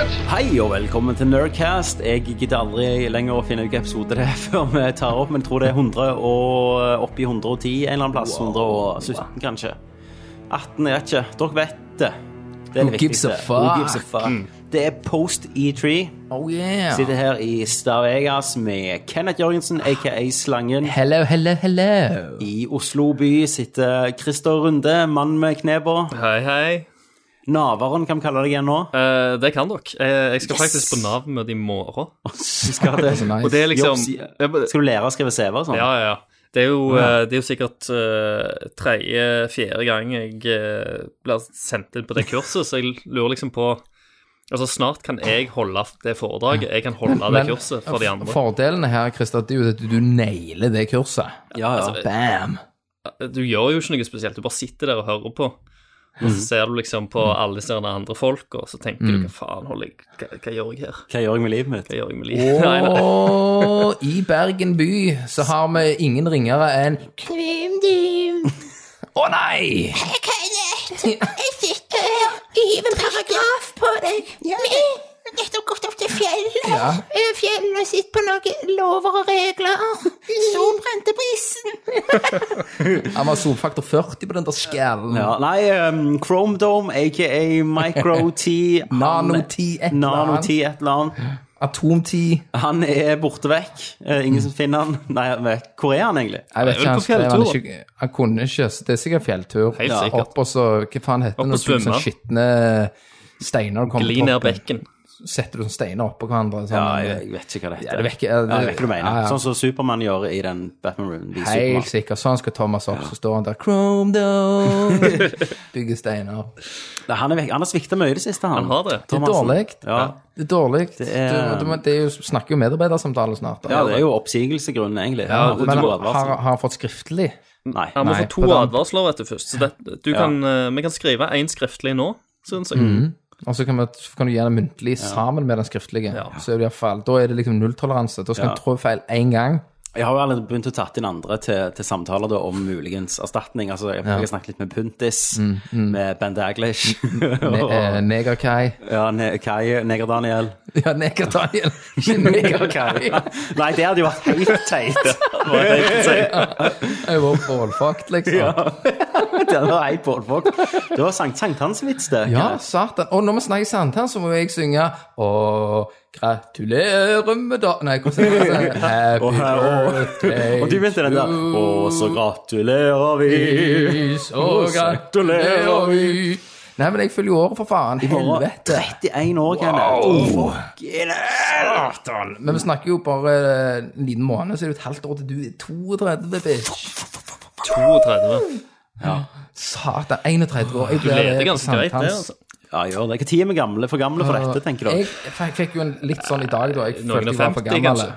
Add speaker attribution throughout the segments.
Speaker 1: og velkommen til Nerdcast. Jeg gidder aldri lenger å finne ut hvilken episode det er før vi tar opp, men jeg tror det er 100 og oppi 110 en eller annen plass. 117, kanskje. 18, jeg vet ikke. Dere vet det. Det er
Speaker 2: Who
Speaker 1: det
Speaker 2: gives a
Speaker 1: viktigste.
Speaker 2: fuck? Mm.
Speaker 1: Who gives a fuck? Det er post E3.
Speaker 2: Oh yeah.
Speaker 1: Sitter her i Star Vegas med Kenneth Jørgensen, aka Slangen.
Speaker 2: Hello, hello, hello.
Speaker 1: I Oslo by sitter Christer Runde, mann med knebå.
Speaker 3: Hei, hei.
Speaker 1: Naveren kan vi kalle deg igjen nå.
Speaker 3: Eh, det kan dere. Eh, jeg skal faktisk på Nav-møte i morgen.
Speaker 1: Du skal, til-
Speaker 2: Så nice.
Speaker 3: Og det er liksom
Speaker 1: Jobb,
Speaker 3: Ja, men-
Speaker 1: skal du lære å skrive CV og sånn?
Speaker 3: Ja, ja. ja. Det er jo, eh, det er jo sikkert uh, tredje-fjerde gang jeg eh, blir sendt inn på det kurset, så jeg lurer liksom på Altså, snart kan jeg holde det foredraget. Jeg kan holde det kurset for de andre.
Speaker 2: Fordelene her, Christer, det er jo at du nailer det kurset. Altså,
Speaker 1: ja, ja.
Speaker 2: Bam!
Speaker 3: Du gjør jo ikke noe spesielt. Du bare sitter der og hører på. Og så ser du liksom på alle disse andre folka, og så tenker du hva faen holder jeg, hva, hva gjør jeg her?
Speaker 1: Hva gjør jeg med livet mitt?
Speaker 3: Hva gjør jeg med livet? Nei, nei.
Speaker 2: Og i Bergen by så har vi ingen ringere enn Kvim Dim. Å nei!
Speaker 4: Jeg sitter her og hiver paragraf på deg. Vi har nettopp gått opp til fjellet.
Speaker 2: Ja.
Speaker 4: Over Fjellet og sitter på noen lover og regler. Solbrente på isen.
Speaker 2: Han var solfaktor 40 på den der skallen.
Speaker 1: Ja, nei, um, Chrome Dome, aka Micro-T
Speaker 2: Nano-T, et eller annet.
Speaker 1: Nano-T et eller annet.
Speaker 2: Atom-10.
Speaker 1: Han er borte vekk. Eh,
Speaker 2: Mm.
Speaker 1: ingen som finner han. Nei, vet- hvor er han egentlig?
Speaker 2: Jeg vet
Speaker 3: vel
Speaker 2: ikke, han
Speaker 3: på
Speaker 2: skrev han
Speaker 3: fjelltur.
Speaker 2: ikke Han kunne ikke, så det er sikkert fjelltur.
Speaker 3: Helt
Speaker 2: Ja.
Speaker 3: sikkert.
Speaker 2: Opp og så Hva faen heter det
Speaker 3: Opp
Speaker 2: når
Speaker 3: og
Speaker 2: du bruker
Speaker 3: svømme.
Speaker 2: sånne skitne steiner du kommer
Speaker 3: Gli ned
Speaker 2: toppen?
Speaker 3: bekken.
Speaker 2: Setter du sånne steiner oppå hverandre? Sånn,
Speaker 1: Ja, jeg, jeg vet ikke hva det heter.
Speaker 2: Ja, det vet ikke-
Speaker 1: ja, jeg vet ikke hva du mener.
Speaker 2: Ja, ja.
Speaker 1: Sånn som Supermann gjør i den Batman-runden. de Superman.
Speaker 2: Helt sikkert. Sånn skal Thomas opp, så står han der Chrome Dome! Bygger steiner.
Speaker 1: Nei, Han, er vekk. han har svikta mye i det siste, han.
Speaker 3: Han har
Speaker 2: Det
Speaker 3: det.
Speaker 2: er
Speaker 1: Thomassen.
Speaker 2: dårlig.
Speaker 1: Ja.
Speaker 2: Det er dårlig. Det
Speaker 1: er-
Speaker 2: er, du, du, må- det er jo, snakker jo medarbeidersamtale snart. da.
Speaker 1: ja, det er jo oppsigelsegrunnen, egentlig.
Speaker 3: Ja, du
Speaker 2: Men
Speaker 3: må- altså.
Speaker 2: har, har han fått skriftlig?
Speaker 1: Nei.
Speaker 3: Han må
Speaker 2: Nei,
Speaker 3: få to
Speaker 2: på den-
Speaker 3: advarsler vet du, først. Så det, du kan, eh, vi kan skrive én skriftlig nå, syns jeg.
Speaker 2: Mm. Og så kan, vi, så kan du gjøre det muntlig sammen med den skriftlige. Så er det i hvert fall, Da er det liksom nulltoleranse. Da skal
Speaker 1: Ja.
Speaker 2: en trå feil én gang.
Speaker 1: Jeg har jo allerede begynt å tatt inn andre til, til samtaler da, om muligens erstatning. Altså, jeg, jeg har snakket litt med Puntis,
Speaker 2: Mm,
Speaker 1: med Ben Daglish
Speaker 2: Ne
Speaker 1: og
Speaker 2: eh, Negerkai.
Speaker 1: ja, ne Kai Neger-Daniel.
Speaker 2: Ja, Neger-Daniel. Ikke Negerkai.
Speaker 1: Nei, det hadde jo vært helt teit.
Speaker 2: Jeg var bålfakt, liksom. Ja,
Speaker 1: Det var helt bålfolk. Det var Sankt Sankthansvits, det.
Speaker 2: satan. Og når vi snakker sandtann, så må jeg synge Å, gratulerer med da... Nei, hvordan er det? Happy
Speaker 1: Og her- og-
Speaker 2: birthday
Speaker 1: Og du begynte den der.
Speaker 2: to
Speaker 1: Og så gratulerer vi.
Speaker 2: is, Og gratulerer vi Nei, men jeg følger jo året, for faen.
Speaker 1: Og
Speaker 2: Helvete.
Speaker 1: 31 år, Kenneth. Oh, fucking hell.
Speaker 2: Men vi snakker jo bare eh, en liten måned, så er det jo et halvt år til du er 32, bitch.
Speaker 3: 32.
Speaker 2: Satan, 31 år. Jeg
Speaker 3: Du leder ganske greit, det.
Speaker 2: sankthans.
Speaker 3: altså.
Speaker 1: Ja, gjør det. Når er vi gamle for gamle for dette, tenker
Speaker 2: Jeg
Speaker 1: du?
Speaker 2: fikk, fikk jo en litt sånn i dag, da. Jeg
Speaker 3: Noen
Speaker 2: følte
Speaker 3: og
Speaker 2: jeg var for
Speaker 3: 50,
Speaker 2: gammel.
Speaker 3: kanskje.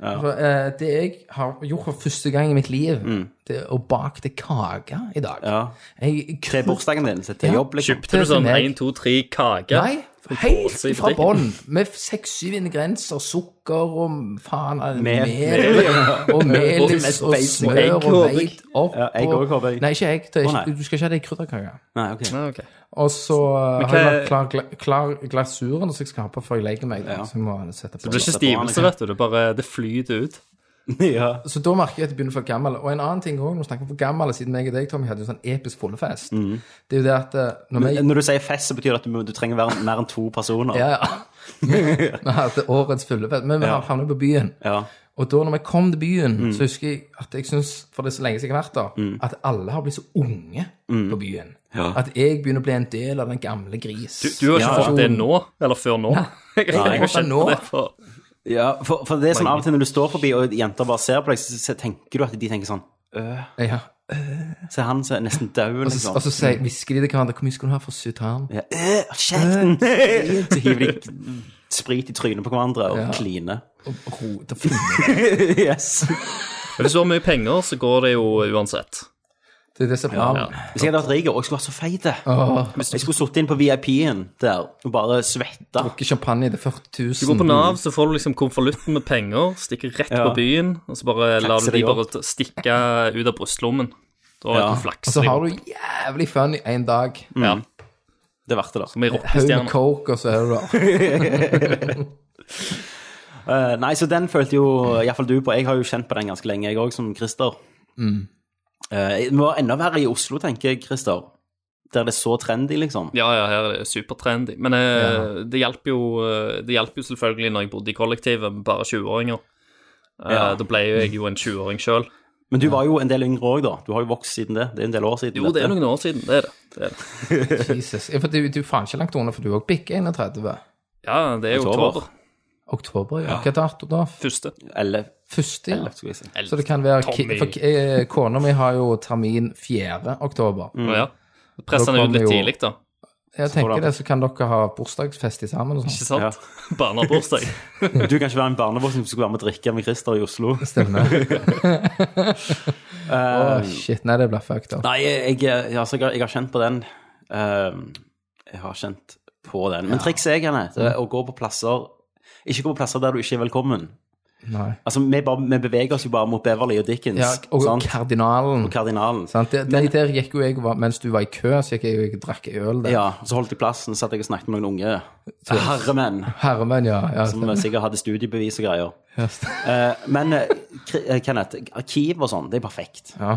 Speaker 2: For, eh, det jeg har gjort for første gang i mitt liv, det er å bakte kake i dag.
Speaker 1: Mm. Ja.
Speaker 2: Jeg
Speaker 1: Til bursdagen din, så til
Speaker 2: Ja.
Speaker 1: jobb, liksom.
Speaker 3: Kjøpte du sånn
Speaker 2: meg.
Speaker 3: 1, 2, 3 kake?
Speaker 2: Nei, helt fra bånn. Med seks-syv ingredienser, sukker og faen eh,
Speaker 1: Mel.
Speaker 2: mel og melis
Speaker 1: mest
Speaker 2: og
Speaker 1: basic.
Speaker 2: smør
Speaker 3: Egg,
Speaker 2: og
Speaker 3: håper jeg.
Speaker 2: veit opp.
Speaker 1: Ja, egg
Speaker 2: og-
Speaker 1: også, håper jeg.
Speaker 2: Nei, ikke egg. Det er
Speaker 1: Å, nei.
Speaker 2: ikke, du skal ikke ha det i krydderkake.
Speaker 1: Nei, ok.
Speaker 3: Nei, ok.
Speaker 2: Og så eh, har jeg
Speaker 3: hva-
Speaker 2: lagt klar, gla- klar glasuren som jeg skal ha på før jeg legger meg. da, Så jeg må sette på
Speaker 3: Det blir ikke stivelse, vet du. Det bare det flyter ut.
Speaker 1: Ja.
Speaker 2: Så da merker jeg at jeg begynner å få gammel. Og en annen ting også, når vi snakker om for gammel, siden meg og deg, Tommy, hadde jo sånn episk fullefest,
Speaker 3: Mm.
Speaker 2: det er jo det at eh, når vi
Speaker 1: Når du sier fest, så betyr det at du, må- du trenger være mer enn to personer.
Speaker 2: Ja, ja. Vi hadde årets fullefest, men vi havna jo på byen.
Speaker 1: Ja.
Speaker 2: Og da når vi kom til byen,
Speaker 3: Mm.
Speaker 2: så husker jeg at jeg syns, for det er så lenge siden jeg har vært der, at alle har blitt så unge
Speaker 3: Mm.
Speaker 2: på byen. At jeg begynner å bli en del av den gamle gris.
Speaker 3: Du, du har ikke
Speaker 1: Ja.
Speaker 3: fått det nå, eller før nå. Jeg
Speaker 2: Nei.
Speaker 3: har kjent på det for
Speaker 1: Ja, for, for det er sånn av og til når du står forbi og jenter bare ser på deg, så, så tenker du at de tenker sånn
Speaker 2: Ja.
Speaker 1: Se han som er nesten død,
Speaker 2: Og så-
Speaker 1: liksom.
Speaker 2: Og så sier- hvisker de til hverandre 'Hvor mye skal du ha for sutan?'
Speaker 1: Ja, øh, kjeften! så hiver de sprit i trynet på hverandre og kliner.
Speaker 2: Og roter finner.
Speaker 1: Yes.
Speaker 3: Men Hvis du har mye penger, så går det jo uansett.
Speaker 2: Det er det som er bra.
Speaker 3: Ja.
Speaker 1: Hvis jeg hadde vært rik og jeg skulle vært så feit Jeg skulle sittet inn på VIP-en der og bare svetta.
Speaker 2: Drukker champagne til 40
Speaker 3: Du går
Speaker 2: 000.
Speaker 3: på Nav, så får du liksom konvolutten med penger, stikker rett på byen, og så bare lar du
Speaker 1: deg
Speaker 3: de
Speaker 1: opp.
Speaker 3: bare t- stikke ut av brystlommen. Da er
Speaker 1: Ja.
Speaker 3: du flaks.
Speaker 2: Og så har
Speaker 3: liksom.
Speaker 2: du jævlig fun i én dag.
Speaker 3: Ja.
Speaker 1: Det er verdt det, da.
Speaker 3: Som ei
Speaker 2: Haug med
Speaker 3: rockestjerne.
Speaker 2: coke, og så er det da
Speaker 1: Eh, nei, så den følte jo iallfall du på. Jeg har jo kjent på den ganske lenge, jeg òg, som Christer.
Speaker 2: Mm.
Speaker 1: Eh, det må enda verre i Oslo, tenker jeg, Christer. Der det er så trendy, liksom.
Speaker 3: Ja, ja, her er det supertrendy. Men eh, det hjalp jo, eh, det hjalp jo selvfølgelig når jeg bodde i kollektivet med bare 20-åringer. Eh,
Speaker 1: Ja.
Speaker 3: Da ble jo jeg jo en 20-åring sjøl.
Speaker 1: Men du var jo en del yngre òg, da. Du har jo vokst siden det. Det er en del år siden.
Speaker 3: Jo, det er
Speaker 1: dette.
Speaker 3: noen år siden, det er det. det, er det.
Speaker 2: Jesus. Ja, for du, du er faen ikke langt unna, for du òg bikker 31.
Speaker 3: Ja, det er jo
Speaker 1: Oktober.
Speaker 3: oktober.
Speaker 2: Oktober, ja. Hva dato da?
Speaker 3: Første.
Speaker 1: Eller,
Speaker 2: Første, ja.
Speaker 1: eller skal vi si.
Speaker 2: Så det kan være ki-
Speaker 3: Tommy.
Speaker 2: For ki- eh, kona mi har jo termin 4. oktober.
Speaker 3: Ja. Press
Speaker 2: Da
Speaker 3: den ut
Speaker 2: kommer
Speaker 3: litt
Speaker 2: jo-
Speaker 3: tidlig, da.
Speaker 2: Jeg tenker det, så kan dere ha bursdagsfest i sammen og sånn.
Speaker 3: Ikke sant? Barnebursdag.
Speaker 1: Du kan ikke være en barnevoksen som skulle være med og drikke med Christer i Oslo.
Speaker 2: Stemmer.
Speaker 3: Um,
Speaker 2: Åh, shit, nei, det blir fucked up.
Speaker 1: Nei, jeg, jeg, altså, jeg, har- jeg har kjent på den. Ehm, jeg har kjent på den. Men trikset er gjerne det er å gå på plasser Ikke gå på plasser der du ikke er velkommen.
Speaker 2: Nei.
Speaker 1: Altså, Vi, bare, vi beveger oss jo bare mot Beverly og Dickens.
Speaker 2: Ja, og
Speaker 1: sant?
Speaker 2: kardinalen.
Speaker 1: Kardinalen.
Speaker 2: Sant? Det, det, der gikk jo jeg, og var- mens du var i kø, så gikk jeg og jeg drakk øl der.
Speaker 1: Ja, så holdt jeg plassen, satt jeg og snakket med noen unge herremenn
Speaker 2: Herremenn, ja. ja
Speaker 1: som sikkert hadde studiebevis og greier.
Speaker 2: stemmer.
Speaker 1: Eh, men eh, Kri- eh, Kenneth, arkiv og sånn, det er perfekt.
Speaker 2: ja.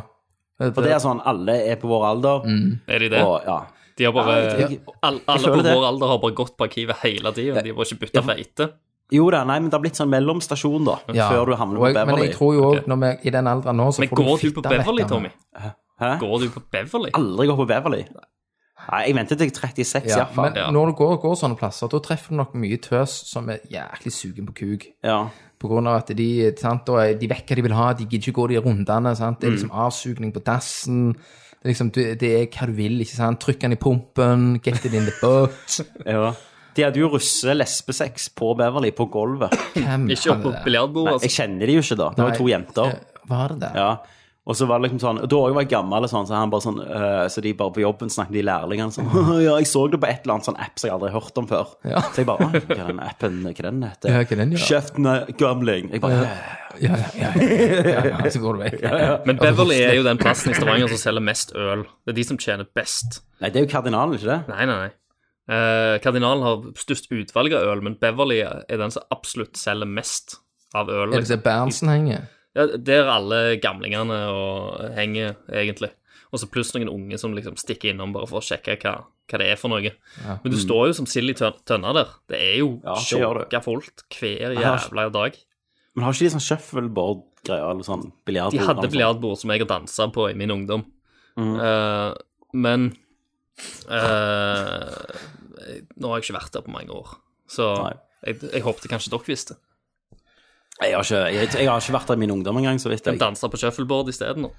Speaker 1: For det er sånn, alle er på vår alder,
Speaker 2: Mm.
Speaker 3: Er de det?
Speaker 1: og ja.
Speaker 3: De har bare,
Speaker 1: Ja, jeg-
Speaker 3: alle,
Speaker 1: jeg
Speaker 3: alle på
Speaker 1: føler det.
Speaker 3: vår alder har bare gått på arkivet hele tida. De har bare ikke bytta beite.
Speaker 1: Jo da, nei, men det har blitt sånn mellomstasjon, da,
Speaker 2: Ja.
Speaker 1: altså før du havner på
Speaker 2: Og jeg- Men
Speaker 1: Beverly.
Speaker 2: jeg tror jo òg, når vi i den alderen nå, så
Speaker 3: Men
Speaker 2: får du
Speaker 3: går du på
Speaker 2: fitta
Speaker 3: Beverly,
Speaker 2: vekk av
Speaker 3: Tommy?
Speaker 2: meg.
Speaker 1: Hæ?
Speaker 3: Går du på Beverly?
Speaker 1: Aldri gå på Beverly. Nei, jeg venter til jeg er 36,
Speaker 2: Ja,
Speaker 1: iallfall.
Speaker 2: men
Speaker 3: Ja.
Speaker 2: når du går, går sånne plasser, da treffer du nok mye tøs som er jæklig sugen på kuk.
Speaker 1: Ja.
Speaker 2: På grunn av at de, sant, da er- de vet hva de vil ha, de gidder ikke gå de rundene. Sant?
Speaker 1: Mm.
Speaker 2: Det er liksom avsugning på dassen. Det er, liksom, det, det er hva du vil, ikke sant. Trykk den i pumpen, get it in the butt.
Speaker 1: ja. De hadde jo russe-lesbesex på Beverly, på gulvet.
Speaker 2: Hvem
Speaker 3: Ikke opp på
Speaker 2: hadde det?
Speaker 3: biljardbordet,
Speaker 1: Jeg
Speaker 3: altså.
Speaker 1: kjenner de jo ikke, da. Det var jo to jenter.
Speaker 2: Eh, Var det det?
Speaker 1: Ja. Og så var det liksom sånn Da jeg var gammel, og sånn, så, han bare sånn, eh, så de bare på jobben snakket de lærlingene sånn Ja, jeg så det på et eller annet sånn app som jeg aldri har hørt om før.
Speaker 2: Ja.
Speaker 1: Så jeg bare «Å, Hva er den appen hva er den heter?
Speaker 2: Ja, hva er den, ja?
Speaker 1: Kjeften er gamling. Jeg bare
Speaker 2: Ja, ja, ja, ja, ja, ja, Så går du vekk.
Speaker 3: Men
Speaker 1: Altså,
Speaker 3: Beverly er jo den plassen i Stavanger som selger mest øl. Det er de som tjener best.
Speaker 1: Nei, det er jo kardinalen, ikke det?
Speaker 3: Nei, nei, nei. Eh, Kardinalen har størst utvalg av øl, men Beverly er den som absolutt selger mest av øl.
Speaker 2: Er det der Berntsen henger?
Speaker 3: Ja, der alle gamlingene og henger, egentlig. Og så pluss noen unge som liksom stikker innom bare for å sjekke hva, hva det er for noe. Men du står jo som sild i tøn- tønna der. Det er jo
Speaker 1: Mm. Ja, det gjør du.
Speaker 3: sjokka fullt hver
Speaker 1: har-
Speaker 3: jævla dag.
Speaker 1: Men har ikke de sånn shuffleboard-greier eller sånn biljardbord?
Speaker 3: De hadde
Speaker 1: eller noe sånt?
Speaker 3: biljardbord som jeg har dansa på i min ungdom.
Speaker 1: Mm.
Speaker 3: Eh, men eh, Nå har jeg ikke vært der på mange år, så
Speaker 1: Nei.
Speaker 3: jeg, jeg håpte kanskje dere visste.
Speaker 1: Jeg har, ikke, jeg, jeg har ikke vært der i min ungdom engang, så vidt
Speaker 3: De
Speaker 1: jeg.
Speaker 3: dansa på shuffleboard isteden. nå.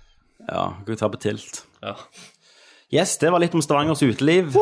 Speaker 1: Ja, Gud ta på tilt.
Speaker 3: Ja.
Speaker 1: Yes, det var litt om Stavangers uteliv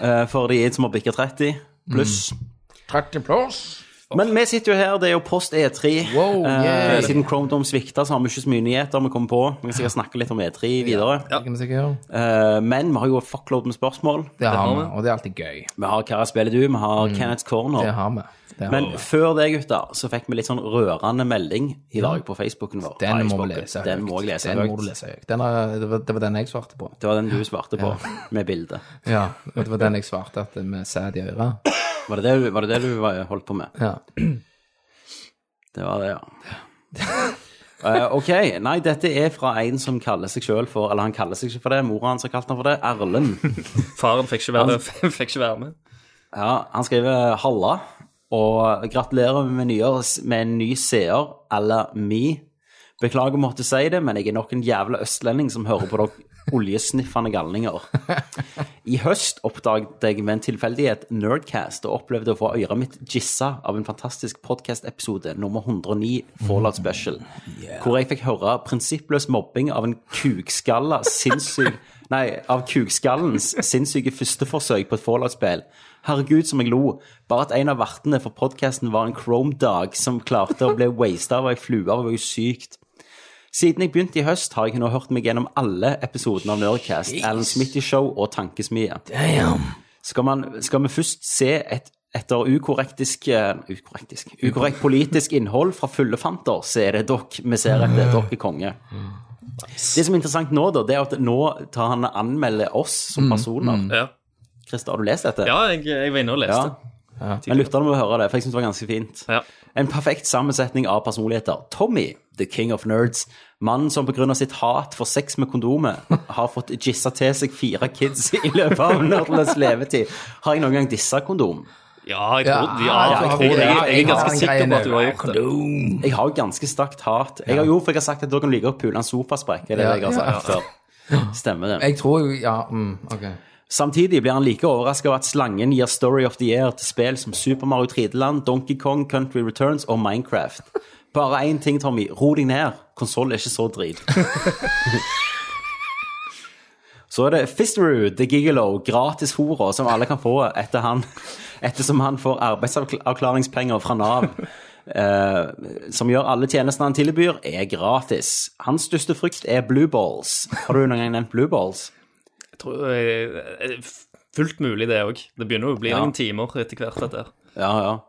Speaker 1: eh, for de som har bikka 30 pluss.
Speaker 2: Mm. 30 plass.
Speaker 1: Men vi sitter jo her, det er jo post E3.
Speaker 2: Wow, yeah.
Speaker 1: eh, siden Chromedome svikta, så har vi ikke så mye nyheter vi kommer på. Vi kan sikkert snakke litt om E3 videre.
Speaker 2: Det kan vi sikkert gjøre.
Speaker 1: Eh, men vi har jo fuckload med spørsmål.
Speaker 2: Det har
Speaker 3: har
Speaker 2: vi,
Speaker 3: vi.
Speaker 2: og det er alltid gøy.
Speaker 1: Vi har Hva spiller du? Vi har Kenneth
Speaker 2: Mm. Det
Speaker 1: Corner.
Speaker 2: har vi. Det har
Speaker 1: Men
Speaker 2: vi.
Speaker 1: før det, gutter, så fikk vi litt sånn rørende melding i dag på Facebooken vår.
Speaker 2: Den må
Speaker 1: Facebooken.
Speaker 2: vi lese
Speaker 1: Den må jeg lese
Speaker 2: Den må
Speaker 1: høyt.
Speaker 2: du lese høyt. Den er, det, var, det var den jeg svarte på.
Speaker 1: Det var den du svarte på, med bilde.
Speaker 2: Ja, og det var den jeg svarte at med sæd i øret.
Speaker 1: Var det det, du- var det det du var- holdt på med?
Speaker 2: Ja.
Speaker 1: Det var det, ja. Eh, ok, nei, dette er fra en som kaller seg sjøl for Eller han kaller seg ikke for det, mora hans har kalt han for det. Erlend.
Speaker 3: Faren fikk ikke være, fikk ikke være med.
Speaker 1: Ja, han skriver 'halla', og gratulerer med, nye, med en ny seer à la me. Beklager å måtte si det, men jeg er nok en jævla østlending som hører på dere oljesniffende galninger. I høst oppdaget jeg med en tilfeldighet Nerdcast og opplevde å få øret mitt gissa av en fantastisk podcast-episode nummer 109, Fallout Special, hvor jeg fikk høre prinsippløs mobbing av en kukskalla sinnssyk Nei, av kukskallens sinnssyke førsteforsøk på et Fallout-spill. Herregud, som jeg lo. Bare at en av vertene for podkasten var en Chrome-dag som klarte å bli wasta av ei flue, var jo sykt. Siden jeg begynte i høst, har jeg nå hørt meg gjennom alle episodene av Nerdcast, Alan Smitty Show og Tankesmie. Skal, man, skal vi først se et, etter ukorrektisk, eh, ukorrektisk Ukorrekt politisk innhold fra fyllefanter, så er det dere vi ser etter. Dere er konge.
Speaker 3: Mm.
Speaker 1: Det som er interessant nå, da, det er at nå tar han og anmelder oss som personer.
Speaker 3: Ja.
Speaker 1: Christer, har du lest dette?
Speaker 3: Ja, jeg, jeg var inne og leste.
Speaker 1: Men lytterne må høre det, for jeg syns det var ganske fint.
Speaker 3: Ja.
Speaker 1: En perfekt sammensetning av personligheter. Tommy, the king of nerds. Mannen som pga. sitt hat for sex med kondomet har fått gissa til seg fire kids i løpet av nerdens levetid. Har jeg noen gang dissa kondom?
Speaker 3: Ja, jeg trodde ja,
Speaker 2: jeg
Speaker 3: jeg,
Speaker 2: tror
Speaker 3: jeg,
Speaker 2: det.
Speaker 3: jeg, jeg
Speaker 2: har
Speaker 3: er ganske
Speaker 2: den
Speaker 3: sikker
Speaker 2: greien
Speaker 3: på at du har
Speaker 2: der.
Speaker 3: gjort det.
Speaker 1: Jeg har jo ganske stakt hat. Jeg har jo, for jeg har sagt at dere kan like å pule en sofasprekk. Er det
Speaker 2: Ja,
Speaker 1: jeg har sagt
Speaker 3: ja.
Speaker 1: før? Stemmer det.
Speaker 2: Jeg tror jo Ja, mm, OK.
Speaker 1: Samtidig blir han like overraska over at slangen gir Story of the Year til spill som Super Mario 3D-land, Donkey Kong, Country Returns og Minecraft. Bare én ting, Tommy. Ro deg ned. Konsoll er ikke så drit. Så er det Fisterud, The Gigolo, gratis hora som alle kan få etter han, ettersom han får arbeidsavklaringspenger fra Nav. eh, som gjør alle tjenestene han tilbyr, er gratis. Hans største frykt er blue balls. Har du noen gang nevnt blue balls?
Speaker 3: Jeg tror, eh, fullt mulig, det òg. Det begynner jo å bli
Speaker 1: Ja.
Speaker 3: noen timer etter hvert. dette her.
Speaker 1: Ja, ja.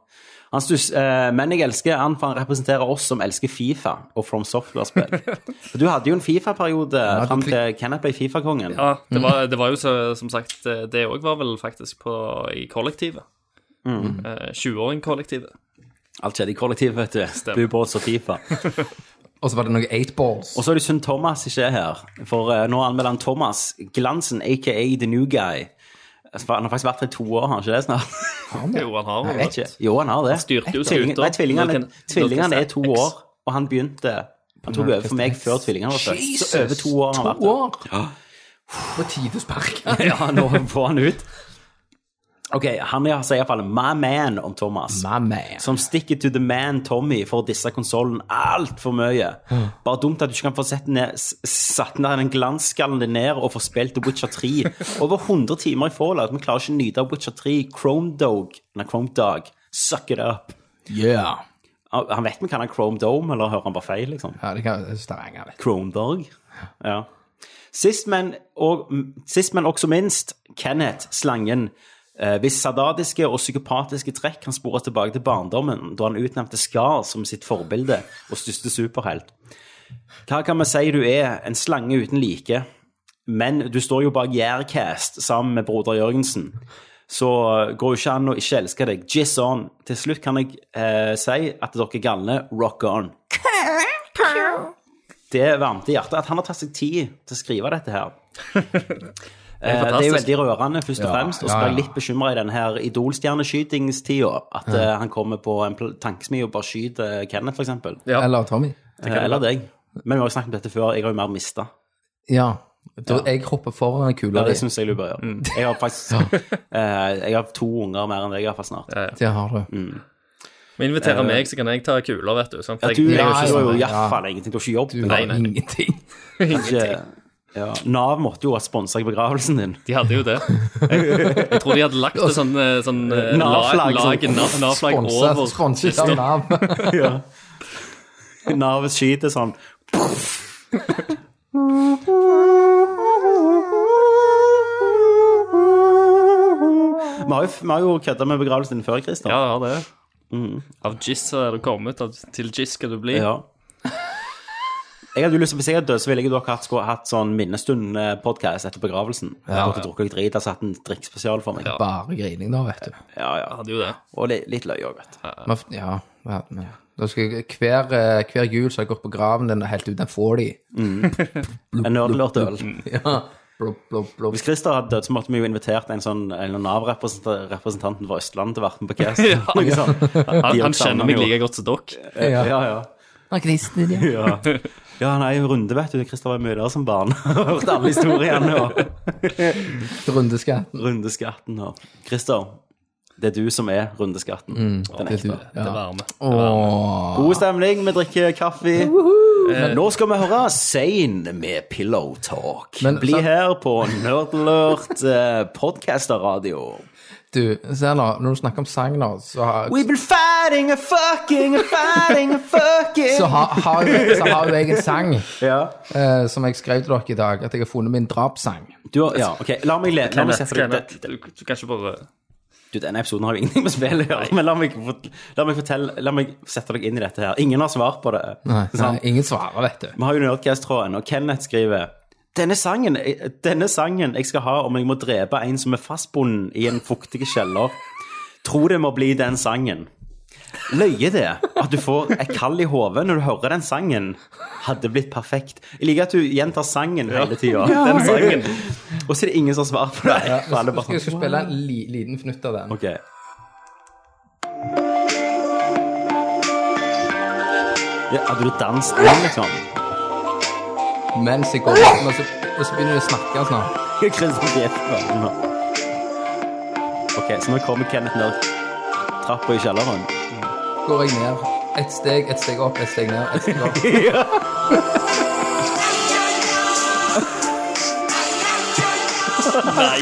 Speaker 1: Han stuss, eh, men jeg elsker han, for han representerer oss som elsker Fifa og From Software-spill. Du hadde jo en Fifa-periode fram
Speaker 2: klik-
Speaker 1: til Kenneth ble Fifa-kongen.
Speaker 3: Ja, det var, det var jo så, som sagt eh, Det òg var vel faktisk på, i kollektivet.
Speaker 1: Mm.
Speaker 3: Eh, 20-åring-kollektivet.
Speaker 1: Alt skjedde i kollektiv, vet du. Bubås og Fifa.
Speaker 2: Og så var det noe eight balls.
Speaker 1: Og så er det synd Thomas ikke er her, for eh, nå anmelder han Thomas Glansen, aka The New Guy. For Han har faktisk vært her i to år, har han ikke det snart?
Speaker 3: Jo, han har
Speaker 1: Jeg vet ikke. Jo, han har det.
Speaker 3: styrte jo
Speaker 1: Tvilling-
Speaker 3: skuta.
Speaker 1: Nei, tvillingene,
Speaker 3: Nå kan- nå kan
Speaker 1: tvillingene er
Speaker 3: jeg
Speaker 1: to
Speaker 3: se X.
Speaker 1: år, og han begynte Han tok over for meg før tvillingene var født.
Speaker 2: Jesus!
Speaker 1: Så over to år har han vært
Speaker 2: To
Speaker 1: her.
Speaker 2: år? På tide å sparke.
Speaker 1: Ja, nå får han ut. Ok, han er- sier iallfall 'my man' om Thomas.
Speaker 2: My man.
Speaker 1: Som sticker to the man Tommy for disse konsollen altfor mye.
Speaker 2: Mm.
Speaker 1: Bare dumt at du ikke kan få sett ned, s- satt ned den glanskallen din ned og få spilt The Witcher 3. Over 100 timer i Fallout, vi klarer ikke å nyte av Witcher 3. Chrome Dog, nei, Chrome Dog, suck it up. Ah,
Speaker 2: Yeah.
Speaker 1: Han vet vi kaller han Chrome Dome, eller hører han bare feil, liksom?
Speaker 2: Ja, det kan Stavanger, vet du.
Speaker 1: Kronborg. Ja. Sist, men, og, sist, men også minst, Kenneth Slangen. Eh, hvis sadadiske og psykopatiske trekk kan spores tilbake til barndommen, da han utnevnte Skar som sitt forbilde og største superhelt. Hva kan vi si du er? En slange uten like. Men du står jo bak Jærcast sammen med broder Jørgensen. Så eh, går jo ikke an å ikke elske deg. Jizz on. Til slutt kan jeg eh, si at dere galne rock on det varmte i hjertet at han har tatt seg tid til å skrive dette her. Eh, Det er jo
Speaker 3: fantastisk.
Speaker 1: veldig rørende, først og
Speaker 2: Ja,
Speaker 1: fremst. Og så
Speaker 2: ja,
Speaker 1: ble jeg
Speaker 2: ja.
Speaker 1: litt bekymra i denne her Idol-stjerneskytingstida. At eh, han kommer på en pl- tankesmi og bare skyter Kenneth, for eksempel.
Speaker 3: Ja.
Speaker 2: Eller Tommy.
Speaker 1: Eh, Eller deg. Men vi har jo snakket om dette før. Jeg har jo mer mista.
Speaker 2: Ja. Da, jeg hopper foran kula
Speaker 1: Det
Speaker 2: di.
Speaker 1: syns jeg du bør
Speaker 2: Mm.
Speaker 1: gjøre. Jeg har faktisk eh, Jeg har to unger mer enn deg, iallfall snart.
Speaker 2: Det har
Speaker 1: Mm.
Speaker 2: du.
Speaker 3: Vi inviterer meg, så kan jeg ta kuler, vet du. Sant?
Speaker 1: Eh. Ja,
Speaker 3: Jeg-
Speaker 1: du,
Speaker 3: jeg
Speaker 1: ja,
Speaker 2: ja,
Speaker 3: er jo
Speaker 1: du har jo
Speaker 2: ja.
Speaker 1: iallfall ingenting. Du har ikke jobb.
Speaker 2: Du har
Speaker 3: Nei, nei.
Speaker 2: ingenting.
Speaker 1: Ikke- Ja. Nav måtte jo ha sponsa begravelsen din.
Speaker 3: De hadde jo det. Jeg, jeg tror de hadde lagt det sånn, eh, sånn eh, la-
Speaker 1: Nav-flagg,
Speaker 3: lag,
Speaker 1: sånn.
Speaker 3: nav- Nav-flagg
Speaker 2: Sponset
Speaker 3: over
Speaker 2: sponset av Nav.
Speaker 1: ja. Navet skyter sånn Vi har jo, vi har jo kødda med begravelsen din før, Christer.
Speaker 3: Ja, ja, det. Av Jizz så er du kommet, av, til Jizz skal du bli.
Speaker 1: Mm. Ja. Jeg hadde jo lyst til, Hvis jeg hadde dødd, så ville jeg jo dere hatt, skulle hatt sånn minnestund-podkast etter begravelsen. Ja, ja. Drukket litt drit, altså hatt en drikkspesial for meg.
Speaker 3: Ja.
Speaker 2: Bare grining, da, vet du.
Speaker 1: Ja, ja.
Speaker 3: Hadde jo det.
Speaker 1: Og litt, litt løye òg, vet du.
Speaker 2: Man, f- ja, hva hadde vi? Da skal jeg, hver, eh, hver jul så har jeg gått på graven den og helt ut. Den får de.
Speaker 1: En nerdlørt øl.
Speaker 2: Ja. Blub, blub, blub.
Speaker 1: Hvis Christer hadde dødd, så måtte vi jo invitert en sånn en Nav-representanten fra Østlandet til å være med på cast.
Speaker 3: Ja.
Speaker 1: Noe sånt.
Speaker 3: Han,
Speaker 1: De
Speaker 3: han
Speaker 1: også savner
Speaker 3: kjenner meg
Speaker 1: jo.
Speaker 3: like godt som dere.
Speaker 1: Ja,
Speaker 2: Ja.
Speaker 1: ja. Ja, ja nei, runde, vet du. Christer var mye der som barn. Hørte alle historiene og
Speaker 2: Rundeskatten.
Speaker 1: rundeskatten og Christer, det er du som er rundeskatten. Den
Speaker 2: Det er du.
Speaker 1: ekte.
Speaker 3: Det
Speaker 2: Ja.
Speaker 3: varme.
Speaker 2: Åh.
Speaker 1: God stemning, vi drikker kaffe. Men nå skal vi høre Sane med Pillow Talk.
Speaker 2: Men-
Speaker 1: Bli
Speaker 2: sant-
Speaker 1: her på Nerdlurt eh, podcasterradio.
Speaker 2: Du, se nå, når du snakker om sang nå, så har
Speaker 1: We've been fighting and fucking and fighting and fucking.
Speaker 2: så har, har, jo- så har jo jeg en sang
Speaker 1: Ja.
Speaker 2: eh, som jeg skrev til dere i dag, at jeg har funnet min drapssang.
Speaker 1: Du, har- ja, ok, la meg, le, la meg sette deg
Speaker 3: Kenneth, du, du kan ikke bare
Speaker 1: Du, denne episoden har jo ingenting med spill å gjøre, men la meg, fort- la meg fortelle La meg sette deg inn i dette her. Ingen har svar på det.
Speaker 2: Nei, nei,
Speaker 1: sant?
Speaker 2: ingen svarer, vet du.
Speaker 1: Vi har jo Nerdcast-tråden, og Kenneth skriver Denne sangen, eh, denne sangen jeg skal ha om jeg må drepe en som er fastbundet i en fuktig kjeller, tror det må bli den sangen. Løye det at du får et kall i hodet når du hører den sangen, hadde blitt perfekt. Jeg liker at du gjentar sangen hele tida.
Speaker 3: Den sangen.
Speaker 1: Og så er det ingen som svarer på det.
Speaker 2: Ja,
Speaker 1: For alle bare
Speaker 2: skal, jeg skal
Speaker 1: sånn,
Speaker 2: spille en li, liten fnutt av den.
Speaker 1: Ok. Ja, hadde du danset den, liksom?
Speaker 2: Mens jeg går opp, og så, og sånn. så begynner vi å snakke snart.
Speaker 1: Kristian Bjerke nå. Ok, så nå kommer Kenneth ned trappa i kjelleren.
Speaker 2: Går jeg ned. Ett steg, ett steg opp, ett steg ned. Et steg opp.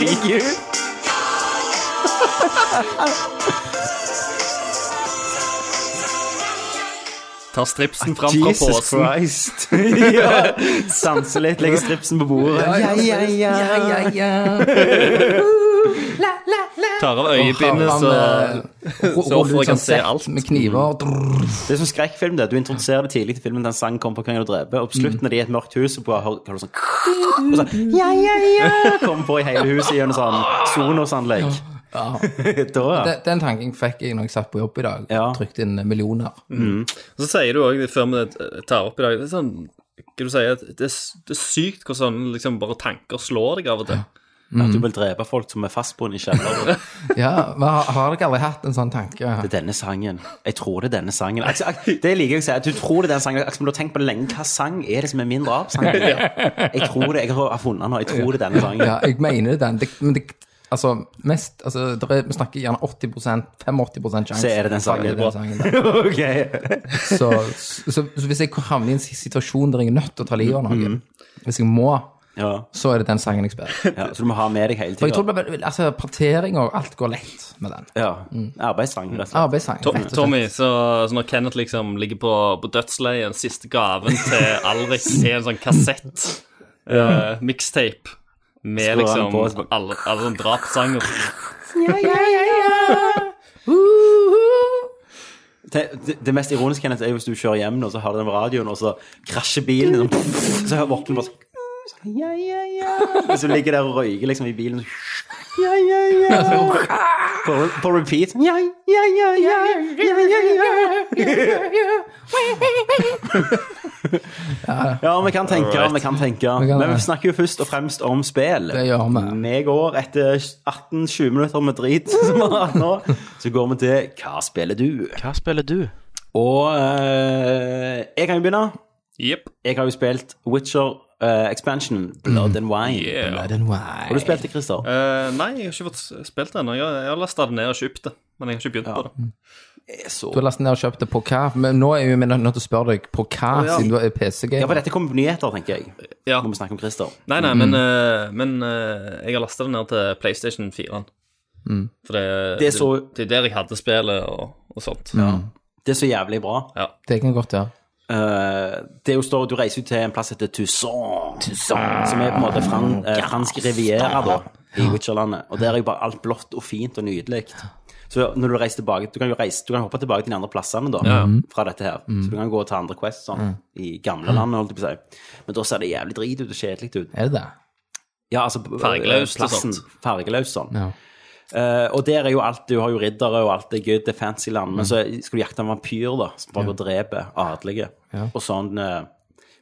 Speaker 1: Nei!
Speaker 3: Tar stripsen fram fra
Speaker 1: Ah, Jesus
Speaker 3: posen.
Speaker 1: Christ. ja. Sanse litt, legge stripsen på bordet.
Speaker 2: Ja, ja, ja, ja, ja.
Speaker 3: Tar av øyebindet, så
Speaker 1: eh,
Speaker 2: så
Speaker 3: offeret kan se alt.
Speaker 2: sånn Med kniver. drrr.
Speaker 1: Det er som skrekkfilm. det. Du introduserer det tidlig til filmen den sangen kommer på Kongen og dreper, og på slutten når de er i et mørkt hus, så bare hører hører du sånn og sånn, Ja, ja, ja! Kommer på i hele huset gjennom sånn sonosanlegg. da, ja.
Speaker 2: Den, den tanken fikk jeg når jeg satt på jobb i dag.
Speaker 1: Ja.
Speaker 2: Trykt inn millioner.
Speaker 3: Og Så sier du òg, før vi tar opp i dag, det er sånn hva du sier, at det, er s- det er sykt hvor sånn liksom bare tanker slår deg av og til.
Speaker 1: At
Speaker 2: Mm.
Speaker 1: du vil drepe folk som er fastbundet i kjelleren.
Speaker 2: Ja, men har, har dere aldri hatt en sånn tanke?
Speaker 1: Det er denne sangen. Jeg tror det er denne sangen. Altså, ak- Det liker jeg å si. at Du tror det er den sangen. Akkurat som du har tenkt på det lenge. Hva sang er det som er min drapssang? Jeg tror det. Jeg har funnet den nå. Jeg tror det er denne sangen.
Speaker 2: Ja, jeg mener det, den. Det, men det, altså, mest, altså, der er, vi snakker gjerne 80 85 sjanse.
Speaker 1: Så er det den sangen.
Speaker 2: for at det er den sangen der.
Speaker 1: Ok.
Speaker 2: så, så, så, hvis jeg havner i en situasjon der jeg er nødt til å ta livet av noen,
Speaker 1: Mm.
Speaker 2: hvis jeg må,
Speaker 1: Ja.
Speaker 2: så er det den sangen jeg spiller.
Speaker 1: ja. Så du må ha med deg hele
Speaker 2: For jeg
Speaker 1: tida.
Speaker 2: tror det blir veldig- altså, Partering og alt går lett med den.
Speaker 1: Ja.
Speaker 2: Mm.
Speaker 1: Arbeidssang, rett og slett.
Speaker 2: Arbeidssang.
Speaker 3: To-
Speaker 2: rett og slett.
Speaker 3: Tommy, så, så når Kenneth liksom ligger på, på dødsleiet, siste gaven til Alrik er en sånn kassett, uh, mixtape, med
Speaker 1: Skrur han
Speaker 3: liksom
Speaker 1: på, så bare-
Speaker 3: alle, alle sånne drapssanger.
Speaker 1: Det, det- det mest ironiske Kenneth, er jo hvis du kjører hjem nå, så har du den på radioen, og så krasjer bilen, sånn, pff, så hører våkner du bare sånn ja, ja, ja. Hvis du ligger der og røyker liksom i bilen så- ja, ja, ja. På, på repeat. sånn, Ja, ja, ja, ja, ja, ja, ja. Ja, vi kan tenke, vi kan tenke.
Speaker 2: kan
Speaker 1: Men vi
Speaker 2: det.
Speaker 1: snakker jo først og fremst om spill.
Speaker 2: Det gjør vi.
Speaker 1: Vi går etter 18-20 minutter med drit, som vi har hatt nå, så går vi til Hva spiller du?
Speaker 5: Hva spiller du?
Speaker 1: Og eh, jeg kan jo begynne.
Speaker 3: Jepp.
Speaker 1: Jeg har jo spilt Witcher eh, Expansion, Blood and Wine.
Speaker 5: Mm.
Speaker 3: Yeah.
Speaker 2: Red and white.
Speaker 1: Har du spilt det, Christer?
Speaker 3: Eh, nei, jeg har ikke fått spilt det ennå. Jeg, jeg har lasta det ned og kjøpt det, men jeg har ikke begynt på det.
Speaker 1: Så.
Speaker 2: Du har lastet ned og kjøpt det på hva? Men nå er jeg jo nødt nødt til å spørre deg på hva,
Speaker 3: ja.
Speaker 2: siden du er
Speaker 1: Ja, for
Speaker 2: PC-gamer.
Speaker 1: dette kommer på nyheter, tenker jeg.
Speaker 3: Ja.
Speaker 1: Når vi snakker om Christer.
Speaker 3: Nei, nei, men, eh, men eh, jeg har lasta det ned til PlayStation 4. For det,
Speaker 1: Det er så-
Speaker 3: det er der jeg hadde spillet og, og sånt.
Speaker 1: Det er så jævlig bra.
Speaker 3: Ja.
Speaker 2: Det kan godt gjøre.
Speaker 1: Eh, det er jo står, Du reiser jo til en plass som heter Toussaint, som er på en måte fran, eh, fransk riviera da, i Witcherlandet. Og der er jo bare alt blått og fint og nydelig. Så når du reiser tilbake, du kan jo reise, du kan hoppe tilbake til de andre plassene da, fra dette her. Så du kan gå til andre Quest sånn, i gamle landet, holdt jeg på å si. Men da ser det jævlig drit ut og kjedelig ut.
Speaker 2: Er det det?
Speaker 1: Ja, altså,
Speaker 3: Fargeløst og
Speaker 1: plassen,
Speaker 3: sånt.
Speaker 1: Fargeløst sånn.
Speaker 2: Ja.
Speaker 1: Eh, og der er jo alt, du har jo riddere og alt det er good, det er fancy land,
Speaker 2: Mm.
Speaker 1: men så skal du jakte en vampyr da, som bare går og dreper adelige. Og sånn eh,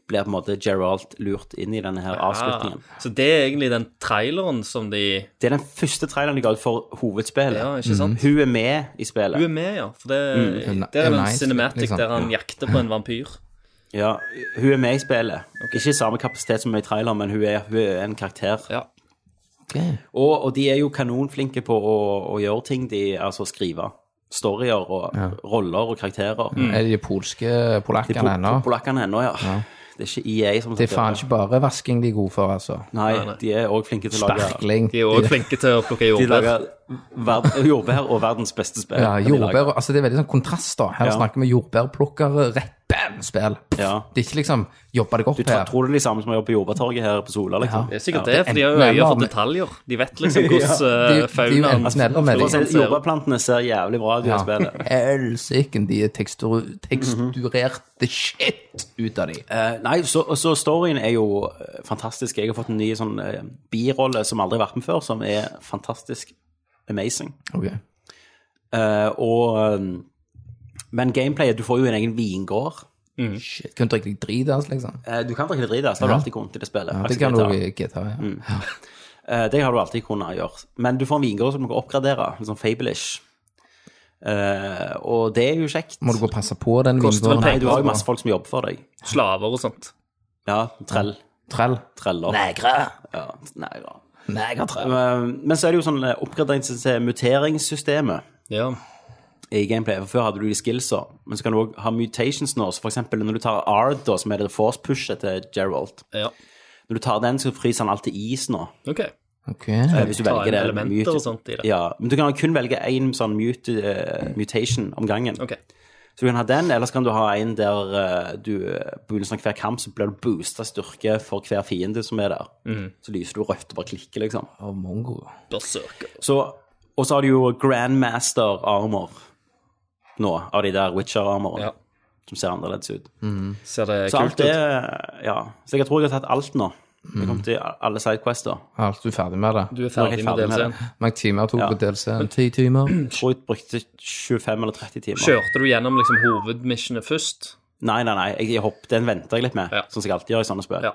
Speaker 1: blir på en måte Geralt lurt inn i denne her avslutningen.
Speaker 3: Ah, så det er egentlig den traileren som de
Speaker 1: Det er den første traileren de ga ut for hovedspillet.
Speaker 3: Ja, ikke sant?
Speaker 1: Hun er med i spillet.
Speaker 3: Du er med, ja. For det, det er
Speaker 2: Ja,
Speaker 3: en
Speaker 2: nice,
Speaker 3: cinematic
Speaker 2: liksom.
Speaker 3: der han jakter på en vampyr.
Speaker 1: Ja, hun er med i spillet. Ikke i samme kapasitet som i traileren, men hun er, hun er en karakter.
Speaker 3: Ja.
Speaker 1: Og, og de er jo kanonflinke på å, å gjøre ting de altså skrive. Storyer og roller og karakterer.
Speaker 2: Er det de polske
Speaker 1: De
Speaker 2: polakkene ennå?
Speaker 1: pol- polakkene ennå, ja. Det er ikke EA som
Speaker 2: Det er
Speaker 1: skal
Speaker 2: faen
Speaker 1: gjøre
Speaker 2: ikke bare vasking de er gode for, altså.
Speaker 1: Nei, de er òg flinke til å lage
Speaker 2: Sparkling.
Speaker 3: De er òg flinke til å plukke
Speaker 1: De
Speaker 3: jordbær.
Speaker 1: lager verd- jordbær og verdens beste spill.
Speaker 2: Ja,
Speaker 1: kan de lage.
Speaker 2: jordbær, altså Det er veldig sånn kontrast. da Her
Speaker 1: Ja.
Speaker 2: snakker vi jordbærplukkere rett bam, fem spill.
Speaker 1: Ja.
Speaker 2: Det er ikke liksom jobbe deg opp
Speaker 1: Du tror,
Speaker 2: her.
Speaker 1: tror det er de samme som jobber på Jordbatorget her på Sola, liksom?
Speaker 3: Det er sikkert
Speaker 1: Ja.
Speaker 3: det, for de har jo
Speaker 2: Enten
Speaker 3: øye for
Speaker 2: eller.
Speaker 3: detaljer. De vet liksom hvordan
Speaker 2: Det er
Speaker 3: eh,
Speaker 2: jo- det er jo
Speaker 3: faunaen
Speaker 2: enten eller med
Speaker 1: For å si
Speaker 2: de.
Speaker 1: det, Jordbærplantene ser jævlig bra ut i det spillet.
Speaker 2: Helsiken, de er tekstur, teksturerte shit ut av de.
Speaker 1: Eh, nei, så, så storyen er jo eh, fantastisk. Jeg har fått en ny sånn eh, birolle som aldri har vært med før, som er fantastisk amazing.
Speaker 2: Ok.
Speaker 1: Eh, og eh, Men gameplayet, du får jo en egen vingård.
Speaker 2: Mm. Shit, kunne drikke litt drit av oss, liksom.
Speaker 1: Eh, du kan drikke drit, altså. Det har du alltid kunnet i det spillet.
Speaker 2: Ja, det kan du
Speaker 1: Aktiviteter.
Speaker 2: i GTA, ja.
Speaker 1: Mm. Eh, Det har du alltid kunnet gjøre. Men du får en vingård som du kan oppgradere, litt sånn fable-ish. Eh, og det er jo kjekt.
Speaker 2: Må du gå og passe på den
Speaker 3: Koster vel
Speaker 2: vingården?
Speaker 1: Nei, du har jo masse folk som jobber for deg.
Speaker 3: slaver og sånt.
Speaker 1: Ja, trell.
Speaker 2: Trell.
Speaker 1: Treller.
Speaker 2: Negre.
Speaker 1: Ja, nei da.
Speaker 2: Negertrell.
Speaker 1: Eh, Men så er det jo sånn eh, oppgradering til muteringssystemet
Speaker 3: Ja.
Speaker 1: i gameplay. For før hadde du de skillsa, men så kan du òg ha mutations nå. Så for eksempel når du tar Ard, da, som er det force pushet til Gerald
Speaker 3: ja.
Speaker 1: Når du tar den, så fryser han alltid is nå.
Speaker 3: Ok.
Speaker 2: Ok.
Speaker 1: Eh, Hvis du
Speaker 3: Ta
Speaker 1: velger
Speaker 3: inn
Speaker 1: det.
Speaker 3: elementer
Speaker 1: mute-
Speaker 3: og sånt i det.
Speaker 1: Ja, men du kan kun velge én sånn mute, eh, mutation om gangen.
Speaker 3: ok.
Speaker 1: Så du kan ha den, ellers kan du ha en der eh, du eh, på begynnelsen av hver kamp så blir du boosta styrke for hver fiende som er der.
Speaker 3: Mhm.
Speaker 1: Så lyser du rødt og bare klikker, liksom.
Speaker 2: Å, mongo.
Speaker 3: Berserker.
Speaker 1: Så, og så har du jo Grandmaster Armor nå, av de der Witcher-armorene.
Speaker 3: Ja.
Speaker 1: Som ser annerledes ut.
Speaker 3: Ser det
Speaker 1: Så alt
Speaker 3: kult Mhm.
Speaker 1: det
Speaker 3: ut?
Speaker 1: Ja. Så jeg tror jeg har tatt alt nå. Jeg kom til alle sidequester.
Speaker 2: Alt, du er ferdig med det?
Speaker 3: Du er
Speaker 1: Nå er
Speaker 3: ferdig
Speaker 1: jeg
Speaker 3: med
Speaker 1: ferdig med
Speaker 3: DLC-en.
Speaker 2: Hvor mange timer tok
Speaker 1: Ja.
Speaker 2: på DLC-en? Ti timer?
Speaker 1: Jeg tror jeg brukte 25 eller 30 timer.
Speaker 3: Kjørte du gjennom liksom hovedmissionet først?
Speaker 1: Nei, nei, nei. Jeg, jeg hopp, den venter jeg litt med,
Speaker 3: Ja.
Speaker 1: sånn som jeg alltid gjør i sånne spill.
Speaker 3: Ja.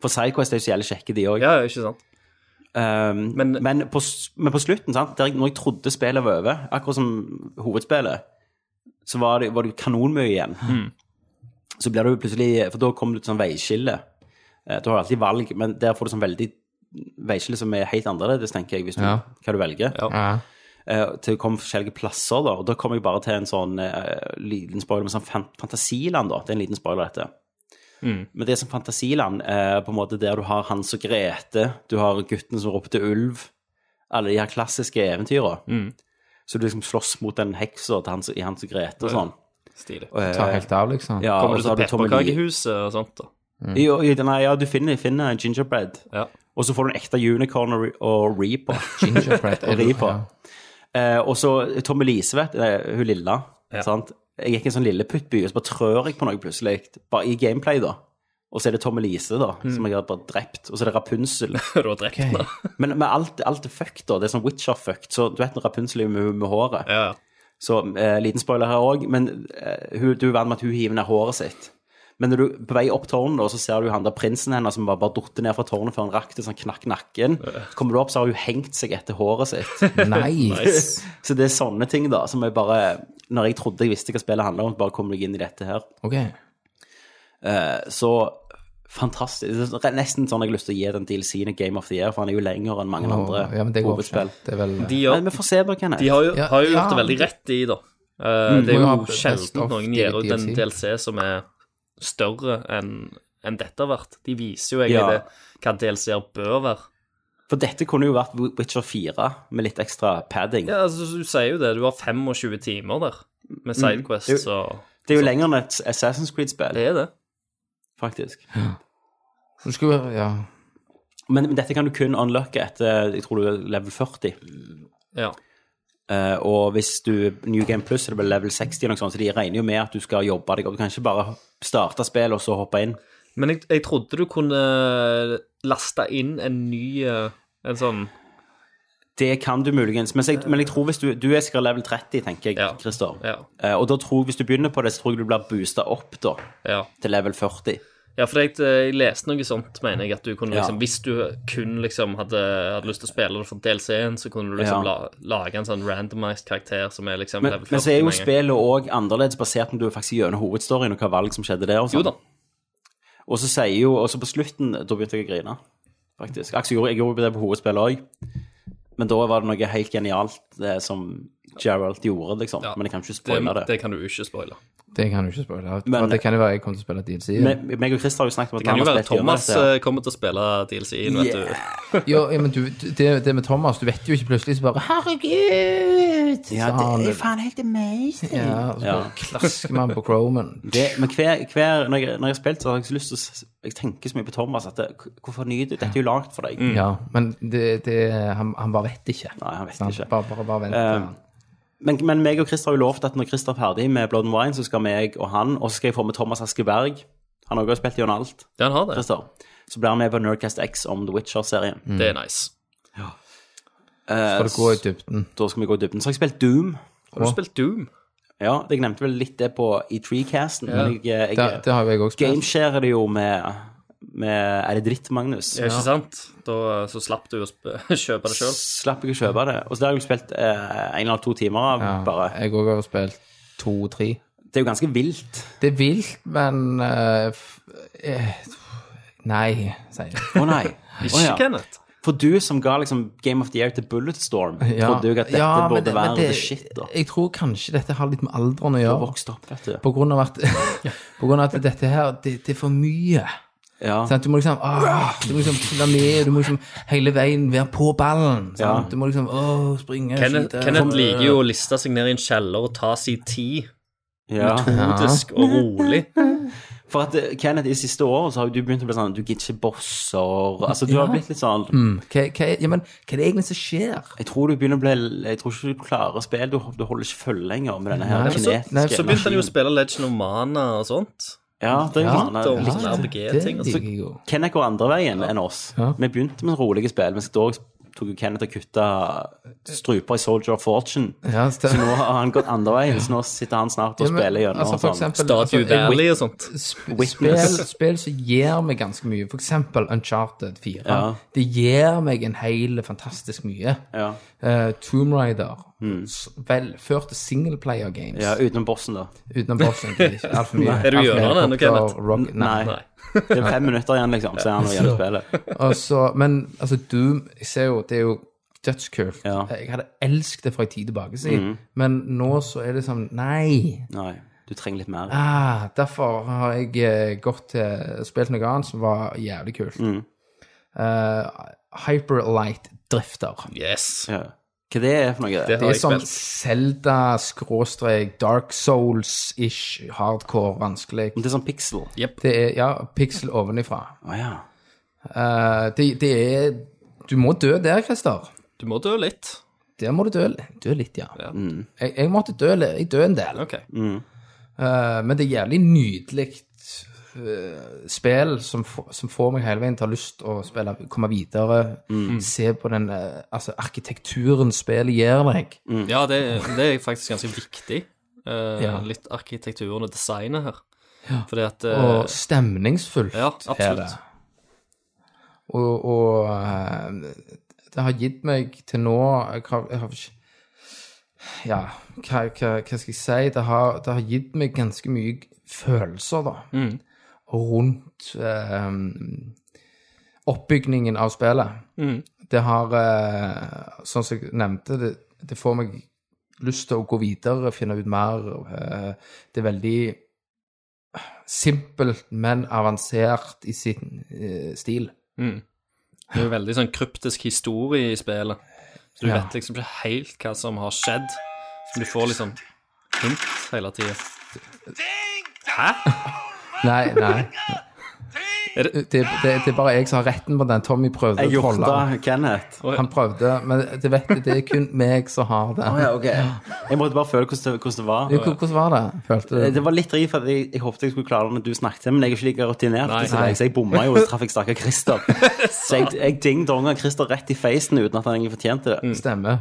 Speaker 1: For Sidequest er jo så jævlig kjekke, de òg.
Speaker 3: Ja, ikke sant?
Speaker 1: Um, men,
Speaker 3: Men-
Speaker 1: på, s- men på slutten, sant? Der, jeg- når jeg trodde spillet var over, akkurat som hovedspillet, så var det, var det kanonmye igjen.
Speaker 3: Mm.
Speaker 1: Så blir det jo plutselig For da kommer det et sånn veiskille. Eh, Du har alltid valg, men der får du sånn veldig veiskille som er helt annerledes, tenker jeg, hvis du,
Speaker 2: Ja.
Speaker 1: hva du velger.
Speaker 3: Ja.
Speaker 2: Ja.
Speaker 1: Eh, til å komme forskjellige plasser, da. Og da kom jeg bare til en sånn eh, liten spoiler med sånn fan Fantasiland, da. Det er en liten spoiler, dette.
Speaker 3: Mm.
Speaker 1: Men det er som Fantasiland, eh, på en måte der du har Hans og Grete, du har gutten som ropte ulv, alle de her klassiske eventyra.
Speaker 3: Mm.
Speaker 1: Så du liksom slåss mot den heksa til Hans, i Hans og Grete og sånn.
Speaker 3: Stilig.
Speaker 2: Ta helt av, liksom.
Speaker 1: Ja,
Speaker 3: Kommer
Speaker 1: og
Speaker 3: du
Speaker 1: så har
Speaker 3: til
Speaker 1: du Tommy Lee.
Speaker 3: pepperkakehuset og sånt, da?
Speaker 1: Jo, jo, nei, ja, du finner, finner gingerbread.
Speaker 3: Ja.
Speaker 1: Og så får du en ekte unicorn og, re- og reaper.
Speaker 2: Gingerbread.
Speaker 1: og ri på.
Speaker 2: Ja.
Speaker 1: Eh, og så Tomme Lise, vet eh, hun lilla. Sant? Jeg gikk i en sånn lilleputtby, og så bare trør jeg på noe plutselig. Bare i gameplay, da. Og så er det Tomme Lise, da, som jeg har bare drept. Og så er det Rapunsel.
Speaker 3: Du har drept den. da.
Speaker 1: Men, men alt, alt er fucked, da. Det er sånn Witcher-fucked. Så du vet når Rapunsel er med, med håret.
Speaker 3: Ja, ja.
Speaker 1: Så eh, liten spoiler her òg, men eh, hun, du er vant med at hun hiver ned håret sitt. Men når du er på vei opp tårnet, da, så ser du han der prinsen hennes som bare, bare datt ned fra tårnet før han rakk det, sånn knakk nakken. Så kommer du opp, så har hun hengt seg etter håret sitt.
Speaker 2: Nice.
Speaker 1: Så det er sånne ting da, som jeg bare, når jeg trodde jeg visste hva spillet handlet om, bare kom jeg inn i dette her.
Speaker 2: Ok.
Speaker 1: Så fantastisk. Det er nesten sånn jeg har lyst til å gi den DLC-en et Game of the Year, for han er jo lenger enn mange
Speaker 2: Og,
Speaker 1: andre
Speaker 2: ja, men det går ikke.
Speaker 1: hovedspill.
Speaker 2: Det er vel
Speaker 3: De, gjør,
Speaker 1: Men vi får se, bare, Kenneth.
Speaker 3: de har jo,
Speaker 2: Ja,
Speaker 3: har jo gjort det
Speaker 2: ja. Mm.
Speaker 3: veldig rett i, da. Eh, det er
Speaker 2: Må jo
Speaker 3: jo
Speaker 2: ha best
Speaker 3: sjelden
Speaker 2: of
Speaker 3: noen gir ut en
Speaker 2: DLC.
Speaker 3: DLC som er større enn enn dette har vært. De viser jo
Speaker 1: Ja.
Speaker 3: egentlig det, hva DLC-er bør være.
Speaker 1: For dette kunne jo vært Witcher 4 med litt ekstra padding.
Speaker 3: Ja, altså, Du sier jo det. Du har 25 timer der med Sidequests og
Speaker 1: Det er Mm. jo lenger enn et Assassin's Creed-spill,
Speaker 3: Det er det.
Speaker 1: faktisk.
Speaker 2: Du skulle Ja.
Speaker 1: Men, men dette kan du kun unlocke etter jeg tror du er level 40.
Speaker 3: Ja.
Speaker 1: Eh, og hvis du New Game Plus er det vel level 60, eller noe sånt, så de regner jo med at du skal jobbe deg opp. Du kan ikke bare starte spillet og så hoppe inn.
Speaker 3: Men jeg, jeg trodde du kunne laste inn en ny eh, En sånn
Speaker 1: Det kan du muligens, men jeg, men jeg tror hvis du, du er sikkert level 30, tenker jeg,
Speaker 3: Ja.
Speaker 1: Christer.
Speaker 3: Ja.
Speaker 1: Eh, og da tror jeg, hvis du begynner på det, så tror jeg du blir boosta opp da,
Speaker 3: Ja.
Speaker 1: til level 40.
Speaker 3: ja for jeg, jeg leste noe sånt, mener jeg, at du kunne
Speaker 1: Ja.
Speaker 3: liksom Hvis du kun liksom hadde, hadde lyst til å spille for DLC-en, så kunne du liksom
Speaker 1: Ja.
Speaker 3: la, lage en sånn randomized karakter som er liksom
Speaker 1: Men,
Speaker 3: level 40.
Speaker 1: men så er jo
Speaker 3: med en gang.
Speaker 1: spillet òg annerledes basert på om du er faktisk gjennom hovedstoryen og hva valg som skjedde der. Og
Speaker 3: Jo
Speaker 1: sånn.
Speaker 3: da.
Speaker 1: Og så sier jo, og så på slutten, da begynte jeg å grine, faktisk. Altså, jeg gjorde, jeg gjorde det på hovedspillet òg, men da var det noe helt genialt eh, som Gerald gjorde, liksom.
Speaker 3: Ja.
Speaker 1: Men jeg kan ikke spoile
Speaker 3: Det,
Speaker 1: det.
Speaker 3: det kan du ikke spoile.
Speaker 2: Det kan du ikke spørre.
Speaker 1: Men-
Speaker 2: Men, det kan jo være jeg kommer til å spille DLC. ja.
Speaker 1: Me- Meg og Chris har jo snakket om at
Speaker 3: Det kan jo
Speaker 1: vi har
Speaker 3: være
Speaker 1: spilt gjennom
Speaker 3: Thomas
Speaker 1: dette her.
Speaker 3: eh, kommer til å spille DLC-en, vet du.
Speaker 2: Jo, ja, men du, det, det med Thomas, du vet jo ikke plutselig så bare Herregud!
Speaker 1: Ja,
Speaker 2: så har
Speaker 1: det
Speaker 2: han-
Speaker 1: er faen helt amazing.
Speaker 2: ja, og så bare
Speaker 1: Ja.
Speaker 2: klasker man på Chromen.
Speaker 1: Det, men hver, hver, når, jeg, når jeg har spilt, så har jeg så lyst til å s- Jeg tenker så mye på Thomas at det, hvorfor nyter Dette er jo lagd for deg.
Speaker 3: Mm.
Speaker 2: Ja, men det, det, han, han bare vet ikke.
Speaker 1: Nei, han vet
Speaker 2: Sant?
Speaker 1: ikke.
Speaker 2: Bare, bare, bare vent.
Speaker 1: Eh, Men, men meg og Christer har jo lovt at når Christer er ferdig med Blood and Wine, så skal meg og han, og så skal jeg få med Thomas Askeberg. Han har også spilt gjennom alt.
Speaker 3: Ja, han har det.
Speaker 1: Christer. Så blir han med på Nerdcast X om The Witcher-serien.
Speaker 3: Det er nice.
Speaker 1: Eh,
Speaker 2: for å gå i dybden.
Speaker 1: Da skal vi gå i dybden. Så har jeg spilt Doom.
Speaker 3: Har du spilt Doom?
Speaker 1: Ja, jeg nevnte vel litt det på E3-casten. men Jeg,
Speaker 2: Det,
Speaker 1: jeg,
Speaker 2: det har jo jeg også spilt.
Speaker 1: gamesharer det jo med, med Er det dritt, Magnus?
Speaker 3: Ja, ikke sant? Da eh, så slapp du å sp- kjøpe det sjøl.
Speaker 1: Slapp jeg å kjøpe det. Og så har jeg jo spilt eh, en eller to timer av
Speaker 2: Ja,
Speaker 1: bare.
Speaker 2: jeg også har spilt to-tre.
Speaker 1: Det er jo ganske vilt.
Speaker 2: Det er vilt, men eh, f- eh, Nei, sier jeg.
Speaker 1: Å nei.
Speaker 3: Ikke
Speaker 1: Å, ja.
Speaker 3: Kenneth.
Speaker 1: For du som ga liksom Game of the Year til Bulletstorm, trodde jo at dette
Speaker 2: Ja, men
Speaker 1: burde
Speaker 2: det- men
Speaker 1: være
Speaker 2: det-
Speaker 1: the shit, da.
Speaker 2: Jeg tror kanskje dette har litt med alderen å
Speaker 1: Du har
Speaker 2: gjøre.
Speaker 1: vokst opp, vet du.
Speaker 2: På grunn av at, på grunn av at dette her, det, det er for mye.
Speaker 1: Ja.
Speaker 2: Sant? Du må liksom ah, Du må liksom følge med, du må liksom hele veien være på ballen. Sant?
Speaker 1: Ja.
Speaker 2: Du må liksom åh, springe
Speaker 3: Kenneth,
Speaker 2: skyte.
Speaker 3: Kenneth liker jo å liste seg ned i en kjeller og ta sin tid.
Speaker 1: ja.
Speaker 3: Metodisk og rolig.
Speaker 1: For at eh, Kenneth, i siste året så har jo du begynt å bli sånn Du gidder ikke bosser. Altså, du har blitt litt sånn
Speaker 2: Mm, hva, hva, ja, men, hva er det egentlig som skjer?
Speaker 1: Jeg tror du begynner å bli Jeg tror ikke du klarer spill. Du, du holder ikke følge lenger med denne her
Speaker 2: Nei,
Speaker 3: Men så,
Speaker 1: kinetiske
Speaker 2: nei,
Speaker 3: så begynte han jo å spille Legend of Mana og sånt.
Speaker 1: Ja, det er jo
Speaker 2: Ja,
Speaker 1: sånn,
Speaker 3: det er jo
Speaker 1: litt-
Speaker 3: sånn
Speaker 2: Ah, det
Speaker 3: RPG-ting.
Speaker 2: liker jeg jo.
Speaker 1: Kenneth går andre veien enn oss.
Speaker 2: Ja.
Speaker 1: Vi begynte med rolige spill, men da tok jo Kenneth og kutta struper i Soldier of Fortune.
Speaker 2: Ja, stem-
Speaker 1: Så nå har han gått andre veien, så nå sitter han snart og
Speaker 2: Ja, men,
Speaker 1: spiller gjennom.
Speaker 2: altså, for
Speaker 1: sånn.
Speaker 2: eksempel, altså,
Speaker 3: Statue
Speaker 2: jeg-
Speaker 3: Valley og sånt.
Speaker 2: sp-
Speaker 1: Witness.
Speaker 2: Spill, spill som gir meg ganske mye. For eksempel Uncharted 4.
Speaker 1: Ja.
Speaker 2: Det gir meg en hel fantastisk mye.
Speaker 1: ja.
Speaker 2: Eh, Tomb Raider. s- Velførte singleplayer games.
Speaker 1: Hmm. ja, utenom bossen, da.
Speaker 2: Utenom bossen. det Er ikke altfor mye.
Speaker 3: Er du
Speaker 2: Alt med
Speaker 3: gjennom den,
Speaker 2: helikopter,
Speaker 3: Kenneth?
Speaker 2: rocket- Nei.
Speaker 1: Nei.
Speaker 3: Nei.
Speaker 1: Det er fem minutter igjen, liksom, så er han gjennom spillet.
Speaker 2: Og så- men altså, Doom Jeg ser jo, det er jo dødskult.
Speaker 1: Ja. Hmm.
Speaker 2: Jeg hadde elsket det fra en tid tilbake, si. men nå så er det sånn Nei!
Speaker 1: Nei, du trenger litt mer.
Speaker 2: Ah, derfor har jeg eh, gått til spilt noe annet som var jævlig kult. Eh, Hyperlight Drifter.
Speaker 3: Yes.
Speaker 1: Ja. Hva det er for noe?
Speaker 3: Det
Speaker 2: Det
Speaker 3: har
Speaker 2: er
Speaker 3: jeg
Speaker 2: sånn
Speaker 3: spilt.
Speaker 2: Zelda-Dark Souls-ish hardcore vanskelig.
Speaker 1: Det er sånn pixel.
Speaker 2: Det er ja, pixel ovenifra.
Speaker 1: Å ja.
Speaker 2: Eh, det, det er Du må dø der, Christer.
Speaker 3: Du må dø litt.
Speaker 2: Der må du dø, li- dø litt, ja.
Speaker 3: Ja.
Speaker 2: Jeg, jeg måtte dø li- Jeg døde en del.
Speaker 3: Ok.
Speaker 2: Eh, men det er jævlig nydelig eh, spill som, få- som får meg hele veien til å ha lyst å spille, komme videre. Se på den eh, altså, arkitekturen spillet gir deg.
Speaker 3: Ja, det, det er faktisk ganske viktig. eh,
Speaker 2: Ja.
Speaker 3: Litt arkitekturen og designet her. Fordi at eh,
Speaker 2: Og stemningsfullt
Speaker 3: Ja,
Speaker 2: er
Speaker 3: absolutt.
Speaker 2: det. Og, og eh, det har gitt meg til nå Jeg har, jeg har ikke Ja, hva, hva, hva skal jeg si? Det har, det har gitt meg ganske mye følelser, da. Rundt eh, oppbygningen av spillet. Det har eh, Sånn som jeg nevnte, det, det får meg lyst til å gå videre, finne ut mer. eh, det er veldig simpelt, men avansert i sin eh, stil.
Speaker 3: Det er jo veldig sånn kryptisk historie i spillet. Så du
Speaker 2: Ja.
Speaker 3: vet liksom ikke helt hva som har skjedd. Men du får liksom hint hele tida. Hæ?
Speaker 2: Nei, nei.
Speaker 3: Er
Speaker 2: Det, det, det er bare jeg som har retten på den. Tommy prøvde
Speaker 1: Jeg
Speaker 2: å trolle.
Speaker 1: hjorta Kenneth. Å
Speaker 2: Han prøvde, men det vet du, det er kun meg som har det.
Speaker 1: ja, ok. Jeg måtte bare føle hvordan det, hvordan det var.
Speaker 2: Du, hvor- Hvordan var det? Følte du
Speaker 1: Eh, Det var litt driv, for jeg, jeg håpte jeg skulle klare det når du snakket, men jeg er ikke like rutinert.
Speaker 3: Nei.
Speaker 1: så, jeg, så jeg bomma jo, og så traff jeg stakkar Christer. Så jeg, jeg ding-donga Christer rett i feisen uten at han egentlig fortjente
Speaker 3: Mm.
Speaker 1: det.
Speaker 2: Stemmer.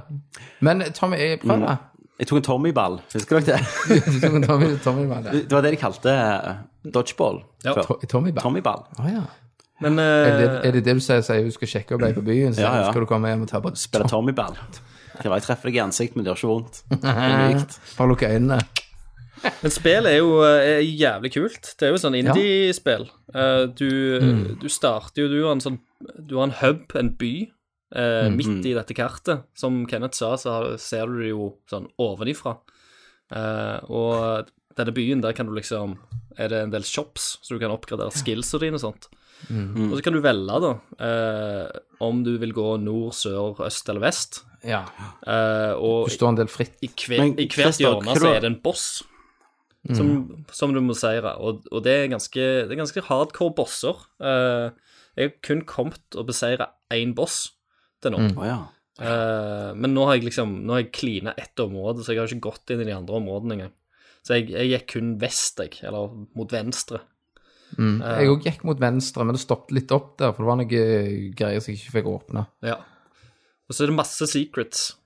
Speaker 2: Men Tommy, jeg prøv det.
Speaker 1: Jeg tok en Tommy-ball, husker dere det?
Speaker 2: Du tok en Tommy, Tommy var det.
Speaker 1: Det var det de kalte eh, dodgeball
Speaker 3: Ja.
Speaker 1: før.
Speaker 2: To- Tommy bare.
Speaker 1: Tommy-ball.
Speaker 2: Å ja.
Speaker 3: Men
Speaker 2: Er det,
Speaker 3: eh,
Speaker 2: er det det du sier? Sier du skal sjekke opp deg på byen, så
Speaker 1: Ja, ja.
Speaker 2: skal du komme hjem og ta på
Speaker 1: Spiller Tommy-ball. Det var jeg treffer deg i ansiktet, men det gjør ikke vondt. Det er mykt.
Speaker 2: Bare lukke øynene.
Speaker 3: Men spill er jo eh, er jævlig kult. Det er jo sånn indie-spill. Eh, Du, du starter jo Du har en sånn Du har en hub, en by, eh, midt i dette kartet. Som Kenneth sa, så har- ser du det jo sånn ovenifra. Eh, og denne byen, der kan du liksom Er det en del shops, så du kan oppgradere skillsa dine og sånt. Og så kan du velge, da, eh, om du vil gå nord, sør, øst eller vest.
Speaker 2: Ja.
Speaker 3: Eh, og
Speaker 2: Du står en del fritt.
Speaker 3: i, hver,
Speaker 1: Men
Speaker 3: I hvert
Speaker 1: Christer,
Speaker 3: hjørne
Speaker 1: hva
Speaker 3: så
Speaker 1: da? Mm.
Speaker 3: er det en boss som, som du må seire, og, og det, er ganske, det er ganske hardcore bosser. Eh, jeg har kun kommet og beseire én boss til nå,
Speaker 1: Å ja.
Speaker 3: Eh, men nå har jeg liksom Nå har jeg klina ett område, så jeg har ikke gått inn i de andre områdene engang. Så jeg, jeg gikk kun vest, jeg, eller mot venstre.
Speaker 1: Mm.
Speaker 2: Eh. Jeg òg gikk mot venstre, men det stoppet litt opp der, for det var noen greier som jeg ikke fikk åpna.
Speaker 3: Ja. Og så er det masse secrets.
Speaker 2: En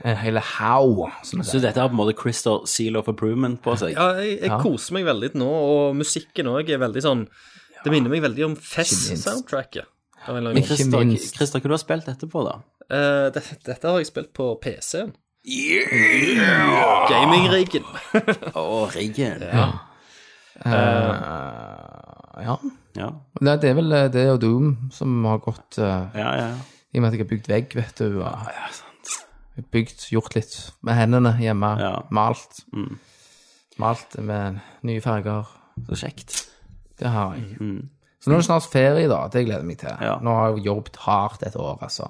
Speaker 2: Eh, hele haug, som det
Speaker 1: Så dette har på en måte Christer Seal of Improvement på seg?
Speaker 3: Ja, jeg, jeg koser meg veldig nå, og musikken òg er veldig sånn Det minner meg veldig om Fest-soundtracket. av en eller annen grunn.
Speaker 1: Men Christer,
Speaker 2: minst.
Speaker 1: Christer, hva du har spilt etterpå, da?
Speaker 3: Eh, det, dette har jeg spilt på PC-en. Gaming-riggen.
Speaker 1: Å, riggen.
Speaker 2: Eh, ja.
Speaker 1: Ja.
Speaker 2: Nei, det er vel eh, det og Doom som har gått eh,
Speaker 1: Ja, ja, ja.
Speaker 2: I og med at jeg har bygd vegg, vet du. Og, bygd, gjort litt med hendene hjemme.
Speaker 1: Ja. Mm.
Speaker 2: Malt. Malt med nye farger.
Speaker 1: Så kjekt.
Speaker 2: Det har jeg. Så nå er det snart ferie, da. Det gleder jeg meg til.
Speaker 1: Mm, Ja.
Speaker 2: Nå har jeg jobbet hardt et år, altså.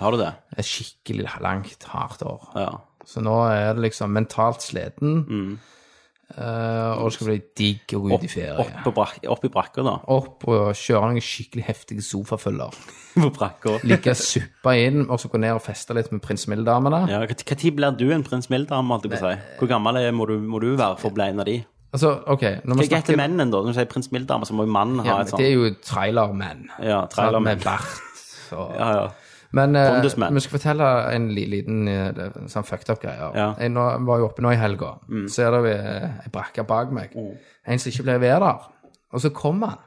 Speaker 1: Har du det?
Speaker 2: Et skikkelig langt, hardt år.
Speaker 1: Ja. Mm.
Speaker 2: Så nå er det liksom mentalt sliten. Eh, og det skal bli digg å gå ut i ferie.
Speaker 1: Opp, på brak opp i brakka, da.
Speaker 2: Opp og kjøre noen skikkelig heftige sofafølger.
Speaker 1: På brakka.
Speaker 2: Ligge suppa inn, og så gå ned og feste litt med prins Mild-damene.
Speaker 1: Ja, Når blir du en prins Mild-dame, holdt jeg på å si? Hvor gammel er, må, du, må du være for å bli en av de?
Speaker 2: Altså, OK, når
Speaker 1: Hva
Speaker 2: vi
Speaker 1: heter
Speaker 2: snakker
Speaker 1: mennene, da? Når du sier prins Mild-dame, så må jo mannen
Speaker 2: ja,
Speaker 1: ha et
Speaker 2: men Det er
Speaker 1: sånt.
Speaker 2: jo trailermenn.
Speaker 1: Ja,
Speaker 2: sant,
Speaker 1: trailermenn.
Speaker 2: Med bart. Og...
Speaker 1: Ja, ja.
Speaker 2: Men eh,
Speaker 1: Pondusmenn.
Speaker 2: vi skal fortelle en li- liten eh, sånn fucked up-greie.
Speaker 1: Ja. Mm.
Speaker 2: Jeg nå, var jo oppe nå i helga. Så er det eh, ei brakke bak meg. En som ikke ble ved der. Og så kom han.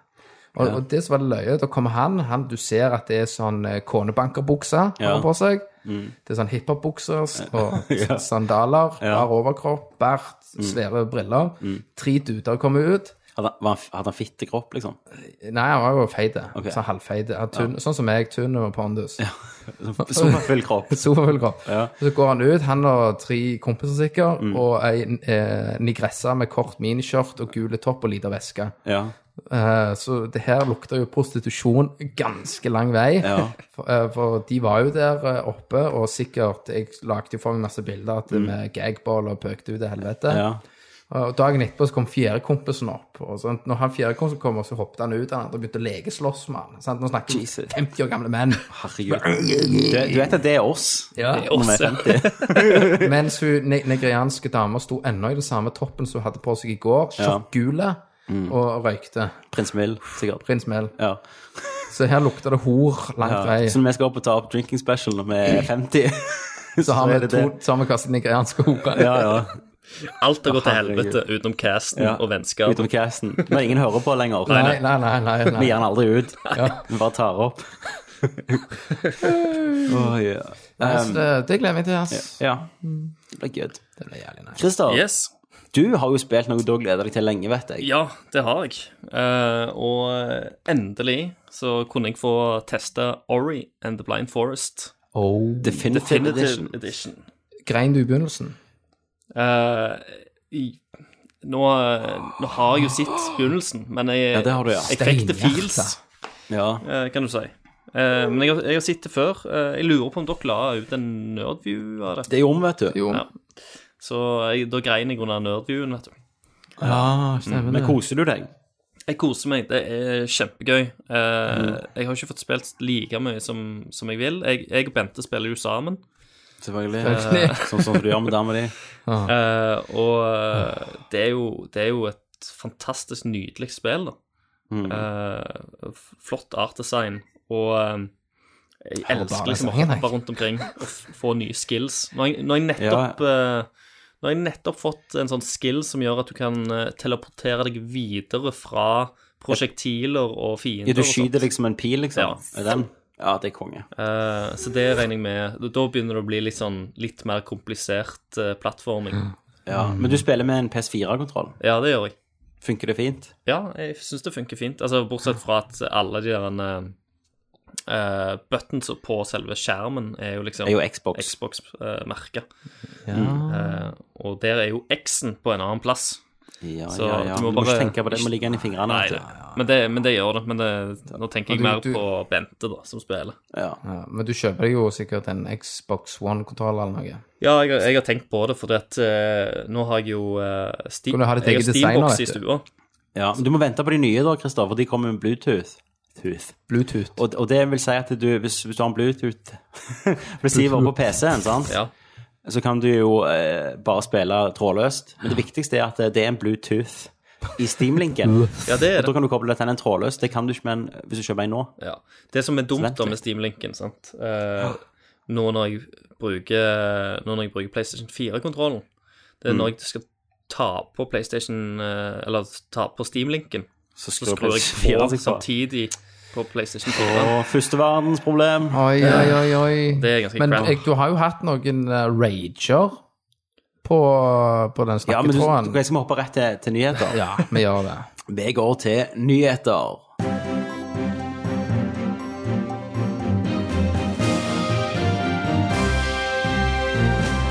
Speaker 2: Og, og det som var det løye, da kommer han, han Du ser at det er sånn eh, konebankerbukse han
Speaker 1: Ja. Mm.
Speaker 2: har på seg. Det er sånn hiphop-bukser og sandaler. Rar overkropp, bart,
Speaker 1: Mm.
Speaker 2: svære briller. Tre duder kommer ut.
Speaker 1: Hadde, han- var han f- hadde han fitte kropp, liksom?
Speaker 2: Nei, han var jo feit.
Speaker 1: Ok.
Speaker 2: Sånn halvfeit. Han tynn- Sånn som meg, tynn og pondus. Ja.
Speaker 1: Superfull kropp.
Speaker 2: Sofafullkropp.
Speaker 1: Ja. Mm.
Speaker 2: Så går han ut, han og tre kompiser sikkert, og ei eh, nigresse med kort miniskjørt og gule topp og lita veske.
Speaker 1: Ja.
Speaker 2: Eh, så det her lukter jo prostitusjon ganske lang vei.
Speaker 1: Ja.
Speaker 2: For, eh, for de var jo der eh, oppe, og sikkert Jeg lagde jo for meg masse bilder at det med gagball og pøkte ut til helvete.
Speaker 1: Mm. ja.
Speaker 2: Og dagen etterpå så kom fjerdekompisen opp. og sånn, Når han fjerdekompisen kom, så hoppet han ut, han andre begynte å lekeslåss med han. sant? Nå snakker vi
Speaker 1: Jesus.
Speaker 2: 50 år gamle menn.
Speaker 1: Herregud. Du, du vet at det er oss?
Speaker 2: Ja.
Speaker 1: Når vi er 50.
Speaker 2: Mens hun ne nigerianske dama sto ennå i den samme toppen som hun hadde på seg i går, kjøttgule,
Speaker 1: Mm.
Speaker 2: og røykte.
Speaker 1: Prins Mild, sikkert.
Speaker 2: Prins Mel.
Speaker 1: Ja.
Speaker 2: Så her lukta det hor langt
Speaker 1: ja.
Speaker 2: vei.
Speaker 1: Så når vi skal opp og ta opp drinking special når vi er 50,
Speaker 2: Så har
Speaker 1: er
Speaker 2: vi
Speaker 1: det
Speaker 2: to
Speaker 1: det.
Speaker 2: sammenkastet nigerianske horer.
Speaker 1: Ja, ja.
Speaker 3: Alt har gått til helvete utenom casten
Speaker 1: ja.
Speaker 3: og vennskap.
Speaker 1: Utenom casten. Når ingen hører på lenger.
Speaker 2: Nei, nei, nei. nei,
Speaker 1: Vi
Speaker 2: nei.
Speaker 1: gir den aldri ut. Vi bare tar opp. Åh, ja.
Speaker 2: Så det, det gleder jeg meg til, ass.
Speaker 1: ja. Det blir good.
Speaker 2: Det blir jævlig nice.
Speaker 1: Christer,
Speaker 3: Yes.
Speaker 1: du har jo spilt noe du har gleda deg til lenge, vet jeg.
Speaker 3: Ja, det har jeg. Eh, og endelig så kunne jeg få teste Ori and the Blind Forest
Speaker 2: Oh.
Speaker 1: Definitive,
Speaker 3: Definitive
Speaker 1: Edition.
Speaker 3: Edition.
Speaker 2: Grein du i begynnelsen?
Speaker 3: Eh, i, nå, eh, nå har jeg jo sett begynnelsen, men jeg,
Speaker 1: Ja, det har du, ja.
Speaker 3: jeg fikk det feels,
Speaker 2: Steinhjerte.
Speaker 1: Ja.
Speaker 3: eh, kan du si. Eh, men jeg, har- jeg har sett det før. Eh, jeg lurer på om dere la ut en nerdview av det.
Speaker 1: Det er jo om, vet du.
Speaker 2: Jo.
Speaker 3: Ja. Så jeg, da grein jeg under nerdviewen, vet du.
Speaker 2: Ja, stemmer
Speaker 1: Men
Speaker 2: det.
Speaker 1: koser du deg?
Speaker 3: Jeg koser meg. Det er kjempegøy. Eh, Jeg har ikke fått spilt like mye som, som jeg vil. Jeg, jeg og Bente spiller jo sammen.
Speaker 1: Selvfølgelig.
Speaker 2: Selvfølgelig.
Speaker 1: Eh, Sånn som du gjør med dama di.
Speaker 3: Eh, og eh, det er, jo, det er jo et fantastisk nydelig spill, da.
Speaker 1: Mm.
Speaker 3: Eh, f- flott artdesign. Og eh, jeg
Speaker 2: bare
Speaker 3: elsker liksom å
Speaker 2: sangen, jeg.
Speaker 3: hoppe rundt omkring og f- få nye skills. Når jeg, når jeg nettopp eh, Nå har jeg nettopp fått en sånn skill som gjør at du kan eh, teleportere deg videre fra prosjektiler og fiender.
Speaker 1: Ja, du
Speaker 3: og sånt.
Speaker 1: skyter liksom en pil, liksom?
Speaker 3: Ja.
Speaker 1: Er den? Ja, det er konge.
Speaker 3: Eh, så det regner jeg med. Da begynner det å bli litt sånn litt mer komplisert eh,
Speaker 1: Mm.
Speaker 3: plattforming.
Speaker 1: Ja. Men du spiller med en PS4-kontroll.
Speaker 3: Ja, det gjør jeg.
Speaker 1: Funker det fint?
Speaker 3: Ja, jeg syns det funker fint. Altså, Bortsett fra at alle de der eh, buttons på selve skjermen er jo liksom
Speaker 1: Er jo Xbox.
Speaker 3: Xbox-merket. Eh, og der er jo X-en på en annen plass.
Speaker 1: Ja,
Speaker 3: Så
Speaker 1: ja, ja.
Speaker 3: du
Speaker 1: Du
Speaker 3: må
Speaker 1: må, ikke
Speaker 3: bare-
Speaker 1: tenke på det, du må ligge inn i fingrene.
Speaker 3: Nei,
Speaker 1: vet
Speaker 3: det, men, det, men det gjør det. Men det, nå tenker jeg
Speaker 2: Men
Speaker 3: mer
Speaker 2: du-
Speaker 3: på Bente, da, som spiller.
Speaker 1: du. Ja.
Speaker 2: Ja, men du kjøper deg jo sikkert en Xbox One-kontroll eller noe.
Speaker 3: Ja, jeg, jeg har tenkt på det, for nå har jeg jo uh, sti,
Speaker 2: Kan du ha ditt
Speaker 3: jeg
Speaker 2: eget
Speaker 3: har
Speaker 2: design nå,
Speaker 3: Steambox
Speaker 2: vet
Speaker 3: i stua.
Speaker 1: Ja, men Du må vente på de nye, da, Kristoffer. De kommer med Bluetooth. Tooth.
Speaker 2: Bluetooth.
Speaker 1: Og, og det vil si at du, hvis, hvis du har en Bluetooth-receiver på PC-en, sant?
Speaker 3: Ja.
Speaker 1: så kan du jo eh, bare spille trådløst. Men det viktigste er at det er en Bluetooth i Steam-linken.
Speaker 3: ja,
Speaker 1: Og
Speaker 3: det er
Speaker 1: Da
Speaker 3: det.
Speaker 1: kan du koble det til en trådløs. Det kan du ikke med en, hvis du kjøper en nå.
Speaker 3: Ja. Det som er dumt
Speaker 1: Vent
Speaker 3: da
Speaker 1: litt.
Speaker 3: med Steam-linken, sant Eh, Nå når jeg bruker, nå når jeg bruker PlayStation 4-kontrollen Det er
Speaker 1: Mm.
Speaker 3: når jeg skal ta på PlayStation eh, Eller ta på Steam-linken,
Speaker 1: Så
Speaker 3: så skrur jeg på samtidig på PlayStation 4.
Speaker 1: Og førsteverdensproblem.
Speaker 2: Oi, oi, oi, oi.
Speaker 3: Det er ganske
Speaker 2: men
Speaker 3: crap.
Speaker 2: jeg, du har jo hatt noen eh, rager på, på den
Speaker 1: Ja, men du,
Speaker 2: snakketråden.
Speaker 1: jeg skal vi hoppe rett til, til nyheter.
Speaker 2: Ja, vi gjør det.
Speaker 1: Vi går til nyheter.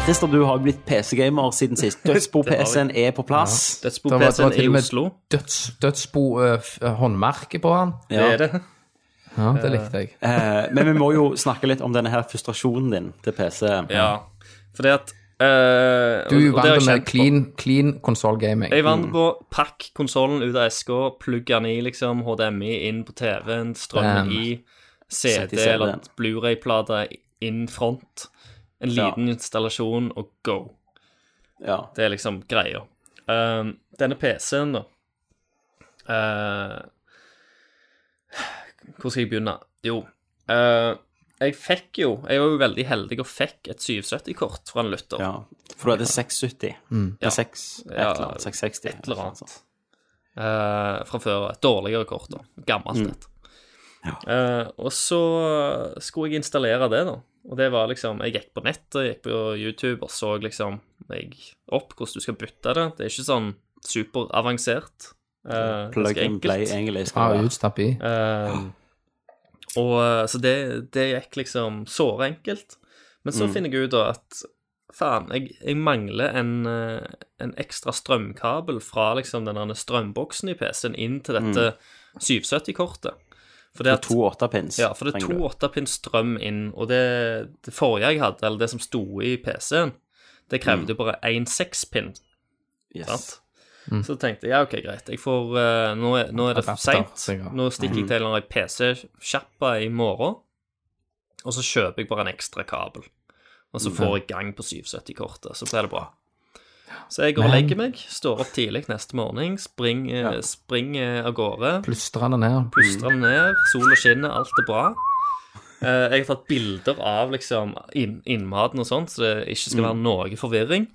Speaker 1: Christer, du har jo blitt PC-gamer siden sist. Dødsbo-PC-en er på plass.
Speaker 3: Dødsbo
Speaker 2: Det var- det var
Speaker 3: PC-en
Speaker 2: til
Speaker 3: i
Speaker 2: og med
Speaker 3: Oslo.
Speaker 2: Døds, Dødsbo-håndmerket på han.
Speaker 1: Ja.
Speaker 3: Det er det.
Speaker 2: Ja, det likte jeg.
Speaker 1: Eh, Men vi må jo snakke litt om denne her frustrasjonen din til PC.
Speaker 3: Ja. Fordi at eh,
Speaker 2: Du
Speaker 3: og-
Speaker 2: er jo
Speaker 3: og det har
Speaker 2: vant
Speaker 3: jeg kjent
Speaker 2: med
Speaker 3: på.
Speaker 2: clean, clean konsollgaming.
Speaker 3: Jeg vant på pakk konsollen ut av eska, plugg den i, liksom, HDMI inn på TV-en, strøm
Speaker 2: Damn.
Speaker 3: i,
Speaker 1: Sett i
Speaker 3: CD
Speaker 1: CD-en.
Speaker 3: eller Blu-ray-plate inn front, en
Speaker 1: Ja.
Speaker 3: liten installasjon og go.
Speaker 1: Ja.
Speaker 3: Det er liksom greia. Ehm, denne PC-en, da eh, Hvor skal jeg begynne? Jo eh, Jeg fikk jo Jeg var jo veldig heldig og fikk et 770-kort fra en lytter.
Speaker 1: ja. For du hadde 670.
Speaker 3: Ja.
Speaker 2: Mm.
Speaker 1: Ja. 6, et
Speaker 3: Ja,
Speaker 1: eller annet. 660.
Speaker 3: et eller annet. eh, fra før. Et dårligere kort, da. Gammelt et. Eh, og så skulle jeg installere det, da. Og det var liksom Jeg gikk på nettet, jeg gikk på YouTube og så liksom jeg opp hvordan du skal bytte det. Det er ikke sånn superavansert. Uh,
Speaker 1: Plug and play, egentlig.
Speaker 2: Ja,
Speaker 1: Skal det være.
Speaker 2: utstapp i.
Speaker 3: Eh, og eh, Så det, det gikk liksom såre enkelt. Men så finner jeg ut da at faen, jeg, jeg mangler en, eh, en ekstra strømkabel fra liksom den derne strømboksen i PC-en inn til dette 770-kortet. For det at
Speaker 1: To 8-pins.
Speaker 3: ja, for det er to 8-pins strøm inn, og det, det forrige jeg hadde, eller det som sto i PC-en, det krevde jo bare én 6-pin.
Speaker 1: Yes.
Speaker 3: Sant?
Speaker 2: Mm.
Speaker 3: Så tenkte jeg ja, ok, greit. Jeg får, eh, nå, er, nå er det
Speaker 2: Adapter,
Speaker 3: seint.
Speaker 2: sikkert. Mm.
Speaker 3: Nå stikker jeg til en eller annen PC-sjappa i morgen, og så kjøper jeg bare en ekstra kabel. Og så
Speaker 2: Mm.
Speaker 3: får jeg gang på 770-kortet, så blir det bra. Så jeg går og legger meg, står opp tidlig neste morgen, springer springer av gårde.
Speaker 2: Plustrende ned.
Speaker 3: Puster den ned, sola skinner, alt er bra. Eh, jeg har tatt bilder av liksom inn, innmaten og sånt, så det ikke skal
Speaker 2: Mm.
Speaker 3: være noe forvirring.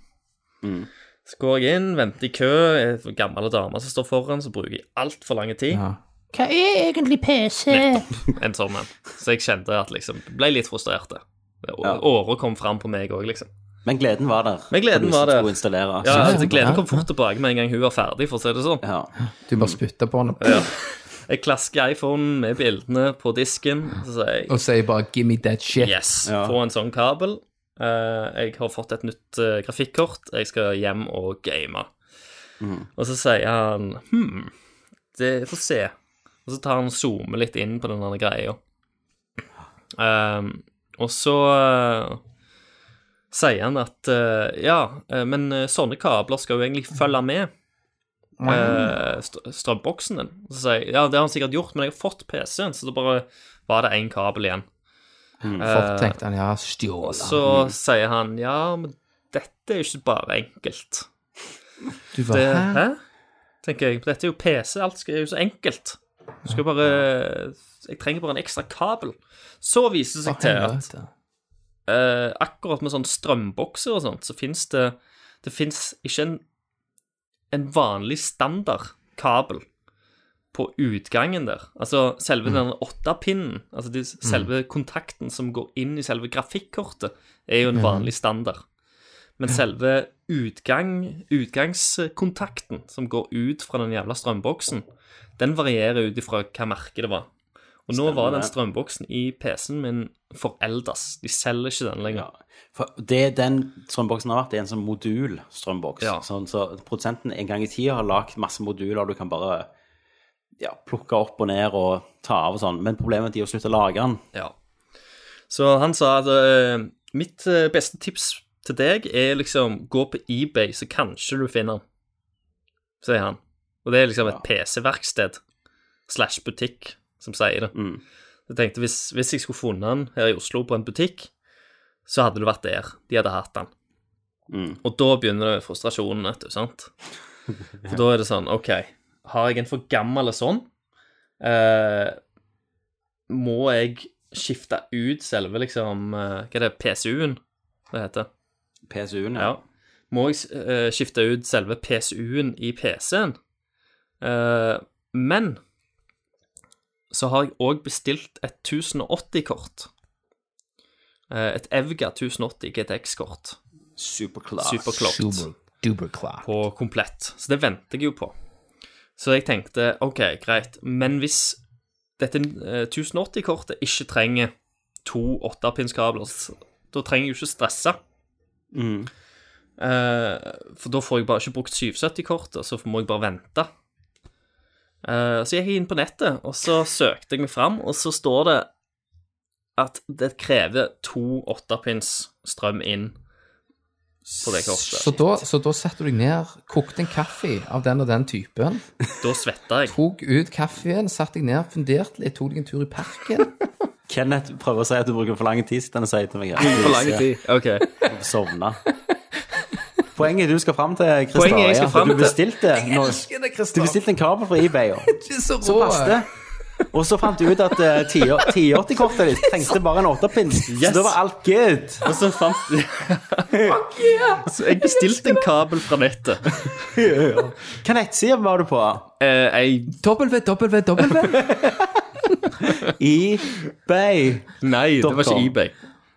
Speaker 3: Så går jeg inn, venter i kø, en gammel dame som står foran, så bruker jeg altfor lang tid.
Speaker 2: Ja.
Speaker 4: Hva er egentlig PC?
Speaker 3: En sånn en. Så jeg kjente at liksom ble litt frustrert. det. Å- Åra kom fram på meg òg, liksom.
Speaker 1: Men gleden var der.
Speaker 3: Men gleden
Speaker 1: for de som
Speaker 3: var der.
Speaker 1: skulle Installere.
Speaker 3: Ja, altså,
Speaker 2: Ja.
Speaker 3: Gleden kom fort tilbake med en gang hun var ferdig, for å si det sånn.
Speaker 1: Ja.
Speaker 2: Du bare spytter på den
Speaker 3: Jeg klasker iPhonen med bildene på disken, så sier jeg
Speaker 2: og sier bare 'give me that shit'.
Speaker 3: Yes,
Speaker 1: Ja.
Speaker 3: få en sånn kabel. Eh, jeg har fått et nytt eh, grafikkort. Jeg skal hjem og game. Og så sier han Hm, det får se. Og så tar han og zoomer litt inn på den andre greia. Ehm, og så eh, sier han at eh, ja, eh, men eh, sånne kabler skal jo egentlig følge med
Speaker 2: Mm.
Speaker 3: eh, st strømboksen din. Og så sier jeg ja, det har han sikkert gjort, men jeg har fått PC-en, så da bare var det én kabel igjen.
Speaker 2: Fort tenkte han, ja, stjåla.
Speaker 3: Så sier han ja, men dette er jo ikke bare enkelt.
Speaker 2: Du
Speaker 3: Det,
Speaker 2: bare, hæ?
Speaker 3: hæ? Tenker jeg. Dette er jo PC, alt skal- er jo så enkelt. Du skal bare Jeg trenger bare en ekstra kabel. Så viser det seg til at
Speaker 2: Helvete.
Speaker 3: eh, akkurat med sånn strømbokser og sånt, så fins det Det fins ikke en, en vanlig standard kabel på utgangen der. Altså selve den åttepinnen, altså de, selve kontakten som går inn i selve grafikkortet, er jo en vanlig standard. Men selve utgang, utgangskontakten som går ut fra den jævla strømboksen, den varierer ut ifra hva merke det var. Og nå var den
Speaker 1: det.
Speaker 3: strømboksen i PC-en min foreldes. De selger ikke den lenger.
Speaker 1: Ja. For det den strømboksen har vært, er en sånn modul-strømboks.
Speaker 3: Ja.
Speaker 1: Sånn, så produsenten en gang i tida har lagd masse moduler du kan bare ja, plukke opp og ned og ta av og sånn. Men problemet er at de har sluttet å lage den.
Speaker 3: Ja. Så han sa at eh, mitt eh, beste tips til deg er liksom gå på eBay, så kanskje du finner den, sier han. Og det er liksom et PC-verksted slash butikk som sier det.
Speaker 1: Mm.
Speaker 3: Jeg tenkte hvis, hvis jeg skulle funnet den her i Oslo på en butikk, så hadde det vært der. De hadde hatt den.
Speaker 1: Mm.
Speaker 3: Og da begynner det frustrasjonen, vet du, sant? For da er det sånn, ok, har jeg en for gammel sånn? Eh, må jeg skifte ut selve, liksom, eh, hva er det, PCU-en det heter?
Speaker 1: PSU-en,
Speaker 3: Ja. Må jeg eh, skifte ut selve PCU-en i PC-en? Eh, men så har jeg òg bestilt et 1080-kort. Eh, et Evga 1080 GTX-kort.
Speaker 1: Superclass.
Speaker 3: Superclocked
Speaker 2: Super duper clock.
Speaker 3: på komplett. Så det venter jeg jo på. Så jeg tenkte OK, greit, men hvis dette eh, 1080-kortet ikke trenger to 8-pinskabler, s- da trenger jeg jo ikke stresse.
Speaker 1: Mm.
Speaker 3: Eh, for da får jeg bare ikke brukt 770-kortet, så må jeg bare vente. Eh, så jeg gikk inn på nettet, og så søkte jeg meg fram, og så står det at det krever to 8-pins strøm inn på det kortet.
Speaker 2: Så da, så da satte du deg ned, kokte en kaffe av den og den typen,
Speaker 3: Da svetta jeg.
Speaker 2: tok ut kaffen, satte deg ned, funderte litt, tok deg en tur i parken.
Speaker 1: Kenneth prøver å si at du bruker for lang tid, sitter han og sier til meg at
Speaker 3: For lang tid. Ok.
Speaker 1: du sovna. Poenget du skal fram til, Christer,
Speaker 3: Poenget jeg skal
Speaker 1: er at
Speaker 3: frem
Speaker 1: du
Speaker 3: til-
Speaker 1: bestilte, nå- du bestilte en kabel fra eBay. Og.
Speaker 2: Så
Speaker 1: Så passet det. Og så fant du ut at eh, 10 1080-kortet ditt trengte bare en 8-pins. Så
Speaker 3: Yes.
Speaker 1: da var alt good.
Speaker 3: Og så fant Så jeg bestilte en kabel fra nettet.
Speaker 1: Hva nettside var du på?
Speaker 3: Eh, ei
Speaker 2: www.
Speaker 1: eBay.
Speaker 3: Nei, det var ikke
Speaker 1: .com.
Speaker 3: eBay.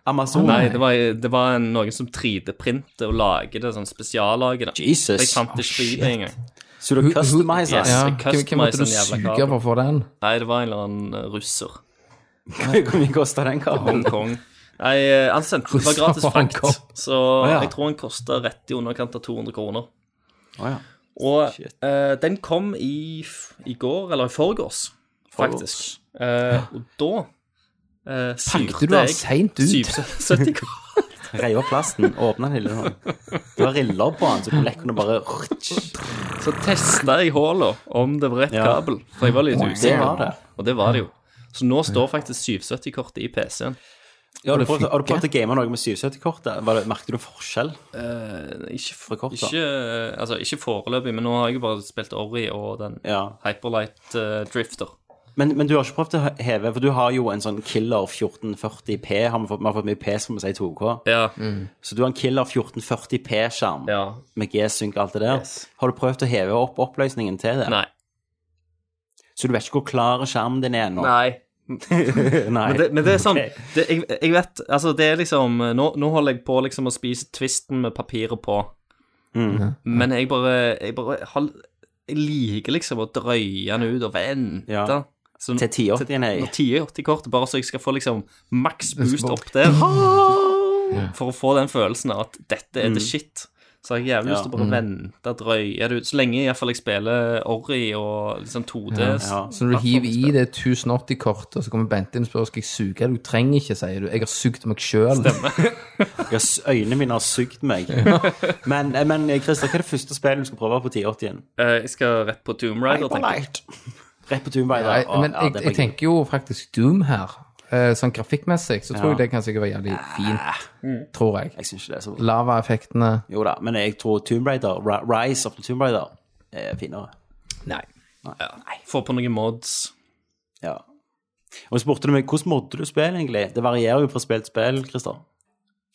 Speaker 1: Amazon.
Speaker 3: Nei, det var, det var en, noen som 3D-printer og lager det, sånn spesiallager det. Så Jeg
Speaker 1: Jesus.
Speaker 3: fant ikke 3D engang.
Speaker 1: Så du customiser.
Speaker 3: Yes.
Speaker 2: Ja,
Speaker 3: Jeg
Speaker 2: hvem hvem måtte du
Speaker 3: customiser en jævla
Speaker 2: suge
Speaker 3: kabel.
Speaker 2: for å få den?
Speaker 3: Nei, det var en eller annen eh, russer.
Speaker 1: Hvor mye kosta den kabelen?
Speaker 3: Hongkong. Nei, eh, han sendte det var
Speaker 2: Russer
Speaker 3: gratis
Speaker 2: fra Hongkong.
Speaker 3: frakt, så
Speaker 1: ja.
Speaker 3: jeg tror han kosta rett i underkant av 200 kroner.
Speaker 1: Å ja.
Speaker 3: Og
Speaker 1: Shit.
Speaker 3: eh, den kom i, f- i går, eller i forgårs, faktisk. Eh, og da uh,
Speaker 2: Pakte du den seint ut?
Speaker 3: 70 kroner.
Speaker 1: Rei opp plasten, åpna den lille sånn. Det var riller på den, så lekkene bare
Speaker 3: Så testa jeg håla om det var rett
Speaker 1: Ja.
Speaker 3: kabel, for jeg var litt usikker.
Speaker 1: Det var det.
Speaker 3: Og det var det jo. Så nå står faktisk 770-kortet i PC-en.
Speaker 1: Har du prøvd, har du prøvd å game noe med 770-kortet? Var det- Merket du en forskjell?
Speaker 3: Eh, ikke, for,
Speaker 1: For kort, da.
Speaker 3: ikke, eh, altså, ikke foreløpig, men nå har jeg jo bare spilt Ori og den
Speaker 1: Ja.
Speaker 3: Hyperlight eh, Drifter.
Speaker 1: Men, men du har ikke prøvd å heve, for du har jo en sånn killer 1440P. Har vi, fått, vi har fått mye P, som vi sier i 2K.
Speaker 3: Ja.
Speaker 1: Så du har en killer 1440P-skjerm
Speaker 3: ja.
Speaker 1: med G-synk og alt det der.
Speaker 3: Yes.
Speaker 1: Har du prøvd å heve opp oppløsningen til det?
Speaker 3: Nei.
Speaker 1: Så du vet ikke hvor klar skjermen din er nå?
Speaker 3: Nei.
Speaker 1: Nei.
Speaker 3: Men det, men det er sånn
Speaker 1: Ok.
Speaker 3: det, jeg, jeg vet Altså, det er liksom Nå, nå holder jeg på liksom å spise twisten med papiret på.
Speaker 1: Mm.
Speaker 3: Men jeg bare Jeg bare har, Jeg liker liksom å drøye den ut og vente.
Speaker 1: Ja.
Speaker 3: Så,
Speaker 1: Til 1080 nei.
Speaker 3: Når 1080-kortet, bare så jeg skal få liksom maks boost opp der. For å få den følelsen av at dette er the
Speaker 1: Mm.
Speaker 3: shit. Så har jeg jævlig lyst til å bare vente, drøye det ut. Så lenge i hvert fall jeg spiller Orry og liksom 2D.
Speaker 1: Ja.
Speaker 2: Så når du hiver i det 1080-kortet, så kommer Bente inn og spør skal jeg suge det. Du trenger ikke, sier du. Jeg har sugd meg sjøl.
Speaker 1: Jeg har s- Øynene mine har sugd meg. Men, eh, men Christer, hva er det første spillet du skal prøve på 1080-en?
Speaker 3: Eh, Jeg skal rett på Tomb Raider, tenker jeg.
Speaker 1: Rett på Tomb Raider. Å,
Speaker 2: Men
Speaker 1: ja,
Speaker 2: jeg,
Speaker 1: det
Speaker 2: jeg
Speaker 1: blir-
Speaker 2: tenker jo faktisk Doom her. Eh, Sånn grafikkmessig så tror
Speaker 1: Ja.
Speaker 2: jeg
Speaker 1: Ah.
Speaker 2: det kan sikkert være jævlig fint. Tror jeg.
Speaker 1: jeg syns ikke det er så bra.
Speaker 2: Lavaeffektene
Speaker 1: Jo da, men jeg tror Tomb Raider, Ra- Rise of the Tomb Raider er finere.
Speaker 2: Nei.
Speaker 3: Få på noen mods.
Speaker 1: Ja. Og så spurte du meg hvordan modder du spill, egentlig. Det varierer jo fra spill til spill, Christer.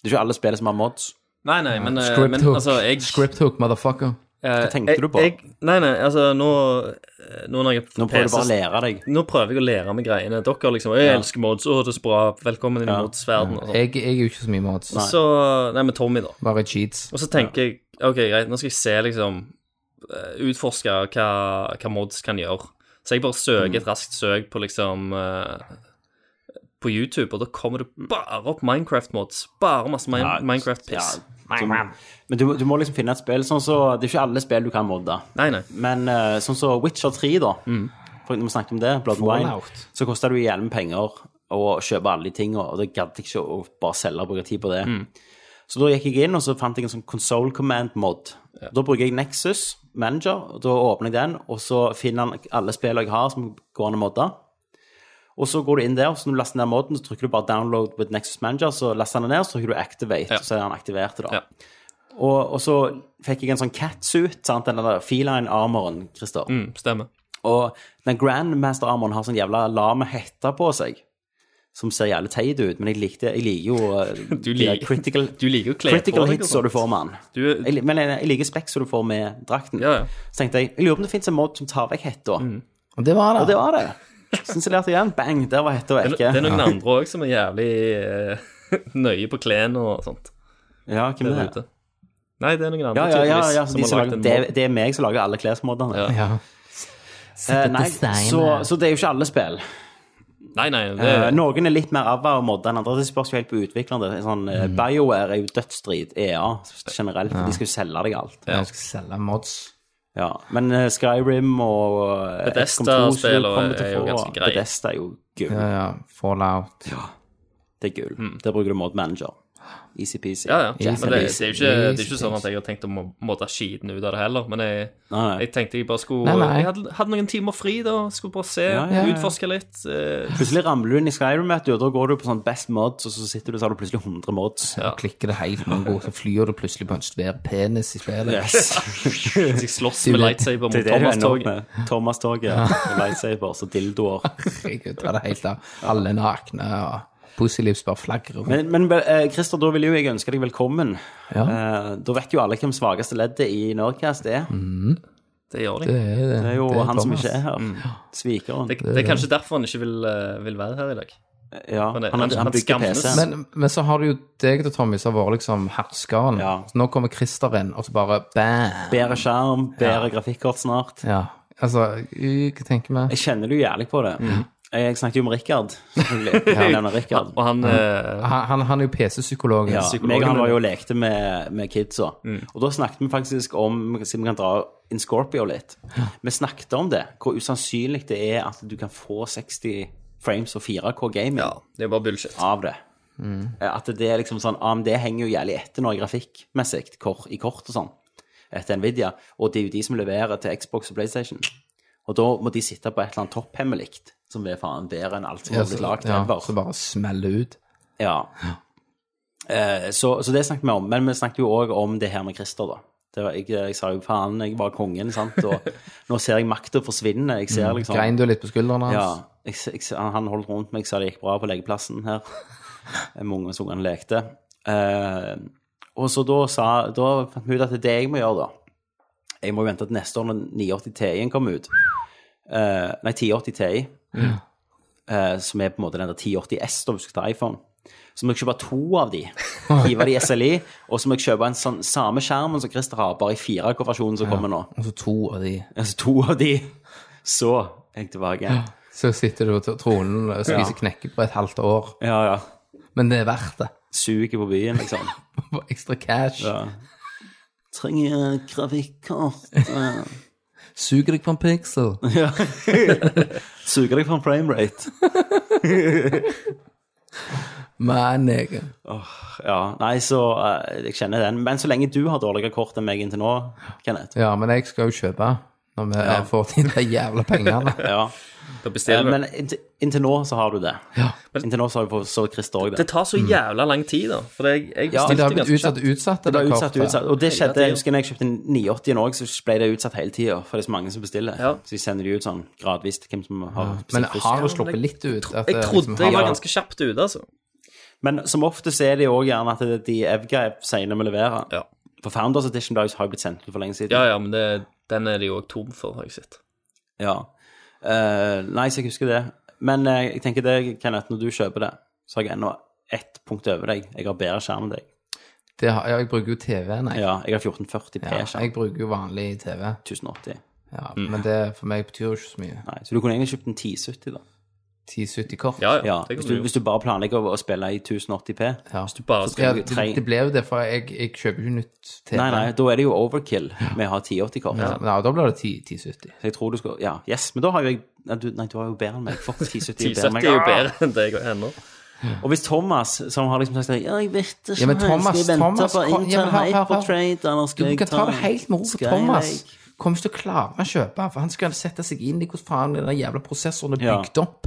Speaker 1: Det er ikke alle spill som har mods.
Speaker 3: Nei, nei, men, eh,
Speaker 2: Script
Speaker 3: men
Speaker 2: hook.
Speaker 3: altså, jeg eh,
Speaker 2: Script hook, motherfucker.
Speaker 3: Hva
Speaker 1: tenkte du på?
Speaker 3: Jeg, nei, nei, altså, nå eh, Nå når jeg
Speaker 1: Nå prøver du bare å lære deg.
Speaker 3: Nå prøver jeg å lære meg greiene. Dere liksom Jeg elsker mods, å, det er så bra. Velkommen inn i
Speaker 1: Ja.
Speaker 3: modsverdenen. og sånn.
Speaker 2: Jeg, jeg er jo ikke så mye mods.
Speaker 3: Så Nei, men Tommy, da.
Speaker 2: Bare cheats.
Speaker 3: Og så tenker jeg OK, greit, nå skal jeg se, liksom eh, Utforske hva, hva mods kan gjøre. Så jeg bare
Speaker 1: Mm.
Speaker 3: søker et raskt søk på liksom eh, På YouTube, og da kommer det bare opp Minecraft-mods. Bare masse min
Speaker 1: Ja,
Speaker 3: Minecraft-piss.
Speaker 1: ja, som- Men du, du må liksom finne et spill sånn så, Det er ikke alle spill du kan modde.
Speaker 3: Nei, nei.
Speaker 1: Men eh, sånn som Witcher 3, da. For når vi snakket om det, Blood and Wine,
Speaker 2: Fallout.
Speaker 1: så koster det jo gjerne med penger å kjøpe alle de tingene, og det gadd jeg ikke å bare selge og bruke tid på det. Så da gikk jeg inn, og så fant jeg en sånn Console Command Mod. Da bruker jeg Nexus Manager, og da åpner jeg den, og så finner han alle spillene jeg har som går an å modde. Og så går du inn der, og så når du laster ned moden, så trykker du bare 'download with Nexus Manager', så laster han den ned, så trykker du 'activate', så er han aktivert. da.
Speaker 3: Ja.
Speaker 1: Og, og så fikk jeg en sånn catsuit, sant, den der feline-armoren, Christer.
Speaker 3: Mm, Stemmer.
Speaker 1: Og den Grandmaster-armoren har sånn jævla lame hette på seg, som ser jævlig teit ut, men jeg likte, jeg liker jo eh, de
Speaker 3: Du liker-
Speaker 1: der critical,
Speaker 3: du liker jo klær på
Speaker 1: critical
Speaker 3: deg altså. og
Speaker 1: hits som du
Speaker 3: sånt.
Speaker 1: får med den.
Speaker 3: Du-
Speaker 1: Jeg, li- men jeg, jeg liker speks som du får med drakten.
Speaker 3: Ja, Mm. ja.
Speaker 1: Så tenkte jeg, jeg lurer på om det finnes en mod som tar vekk hetta.
Speaker 2: Og det var det.
Speaker 1: Og det var det. Så installerte jeg igjen, bang, der var hetta
Speaker 3: Det er
Speaker 1: vekke.
Speaker 3: noen andre òg som er jævlig eh, nøye på klærne og sånt.
Speaker 1: Ja, hvem
Speaker 3: Der
Speaker 1: er det?
Speaker 3: ute. Nei, det er noen andre
Speaker 1: Ja, ja, ja, ja,
Speaker 3: tydeligvis
Speaker 1: de som lager-
Speaker 3: har lagd en
Speaker 1: det,
Speaker 3: mod.
Speaker 1: det er meg som lager alle klesmodene.
Speaker 3: Ja.
Speaker 2: Ja.
Speaker 1: Eh, nei, så, så det er jo ikke alle spill.
Speaker 3: Nei, nei, det
Speaker 1: Eh, noen er litt mer ava og modda enn andre. Det spørs jo helt på utvikleren. Det er Sånn, eh, BioWare er jo dødsstrid, EA generelt, for de skal jo selge deg alt.
Speaker 2: Jeg skal selge mods.
Speaker 1: Ja. Men eh, Skyrim og eh,
Speaker 3: Bethesda
Speaker 1: XCOM 2 som du
Speaker 3: spiller
Speaker 1: kommer til
Speaker 3: er jo
Speaker 1: å få,
Speaker 3: ganske grei.
Speaker 1: Bethesda er jo gull.
Speaker 2: Ja, ja. Fallout.
Speaker 1: Det er gull. Der bruker du Mod Manager. Easy-peasy.
Speaker 3: Ja, ja.
Speaker 2: Jack
Speaker 3: men
Speaker 2: and
Speaker 3: det, det, er jo ikke,
Speaker 2: Lise.
Speaker 3: det er ikke sånn at jeg har tenkt å må- måtte skiten ut av det heller. Men jeg,
Speaker 1: Nei, nei.
Speaker 3: jeg tenkte jeg bare skulle
Speaker 2: Nei, nei.
Speaker 3: Jeg hadde, hadde noen timer fri da. Skulle bare se,
Speaker 1: Ja, ja, ja.
Speaker 3: utforske litt. eh,
Speaker 1: Plutselig ramler du inn i Skyrim, vet du, og da går du på sånn Best Mods, og så sitter du og så har du plutselig 100 mods.
Speaker 2: Og klikker det helt mongo, så flyr du plutselig på en svær penis i spillet.
Speaker 1: Yes.
Speaker 3: mens jeg slåss
Speaker 2: Du
Speaker 3: med
Speaker 2: vet-
Speaker 3: lightsaber
Speaker 1: Det
Speaker 3: mot
Speaker 1: er det du
Speaker 3: Thomas
Speaker 1: ender opp
Speaker 3: Tog.
Speaker 1: med. Thomas-toget og lightsabers og dildoer.
Speaker 2: Herregud, ta det helt av. Alle nakne, og Pussylivs bare flagrer. rundt.
Speaker 1: Men, men eh, Christer, da vil jo jeg ønske deg velkommen.
Speaker 2: Ja.
Speaker 1: Eh, da vet jo alle hvem svakeste leddet i Nerdcast er.
Speaker 3: Det gjør de.
Speaker 2: Det er, det,
Speaker 1: Det er jo
Speaker 2: Mm. det
Speaker 1: han som
Speaker 2: Thomas. Mm.
Speaker 1: ikke er her. Svikeren.
Speaker 3: Det, det er kanskje derfor han ikke vil, eh, vil være her i dag.
Speaker 1: Ja, han,
Speaker 3: det-
Speaker 1: han,
Speaker 3: han- han
Speaker 1: bygger
Speaker 3: skammes.
Speaker 1: PC.
Speaker 2: Men, men så har du jo deg, da, Tommy, som har vært liksom herskeren.
Speaker 1: Ja.
Speaker 2: Så nå kommer Christer inn, og så bare bam!
Speaker 1: bedre skjerm, bedre grafikkort snart.
Speaker 2: Ja. Altså, y- hva tenker vi?
Speaker 1: Jeg kjenner du jævlig på det.
Speaker 2: Mm.
Speaker 1: Jeg snakket jo om Rikard. selvfølgelig. Jeg nevner Rikard. Mm.
Speaker 3: Og han eh,
Speaker 2: Han, han- han er jo PC-psykologen.
Speaker 1: Ja,
Speaker 3: psykologen Mm.
Speaker 1: meg og han var
Speaker 3: min.
Speaker 1: jo og lekte med, med kidsa. Og da snakket vi faktisk om, siden vi kan dra inn Scorpio litt, vi snakket om det, hvor usannsynlig det er at du kan få 60 frames og 4K gaming.
Speaker 3: Ja, det er bare bullshit.
Speaker 1: av det. Eh, At det er liksom sånn AMD henger jo jævlig etter nå i grafikkmessig kor, i kort og sånn, etter Nvidia. Og det er jo de som leverer til Xbox og PlayStation. Og da må de sitte på et eller annet topphemmelig som er faen bedre enn alt som har
Speaker 2: så,
Speaker 1: blitt lagd
Speaker 2: ja,
Speaker 1: ever.
Speaker 2: så bare smeller ut.
Speaker 1: Ja. Eh, Så, så det snakket vi om. Men vi snakket jo òg om det her med Christer, da. Det var, jeg, eh, jeg sa jo faen, jeg var kongen, sant. Og nå ser jeg makta forsvinne. Jeg ser liksom
Speaker 2: Mm, Grein du litt på skuldrene hans?
Speaker 1: ja, jeg, jeg, han- han holdt rundt meg, sa det gikk bra på legeplassen her. Med ungene som ungene lekte. Eh, og så da, sa, da fant vi ut at det er det jeg må gjøre, da. Jeg må jo vente til neste år når 980 Ti-en kommer ut. Eh, nei, 1080 Ti. Eh, som er på en måte den der 1080S, da, hvis du skal ta iPhone. Så må jeg kjøpe to av de, hive de i SLI, og så må jeg kjøpe en sånn samme skjermen som Christer har, bare i 4K-versjonen som kommer nå.
Speaker 2: Og så to av de.
Speaker 1: Altså to av de. Så er jeg tilbake igjen.
Speaker 2: Så sitter du på tronen og spiser knekkebrød et halvt år.
Speaker 1: Ja, ja.
Speaker 2: Men det er verdt det.
Speaker 1: suger på byen, liksom.
Speaker 2: Bare Ekstra cash.
Speaker 1: Ja. Trenger grafikkort. eh,
Speaker 2: Suger deg på en pixel.
Speaker 1: Suger deg på en framerate.
Speaker 2: Men jeg
Speaker 1: Ja, nei, så eh, jeg kjenner den. Men så lenge du har dårligere kort enn meg inntil nå, Kenneth
Speaker 2: Ja, men jeg skal jo kjøpe når vi eh, får inn de jævla pengene.
Speaker 1: ja.
Speaker 3: Da
Speaker 1: Eh,
Speaker 3: bestiller du.
Speaker 1: Men inntil, inntil nå så har du det.
Speaker 2: Ja.
Speaker 1: Inntil nå så har vi så Christer òg
Speaker 3: Det
Speaker 1: det.
Speaker 3: tar så jævla lang tid, da. For jeg, jeg
Speaker 1: Ja,
Speaker 2: Men det
Speaker 3: bestilte
Speaker 2: har blitt
Speaker 3: ganske kjapt.
Speaker 2: utsatt og utsatt.
Speaker 1: Det ble
Speaker 2: der
Speaker 1: utsatt
Speaker 2: kortet.
Speaker 1: og utsatt. Og det
Speaker 3: Hele
Speaker 1: skjedde,
Speaker 3: tiden.
Speaker 1: jeg husker når jeg kjøpte 980 en òg, så ble det utsatt hele tida. For det er så mange som bestiller.
Speaker 3: Ja.
Speaker 1: Så de sender de ut sånn gradvis til hvem som har
Speaker 2: Men
Speaker 1: bestilt først.
Speaker 2: har jo sluppet litt ut. at det
Speaker 3: Jeg
Speaker 2: liksom
Speaker 3: trodde
Speaker 2: har-
Speaker 3: jeg var ganske kjapt ute, altså.
Speaker 1: Men som ofte så er det jo også gjerne at det er de Evgaiv senere må levere.
Speaker 3: Ja.
Speaker 1: For Founders Edition Dags har jo blitt sendt ut for lenge siden.
Speaker 3: Ja, ja, men det, den er de jo òg tom for, har jeg sett.
Speaker 1: Ja. Eh, nei, så jeg husker det. Men eh, jeg tenker det, Kenneth, når du kjøper det, så har jeg ennå ett punkt over deg. Jeg har bedre skjerm enn deg.
Speaker 2: Det har- ja, jeg bruker jo TV, nei.
Speaker 1: Ja, Mm. jeg har 1440p
Speaker 2: Ja,
Speaker 1: skjerm.
Speaker 2: jeg bruker jo vanlig TV.
Speaker 1: 1080.
Speaker 2: Ja, Men det for meg betyr jo ikke så mye.
Speaker 1: Nei, så du kunne egentlig kjøpt en 1070, da.
Speaker 2: 1070 kort.
Speaker 3: Ja, ja.
Speaker 1: Ja,
Speaker 3: det
Speaker 1: hvis,
Speaker 3: kan
Speaker 1: du,
Speaker 3: du
Speaker 1: hvis
Speaker 3: gjøre.
Speaker 1: du bare planlegger å, å spille i 1080p.
Speaker 2: Ja.
Speaker 1: Hvis du bare
Speaker 3: Så
Speaker 1: skal
Speaker 2: det,
Speaker 1: tre...
Speaker 2: det ble jo det, for jeg, jeg kjøper jo nytt TV.
Speaker 1: Nei, nei, da er det jo overkill med å ha 1080-kort.
Speaker 2: Ja, men ja, da blir det 10, 1070.
Speaker 1: Så jeg tror du skal Ja, yes, men da har jo jeg Nei, du, nei, du har jo bedre enn meg. Fuck, 1070 er jo bedre enn meg.
Speaker 3: 1070 er jo
Speaker 1: Ah!
Speaker 3: bedre enn deg og henne.
Speaker 1: Og hvis Thomas, som har liksom sagt Ja, jeg vet ikke,
Speaker 2: Ja, men Thomas-
Speaker 1: skal jeg vente
Speaker 2: Thomas,
Speaker 1: på
Speaker 2: kom- ja, men
Speaker 1: Intel
Speaker 2: hør, hør, hør.
Speaker 1: Hypertrade, eller
Speaker 2: Du
Speaker 1: skal jeg
Speaker 2: kan ta det helt med ro for
Speaker 1: Skylake?
Speaker 2: Thomas. Kommer ikke til å klare å kjøpe, for han skal sette seg inn i hvordan faen den jævla prosessoren er
Speaker 1: Ja. Mm.
Speaker 2: bygd opp.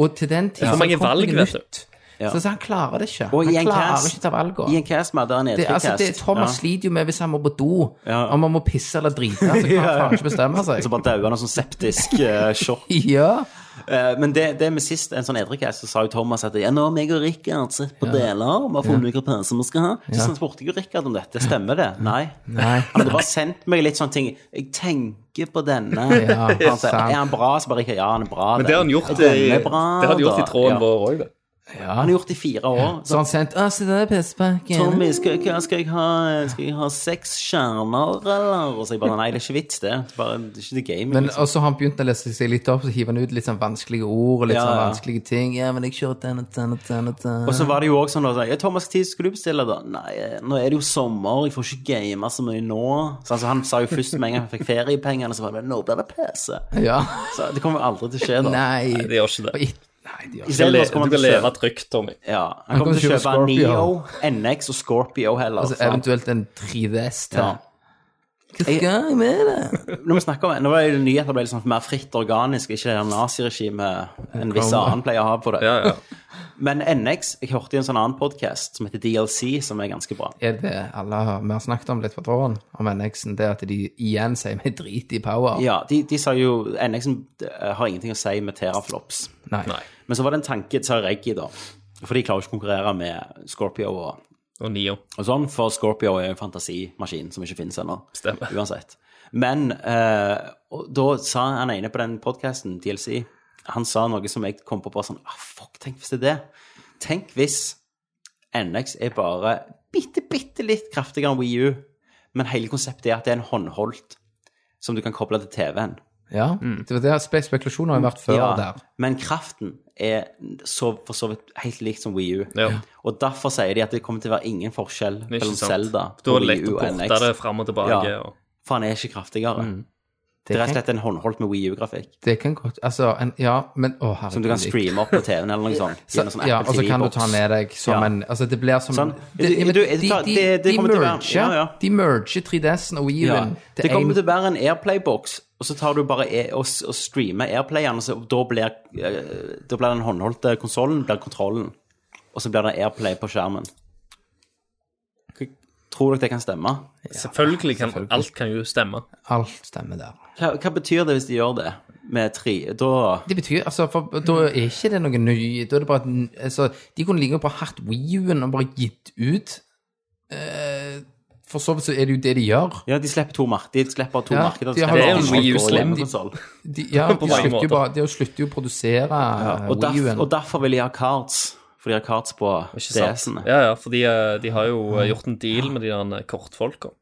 Speaker 2: Og til den tid
Speaker 3: For
Speaker 2: så
Speaker 3: mange
Speaker 2: kommer det
Speaker 3: valg, vet du.
Speaker 2: nytt. Så, så han klarer det ikke.
Speaker 1: Og i
Speaker 2: han
Speaker 1: en
Speaker 2: klarer
Speaker 1: cast,
Speaker 2: ikke ta valgene.
Speaker 1: i en cast med der
Speaker 2: Det, altså, det, Thomas sliter jo med hvis han må på do,
Speaker 1: Ja.
Speaker 2: om han må pisse eller drite. Så kan han faen ikke bestemme seg.
Speaker 1: Så bare dauer han av sånn septisk eh, sjokk.
Speaker 2: Ja.
Speaker 1: Eh, men det, det med sist, en sånn edrekast, så sa jo Thomas at ja, nå har meg og Rikard sett på deler, vi har funnet ut hva PC vi skal ha. Så
Speaker 2: Ja.
Speaker 1: sånn spurte jeg jo Rikard om dette, stemmer det? Nei.
Speaker 2: Nei.
Speaker 1: Han hadde bare sendt meg litt sånne ting, jeg tenker på denne.
Speaker 2: Ja,
Speaker 1: han sa,
Speaker 2: sant.
Speaker 1: er han bra? Så bare Rikard, ja, han er bra.
Speaker 3: Men det har han gjort i, det har han gjort i tråden vår òg, det.
Speaker 1: Han har gjort det i fire år.
Speaker 2: Så han sendte Å, se denne pissepakken.
Speaker 1: Tommy, skal, hva skal, jeg ha, skal jeg ha seks stjerner, eller? Og så jeg bare, nei, det er ikke vits det. Det er bare, det er ikke det gaming.
Speaker 2: Men
Speaker 1: liksom.
Speaker 2: og så har han begynt å lese seg litt opp, så hiver han ut litt sånn vanskelige ord og litt
Speaker 1: Ja,
Speaker 2: sånn
Speaker 1: ja.
Speaker 2: vanskelige ting. Ja, men jeg kjører den og den og den og den.
Speaker 1: Og så var det jo også sånn da, ja, Thomas, hva tid skulle du bestille da? Nei, eh, nå er det jo sommer, jeg får ikke game så mye nå. Så altså, han sa jo først med en gang han fikk feriepengene, så var det, nå blir det PC.
Speaker 2: Ja.
Speaker 1: Så det kommer jo aldri til å skje da.
Speaker 2: Nei.
Speaker 3: Nei, det gjør ikke det.
Speaker 2: Og i- Nei, det gjør
Speaker 1: I
Speaker 3: Du kan
Speaker 1: stedet
Speaker 3: le-
Speaker 1: for så kommer han
Speaker 3: Du kan
Speaker 1: til å
Speaker 3: leve
Speaker 1: kjøpe,
Speaker 3: trygt, Tommy.
Speaker 1: ja, han kommer til å kjøpe
Speaker 2: Scorpio.
Speaker 1: Neo, NX og Scorpio heller.
Speaker 2: Altså,
Speaker 1: sant?
Speaker 2: eventuelt en 3DS til.
Speaker 1: Ja.
Speaker 2: Hva skal jeg med det?
Speaker 1: Når vi snakker om, nå er det nyheter ble liksom mer fritt organisk, ikke det der naziregimet en viss
Speaker 2: Kommer.
Speaker 1: annen pleier å ha på det.
Speaker 3: Ja, ja.
Speaker 1: Men NX, jeg hørte i en sånn annen podcast som heter DLC, som er ganske bra.
Speaker 2: Er det alle har- vi har snakket om litt på tråden, om NX-en, det at de igjen sier vi drit i power?
Speaker 1: Ja, de, de sa jo NX-en har ingenting å si med teraflops.
Speaker 2: Nei.
Speaker 3: Nei.
Speaker 1: Men så var det en tanke til Reggie, da. For de klarer jo ikke å konkurrere med Scorpio og,
Speaker 3: Og Nio.
Speaker 1: og sånn, for Scorpio er jo en fantasimaskin som ikke finnes ennå.
Speaker 3: Stemmer.
Speaker 1: Uansett. Men eh, og da sa han ene på den podkasten, DLC, han sa noe som jeg kom på bare sånn ah, Fuck, tenk hvis det er det. Tenk hvis NX er bare bitte, bitte litt kraftigere enn Wii U, men hele konseptet er at det er en håndholdt som du kan koble til TV-en.
Speaker 2: Ja, det var det spe spekulasjoner har jo vært før
Speaker 1: Ja,
Speaker 2: der.
Speaker 1: Men kraften er så, for så vidt helt likt som Wii U.
Speaker 3: Ja.
Speaker 1: Og derfor sier de at det kommer til å være ingen forskjell
Speaker 3: Det er
Speaker 1: mellom
Speaker 3: ikke sant.
Speaker 1: Zelda
Speaker 3: Du
Speaker 1: og
Speaker 3: har lekt
Speaker 1: Wii
Speaker 3: å
Speaker 1: U og
Speaker 3: porte det
Speaker 1: NX.
Speaker 3: fram og tilbake.
Speaker 1: Ja.
Speaker 3: og-
Speaker 1: For han er ikke kraftigere.
Speaker 2: Mm,
Speaker 1: Det er rett og slett en håndholdt med Wii U-grafikk.
Speaker 2: Det kan godt Altså, en, ja, men å, herregud.
Speaker 1: Som du kan streame opp på TV-en eller noe sånt.
Speaker 2: Så,
Speaker 1: gjennom sånn
Speaker 2: ja,
Speaker 1: Apple
Speaker 2: og så kan du
Speaker 1: TV-boks.
Speaker 2: ta med deg som
Speaker 1: Ja.
Speaker 2: en Altså, det blir som
Speaker 1: Sånn.
Speaker 2: Det,
Speaker 1: Du-
Speaker 2: ja, men
Speaker 1: du-
Speaker 2: de,
Speaker 1: det tar-
Speaker 2: de,
Speaker 1: det- det
Speaker 2: de
Speaker 1: kommer til å være-
Speaker 2: merger,
Speaker 1: ja, ja.
Speaker 2: de merger 3DS-en og
Speaker 1: Ja.
Speaker 2: Wii-en.
Speaker 1: Det kommer til å være en Airplay-boks, og så tar du bare e og, s- og streamer Airplayeren, og så, og da, blir, eh, da blir den håndholdte konsollen blir kontrollen, og så blir det Airplay på skjermen. Tror dere det kan stemme?
Speaker 3: Selvfølgelig kan alt kan jo stemme.
Speaker 2: Alt stemmer der.
Speaker 1: Hva, hva betyr det hvis de gjør det med tre? Da
Speaker 2: Det betyr, altså, for Da er ikke det noe ny Da er det bare at n- altså, De kunne like godt bare hatt Wii-en og bare gitt ut. Eh, for så vidt så er det jo det de gjør.
Speaker 1: Ja, de slipper to, mark de slipper to
Speaker 2: Ja,
Speaker 1: markeder.
Speaker 2: de har
Speaker 1: slipper
Speaker 2: jo
Speaker 1: en
Speaker 3: en Wii
Speaker 1: håndholdt
Speaker 3: U
Speaker 1: og
Speaker 3: Slim.
Speaker 1: hjemmekonsoll.
Speaker 2: De, ja, de,
Speaker 3: På mange
Speaker 2: slutter jo
Speaker 3: måter.
Speaker 2: bare, de slutter jo å produsere eh,
Speaker 1: Og, derf,
Speaker 2: Wii-en.
Speaker 1: og derfor vil de ha cards. For de har cards på
Speaker 3: Ikke sant?
Speaker 1: DS-ene.
Speaker 3: Ja, ja, for de, eh, de har jo
Speaker 2: Ah.
Speaker 3: eh, gjort en deal med de der eh, kortfolka.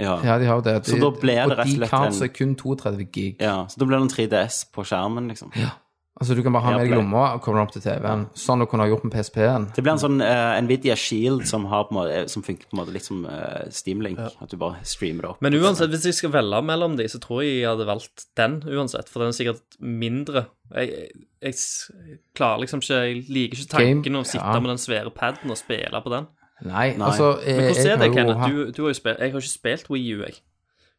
Speaker 1: Ja.
Speaker 2: Ja, de har jo det. De,
Speaker 1: Så da ble det rett og
Speaker 2: Og de
Speaker 1: slett
Speaker 2: kan
Speaker 1: en-
Speaker 2: så kun 32 gig.
Speaker 1: ja, Så da blir det en 3DS på skjermen, liksom.
Speaker 2: Altså, du kan bare ha med deg i
Speaker 1: Airplay.
Speaker 2: lomma og koble den opp til TV-en. Sånn du kunne ha gjort med PSP-en.
Speaker 1: Det blir en sånn eh, Nvidia Shield som, har på en måte, som funker på en måte litt som eh, Steamlink. At du bare streamer det opp.
Speaker 3: Men uansett, hvis jeg skal velge mellom de, så tror jeg jeg hadde valgt den uansett, for den er sikkert mindre. Jeg, jeg, jeg s- klarer liksom ikke Jeg liker ikke tanken
Speaker 2: Game-
Speaker 3: å sitte
Speaker 2: ja.
Speaker 3: med den svære paden og spille på den.
Speaker 2: Nei, altså
Speaker 3: Men
Speaker 2: jeg, har
Speaker 3: hvordan er det,
Speaker 2: jo
Speaker 3: Kenneth?
Speaker 2: hatt-
Speaker 3: Du, du har jo spilt, jeg har ikke spilt Wii U, jeg.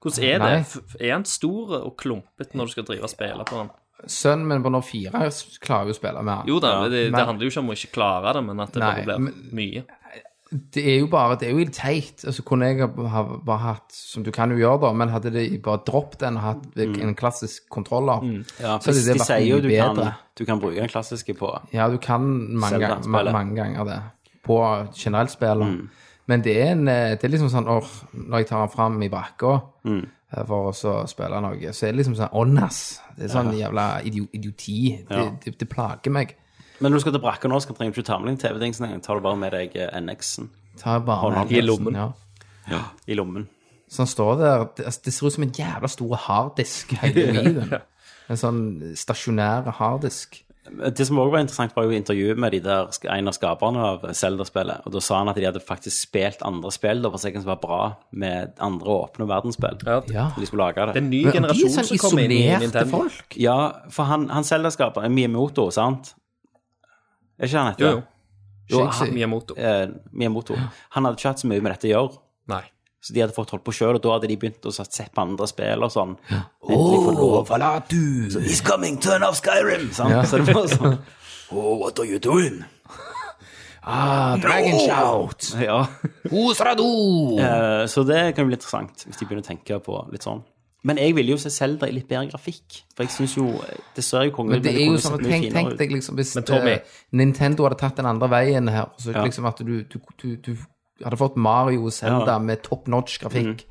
Speaker 3: Hvordan er
Speaker 2: Nei.
Speaker 3: det? F- Er han stor og klumpet når du skal drive og spille på den?
Speaker 2: Sønnen min på nå fire s- klarer jo å spille med han.
Speaker 3: Jo da, det,
Speaker 2: men-
Speaker 3: det handler jo ikke om å ikke klare det, men at det
Speaker 2: Nei,
Speaker 3: bare blir
Speaker 2: men-
Speaker 3: mye.
Speaker 2: Det er jo bare Det er jo litt teit. Altså, kunne jeg ha- ha bare hatt Som du kan jo gjøre, da, men hadde de bare droppet den og hatt en klassisk kontroller,
Speaker 1: ja,
Speaker 2: så
Speaker 1: for
Speaker 2: hadde det
Speaker 1: de
Speaker 2: vært
Speaker 1: sier jo
Speaker 2: mye
Speaker 1: du kan,
Speaker 2: bedre.
Speaker 1: du kan bruke den klassiske på
Speaker 2: Ja, du kan mange,
Speaker 1: Zelda,
Speaker 2: gang, ma
Speaker 1: spillet.
Speaker 2: mange ganger det på generelt spill. Men det er, en, eh, det er liksom sånn åh, Når jeg tar den fram i brakka eh, for å så spille noe, så er det liksom sånn åndas. Det er sånn jævla idio idioti. Det, det, det plager meg.
Speaker 1: Men når du skal til brakka nå, så trenger du ikke ta med deg TV-dingsen engang. Tar du bare med deg eh, NX-en
Speaker 2: Tar bare
Speaker 1: Hånda
Speaker 2: den
Speaker 3: i lommen.
Speaker 2: Ja.
Speaker 1: i lommen.
Speaker 2: Så han står der Det, altså, det ser ut som en jævla stor harddisk, hele Wii'en. En sånn stasjonær harddisk.
Speaker 1: Det som også var interessant, var jo intervjuet med de der, en av skaperne av Zelda-spillet. Og da sa han at de hadde faktisk spilt andre spill da, for å se hva som var bra med andre åpne verdensspill.
Speaker 3: Ja.
Speaker 2: Ja.
Speaker 1: De skulle lage
Speaker 3: Det er
Speaker 1: det.
Speaker 3: en ny
Speaker 2: Men de er
Speaker 3: generasjon
Speaker 2: sånn
Speaker 3: som kommer inn i
Speaker 2: isolerte
Speaker 3: Nintendo.
Speaker 2: folk.
Speaker 1: Ja, for han, han Zelda-skaperen er Miyamoto, sant? Er ikke han heter
Speaker 3: Jo, ah, jo.
Speaker 1: det? Jo,
Speaker 2: Shakespeare.
Speaker 1: han,
Speaker 3: Miyamoto.
Speaker 1: eh, Miyamoto. Han hadde ikke hatt så mye med dette å gjøre.
Speaker 3: Nei.
Speaker 1: Så de hadde fått holdt på sjøl, og da hadde de begynt å sett på andre spill og sånn. Endelig få lov.
Speaker 2: Valadu!
Speaker 1: Oh, He's coming, turn off Skyrim! Sant? Så det var sånn Oh, what are you doing?
Speaker 2: Ah, Dragon Shout!
Speaker 1: Ja.
Speaker 2: Osradu!
Speaker 1: Eh, Så det kan jo bli interessant, hvis de begynner å tenke på litt sånn. Men jeg ville jo se Zelda i litt bedre grafikk. For jeg syns jo Det ser jo
Speaker 2: Men
Speaker 1: kongen ut,
Speaker 2: det
Speaker 1: men
Speaker 2: er jo
Speaker 1: kunne
Speaker 2: sånn,
Speaker 1: sett mye
Speaker 2: tenk, tenk
Speaker 1: finere ut.
Speaker 2: deg liksom hvis
Speaker 3: Men Tommy-
Speaker 2: eh, Nintendo hadde tatt den andre veien her, så
Speaker 1: Ja.
Speaker 2: liksom at du, du, du, du hadde fått Mario og Zelda
Speaker 1: Ja. Mhm.
Speaker 2: med top notch grafikk.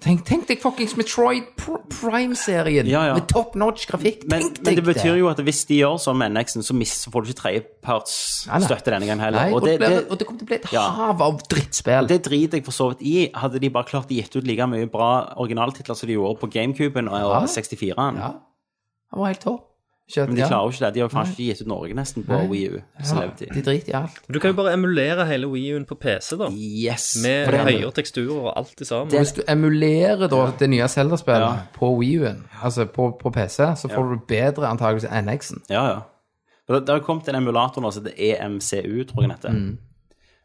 Speaker 2: Tenk, tenk deg fuckings Metroid Pr- Prime-serien
Speaker 1: Ja, ja.
Speaker 2: med top notch grafikk.
Speaker 1: Men,
Speaker 2: Tenk deg
Speaker 1: men det betyr jo at hvis de gjør sånn med NX-en, så mister- så får du ikke
Speaker 2: Nei, nei.
Speaker 1: tredjepartsstøtte denne gangen
Speaker 2: Nei,
Speaker 1: heller.
Speaker 2: og,
Speaker 1: Og det,
Speaker 2: det, ble,
Speaker 1: det,
Speaker 2: og det kommer til å bli et
Speaker 1: Ja.
Speaker 2: hav av drittspill.
Speaker 1: det driter jeg for så vidt i. Hadde de bare klart å gitt ut like mye bra originaltitler som de gjorde på GameCuben og
Speaker 2: Ja.
Speaker 1: 64-en.
Speaker 2: Ja. Han var helt topp. Ikke at-
Speaker 1: Men de
Speaker 2: ja.
Speaker 1: klarer jo ikke det. De har jo faen ikke gitt ut Norge nesten på
Speaker 2: Nei.
Speaker 1: Wii U.
Speaker 2: Ja,
Speaker 1: Så levde
Speaker 2: De
Speaker 1: de.
Speaker 2: driter i alt.
Speaker 3: Du kan jo bare emulere hele Wii-en på PC, da.
Speaker 1: Yes.
Speaker 3: Med
Speaker 1: For det-
Speaker 3: høyere teksturer og alt i sammen.
Speaker 2: Hvis du emulerer da det nye Zelda-spillet
Speaker 1: Ja.
Speaker 2: på Wii-en, altså på, på PC, så får du bedre antakeligvis NX-en.
Speaker 1: Ja, ja. Og Det, det har kommet en emulator nå som heter E EMCU, tror jeg den heter.
Speaker 2: Mm.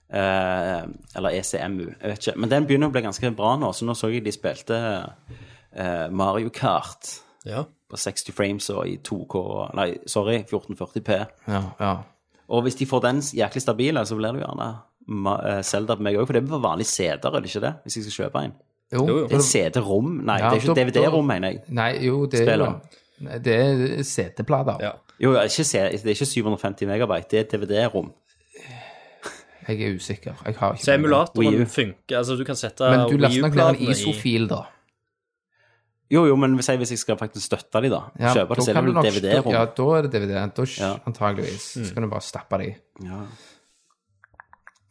Speaker 1: Eh, eller ECMU, jeg vet ikke. Men den begynner å bli ganske bra nå, så nå så jeg de spilte eh, Mario Kart
Speaker 3: Ja.
Speaker 1: på 60 frames og i 2K Nei, sorry, 1440P.
Speaker 2: Ja, ja.
Speaker 1: Og hvis de får den jæklig stabile, så blir det jo gjerne Ma- eh, Zelda på meg òg, for det er på vanlig CD-er, er det ikke det? Hvis jeg skal kjøpe en.
Speaker 2: Jo,
Speaker 3: Jo, jo.
Speaker 1: Det er CD-rom. Nei, det er
Speaker 2: Ja,
Speaker 1: ikke
Speaker 2: da-
Speaker 1: DVD-rom,
Speaker 2: da-
Speaker 1: mener jeg.
Speaker 2: Nei, jo, det er jo
Speaker 1: Spiller.
Speaker 2: Nei, Det er CD-plater.
Speaker 3: Ja.
Speaker 1: Jo, det er ikke, C- det er ikke 750 megabyte, det er DVD-rom.
Speaker 2: Jeg er usikker. Jeg har ikke
Speaker 3: Så
Speaker 1: Wii U.
Speaker 3: emulatoren funker. Altså, du kan sette
Speaker 2: Men du laster nok ned en
Speaker 3: Wii-platene i
Speaker 2: ISO-fil, da.
Speaker 1: Jo, jo, men si hvis jeg skal faktisk støtte de da.
Speaker 2: Ja, da
Speaker 1: Kjøpe det
Speaker 2: kan
Speaker 1: selv
Speaker 2: du
Speaker 1: om
Speaker 2: nok-
Speaker 1: DVD-rom.
Speaker 2: Ja, da er det DVD. Da, sk-
Speaker 1: Ja.
Speaker 2: Antageligvis.
Speaker 3: Mm.
Speaker 2: Så kan du bare stappe det i.
Speaker 1: Ja.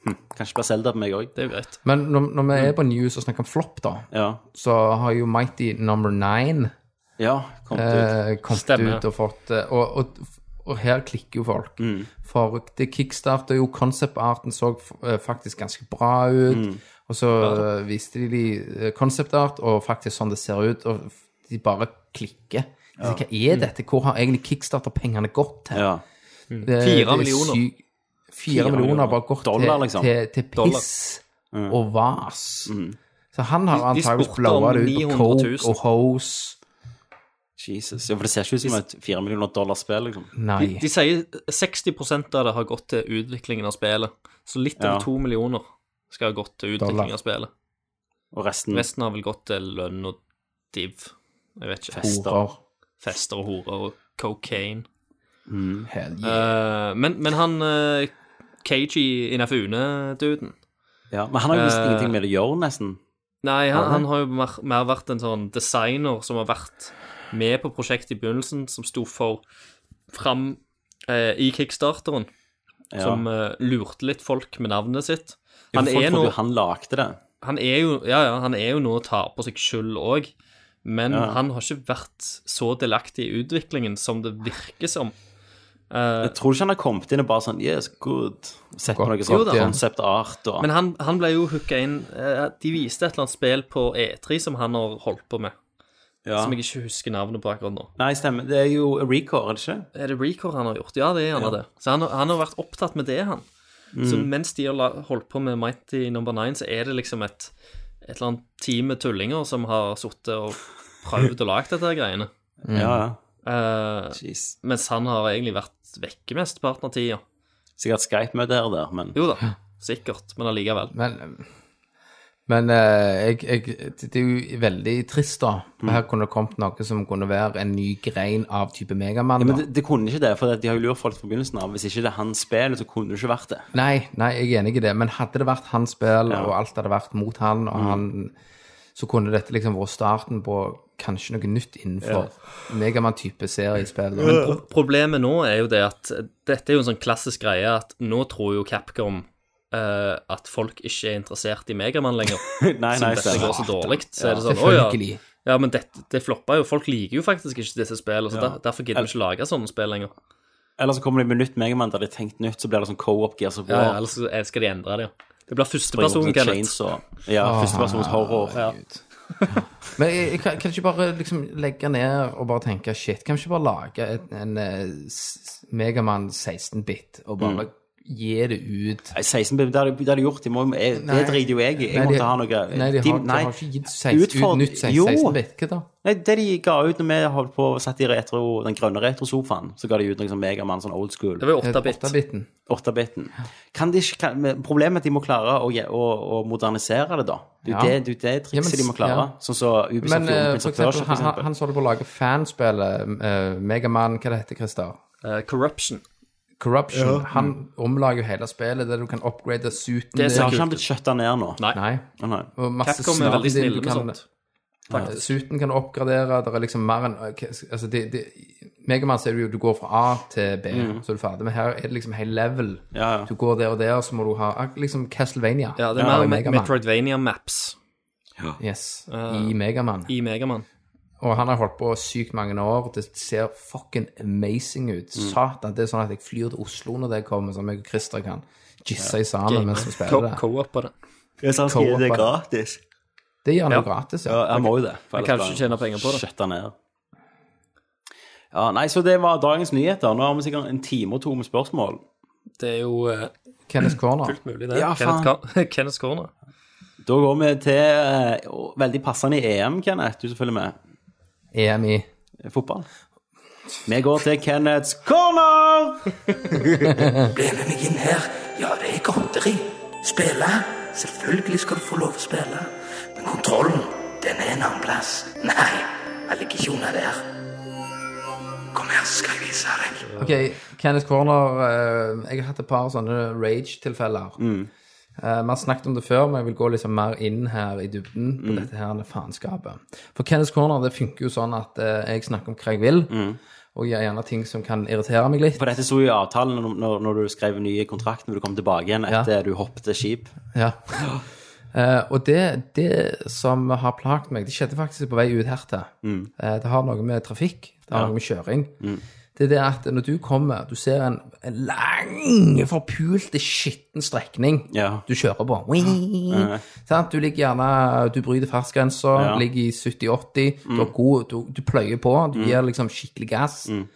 Speaker 1: Hm, kanskje bare Zelda på meg òg.
Speaker 3: Det er jo greit.
Speaker 2: Men når, når vi er på news og snakker om flopp, da,
Speaker 1: Ja.
Speaker 2: så har jo Mighty Number Nine
Speaker 1: ja, kom ut.
Speaker 2: eh, kommet
Speaker 3: Stemmer.
Speaker 2: ut og fått eh, og, og, og her klikker jo folk.
Speaker 3: Mm.
Speaker 2: For det kickstarter jo Concept-arten så eh, faktisk ganske bra ut.
Speaker 3: Mm.
Speaker 2: Og så eh, viste de de eh, concept-art, og faktisk sånn det ser ut. Og f- de bare klikker. De sier, Hva
Speaker 3: Mm.
Speaker 2: er dette? Hvor har egentlig kickstarter-pengene gått til?
Speaker 1: Ja.
Speaker 2: Det- det er
Speaker 3: Fire millioner.
Speaker 2: syk- Fire millioner har bare gått
Speaker 1: Dollar,
Speaker 2: til,
Speaker 1: liksom.
Speaker 2: til, til
Speaker 3: Dollar. Mm.
Speaker 2: piss og vas. Så han har
Speaker 3: De- de
Speaker 2: antakeligvis
Speaker 3: spurte
Speaker 2: blowa
Speaker 3: om
Speaker 2: det ut på
Speaker 3: 900 000.
Speaker 2: coke og hose.
Speaker 1: Jesus. Ja, for det ser ikke ut som et fire millioner dollar-spill, liksom.
Speaker 2: Nei.
Speaker 3: De sier 60 av det har gått til utviklingen av spillet. Så litt
Speaker 1: Ja.
Speaker 3: over to millioner skal ha gått til
Speaker 2: Dollar. Mm.
Speaker 3: utvikling av spillet.
Speaker 1: Og resten
Speaker 3: Resten har vel gått til lønn og div. Jeg vet ikke.
Speaker 2: Horer.
Speaker 3: Fester og horer og cocaine.
Speaker 1: Mm.
Speaker 2: Hell
Speaker 3: Eh, men, men han uh, Keiji Inafune-duden
Speaker 1: Ja, Men han har jo visst
Speaker 3: Eh.
Speaker 1: ingenting med det å gjøre, nesten.
Speaker 3: Nei, han,
Speaker 1: nei.
Speaker 3: han har jo mer, mer vært en sånn designer som har vært med på prosjektet i begynnelsen, som sto for fram eh, i kickstarteren,
Speaker 1: Ja.
Speaker 3: som eh, lurte litt folk med navnet sitt.
Speaker 1: Ja,
Speaker 3: Han
Speaker 1: for folk
Speaker 3: er,
Speaker 1: trodde
Speaker 3: nå,
Speaker 1: jo han lagde det.
Speaker 3: han, er jo, ja, ja, han er jo nå og tar på seg skyld òg, men
Speaker 1: Ja.
Speaker 3: han har ikke vært så delaktig i utviklingen som det virker som. Eh,
Speaker 1: Jeg tror ikke han har kommet inn og bare sånn Yes, good. Sett på
Speaker 2: Godt,
Speaker 1: noe sånt
Speaker 2: godt, ja.
Speaker 1: konsept art og
Speaker 3: men han, han ble jo hooka inn eh, De viste et eller annet spill på E3 som han har holdt på med,
Speaker 1: ja.
Speaker 3: som jeg ikke husker navnet på akkurat nå.
Speaker 1: Nei, stemmer. Det er jo Recore, er det ikke?
Speaker 3: Er det record han har gjort? Ja, det er gjerne det. Så han, han har vært opptatt med det, han. Så mens de har la- holdt på med Mighty Number 9, så er det liksom et, et eller annet team med tullinger som har sittet og prøvd å lage dette her greiene.
Speaker 1: Ja, ja.
Speaker 3: Eh,
Speaker 1: Jeez.
Speaker 3: mens han har egentlig vært vekke mesteparten av tida.
Speaker 1: Sikkert Skype-møte her og der, men
Speaker 3: Jo da, sikkert, men allikevel.
Speaker 2: Men, men eh, jeg, jeg, det det er jo veldig trist, da.
Speaker 1: Mm.
Speaker 2: For her kunne det kommet noe som kunne være en ny grein av type Megamann.
Speaker 1: Ja, men
Speaker 2: da.
Speaker 1: det, det kunne ikke det, for de har jo lurt folk fra begynnelsen av. Hvis ikke det er hans spill, så kunne det ikke vært det.
Speaker 2: Nei, nei, jeg er enig i det, men hadde det vært hans spill,
Speaker 1: Ja. Mm.
Speaker 2: og alt hadde vært mot han, og han, så kunne dette liksom vært starten på kanskje noe nytt innenfor Megamann-type seriespill. da. Men,
Speaker 3: sånn Pro- Problemet nå er jo det at dette er jo en sånn klassisk greie at nå tror jo Capcom eh, at folk ikke er interessert i Megaman lenger.
Speaker 1: Nei,
Speaker 3: Siden
Speaker 1: nei,
Speaker 3: dette
Speaker 1: stemmer.
Speaker 3: går så dårlig, så er det sånn Å ja,
Speaker 2: Selvfølgelig.
Speaker 3: ja men dette, det floppa jo. Folk liker jo faktisk ikke disse spillene, så der, derfor gidder vi ikke lage sånne spill lenger.
Speaker 1: Eller så kommer de med nytt Megaman der de har tenkt nytt, så blir det sånn co-op Gears of
Speaker 3: Ja,
Speaker 1: War.
Speaker 3: ellers så skal de endre det, ja. Det blir
Speaker 1: Bring up
Speaker 3: førsteperson,
Speaker 1: the
Speaker 3: Kenneth.
Speaker 1: chains og- Ja,
Speaker 2: Ah.
Speaker 1: førstepersons horror. Ja.
Speaker 2: Men jeg, jeg kan, kan ikke bare liksom legge ned og bare tenke shit, kan vi ikke bare lage et, en eh, s- Megaman 16-bit og bare
Speaker 1: Mm.
Speaker 2: gi det ut?
Speaker 1: Nei, 16 bit, det har de- det har de gjort. De må, jeg,
Speaker 2: Nei.
Speaker 1: det driter jo jeg i. Jeg
Speaker 2: Nei, de-
Speaker 1: måtte ha noe eh,
Speaker 2: Nei, de har, de
Speaker 1: nei.
Speaker 2: har ikke gitt 16,
Speaker 1: Utfordre-
Speaker 2: ut nytt
Speaker 1: Jo.
Speaker 2: 16-bit. Hva da? Eh,
Speaker 1: Nei, det de ga ut når vi holdt på satt i retro, den grønne retrosofaen, så ga de ut noe sånn Megaman, sånn old school.
Speaker 3: Det var jo 8-bit.
Speaker 2: 8-biten.
Speaker 1: 8-biten. Kan de ikke, kan, men problemet er at de må klare å, ge- å, å modernisere det, da. Det er jo
Speaker 2: Ja.
Speaker 1: det, det, er jo det trikset
Speaker 2: Ja, men-
Speaker 1: de må klare.
Speaker 2: ja.
Speaker 1: Sånn som så Ubisoft
Speaker 2: Men eh,
Speaker 1: gjorde
Speaker 2: for
Speaker 1: med Prince of Persia,
Speaker 2: eksempel,
Speaker 1: for
Speaker 2: han,
Speaker 1: eksempel.
Speaker 2: han som holder på å lage fanspillet uh, Megaman, hva det heter Christer?
Speaker 3: Eh, corruption.
Speaker 2: Corruption. Han omlager jo hele spillet, der du kan upgrade suiten din.
Speaker 3: Det
Speaker 1: Så
Speaker 3: ser
Speaker 1: har
Speaker 3: kult
Speaker 1: ikke han blitt skjøtta ned nå?
Speaker 3: Nei.
Speaker 2: Nei.
Speaker 1: Å, nei.
Speaker 2: Og masse
Speaker 3: Capcom er
Speaker 2: snakker
Speaker 3: veldig
Speaker 2: din,
Speaker 3: snille
Speaker 2: du
Speaker 3: med
Speaker 2: kan-
Speaker 3: sånt.
Speaker 2: Ja, Suiten kan du oppgradere. Det er liksom mer enn altså det, det, Megaman ser du jo du går fra A til B,
Speaker 3: Mm.
Speaker 2: så er du ferdig. Men her er det liksom hele level.
Speaker 1: Ja, ja.
Speaker 2: Du går der og der, så må du ha ak- liksom Castlevania.
Speaker 3: Ja, det er
Speaker 2: Bare
Speaker 3: mer
Speaker 2: i
Speaker 3: Me-
Speaker 2: Mega Man.
Speaker 3: Metroidvania-maps
Speaker 2: Yes, I Megaman.
Speaker 3: Eh, i Megaman.
Speaker 2: Og han har holdt på sykt mange år. Det ser fucking amazing ut.
Speaker 3: Mm.
Speaker 2: Satan, det er sånn at jeg flyr til Oslo når det kommer, så jeg og Christer kan jizze sammen mens vi spiller det.
Speaker 3: Co-op på det.
Speaker 1: Jeg sa han
Speaker 2: skulle gi det
Speaker 1: gratis.
Speaker 2: Det gjør han jo
Speaker 3: Ja.
Speaker 2: gratis,
Speaker 1: Ja,
Speaker 2: ja.
Speaker 1: jeg må jo det. for
Speaker 3: Jeg
Speaker 1: ellers
Speaker 3: kan
Speaker 1: blir
Speaker 3: ikke tjene penger på det.
Speaker 1: Skjøtta ned. Ja, nei, så det var dagens nyheter. Nå har vi sikkert en time og to med spørsmål.
Speaker 3: Det er jo eh,
Speaker 2: Kenneth Corner.
Speaker 3: fullt mulig, det.
Speaker 1: Ja,
Speaker 3: Kenneth, Ka- Kenneth Corner.
Speaker 1: Da går vi til eh, og veldig passende i EM, Kenneth, du som følger med.
Speaker 2: EMI.
Speaker 1: eh, Fotball. Vi går til Kenneths corner!
Speaker 5: Spiller meg inn her. Ja, det er godteri. Spille? Selvfølgelig skal du få lov å spille. Men kontrollen, den er en annen plass. Nei, jeg ligger ikke unna der. Kom her, skal jeg vise deg.
Speaker 2: Ok, Kenneth Corner eh, Jeg har hatt et par sånne rage-tilfeller. Eh, Vi har snakket om det før, men jeg vil gå liksom mer inn her i dybden på dette her faenskapet. For Kenneth Corner det funker jo sånn at eh, jeg snakker om hva jeg vil, og gjør gjerne ting som kan irritere meg litt.
Speaker 1: For dette sto jo i avtalen når- når, når du skrev ny kontrakt, når du kom tilbake igjen etter du hoppet skip.
Speaker 2: Ja. Eh, og det, det som har plaget meg, det skjedde faktisk på vei ut her til. Eh, det har noe med trafikk, det har noe med kjøring. Det er det at når du kommer, du ser en, en lang, forpulte, skitten strekning
Speaker 1: Ja.
Speaker 2: du kjører på. Sant? Du ligger gjerne, du bryter fartsgrensa,
Speaker 1: Ja. Mm.
Speaker 2: ligger i 70-80, du, er god, du, du pløyer på, du gir liksom skikkelig gass.
Speaker 1: Mm.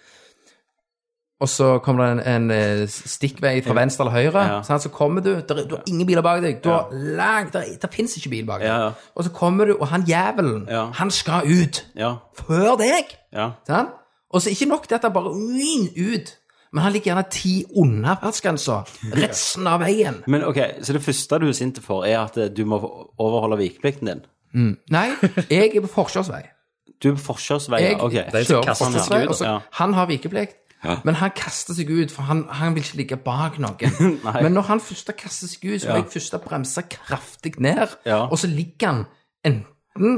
Speaker 2: Og så kommer det en, en eh, stikkvei fra venstre eller høyre.
Speaker 1: Ja.
Speaker 2: Sant? Så kommer du, der, du har ingen biler bak deg. Du har langt, der, der finnes ikke bil bak deg.
Speaker 1: Ja, ja.
Speaker 2: Og så kommer du, og han jævelen,
Speaker 1: Ja.
Speaker 2: han skal ut
Speaker 1: Ja,
Speaker 2: før deg.
Speaker 1: ja.
Speaker 2: Sant? Og så ikke nok det at han bare uin, ut, men han ligger gjerne ti unna fartsgrensa resten av veien.
Speaker 1: Men ok, så det første du er sint for, er at eh, du må overholde vikeplikten din.
Speaker 2: Nei, jeg er på forkjørsvei.
Speaker 1: Du er på forkjørsvei,
Speaker 2: Jeg
Speaker 1: ja, ok.
Speaker 2: kjører på
Speaker 3: kaster seg
Speaker 2: forkjørsvei,
Speaker 1: ut,
Speaker 2: og så
Speaker 1: ja.
Speaker 2: han har vikeplikt. Men han kaster seg ut, for han, han vil ikke ligge bak noen.
Speaker 1: Nei.
Speaker 2: men når han først har kastet seg ut, så må jeg først ha bremsa kraftig ned.
Speaker 1: Ja.
Speaker 2: Og så ligger han enten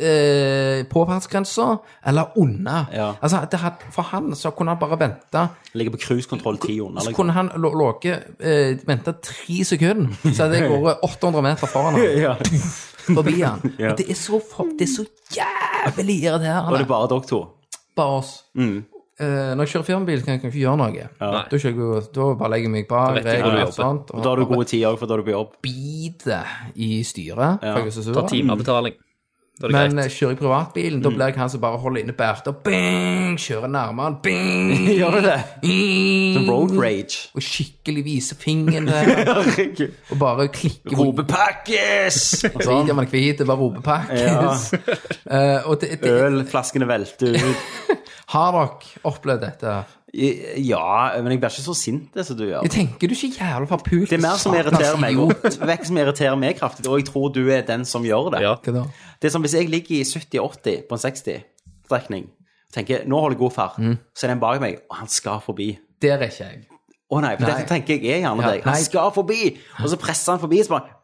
Speaker 2: eh, på fartsgrensa eller unna.
Speaker 1: Ja.
Speaker 2: Altså, det had, for han så kunne han bare vente.
Speaker 1: Ligger på cruisekontroll 10 under.
Speaker 2: Så
Speaker 1: liksom.
Speaker 2: kunne han lå- låke eh, vente tre sekunder, så hadde jeg vært 800 meter foran han.
Speaker 1: Ja.
Speaker 2: Forbi han.
Speaker 1: Ja.
Speaker 2: Og det er så, for, det er så jævlig irriterende.
Speaker 1: Og det er bare dere to.
Speaker 2: bare oss.
Speaker 1: Mm.
Speaker 2: Eh, når jeg kjører firmabil, kan jeg kan jeg ikke gjøre noe. Da, kjører jeg, jo- da bare legger jeg meg bak.
Speaker 3: Da vet du hvor du jobber.
Speaker 2: sånt,
Speaker 1: Og da har du gode tid òg, for da er du på jobb.
Speaker 2: biter i styret. for jeg er så sur.
Speaker 3: Ta timebetaling. Da er det
Speaker 2: Men
Speaker 3: greit.
Speaker 2: eh, kjører jeg privatbilen,
Speaker 1: Mm.
Speaker 2: da blir jeg han som bare holder inne bærte og bing, kjører nærmere. Bing,
Speaker 1: Gjør du det?
Speaker 2: bing,
Speaker 1: Sånn road rage.
Speaker 2: og skikkelig viser fingeren der, og bare klikker. på-
Speaker 1: Ropepakkes!
Speaker 2: Hvit, ja, men hvit, det var ropepakke.
Speaker 1: Ja.
Speaker 2: Eh, og det, det,
Speaker 1: Ølflaskene velter ut.
Speaker 2: har dere opplevd dette?
Speaker 1: I- Ja, men jeg blir ikke så sint som du gjør.
Speaker 2: Jeg tenker altså. du ikke jævla forpult?
Speaker 1: Det er mer som
Speaker 2: satans
Speaker 1: irriterer meg.
Speaker 2: idiot.
Speaker 1: Det er ikke som irriterer meg kraftig, og jeg tror du er den som gjør det.
Speaker 3: Ja.
Speaker 2: Hva da?
Speaker 1: Det er som hvis jeg ligger i 70-80 på en 60-strekning, tenker nå holder jeg god fart, så er det en bak meg, og han skal forbi.
Speaker 2: Der er ikke jeg.
Speaker 1: Å nei, for
Speaker 2: Nei.
Speaker 1: dette tenker jeg er gjerne
Speaker 2: Ja,
Speaker 1: deg. Han
Speaker 2: nei.
Speaker 1: skal forbi, og så presser han forbi, så bare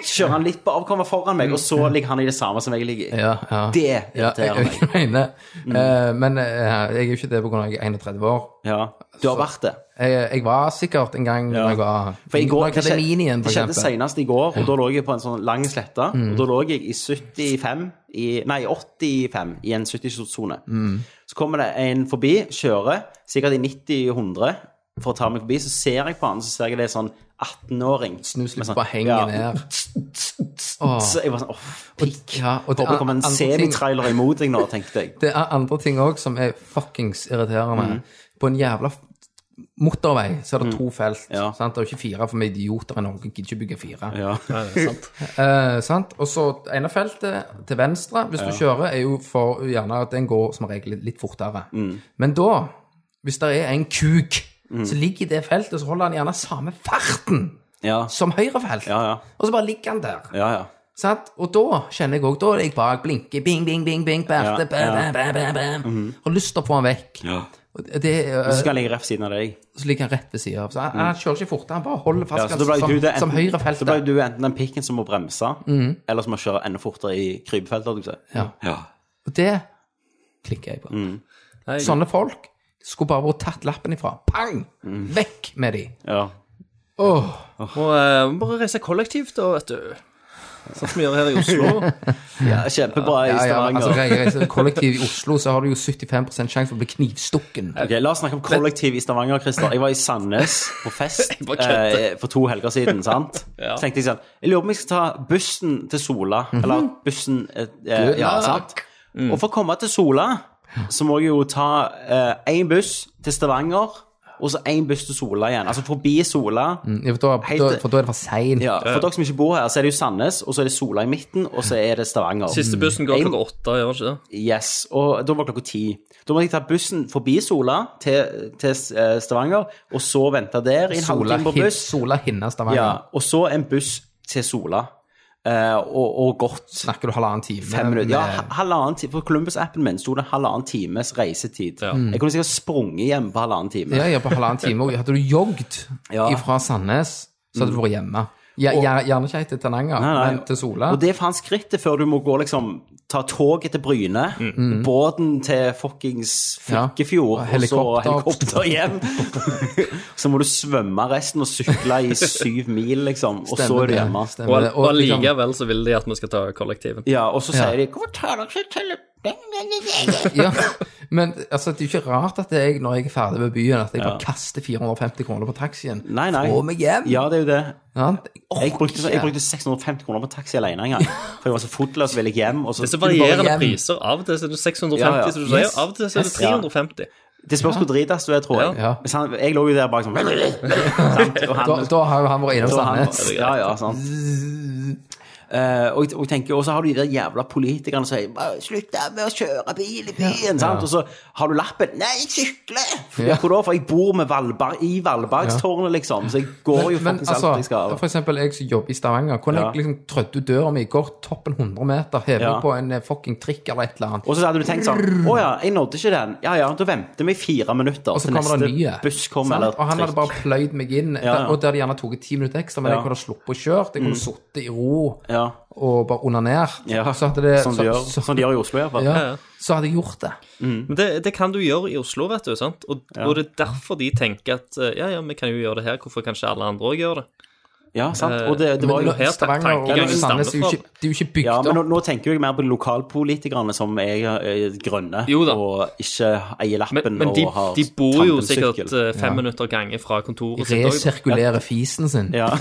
Speaker 1: kjører han litt på avkommet foran meg, og så ligger han i det samme som jeg ligger i.
Speaker 2: Mm. Ja, ja.
Speaker 1: Det
Speaker 2: ja, jeg,
Speaker 1: irriterer meg. Mm.
Speaker 2: jeg mener. Eh, men eh, jeg er jo ikke det pga. at jeg er 31 år.
Speaker 1: Ja, du har vært det.
Speaker 2: Jeg, jeg var sikkert en gang
Speaker 1: Ja.
Speaker 2: når jeg var
Speaker 1: For i går,
Speaker 2: når jeg
Speaker 1: det,
Speaker 2: hadde min
Speaker 1: skjedde,
Speaker 2: igjen,
Speaker 1: det
Speaker 2: for
Speaker 1: skjedde
Speaker 2: eksempel. Mm.
Speaker 1: senest i går, og da lå jeg på en sånn lang slette. Og da lå jeg i 75 i, Nei, 85 i en 70-sone.
Speaker 2: Mm.
Speaker 1: Så kommer det en forbi, kjører sikkert i 90-100 for å ta meg forbi. Så ser jeg på han, så ser jeg det er sånn 18-åring.
Speaker 2: Snus litt
Speaker 1: Med sånn-
Speaker 2: på hengen
Speaker 1: ja.
Speaker 2: ned. Ah.
Speaker 1: Så jeg var sånn åh, pikk.
Speaker 2: Ja, og det
Speaker 1: Håper det kommer en
Speaker 2: andre ting-
Speaker 1: semitrailer imot deg nå, tenkte jeg.
Speaker 2: Det er andre ting òg som er fuckings irriterende.
Speaker 1: Mm.
Speaker 2: På en jævla f- motorvei så er det to felt.
Speaker 1: Ja.
Speaker 2: Sant? Det er jo ikke fire, for vi er idioter i Norge gidder ikke bygge fire.
Speaker 1: Ja.
Speaker 2: Eh, sant? Og så ene feltet til venstre, hvis du kjører, er jo for gjerne at den går som regel litt fortere.
Speaker 1: Mm.
Speaker 2: Men da, hvis det er en kuk som ligger i det feltet, så holder han gjerne samme farten
Speaker 1: Ja.
Speaker 2: som høyre felt.
Speaker 1: Ja, ja.
Speaker 2: Og så bare ligger han der.
Speaker 1: ja, ja.
Speaker 2: Sant? Og da kjenner jeg òg Da er jeg bak, blinker, bing, bing, bing, bing, berte,
Speaker 1: Ja,
Speaker 2: bam,
Speaker 1: ja. Mhm.
Speaker 2: bam, bam, bam, bam. Har lyst til å få han vekk.
Speaker 1: Ja.
Speaker 2: Og Det, øh,
Speaker 1: Så skal jeg ligge rett ved siden av deg.
Speaker 2: så ligger han rett ved sida av. Så han, han kjører ikke fortere, han bare holder
Speaker 1: Mm. Ja,
Speaker 2: fast
Speaker 1: så da ble
Speaker 2: som,
Speaker 1: du det
Speaker 2: som
Speaker 1: enten,
Speaker 2: høyrefeltet. Mhm.
Speaker 1: så ble du enten den pikken som må bremse, eller som må kjøre enda fortere i krypefeltet. holdt jeg på å si.
Speaker 2: Ja.
Speaker 1: Ja.
Speaker 2: Og det klikker jeg på.
Speaker 1: Mm.
Speaker 3: Nei,
Speaker 2: Sånne folk skulle bare vært tatt lappen ifra. Pang! Vekk med de.
Speaker 1: Mm. Ja.
Speaker 2: Åh,
Speaker 3: Må eh, må bare reise kollektivt, da, vet du. Sånn som vi gjør her i Oslo.
Speaker 1: ja. Kjempebra i
Speaker 2: ja, ja,
Speaker 1: Stavanger.
Speaker 2: altså, jeg reiser kollektiv i Oslo, så har du jo 75 sjanse for å bli knivstukken.
Speaker 1: Ok, La oss snakke om kollektiv i Stavanger. Christer Jeg var i Sandnes på fest
Speaker 3: bare kødder.
Speaker 1: eh, for to helger siden. sant?
Speaker 3: Ja.
Speaker 1: Så tenkte jeg sånn Jeg lurer på om jeg skal ta bussen til Sola. Eller bussen eh, eh, Ja,
Speaker 2: luck.
Speaker 1: sant?
Speaker 3: Mm.
Speaker 1: Og for å komme til Sola så må jeg jo ta én buss til Stavanger, og så én buss til Sola igjen. Altså forbi Sola.
Speaker 2: Ja, for, da,
Speaker 1: Helt-
Speaker 2: da, for da er det for sein
Speaker 1: Ja, For dere som ikke bor her, så er det jo Sandnes, og så er det Sola i midten, og så er det Stavanger.
Speaker 3: Siste bussen går
Speaker 1: Jeg-
Speaker 3: klokka åtte, gjør den ikke det?
Speaker 1: Yes, og da var klokka ti. Da måtte jeg ta bussen forbi Sola til, til eh, Stavanger, og så vente der i en
Speaker 2: Sola,
Speaker 1: halvtime på
Speaker 2: hin,
Speaker 1: buss.
Speaker 2: sola hinner Stavanger.
Speaker 1: Ja, og så en buss til Sola. Eh, og, og godt
Speaker 2: Snakker du halvannen time?
Speaker 1: fem minutter. Ja,
Speaker 2: med-
Speaker 1: ha- halvannen time. På Columbus-appen min sto det halvannen times reisetid. Jeg kunne sikkert sprunget hjem på halvannen time.
Speaker 2: Ja, ja, på halvannen time. Og hadde du jogget
Speaker 1: Ja.
Speaker 2: fra Sandnes, så hadde du vært hjemme. Ja, gjer- gjerne ikke helt til Tananger,
Speaker 1: Nei, nei.
Speaker 2: men til Sola.
Speaker 1: Og det er faen skrittet før du må gå liksom Ta toget til Bryne, båten til fuckings Flekkefjord,
Speaker 2: Mm. Ja. Og
Speaker 1: og så
Speaker 2: helikopter.
Speaker 1: helikopter hjem. så må du svømme resten og sykle i syv mil, liksom, og så er du hjemme.
Speaker 2: Stemmer
Speaker 3: Og,
Speaker 2: det.
Speaker 3: og
Speaker 2: liksom-
Speaker 3: allikevel så vil de at vi skal ta kollektiven.
Speaker 1: Ja, og så sier de
Speaker 4: Hvorfor tar dere ikke tele...
Speaker 2: ja. Men altså, det er jo ikke rart at jeg, når jeg er ferdig ved byen, at jeg bare kaster 450 kroner på taxien.
Speaker 1: Nei, nei.
Speaker 2: Få meg hjem!
Speaker 1: Ja, det er jo det.
Speaker 2: Sant? Jeg
Speaker 1: Jeg
Speaker 2: orker
Speaker 1: brukte,
Speaker 2: ikke.
Speaker 1: jeg brukte 650 kroner på taxi alene en gang. For jeg var så fotløs, ville jeg hjem. Og så,
Speaker 3: Det er så varierende
Speaker 2: hjem.
Speaker 3: priser. Av og til så er det 650,
Speaker 1: Ja, ja.
Speaker 3: som du sier.
Speaker 2: Yes.
Speaker 3: Av og til så er det
Speaker 2: Yes.
Speaker 3: 350.
Speaker 1: det spørs hvor dritas du er, tror jeg.
Speaker 2: Ja.
Speaker 1: Hvis han- Jeg lå jo der bak sånn sant? Og han-
Speaker 2: Da, da har jo han vært innom
Speaker 1: Så han-
Speaker 2: Sandnes.
Speaker 1: Ja, ja, sant. Eh, og, og tenker, og så har du de der jævla politikerne som sier «Bare 'slutt da med å kjøre bil i byen', sant? og så har du lappen 'nei, jeg sykler'.
Speaker 2: Ja.
Speaker 1: Hvor da? For jeg bor med Valberg, i Valbergstårnet, liksom, så jeg går jo
Speaker 2: Men
Speaker 1: faktisk alt jeg skal.
Speaker 2: altså, for eksempel jeg som jobber i Stavanger, kunne
Speaker 1: Ja.
Speaker 2: jeg liksom trødd ut døra mi, går toppen 100 meter, hever
Speaker 1: Ja.
Speaker 2: på en eh, fucking trikk eller et eller annet.
Speaker 1: Og så hadde du tenkt sånn 'Å ja, jeg nådde ikke den'. Ja ja, da venter vi i fire minutter
Speaker 2: Og så
Speaker 1: til
Speaker 2: kommer det
Speaker 1: neste
Speaker 2: nye.
Speaker 1: buss
Speaker 2: sant?
Speaker 1: kommer. eller
Speaker 2: og han hadde
Speaker 1: trikk.
Speaker 2: bare pløyd meg inn.
Speaker 1: Ja, ja.
Speaker 2: Og det hadde gjerne tatt ti minutter ekstra, men
Speaker 1: Ja. Mm.
Speaker 2: jeg kunne sluppet å kjøre. Jeg kunne sittet i ro
Speaker 1: ja.
Speaker 2: og bare onanert.
Speaker 1: Ja.
Speaker 2: Så hadde det
Speaker 1: Sånn de
Speaker 2: så,
Speaker 1: gjør,
Speaker 2: så,
Speaker 1: sånn de gjør i Oslo, i hvert fall.
Speaker 2: ja,
Speaker 3: ja.
Speaker 2: så hadde jeg gjort det.
Speaker 3: Men det, det kan du gjøre i Oslo, vet du. sant? Og, og det er derfor de tenker at eh, ja, ja, vi kan jo gjøre det her. Hvorfor kan ikke alle andre òg gjøre det?
Speaker 1: Ja, sant? Og det, det var jo
Speaker 3: Men- her
Speaker 2: Stavanger og
Speaker 3: tankegangen stammer
Speaker 2: Sandnes er jo
Speaker 3: fra.
Speaker 2: ikke, det er jo ikke bygd
Speaker 1: Ja, men nå,
Speaker 2: opp.
Speaker 1: nå tenker jeg mer på lokalpolitikerne som er, eh, grønne
Speaker 3: Jo da.
Speaker 1: og ikke eier lappen
Speaker 3: Men, men de,
Speaker 1: og har
Speaker 3: de bor jo sikkert
Speaker 1: tandemsykkel.
Speaker 3: eh, fem minutter gange fra kontoret sitt òg.
Speaker 2: Resirkulere fisen sin.
Speaker 1: Ja.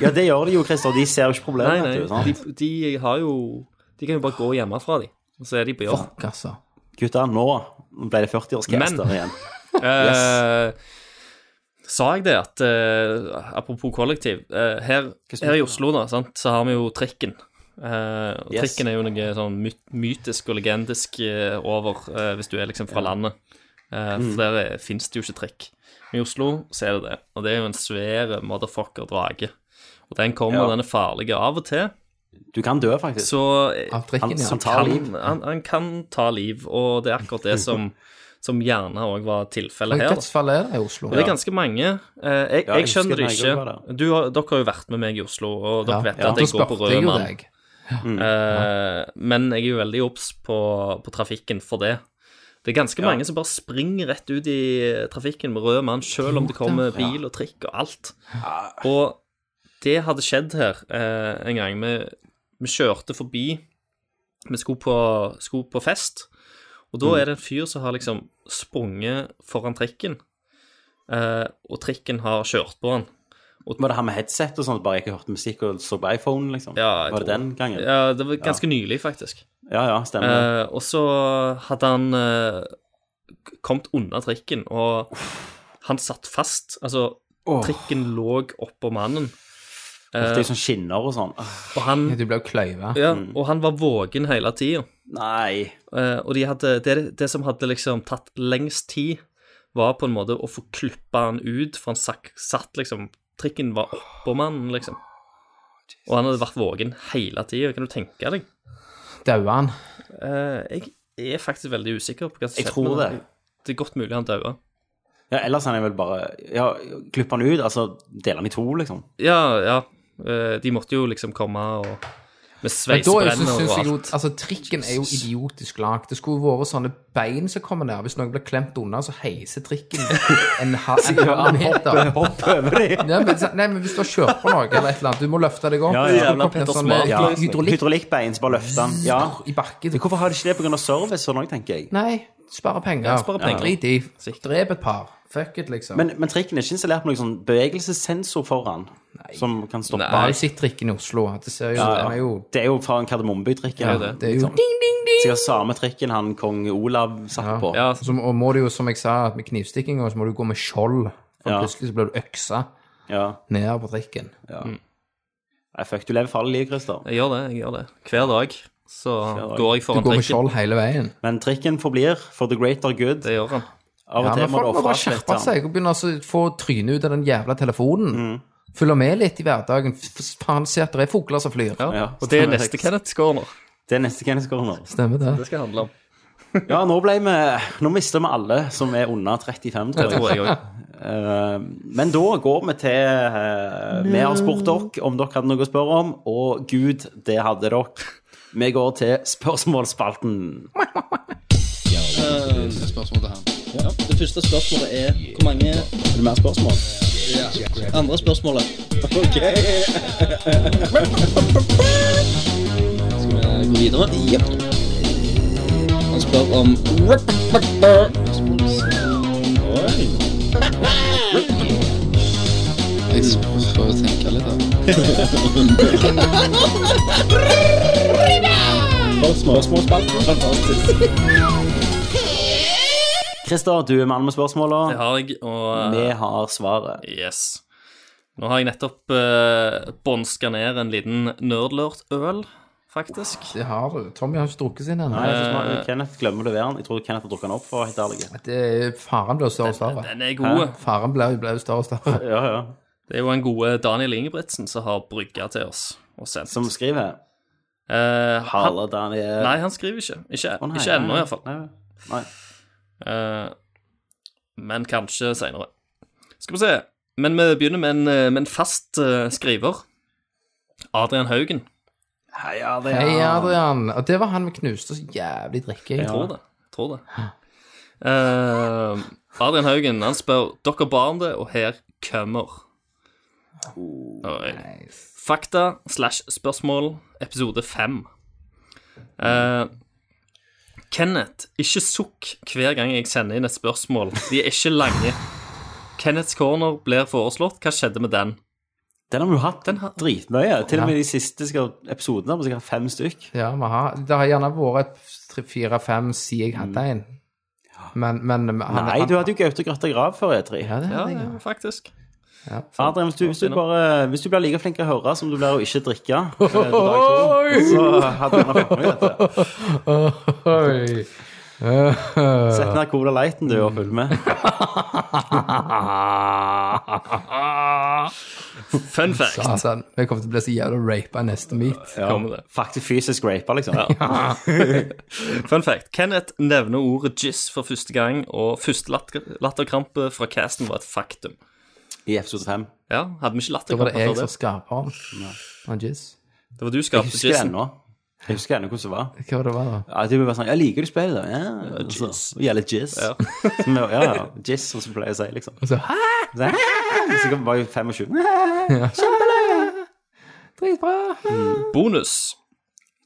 Speaker 1: ja, det gjør de jo, Christer. De ser jo ikke
Speaker 3: Nei,
Speaker 1: problemet.
Speaker 3: nei,
Speaker 1: vet du, sant?
Speaker 3: de, de har jo De kan jo bare gå hjemmefra, de. Og så er de på jobb.
Speaker 2: Fuck, altså.
Speaker 1: Gutta, nå ble det 40-årsgangster
Speaker 3: Men-
Speaker 1: igjen.
Speaker 3: Eh, Sa jeg det at eh, Apropos kollektiv. eh, her,
Speaker 1: som-
Speaker 3: her i Oslo da, sant, så har vi jo trikken. Eh, og
Speaker 1: Yes.
Speaker 3: Trikken er jo noe sånn my mytisk og legendisk eh, over, eh, hvis du er liksom fra landet. Eh,
Speaker 1: Mm.
Speaker 3: for der fins det jo ikke trikk. Men i Oslo så er det det. Og det er jo en svær motherfucker-drage. Og den kommer,
Speaker 1: Ja.
Speaker 3: og den er farlig av og til.
Speaker 1: Du kan dø, faktisk.
Speaker 3: Så eh,
Speaker 2: Av trikken,
Speaker 1: Han-
Speaker 2: ja.
Speaker 1: han tar
Speaker 3: kan,
Speaker 1: liv.
Speaker 3: Han, han kan ta liv, og det er akkurat det som som gjerne òg var tilfellet her. da.
Speaker 2: Dødsfall er det i Oslo.
Speaker 3: Og det er ganske mange. Eh, Jeg,
Speaker 1: Ja, jeg
Speaker 3: jeg
Speaker 1: husker
Speaker 3: skjønner det
Speaker 1: når jeg
Speaker 3: ikke.
Speaker 1: var der.
Speaker 3: Du har, dere har jo vært med meg i Oslo, og dere
Speaker 2: Ja.
Speaker 3: vet
Speaker 1: Ja.
Speaker 3: at jeg
Speaker 2: Da
Speaker 3: går på
Speaker 2: spurte
Speaker 3: rød
Speaker 2: jeg jo
Speaker 3: mann.
Speaker 2: deg.
Speaker 1: Mm.
Speaker 3: Eh, Men jeg er jo veldig obs på, på trafikken for det. Det er ganske mange som bare springer rett ut i trafikken med rød mann, selv om det kommer bil og trikk og alt. Og det hadde skjedd her eh, en gang. Vi, vi kjørte forbi Vi skulle på, skulle på fest,
Speaker 1: Mm.
Speaker 3: og da er det en fyr som har liksom sprunget foran trikken, eh, og trikken har kjørt på han.
Speaker 1: Var det han med headset og sånn, bare jeg ikke hørte musikk og så på iPhone, liksom?
Speaker 3: Ja, jeg
Speaker 1: var det
Speaker 3: tror-
Speaker 1: den gangen? Ja,
Speaker 3: Ja, det var ganske nylig, faktisk.
Speaker 1: ja, stemmer.
Speaker 3: Eh, og så hadde han eh, k- kommet unna trikken, og han satt fast. Altså,
Speaker 1: Åh.
Speaker 3: trikken lå oppå mannen,
Speaker 1: det
Speaker 3: eh.
Speaker 1: er jo sånn skinner og sånn. Åh,
Speaker 3: og han,
Speaker 2: Du ble jo kløyva.
Speaker 3: ja,
Speaker 1: Mm.
Speaker 3: og han var våken hele tida.
Speaker 1: Nei.
Speaker 3: og de hadde, det, det som hadde liksom tatt lengst tid, var på en måte å få klippa han ut, for han sak, satt liksom Trikken var oppå mannen, liksom. Og han hadde vært våken hele tida. Kan du tenke deg?
Speaker 2: Daua han?
Speaker 3: Eh, jeg er faktisk veldig usikker på hva som
Speaker 1: Jeg
Speaker 3: skjedde.
Speaker 1: tror
Speaker 3: med
Speaker 1: det.
Speaker 3: han. Det er godt mulig han daua.
Speaker 1: Ja, ellers han er vel bare Ja, klippe han ut, altså dele han i to, liksom.
Speaker 3: Ja, ja. Eh, De måtte jo liksom komme og
Speaker 2: Men
Speaker 3: med
Speaker 2: da er jo-
Speaker 3: sveisebrenner
Speaker 2: så
Speaker 3: og
Speaker 2: synes jeg jo,
Speaker 3: alt.
Speaker 2: altså Trikken er jo idiotisk lagd. Det skulle vært sånne bein som kommer ned. Hvis noen blir klemt unna, så heiser trikken en halv en halv meter.
Speaker 1: Hopp over de.
Speaker 2: Nei men, nei, men hvis du har kjørt på noe eller et eller annet, du må løfte deg opp.
Speaker 1: Ja,
Speaker 2: Du
Speaker 1: ja.
Speaker 2: skulle
Speaker 3: Jævla
Speaker 2: kommet ned
Speaker 3: Petter
Speaker 2: sånn
Speaker 3: Smart.
Speaker 2: med
Speaker 1: Ja.
Speaker 2: hydraulikk
Speaker 1: Hydraulikkbein som bare løfter han. Ja.
Speaker 2: i bakken.
Speaker 1: Men Hvorfor har de ikke det pga. service så langt, tenker jeg?
Speaker 2: Nei, spare penger.
Speaker 3: Ja, spare penger.
Speaker 2: Drit i.
Speaker 3: Sikkert.
Speaker 2: Drep et par. Fuck it, liksom.
Speaker 1: Men, men trikken er ikke installert med noen sånn bevegelsessensor foran som kan stoppe
Speaker 3: Nei.
Speaker 2: Bare sitt trikken i Oslo. Det ser jo,
Speaker 1: Ja,
Speaker 2: den er jo
Speaker 1: ja. Det er jo fra en Kardemommeby-trikk.
Speaker 3: Ja,
Speaker 1: Ja,
Speaker 3: det.
Speaker 2: det er jo
Speaker 1: Sikkert samme trikken han kong Olav satt på.
Speaker 3: Ja,
Speaker 2: som, Og må du jo, som jeg sa, at med knivstikking og så må du gå med skjold. For
Speaker 1: Ja.
Speaker 2: plutselig så blir du øksa
Speaker 1: Ja.
Speaker 2: ned på trikken.
Speaker 1: Nei, fuck, du lever farlig liv, Christer.
Speaker 3: jeg gjør det. jeg gjør det. Hver dag så
Speaker 1: dag.
Speaker 3: går jeg
Speaker 2: Du går
Speaker 3: foran
Speaker 2: med
Speaker 3: trikken.
Speaker 2: skjold hele veien.
Speaker 1: Men trikken forblir for the greater good.
Speaker 3: Det gjør han.
Speaker 1: Av
Speaker 2: Ja,
Speaker 1: og til
Speaker 2: men
Speaker 1: må
Speaker 2: folk
Speaker 1: du
Speaker 2: må
Speaker 1: ofre
Speaker 2: bare
Speaker 1: litt.
Speaker 2: skjerpe
Speaker 1: Seg.
Speaker 2: seg og begynne å så få trynet ut av den jævla telefonen. Følge med litt i hverdagen. F- Faen, se at det er fugler som flyr.
Speaker 3: Ja.
Speaker 1: Ja,
Speaker 3: Og det er
Speaker 1: stemmer
Speaker 3: neste
Speaker 1: det.
Speaker 3: Kenneth Skåner.
Speaker 1: Det er neste Kenneth Corner.
Speaker 2: Stemmer det.
Speaker 3: Det skal handle om.
Speaker 1: Ja, nå ble vi Nå mister vi alle som er under 35,
Speaker 3: Det
Speaker 1: tror jeg.
Speaker 3: tror jeg òg.
Speaker 1: Eh, Men da går vi til eh, Vi har spurt dere om dere hadde noe å spørre om, og gud, det hadde dere. Vi går til spørsmålsspalten.
Speaker 6: Det første spørsmålet er hvor mange
Speaker 1: Er det mer spørsmål?
Speaker 6: andre spørsmålet? Ok. Skal vi gå videre? Jepp. Han spør om
Speaker 1: Christer, du er mann med
Speaker 3: Det
Speaker 1: spørsmåla.
Speaker 3: har jeg, og eh,
Speaker 1: Vi har svaret.
Speaker 3: yes. Nå har jeg nettopp uh, bånska ned en liten nerdlurt-øl, faktisk.
Speaker 2: Det har du. Tommy har ikke drukket sin ennå.
Speaker 1: Nei, jeg synes
Speaker 3: Eh.
Speaker 1: man- Kenneth glemmer å levere den. Jeg tror Kenneth har drukket den opp, for å være helt ærlig.
Speaker 2: Det er- Faren blir jo større og større.
Speaker 3: Den er god.
Speaker 2: Faren blir blir jo større og større.
Speaker 1: Ja, ja.
Speaker 3: Det er jo en gode Daniel Ingebrigtsen som har brygga til oss og sendt.
Speaker 1: Som skriver
Speaker 3: Eh, han,
Speaker 1: Harle Daniel
Speaker 3: nei, han skriver ikke. Ikke,
Speaker 1: Å, nei,
Speaker 3: ikke ennå,
Speaker 1: nei,
Speaker 3: iallfall.
Speaker 1: nei, Nei.
Speaker 3: Uh, men kanskje seinere. Skal vi se. Men vi begynner med en, eh, med en fast eh, skriver. Adrian Haugen.
Speaker 1: Hei, Adrian.
Speaker 2: Hei, Adrian. Og det var han vi knuste så jævlig drikke.
Speaker 3: Jeg tror det. Tror det. Eh, Adrian Haugen han spør Dere barn det, og her kommer.
Speaker 2: Oh,
Speaker 3: Oi. Fakta slash spørsmål, episode fem. Eh, Kenneth, ikke sukk hver gang jeg sender inn et spørsmål. De er ikke lange. Kenneths corner blir foreslått. Hva skjedde med den?
Speaker 1: Den har vi jo hatt den dritmye. Til og med de siste skal, episodene har vi sikkert fem stykk.
Speaker 2: Ja, vi har, det har gjerne vært et tre, fire, fem siden jeg hadde en. Men, men han,
Speaker 1: Mm. Nei,
Speaker 2: han,
Speaker 1: du hadde jo Gaute Grøtta Grav før, Etri.
Speaker 2: Ja, det
Speaker 3: Ja,
Speaker 2: hadde jeg.
Speaker 3: ja, faktisk.
Speaker 1: Adrian, hvis du, hvis, du bare, hvis du blir like flink til å høre som du blir å ikke drikke, eh, på dag to, så hadde du nok fått med dette.
Speaker 2: Oi.
Speaker 1: Sett ned Cola Lighten, du, og følg med.
Speaker 3: Fun fact.
Speaker 2: Satan, altså, vi kommer til å bli så jævla rapa i neste meet.
Speaker 1: Ja.
Speaker 3: Kommer det.
Speaker 1: Faktisk fysisk raper, liksom.
Speaker 3: Fun fact. Kenneth nevner ordet jizz for første gang, og første latter- latterkrampe fra casten var et faktum.
Speaker 1: I episode 5.
Speaker 3: Ja, hadde vi ikke
Speaker 2: Da var det
Speaker 3: latterkrampe
Speaker 2: jeg
Speaker 3: før
Speaker 2: som
Speaker 3: det?
Speaker 2: skapte han. Han Jizz.
Speaker 3: Det var du som
Speaker 1: Jeg
Speaker 3: skapte
Speaker 1: husker det
Speaker 3: jizzen.
Speaker 1: ennå. Jeg husker ennå hvordan det var.
Speaker 2: Hva var det var da?
Speaker 1: Ja, de bare sånn, jeg liker du spillet, da. Ja, altså,
Speaker 3: jizz.
Speaker 1: og Gjelder jizz.
Speaker 3: Ja.
Speaker 1: Som jeg- Ja, ja. Jizz, som jeg pleier å si, liksom.
Speaker 2: Og så, Hæ?
Speaker 1: Så jeg, "Hæ?" Så jeg var jo 25.
Speaker 2: Dritbra!
Speaker 3: Bonus.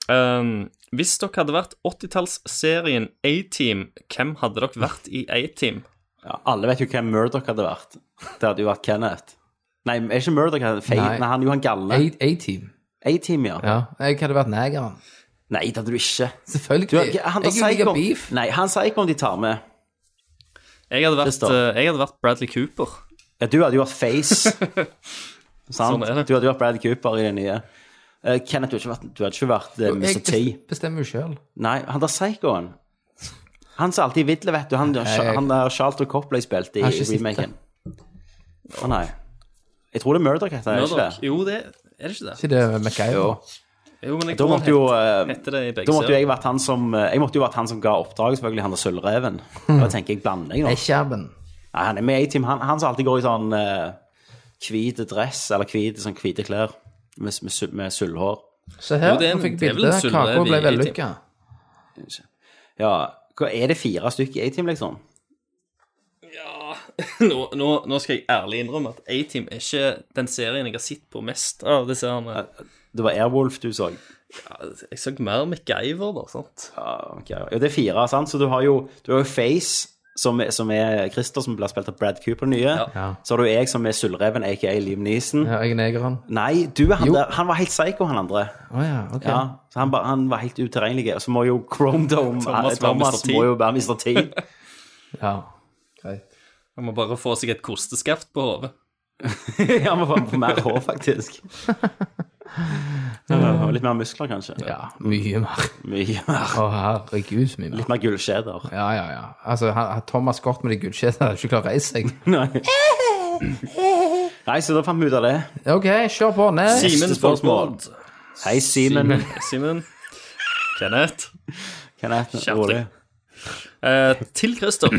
Speaker 3: Ehm, hvis dere hadde vært 80-tallsserien A-Team, hvem hadde dere vært i A-Team?
Speaker 1: Ja, alle vet jo hvem Murdoch hadde vært. Det hadde jo vært Kenneth. Nei, er ikke Murdoch han- feil?
Speaker 2: Nei.
Speaker 1: Nei, han er jo han galle.
Speaker 2: A- A-team.
Speaker 1: A-team, ja.
Speaker 2: Ja. Jeg hadde vært negeren.
Speaker 1: Nei, det hadde du ikke.
Speaker 2: Selvfølgelig.
Speaker 1: Du, han,
Speaker 2: jeg
Speaker 1: sier
Speaker 2: liker
Speaker 1: ikke om-
Speaker 2: beef.
Speaker 1: Nei, han sier ikke om de tar med.
Speaker 3: Jeg hadde vært,
Speaker 1: Christer.
Speaker 3: eh, jeg hadde vært Bradley Cooper.
Speaker 1: Ja, du hadde jo vært Face. Sant?
Speaker 3: Sånn er det.
Speaker 1: Du hadde jo vært Brad Cooper i det nye. Eh, Kenneth, du hadde ikke vært, du hadde ikke vært eh, Mr.
Speaker 2: Jeg
Speaker 1: T.
Speaker 2: bes- bestemmer jo sjøl.
Speaker 1: Nei, han der psychoen. Han som alltid vidler, vet du. Han der,
Speaker 2: jeg-
Speaker 1: han der Charlton Copley spilte i
Speaker 2: har ikke sett det.
Speaker 1: remaken. Å nei. Jeg tror det er Murdoch heter, er det ikke
Speaker 3: Murdoch.
Speaker 1: det?
Speaker 3: Jo, det er det ikke det?
Speaker 2: Ikke det med MacGyver?
Speaker 3: Jo, men jeg
Speaker 1: Da
Speaker 3: tror han
Speaker 1: måtte jo eh,
Speaker 3: het- hette det i begge
Speaker 1: da måtte jo
Speaker 3: serier.
Speaker 1: jeg vært han som eh, Jeg måtte jo vært han som ga oppdraget, selvfølgelig, han der sølvreven.
Speaker 2: Hmm.
Speaker 1: Da tenker jeg blanding nå.
Speaker 2: Ekkjerben.
Speaker 1: Nei, han er med i team. Han, han som alltid går i sånn uh, hvit dress, eller hvit, sånn hvite klær, med, med, su- med sølvhår.
Speaker 2: Se her,
Speaker 3: Jo, det er en-
Speaker 2: nå fikk
Speaker 3: det
Speaker 2: jeg
Speaker 3: er vel
Speaker 2: bilde.
Speaker 3: en sølvrev
Speaker 2: Kaka ble
Speaker 3: i
Speaker 2: vellykka.
Speaker 1: Ja, hva er det fire stykker i A-team, liksom?
Speaker 3: Nå, nå, nå skal jeg ærlig innrømme at A-Team er ikke den serien jeg har sett på mest av disse her.
Speaker 1: Det var Airwolf du så.
Speaker 3: Jeg så mer MacGyver, da, sant?
Speaker 1: Ja, ok. ja, det er fire, sant? Så du har jo, du har jo Face, som, er- som er Christer, som blir spilt av Brad Cooper den nye.
Speaker 3: Ja.
Speaker 1: Så har du jeg, som er Sølvreven, aka Liam Neeson.
Speaker 2: Ja, jeg er negeren.
Speaker 1: Nei, du er han
Speaker 2: Jo.
Speaker 1: der. Han var helt psycho, han andre.
Speaker 2: Å ja, ok.
Speaker 1: Ja, så han, ba, han var helt utilregnelig. Og så må jo Chrome Dome Thomas,
Speaker 3: Thomas være Mr. T.
Speaker 1: må jo være Mr. T.
Speaker 2: Ja. Greit.
Speaker 3: Han må bare få seg et kosteskaft på hodet.
Speaker 1: han må få mer hår, faktisk. Ja, og litt mer muskler, kanskje.
Speaker 2: Ja, mye mer.
Speaker 1: Mye mer.
Speaker 2: Å herregud, så mye mer.
Speaker 1: Litt mer gullskjeder.
Speaker 2: Ja, ja, ja. Altså, han, han- Thomas Scott med de gullskjedene hadde ikke klart å reise seg.
Speaker 1: Nei. Nei, så da fant vi ut av det.
Speaker 2: OK, kjør på. Nei.
Speaker 3: Simen
Speaker 1: spørsmål.
Speaker 3: Folkvord.
Speaker 1: Hei, Simen.
Speaker 3: Simen. Kenneth.
Speaker 1: Kenneth.
Speaker 3: Kjærlig.
Speaker 1: Rolig.
Speaker 3: Eh, til Christer.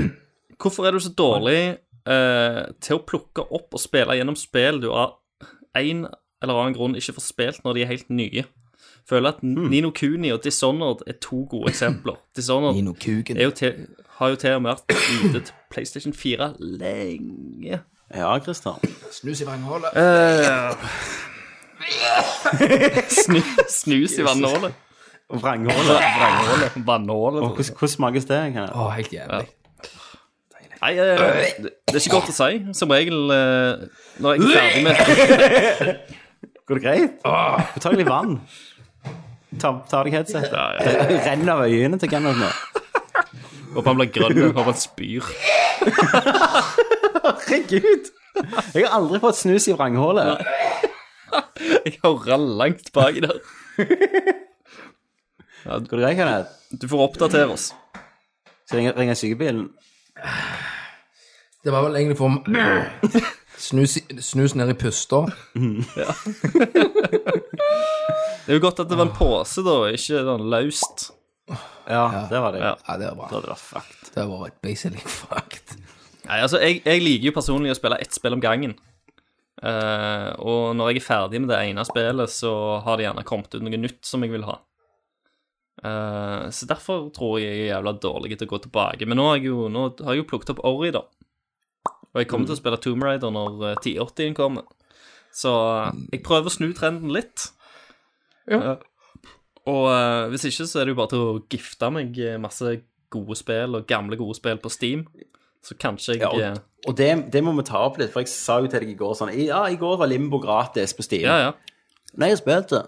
Speaker 3: Hvorfor er du så dårlig eh, til å plukke opp og spille gjennom spill du av en eller annen grunn ikke får spilt når de er helt nye? Føler at
Speaker 1: Hmm.
Speaker 3: Nino Kuni og Dishonored er to gode eksempler. Dishonored
Speaker 2: Nino Kugen.
Speaker 3: er jo til, har jo til og med vært ute til PlayStation 4 lenge.
Speaker 1: Ja, Christer.
Speaker 2: Snus i vranghålet.
Speaker 3: Snu, snus i vannhålet.
Speaker 1: Vranghålet.
Speaker 3: Vannhålet.
Speaker 1: Og
Speaker 3: Vannhålet.
Speaker 1: Hvordan hvordan smakes det? Kenneth?
Speaker 2: Å, helt jævlig.
Speaker 3: Nei, eh, det det er ikke godt å si. Som regel eh, når jeg er ferdig med
Speaker 1: Går det greit? Du tar litt vann. Ta, ta deg headsetet. Det renner av øynene til Kenneth nå.
Speaker 3: Håper han blir grønn og han spyr.
Speaker 1: Herregud! Jeg har aldri fått snus i vranghålet.
Speaker 3: Jeg hører langt baki der.
Speaker 1: Går det greit, Kenneth?
Speaker 3: Du får oppdatere oss.
Speaker 1: Så ringer, ringer sykebilen.
Speaker 2: Det var vel egentlig for Snus, i- snus ned i puster.
Speaker 3: Det er jo godt at det var en pose, da, og ikke sånn løst.
Speaker 1: Ja, det var det.
Speaker 3: Ja.
Speaker 2: Ja, det er
Speaker 1: Da
Speaker 2: bra.
Speaker 1: hadde det vært fucked.
Speaker 2: Det var et basically fucked.
Speaker 3: Nei, altså, jeg, jeg liker jo personlig å spille ett spill om gangen. Eh, og når jeg er ferdig med det ene spillet, så har det gjerne kommet ut noe nytt som jeg vil ha. Eh, så derfor tror jeg jeg er jævla dårlig til å gå tilbake. Men nå har jeg jo, nå har jeg jo plukket opp Ori, da. Og jeg kommer til å
Speaker 1: Mm.
Speaker 3: spille Tomb Raider når eh, 1080-en kommer. Så eh, jeg prøver å snu trenden litt.
Speaker 2: Ja.
Speaker 3: Eh, og eh, hvis ikke, så er det jo bare til å gifte meg eh, masse gode spill og gamle gode spill på Steam. Så kanskje jeg
Speaker 1: Ja,
Speaker 3: eh,
Speaker 1: og og det, det må vi ta opp litt, for jeg sa jo til deg i går sånn Ja, i går var Limbo gratis på Steam.
Speaker 3: Ja, ja.
Speaker 1: Nei, jeg har spilt det.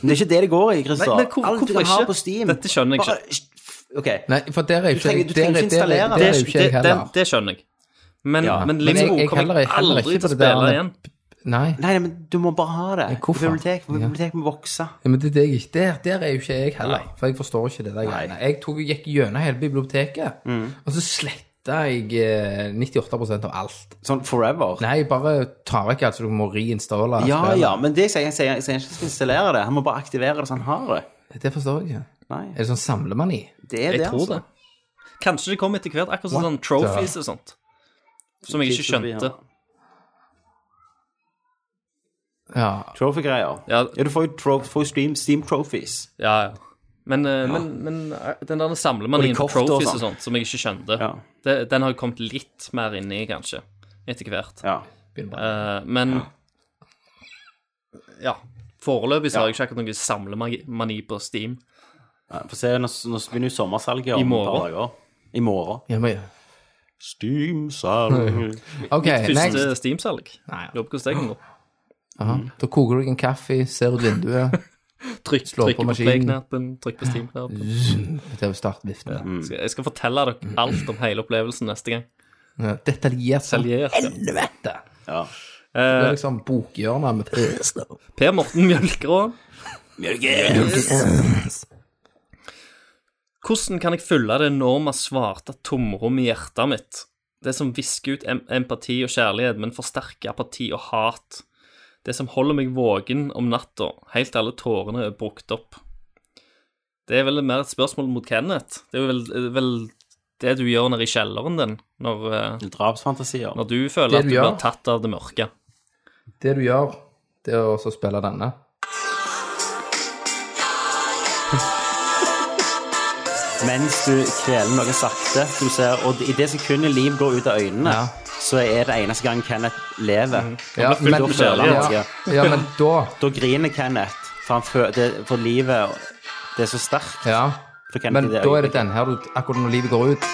Speaker 1: Men det er ikke det det går i, Christer.
Speaker 3: Nei, men hvor-
Speaker 1: Alt du
Speaker 3: hvorfor
Speaker 1: kan ha
Speaker 3: ikke?
Speaker 1: på Steam
Speaker 3: Dette skjønner jeg
Speaker 1: bare- OK.
Speaker 2: Nei, for der er jo ikke
Speaker 1: trenger-
Speaker 2: jeg
Speaker 1: du
Speaker 2: der er- der
Speaker 1: trenger ikke
Speaker 2: er-
Speaker 1: installere
Speaker 2: der er
Speaker 3: Det,
Speaker 2: jo
Speaker 3: det,
Speaker 2: ikke jeg
Speaker 3: det,
Speaker 2: heller.
Speaker 3: det skjønner jeg. Men,
Speaker 1: Ja.
Speaker 3: men
Speaker 2: Men
Speaker 3: Limbo
Speaker 2: jeg- jeg
Speaker 3: kommer
Speaker 2: heller-
Speaker 3: jeg
Speaker 2: heller
Speaker 3: aldri
Speaker 2: ikke
Speaker 3: til å
Speaker 2: på det der
Speaker 3: spille
Speaker 2: med-
Speaker 3: igjen.
Speaker 2: Nei.
Speaker 1: Nei, nei, men du må bare ha det.
Speaker 2: hvorfor?
Speaker 1: Bibliotek,
Speaker 2: Ja.
Speaker 1: bibliotek må vokse.
Speaker 2: Ja, men det er det jeg ikke, der, der er jo ikke jeg heller,
Speaker 1: Nei.
Speaker 2: for jeg forstår ikke det der greiene. Jeg tok, gikk gjennom hele biblioteket, og så sletta jeg eh, 98 av alt.
Speaker 1: Sånn forever.
Speaker 2: Nei, bare ta vekk alt, så du må reinstalle
Speaker 1: ja,
Speaker 2: spillet.
Speaker 1: ja, men det sier jeg sier, jeg sier ikke at han skal installere det. Han må bare aktivere det så han har det.
Speaker 2: Det forstår jeg ikke.
Speaker 1: Nei,
Speaker 2: Er det sånn samlemani?
Speaker 1: det er
Speaker 3: Jeg
Speaker 1: det,
Speaker 3: tror
Speaker 1: altså.
Speaker 3: det. Kanskje det kommer etter hvert, akkurat som sånn trophies og sånt. Som jeg ikke skjønte.
Speaker 2: Ja.
Speaker 1: Trophy-greier. Ja.
Speaker 3: Ja,
Speaker 1: du får jo tro- får jo Steam, Steam Trophies.
Speaker 3: ja, ja. Men, eh, men, men eh, den der
Speaker 1: Og de
Speaker 3: samlemanien på
Speaker 1: kofter og
Speaker 3: trophies og
Speaker 1: sånn.
Speaker 3: sånt, som jeg ikke skjønte,
Speaker 1: Ja.
Speaker 3: det, den har jo kommet litt mer inn i, kanskje, etter hvert.
Speaker 1: Ja.
Speaker 2: begynner bare.
Speaker 3: Eh, men ja. Foreløpig så har jeg ikke akkurat noe samlemani på Steam.
Speaker 1: Ja, Få se, nå, nå begynner jo sommersalget om
Speaker 3: I morgen.
Speaker 1: et par dager. I morgen.
Speaker 2: Ja, men,
Speaker 1: Steam-salg.
Speaker 2: OK, next.
Speaker 3: Første Steam-salg.
Speaker 2: Nei.
Speaker 3: Lurer på hvordan det kan gå.
Speaker 2: Aha. Da koker du deg en kaffe, ser ut vinduet,
Speaker 3: Trykk,
Speaker 2: Slå på
Speaker 3: trykk på,
Speaker 2: maskinen.
Speaker 3: play-knappen, trykk på Steam-knappen.
Speaker 2: til å starte viften.
Speaker 3: Skal- Jeg skal fortelle dere alt om hele opplevelsen neste gang.
Speaker 2: Ja. Detaljert som
Speaker 3: Detaljert, ja.
Speaker 2: helvete.
Speaker 1: Ja.
Speaker 3: Eh,
Speaker 2: Det er liksom bokhjørnet med
Speaker 3: Per Morten Mjølkeråen. Hvordan kan jeg fylle det enorme svarte tomrommet i hjertet mitt? Det som visker ut em empati og kjærlighet, men forsterker apati og hat. Det som holder meg våken om natta, helt til alle tårene er brukt opp. Det er vel mer et spørsmål mot Kenneth. Det er vel, vel det du gjør nede i kjelleren din, når, eh,
Speaker 1: Drapsfantasier.
Speaker 3: når du
Speaker 2: Det
Speaker 3: føler at
Speaker 2: du
Speaker 3: du
Speaker 2: gjør.
Speaker 3: blir tatt av det mørke.
Speaker 2: Det du gjør, det er å også spille denne.
Speaker 1: Mens du kveler noe sakte, som du ser, og i det sekundet Liv går ut av øynene,
Speaker 2: Ja. Mm.
Speaker 1: så er det eneste gang Kenneth lever.
Speaker 2: Ja,
Speaker 3: fylt opp kjærlighet.
Speaker 2: ja, ja, men da
Speaker 1: Da griner Kenneth, for, han fø det, for livet Det er så sterkt.
Speaker 2: Ja.
Speaker 1: For Kenneth
Speaker 2: Men
Speaker 1: i
Speaker 2: da er det
Speaker 1: øyeblikket.
Speaker 2: den her du Akkurat når livet går ut.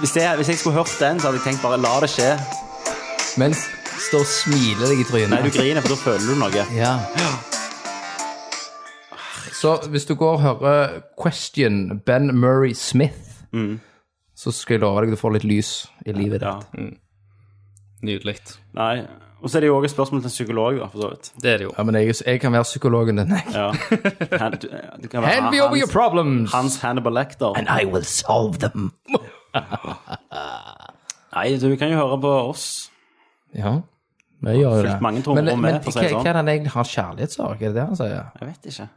Speaker 1: Hvis, jeg, hvis jeg skulle hørt den, så hadde jeg tenkt bare la det skje.
Speaker 2: Mens står og smiler deg i trynet.
Speaker 1: Nei, du griner, for da føler du noe.
Speaker 2: Ja. Så hvis du går og hører Question Ben Murray Smith, så skal jeg love deg du får litt lys i livet
Speaker 1: Ja.
Speaker 2: ditt.
Speaker 3: Nydelig.
Speaker 1: Nei. Og så er det jo òg et spørsmål til en psykolog, da, for så vidt.
Speaker 3: Det er det jo.
Speaker 2: Ja, men jeg, jeg kan være psykologen din. jeg.
Speaker 1: Ja. Han, du, du kan være
Speaker 2: Hand me over your
Speaker 1: hans,
Speaker 2: problems!
Speaker 1: hans Hannibal Lecter.
Speaker 2: And I will solve them.
Speaker 1: Nei, du kan jo høre på oss.
Speaker 2: Ja, det gjør jo det.
Speaker 1: Fylt mange tomrom
Speaker 2: men,
Speaker 1: med,
Speaker 2: men
Speaker 1: for å si
Speaker 2: hva,
Speaker 1: det
Speaker 2: hva
Speaker 1: sånn.
Speaker 2: er det han egentlig har kjærlighetssorg? Er det det han sier?
Speaker 1: Jeg vet ikke.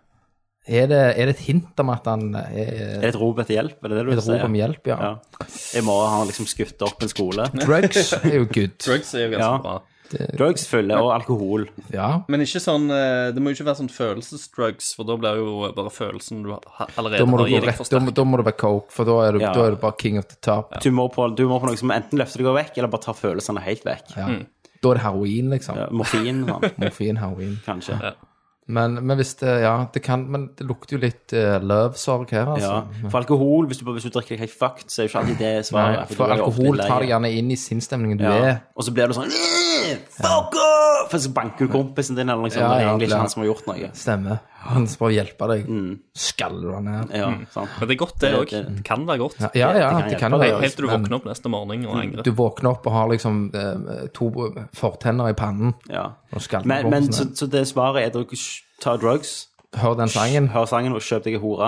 Speaker 2: Er det, er det et hint om at han er,
Speaker 1: Er det et rop etter hjelp? Er det det
Speaker 2: er
Speaker 1: du vil
Speaker 2: et
Speaker 1: si?
Speaker 2: rop om hjelp? Ja.
Speaker 1: Ja. I morgen har han liksom skutt opp en skole.
Speaker 2: Drugs er jo good.
Speaker 3: Drugs er jo ganske
Speaker 1: Ja.
Speaker 3: bra.
Speaker 1: Drugs fyller, og alkohol.
Speaker 2: Ja.
Speaker 3: Men ikke sånn, eh, det må jo ikke være sånn følelsesdrugs, for da blir jo bare følelsen du ha- allerede
Speaker 2: Da må,
Speaker 3: har
Speaker 2: du
Speaker 3: i
Speaker 2: gå
Speaker 3: deg,
Speaker 2: rett, da,
Speaker 3: forsterket.
Speaker 2: må- da må det være coke, for da er, du,
Speaker 1: Ja.
Speaker 2: da er du bare king of the top.
Speaker 1: Du må, på, du må på noe som enten løfter deg vekk, eller bare tar følelsene helt vekk.
Speaker 2: Ja. Da er det heroin, liksom.
Speaker 1: Ja, Morfin, sånn,
Speaker 2: Morfin, heroin.
Speaker 1: kanskje.
Speaker 2: Men, men hvis det Ja, det kan Men det lukter jo litt uh, løvsorg her, altså.
Speaker 1: Ja. For alkohol, hvis du, hvis du drikker deg helt fucked, så er jo ikke alltid det svaret.
Speaker 2: Nei, for alkohol tar deg gjerne inn i sinnsstemningen du
Speaker 1: ja.
Speaker 2: er.
Speaker 1: Og så blir du sånn «Øh, Fuck off! For så banker du kompisen din, eller liksom.
Speaker 2: Ja,
Speaker 1: det er
Speaker 2: ja,
Speaker 1: egentlig
Speaker 2: klar.
Speaker 1: ikke han som har gjort noe.
Speaker 2: Stemmer. Han skal bare hjelpe deg.
Speaker 1: Mm.
Speaker 2: Skaller du han ned?
Speaker 1: Ja, sant.
Speaker 3: Men det er godt, det
Speaker 1: Det-
Speaker 3: òg.
Speaker 1: det-
Speaker 3: Det kan være godt.
Speaker 2: Ja, ja,
Speaker 1: Det kan
Speaker 2: det
Speaker 1: hjelpe
Speaker 2: kan
Speaker 1: deg,
Speaker 2: det.
Speaker 1: ja,
Speaker 3: Helt til du
Speaker 2: men-
Speaker 3: våkner opp neste morgen og angrer.
Speaker 2: Du våkner opp og har liksom eh, to fortenner i pannen.
Speaker 1: Ja.
Speaker 2: Og skalper
Speaker 1: Men, men så,
Speaker 2: kompisen
Speaker 1: så det svaret er å ta drugs,
Speaker 2: Hør den sangen
Speaker 1: hør sangen, og kjøp deg en hore,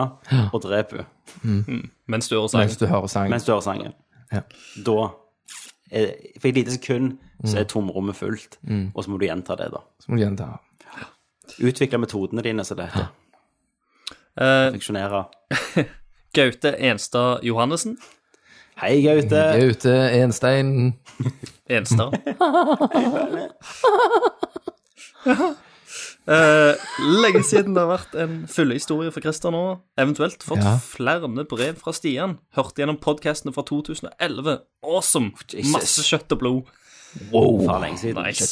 Speaker 1: og drep henne.
Speaker 3: Mens du hører
Speaker 2: mens
Speaker 3: sangen.
Speaker 2: du hører sangen.
Speaker 1: Mens du hører sangen.
Speaker 2: Ja.
Speaker 1: Da er, For et lite sekund så er tomrommet fullt, og så må du gjenta det, da.
Speaker 2: Så må du gjenta.
Speaker 1: Utvikle metodene dine, som det heter.
Speaker 3: Eh,
Speaker 1: Funksjonere.
Speaker 3: Gaute Enstad Johannessen.
Speaker 1: Hei,
Speaker 2: Jeg
Speaker 1: Gaute.
Speaker 2: er ute en stein
Speaker 3: Enstad. Eh, lenge siden det har vært en fyllehistorie for Christer nå. Eventuelt fått
Speaker 2: Ja.
Speaker 3: flere brev fra Stian. Hørt gjennom podkastene fra 2011. Awesome!
Speaker 1: Oh, Jesus.
Speaker 3: Masse kjøtt og blod.
Speaker 1: Faen, lenge siden.
Speaker 3: Nice.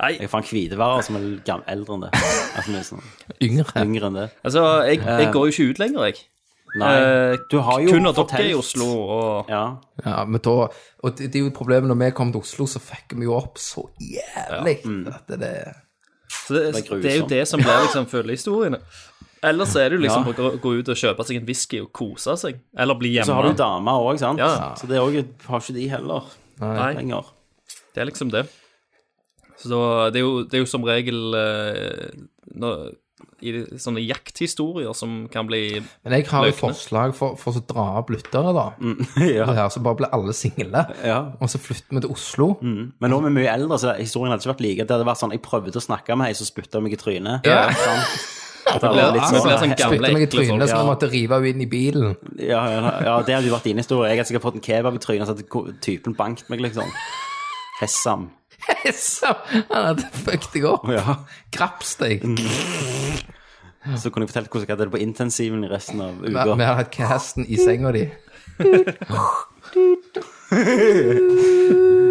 Speaker 1: Jeg er faen hviteværer som er gam- eldre enn det. Altså, vi er sånn,
Speaker 2: yngre.
Speaker 1: yngre enn det.
Speaker 3: Altså, jeg, jeg går jo ikke ut lenger, jeg.
Speaker 1: Eh. Nei,
Speaker 3: Eh,
Speaker 1: du har jo
Speaker 3: Kun av dere
Speaker 1: fortalt-
Speaker 3: i Oslo og
Speaker 1: Ja.
Speaker 2: Ja, men da, og det, det er jo problemet når vi kom til Oslo, så fucker vi jo opp så jævlig. At det, det,
Speaker 3: så det,
Speaker 1: Det er grusomt.
Speaker 3: det er jo det som blir liksom følgehistoriene. Ellers er det jo liksom
Speaker 1: Ja.
Speaker 3: å gå, gå ut og kjøpe seg en whisky og kose seg. Eller bli
Speaker 1: Så har
Speaker 3: hjemme.
Speaker 1: du damer òg, sant?
Speaker 3: Ja.
Speaker 1: Så det er også, har ikke de heller.
Speaker 3: Nei,
Speaker 1: lenger.
Speaker 3: det er liksom det. Så da- det er jo, det er jo som regel eh, nå- i de- sånne jakthistorier som kan bli
Speaker 2: Men jeg har jo
Speaker 3: Løkene.
Speaker 2: forslag for, for å dra opp lyttere, da. Det
Speaker 1: ja,
Speaker 2: her, så bare blir alle single.
Speaker 1: ja.
Speaker 2: Og så flytter vi til Oslo.
Speaker 1: Men nå er vi mye eldre, så historien hadde ikke vært like. Det hadde vært sånn, jeg prøvde å snakke med ei som spytta meg i trynet. Sånn.
Speaker 2: Ja.
Speaker 1: Det hadde
Speaker 3: blir-
Speaker 1: vært litt
Speaker 3: vi blir sånn
Speaker 1: sånn,
Speaker 3: gamle.
Speaker 2: Spytte meg i
Speaker 3: ekle folk,
Speaker 2: trynet, så
Speaker 1: ja.
Speaker 2: jeg måtte rive henne inn i bilen.
Speaker 1: ja, ja, ja, det hadde jo vært din historie. Jeg hadde sikkert fått en kebab i trynet, så hadde ko- typen bankt meg, liksom. Hessam.
Speaker 2: Så han hadde fucket deg opp.
Speaker 1: Ja.
Speaker 2: Kraps deg.
Speaker 1: Så kunne jeg fortalt hvordan jeg hadde det på intensiven i resten av
Speaker 2: Vi vi
Speaker 1: uka.
Speaker 2: hadde hatt casten i senga di.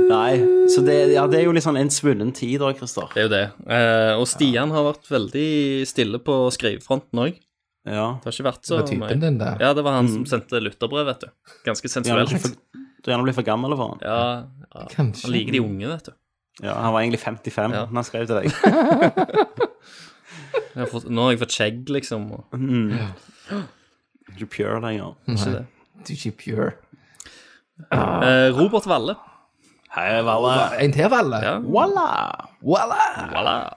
Speaker 1: Nei, så det, ja, det er jo litt sånn en svunnen tid da, Christer.
Speaker 3: Det er jo det. Eh, og Stian har vært veldig stille på skrivefronten òg.
Speaker 1: Ja.
Speaker 3: Det har ikke vært så
Speaker 2: Det var typen
Speaker 3: mye.
Speaker 2: din, det.
Speaker 3: Oh Ja, det var han som sendte lytterbrev, vet du. Ganske
Speaker 1: Du er gjerne blitt
Speaker 3: sensuelt.
Speaker 1: for, du er gjerne blitt for gammel for han.
Speaker 3: Ja, ja. Han
Speaker 2: Kanskje.
Speaker 3: liker de unge, vet du.
Speaker 1: Ja, han var egentlig 55 da
Speaker 3: Ja.
Speaker 1: han skrev til deg.
Speaker 3: Jeg har fått, nå har jeg fått skjegg, liksom. Og,
Speaker 1: Ikke pure lenger.
Speaker 3: ikke det.
Speaker 2: Du er ikke pure.
Speaker 3: Eh, Robert Valle.
Speaker 1: Hei, Valle.
Speaker 2: En til, Valle?
Speaker 3: Ja.
Speaker 1: Walla!
Speaker 2: Voilà!
Speaker 3: Voilà.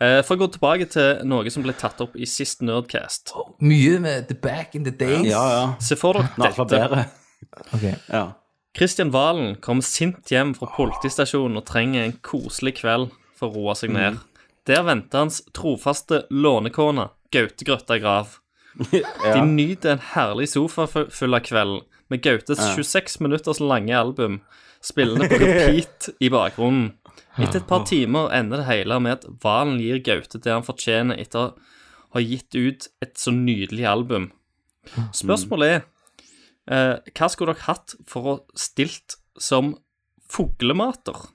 Speaker 3: Eh, for å gå tilbake til noe som ble tatt opp i sist Nerdcast.
Speaker 2: Mye med the back in the days.
Speaker 1: Ja, ja.
Speaker 3: Se for
Speaker 1: Når
Speaker 3: dere
Speaker 1: alt var
Speaker 3: dette.
Speaker 1: bedre.
Speaker 2: Ok.
Speaker 1: Ja.
Speaker 3: Kristian Valen kom sint hjem fra politistasjonen og trenger en koselig kveld for å roe seg ned. Der venter hans trofaste lånekone, Gaute Grøtta Grav. De nyter en herlig sofa fu- full av kvelden, med Gautes 26 minutters lange album spillende på repeat i bakgrunnen. Etter et par timer ender det hele med at Valen gir Gaute det han fortjener etter å ha gitt ut et så nydelig album. Spørsmålet er eh, Hva skulle dere hatt for å stilt som fuglemater?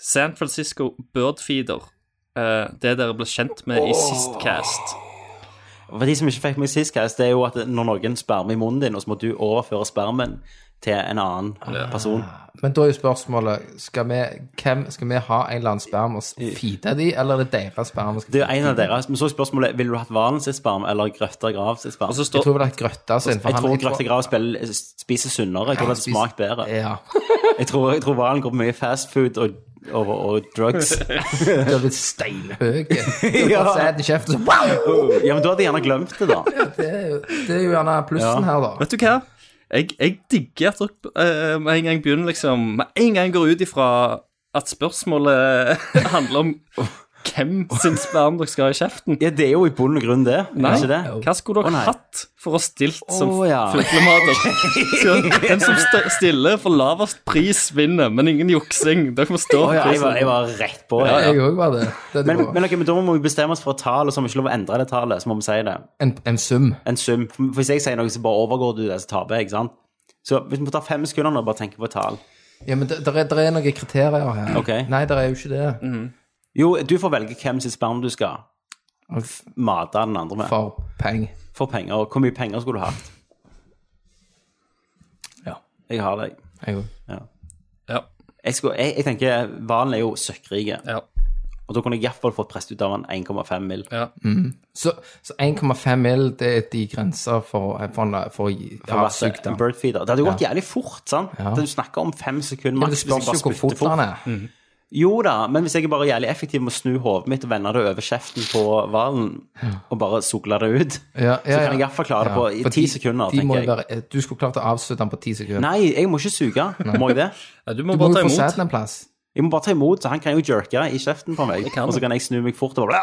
Speaker 3: San Francisco Birdfeeder. Eh, det dere ble kjent med i sist cast.
Speaker 1: For de som ikke fikk meg sist, guys, det er jo at når noen spermer i munnen din, og så må du overføre spermen til en annen person.
Speaker 2: Men da er jo spørsmålet skal vi, hvem, skal vi ha en eller annen sperm og feede de, eller er det deres sperm? vi Skal
Speaker 1: Det er jo en av deres. Men så er spørsmålet vil du hatt Valen sitt sperm eller Grøtta Grav sitt sperm.
Speaker 3: Og så
Speaker 2: Jeg
Speaker 3: står
Speaker 2: tror vel at Grøtta sin for
Speaker 1: Jeg
Speaker 2: han-
Speaker 1: tror Grøtta Grav spiller- spiser sunnere. Jeg tror det hadde smakt bedre.
Speaker 2: Ja.
Speaker 1: Jeg tror, jeg tror Valen går på mye fast food og, og, og drugs.
Speaker 2: Det hadde blitt steinhøy.
Speaker 1: Ja.
Speaker 2: Wow!
Speaker 1: Ja, men du hadde gjerne glemt det, da.
Speaker 2: Det er jo- det er jo gjerne plussen
Speaker 1: Ja.
Speaker 2: her, da.
Speaker 3: Vet du hva? Jeg, jeg digger at dere eh, med en gang begynner liksom Med en gang går ut ifra at spørsmålet handler om hvem sin sperm dere skal ha i kjeften.
Speaker 1: Ja, det er jo i bunn og grunn det. er det Ikke det?
Speaker 3: Hva skulle
Speaker 1: Å,
Speaker 3: dere
Speaker 1: nei.
Speaker 3: hatt for å stilt som
Speaker 1: Å, ja.
Speaker 3: fuglemater? Så Den som st stiller for lavest pris, vinner, men ingen juksing. Dere må stå
Speaker 1: Å,
Speaker 3: for
Speaker 1: ja, jeg, var, jeg
Speaker 3: prisen.
Speaker 1: var rett på.
Speaker 2: Ja,
Speaker 1: jeg.
Speaker 2: Jeg òg var det. det er det
Speaker 1: Men,
Speaker 2: gode.
Speaker 1: men, ok, men da må vi bestemme oss for et tall, og så har vi ikke lov å endre det tallet. Så må vi si det.
Speaker 2: en, en sum.
Speaker 1: En sum. For Hvis jeg sier noe, så bare overgår du det, så taper jeg. ikke sant? Så hvis vi må ta fem sekunder nå og bare tenke på et tall
Speaker 2: Ja, men det der er, der er noen kriterier her.
Speaker 1: Ok.
Speaker 2: Nei, det er jo ikke det.
Speaker 1: Jo, du får velge hvem sitt sperm du skal
Speaker 2: Og f-
Speaker 1: mate den andre med.
Speaker 2: For penger.
Speaker 1: For penger. og Hvor mye penger skulle du hatt?
Speaker 2: Ja.
Speaker 1: Jeg har deg.
Speaker 2: Jeg òg.
Speaker 3: Ja,
Speaker 1: Jeg, skulle, jeg, jeg tenker Valen er jo søkkrike,
Speaker 3: ja,
Speaker 1: og da kunne jeg iallfall fått prest ut av han 1,5 mil.
Speaker 3: ja.
Speaker 2: Så, så 1,5 mill. det er de grenser for, for, en- for å gi
Speaker 1: Det hadde vært
Speaker 2: havsyk, da.
Speaker 1: en bird feeder. Det hadde jo gått jævlig fort, sant?
Speaker 2: Ja.
Speaker 1: Du snakker om fem sekunder
Speaker 2: Men det
Speaker 1: maks.
Speaker 2: spørs jo
Speaker 1: hvis jeg bare Mm.
Speaker 2: hvor
Speaker 1: spytter
Speaker 2: fort han er.
Speaker 1: Jo da, men hvis jeg er bare jævlig effektiv med å snu hodet mitt og vende det over kjeften på hvalen, og bare sugle det ut,
Speaker 2: Ja, ja,
Speaker 1: så kan
Speaker 2: ja.
Speaker 1: jeg iallfall klare det
Speaker 2: Ja,
Speaker 1: på
Speaker 2: for
Speaker 1: i ti
Speaker 2: de-
Speaker 1: sekunder,
Speaker 2: de må
Speaker 1: tenker
Speaker 2: jo
Speaker 1: jeg.
Speaker 2: være- du skulle klart å avslutte den på ti sekunder.
Speaker 1: Nei, jeg må ikke suge. Må jeg det?
Speaker 3: Ja, Du må
Speaker 2: du må
Speaker 3: bare ta
Speaker 2: jo få
Speaker 3: imot.
Speaker 2: satt den en plass.
Speaker 1: Jeg må bare ta imot, så han kan jo jerke i kjeften på meg.
Speaker 3: kan
Speaker 1: Og så kan jeg snu meg fort og bare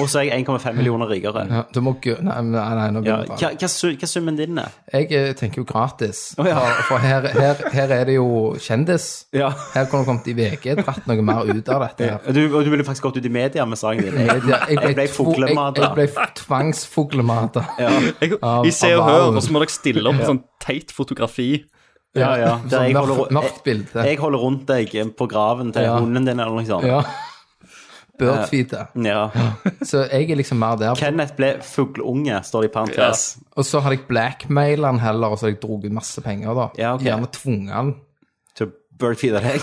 Speaker 1: Og så er jeg 1,5 millioner rikere.
Speaker 2: Ja, du må gu- Nei, nei, nei nå begynner
Speaker 1: Ja, hva,
Speaker 2: jeg bare.
Speaker 1: hva, su- hva summen din er?
Speaker 2: Jeg eh, tenker jo gratis.
Speaker 1: ja.
Speaker 2: For, for her, her, her er det jo kjendis.
Speaker 1: Ja.
Speaker 2: Her kunne du kommet i VG dratt noe mer ut av dette. her.
Speaker 1: Og du, og du ville faktisk gått ut i media med saken din. Jeg, jeg ble
Speaker 2: tvo-
Speaker 1: fuglemata.
Speaker 2: Jeg, jeg ble tvangsfuglemata. Ja,
Speaker 3: Jeg,
Speaker 2: Av-
Speaker 3: I Se
Speaker 2: av
Speaker 3: og Hør,
Speaker 2: hvalen.
Speaker 3: og så må dere stille opp en sånn teit fotografi.
Speaker 1: Ja, ja. Der
Speaker 2: Sånn
Speaker 1: jeg
Speaker 2: mørkt,
Speaker 1: holder-
Speaker 2: mørkt bilde.
Speaker 1: jeg holder rundt deg på graven til
Speaker 2: Ja.
Speaker 1: hunden din eller noe sånt.
Speaker 2: Ja.
Speaker 1: Eh,
Speaker 2: Birdfeeder.
Speaker 1: Ja.
Speaker 2: Så jeg er liksom mer der.
Speaker 1: Kenneth ble fugleunge, står det i parentes.
Speaker 2: Og så har jeg blackmaila han heller, og så har jeg drukket masse penger, da.
Speaker 1: Ja, ok.
Speaker 2: Gjerne tvunget han.
Speaker 1: Til birdfeeder deg.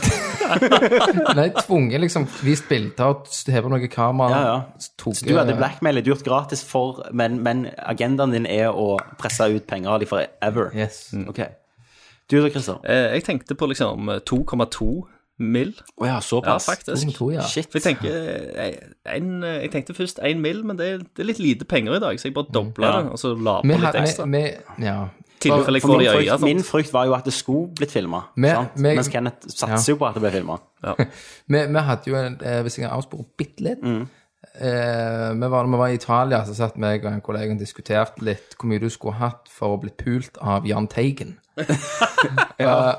Speaker 2: Nei, tvunget liksom vist bilder og hevet noe kamera.
Speaker 1: Ja, ja.
Speaker 2: Så tok eh,
Speaker 1: Så du hadde blackmail, du har gjort gratis for, men, men agendaen din er å presse ut penger av dem forever.
Speaker 2: Yes.
Speaker 1: Ok. Du da, Christer? Å
Speaker 3: Eh, jeg tenkte på liksom eh, 2,2 mil.
Speaker 1: ja,
Speaker 3: Ja,
Speaker 1: såpass?
Speaker 3: faktisk.
Speaker 2: To, Oh, ja.
Speaker 1: Shit.
Speaker 3: For jeg, tenker, eh, en, eh, jeg tenkte først 1 mil, men det, er- det er litt lite penger i dag, så jeg bare dobla
Speaker 1: Ja.
Speaker 3: det, og så la på
Speaker 2: Vi,
Speaker 3: litt
Speaker 2: har-
Speaker 3: ekstra.
Speaker 2: vi, vi, ja.
Speaker 3: Tilfelle jeg
Speaker 1: For
Speaker 3: får
Speaker 1: min,
Speaker 3: det i øya.
Speaker 1: frykt, min
Speaker 3: sant?
Speaker 1: frykt var jo at det skulle blitt filma,
Speaker 2: Men- men-
Speaker 1: mens Kenneth satser jo på at det ble filma.
Speaker 2: vi, vi hadde jo en, eh, hvis jeg kan avspore bitte litt
Speaker 1: Mm.
Speaker 2: eh, vi var, Når vi var i Italia, så satt meg og en kollega og diskuterte litt hvor mye du skulle hatt for å bli pult av Jahn Teigen. Eh,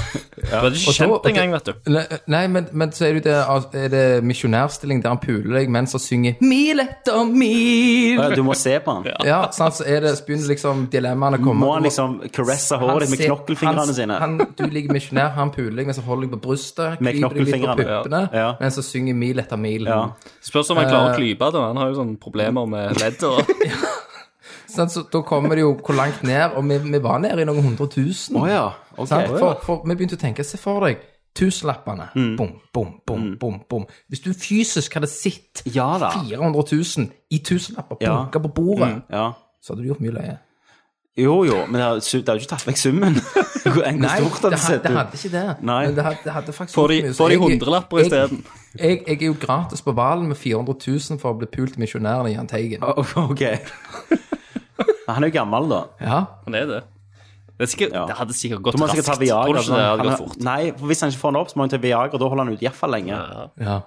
Speaker 3: Du hadde ikke
Speaker 2: Og så-
Speaker 3: kjent det engang, vet du.
Speaker 2: Ne- Nei, men, men så er det, jo det, altså, er det misjonærstilling der han puler deg mens han synger 'Mil etter mil'.
Speaker 1: Du må se på han.
Speaker 2: Ja, sant, så er det, så begynner liksom dilemmaene å komme.
Speaker 1: Må
Speaker 2: Du
Speaker 1: han liksom caresse håret ditt med
Speaker 2: sit-
Speaker 1: knokkelfingrene
Speaker 2: han-
Speaker 1: sine?
Speaker 2: Han, du ligger misjonær, han puler deg, men så holder deg på brystet. kryper deg
Speaker 1: Med
Speaker 2: litt på
Speaker 1: knokkelfingrene, ja.
Speaker 2: puppene,
Speaker 1: Ja.
Speaker 2: mens så synger 'Mil etter mil'.
Speaker 1: Ja.
Speaker 3: Spørs om han klarer
Speaker 1: Eh.
Speaker 3: å klype det. Han har jo sånne problemer med ledd og
Speaker 2: Sant, Sånn, så da kommer det jo hvor langt ned, og vi, vi var nede i noen hundre tusen.
Speaker 1: Å ja, ok.
Speaker 2: sant? For, for vi begynte å tenke, se for deg, tusenlappene,
Speaker 1: Mm.
Speaker 2: bom, bom, bom, bom, bom. Hvis du fysisk hadde sett
Speaker 1: Ja da.
Speaker 2: 400 000 i tusenlapper
Speaker 1: Ja. Mm.
Speaker 2: bunka på bordet,
Speaker 1: Ja.
Speaker 2: så hadde du gjort mye løye.
Speaker 1: Jo jo, men det har su- det har jo ikke tatt vekk summen. Hvor enn
Speaker 2: Nei,
Speaker 1: hvor
Speaker 2: det,
Speaker 1: stort det
Speaker 2: had- det
Speaker 1: ser ut.
Speaker 2: hadde ikke det.
Speaker 1: Nei.
Speaker 2: Men det hadde, det hadde faktisk
Speaker 3: Får de,
Speaker 2: gjort mye, så
Speaker 3: får de
Speaker 2: jeg-
Speaker 3: hundrelapper
Speaker 2: jeg-
Speaker 3: isteden.
Speaker 2: Jeg, jeg er jo gratis på ballen med 400 000 for å bli pult i misjonærene i Jahn Teigen.
Speaker 1: Ok. Han er jo gammel, da.
Speaker 2: Ja.
Speaker 3: Han er det. Det, er sikkert,
Speaker 1: Ja.
Speaker 3: det hadde sikkert gått
Speaker 1: Så må han
Speaker 3: raskt.
Speaker 1: sikkert ta Viagra.
Speaker 3: Tror du ikke det
Speaker 1: sånn.
Speaker 3: hadde gått
Speaker 1: Han-
Speaker 3: fort?
Speaker 1: Nei, for hvis han ikke får den opp, så må han ta Viagra. Da holder han ut iallfall lenge.
Speaker 2: ja.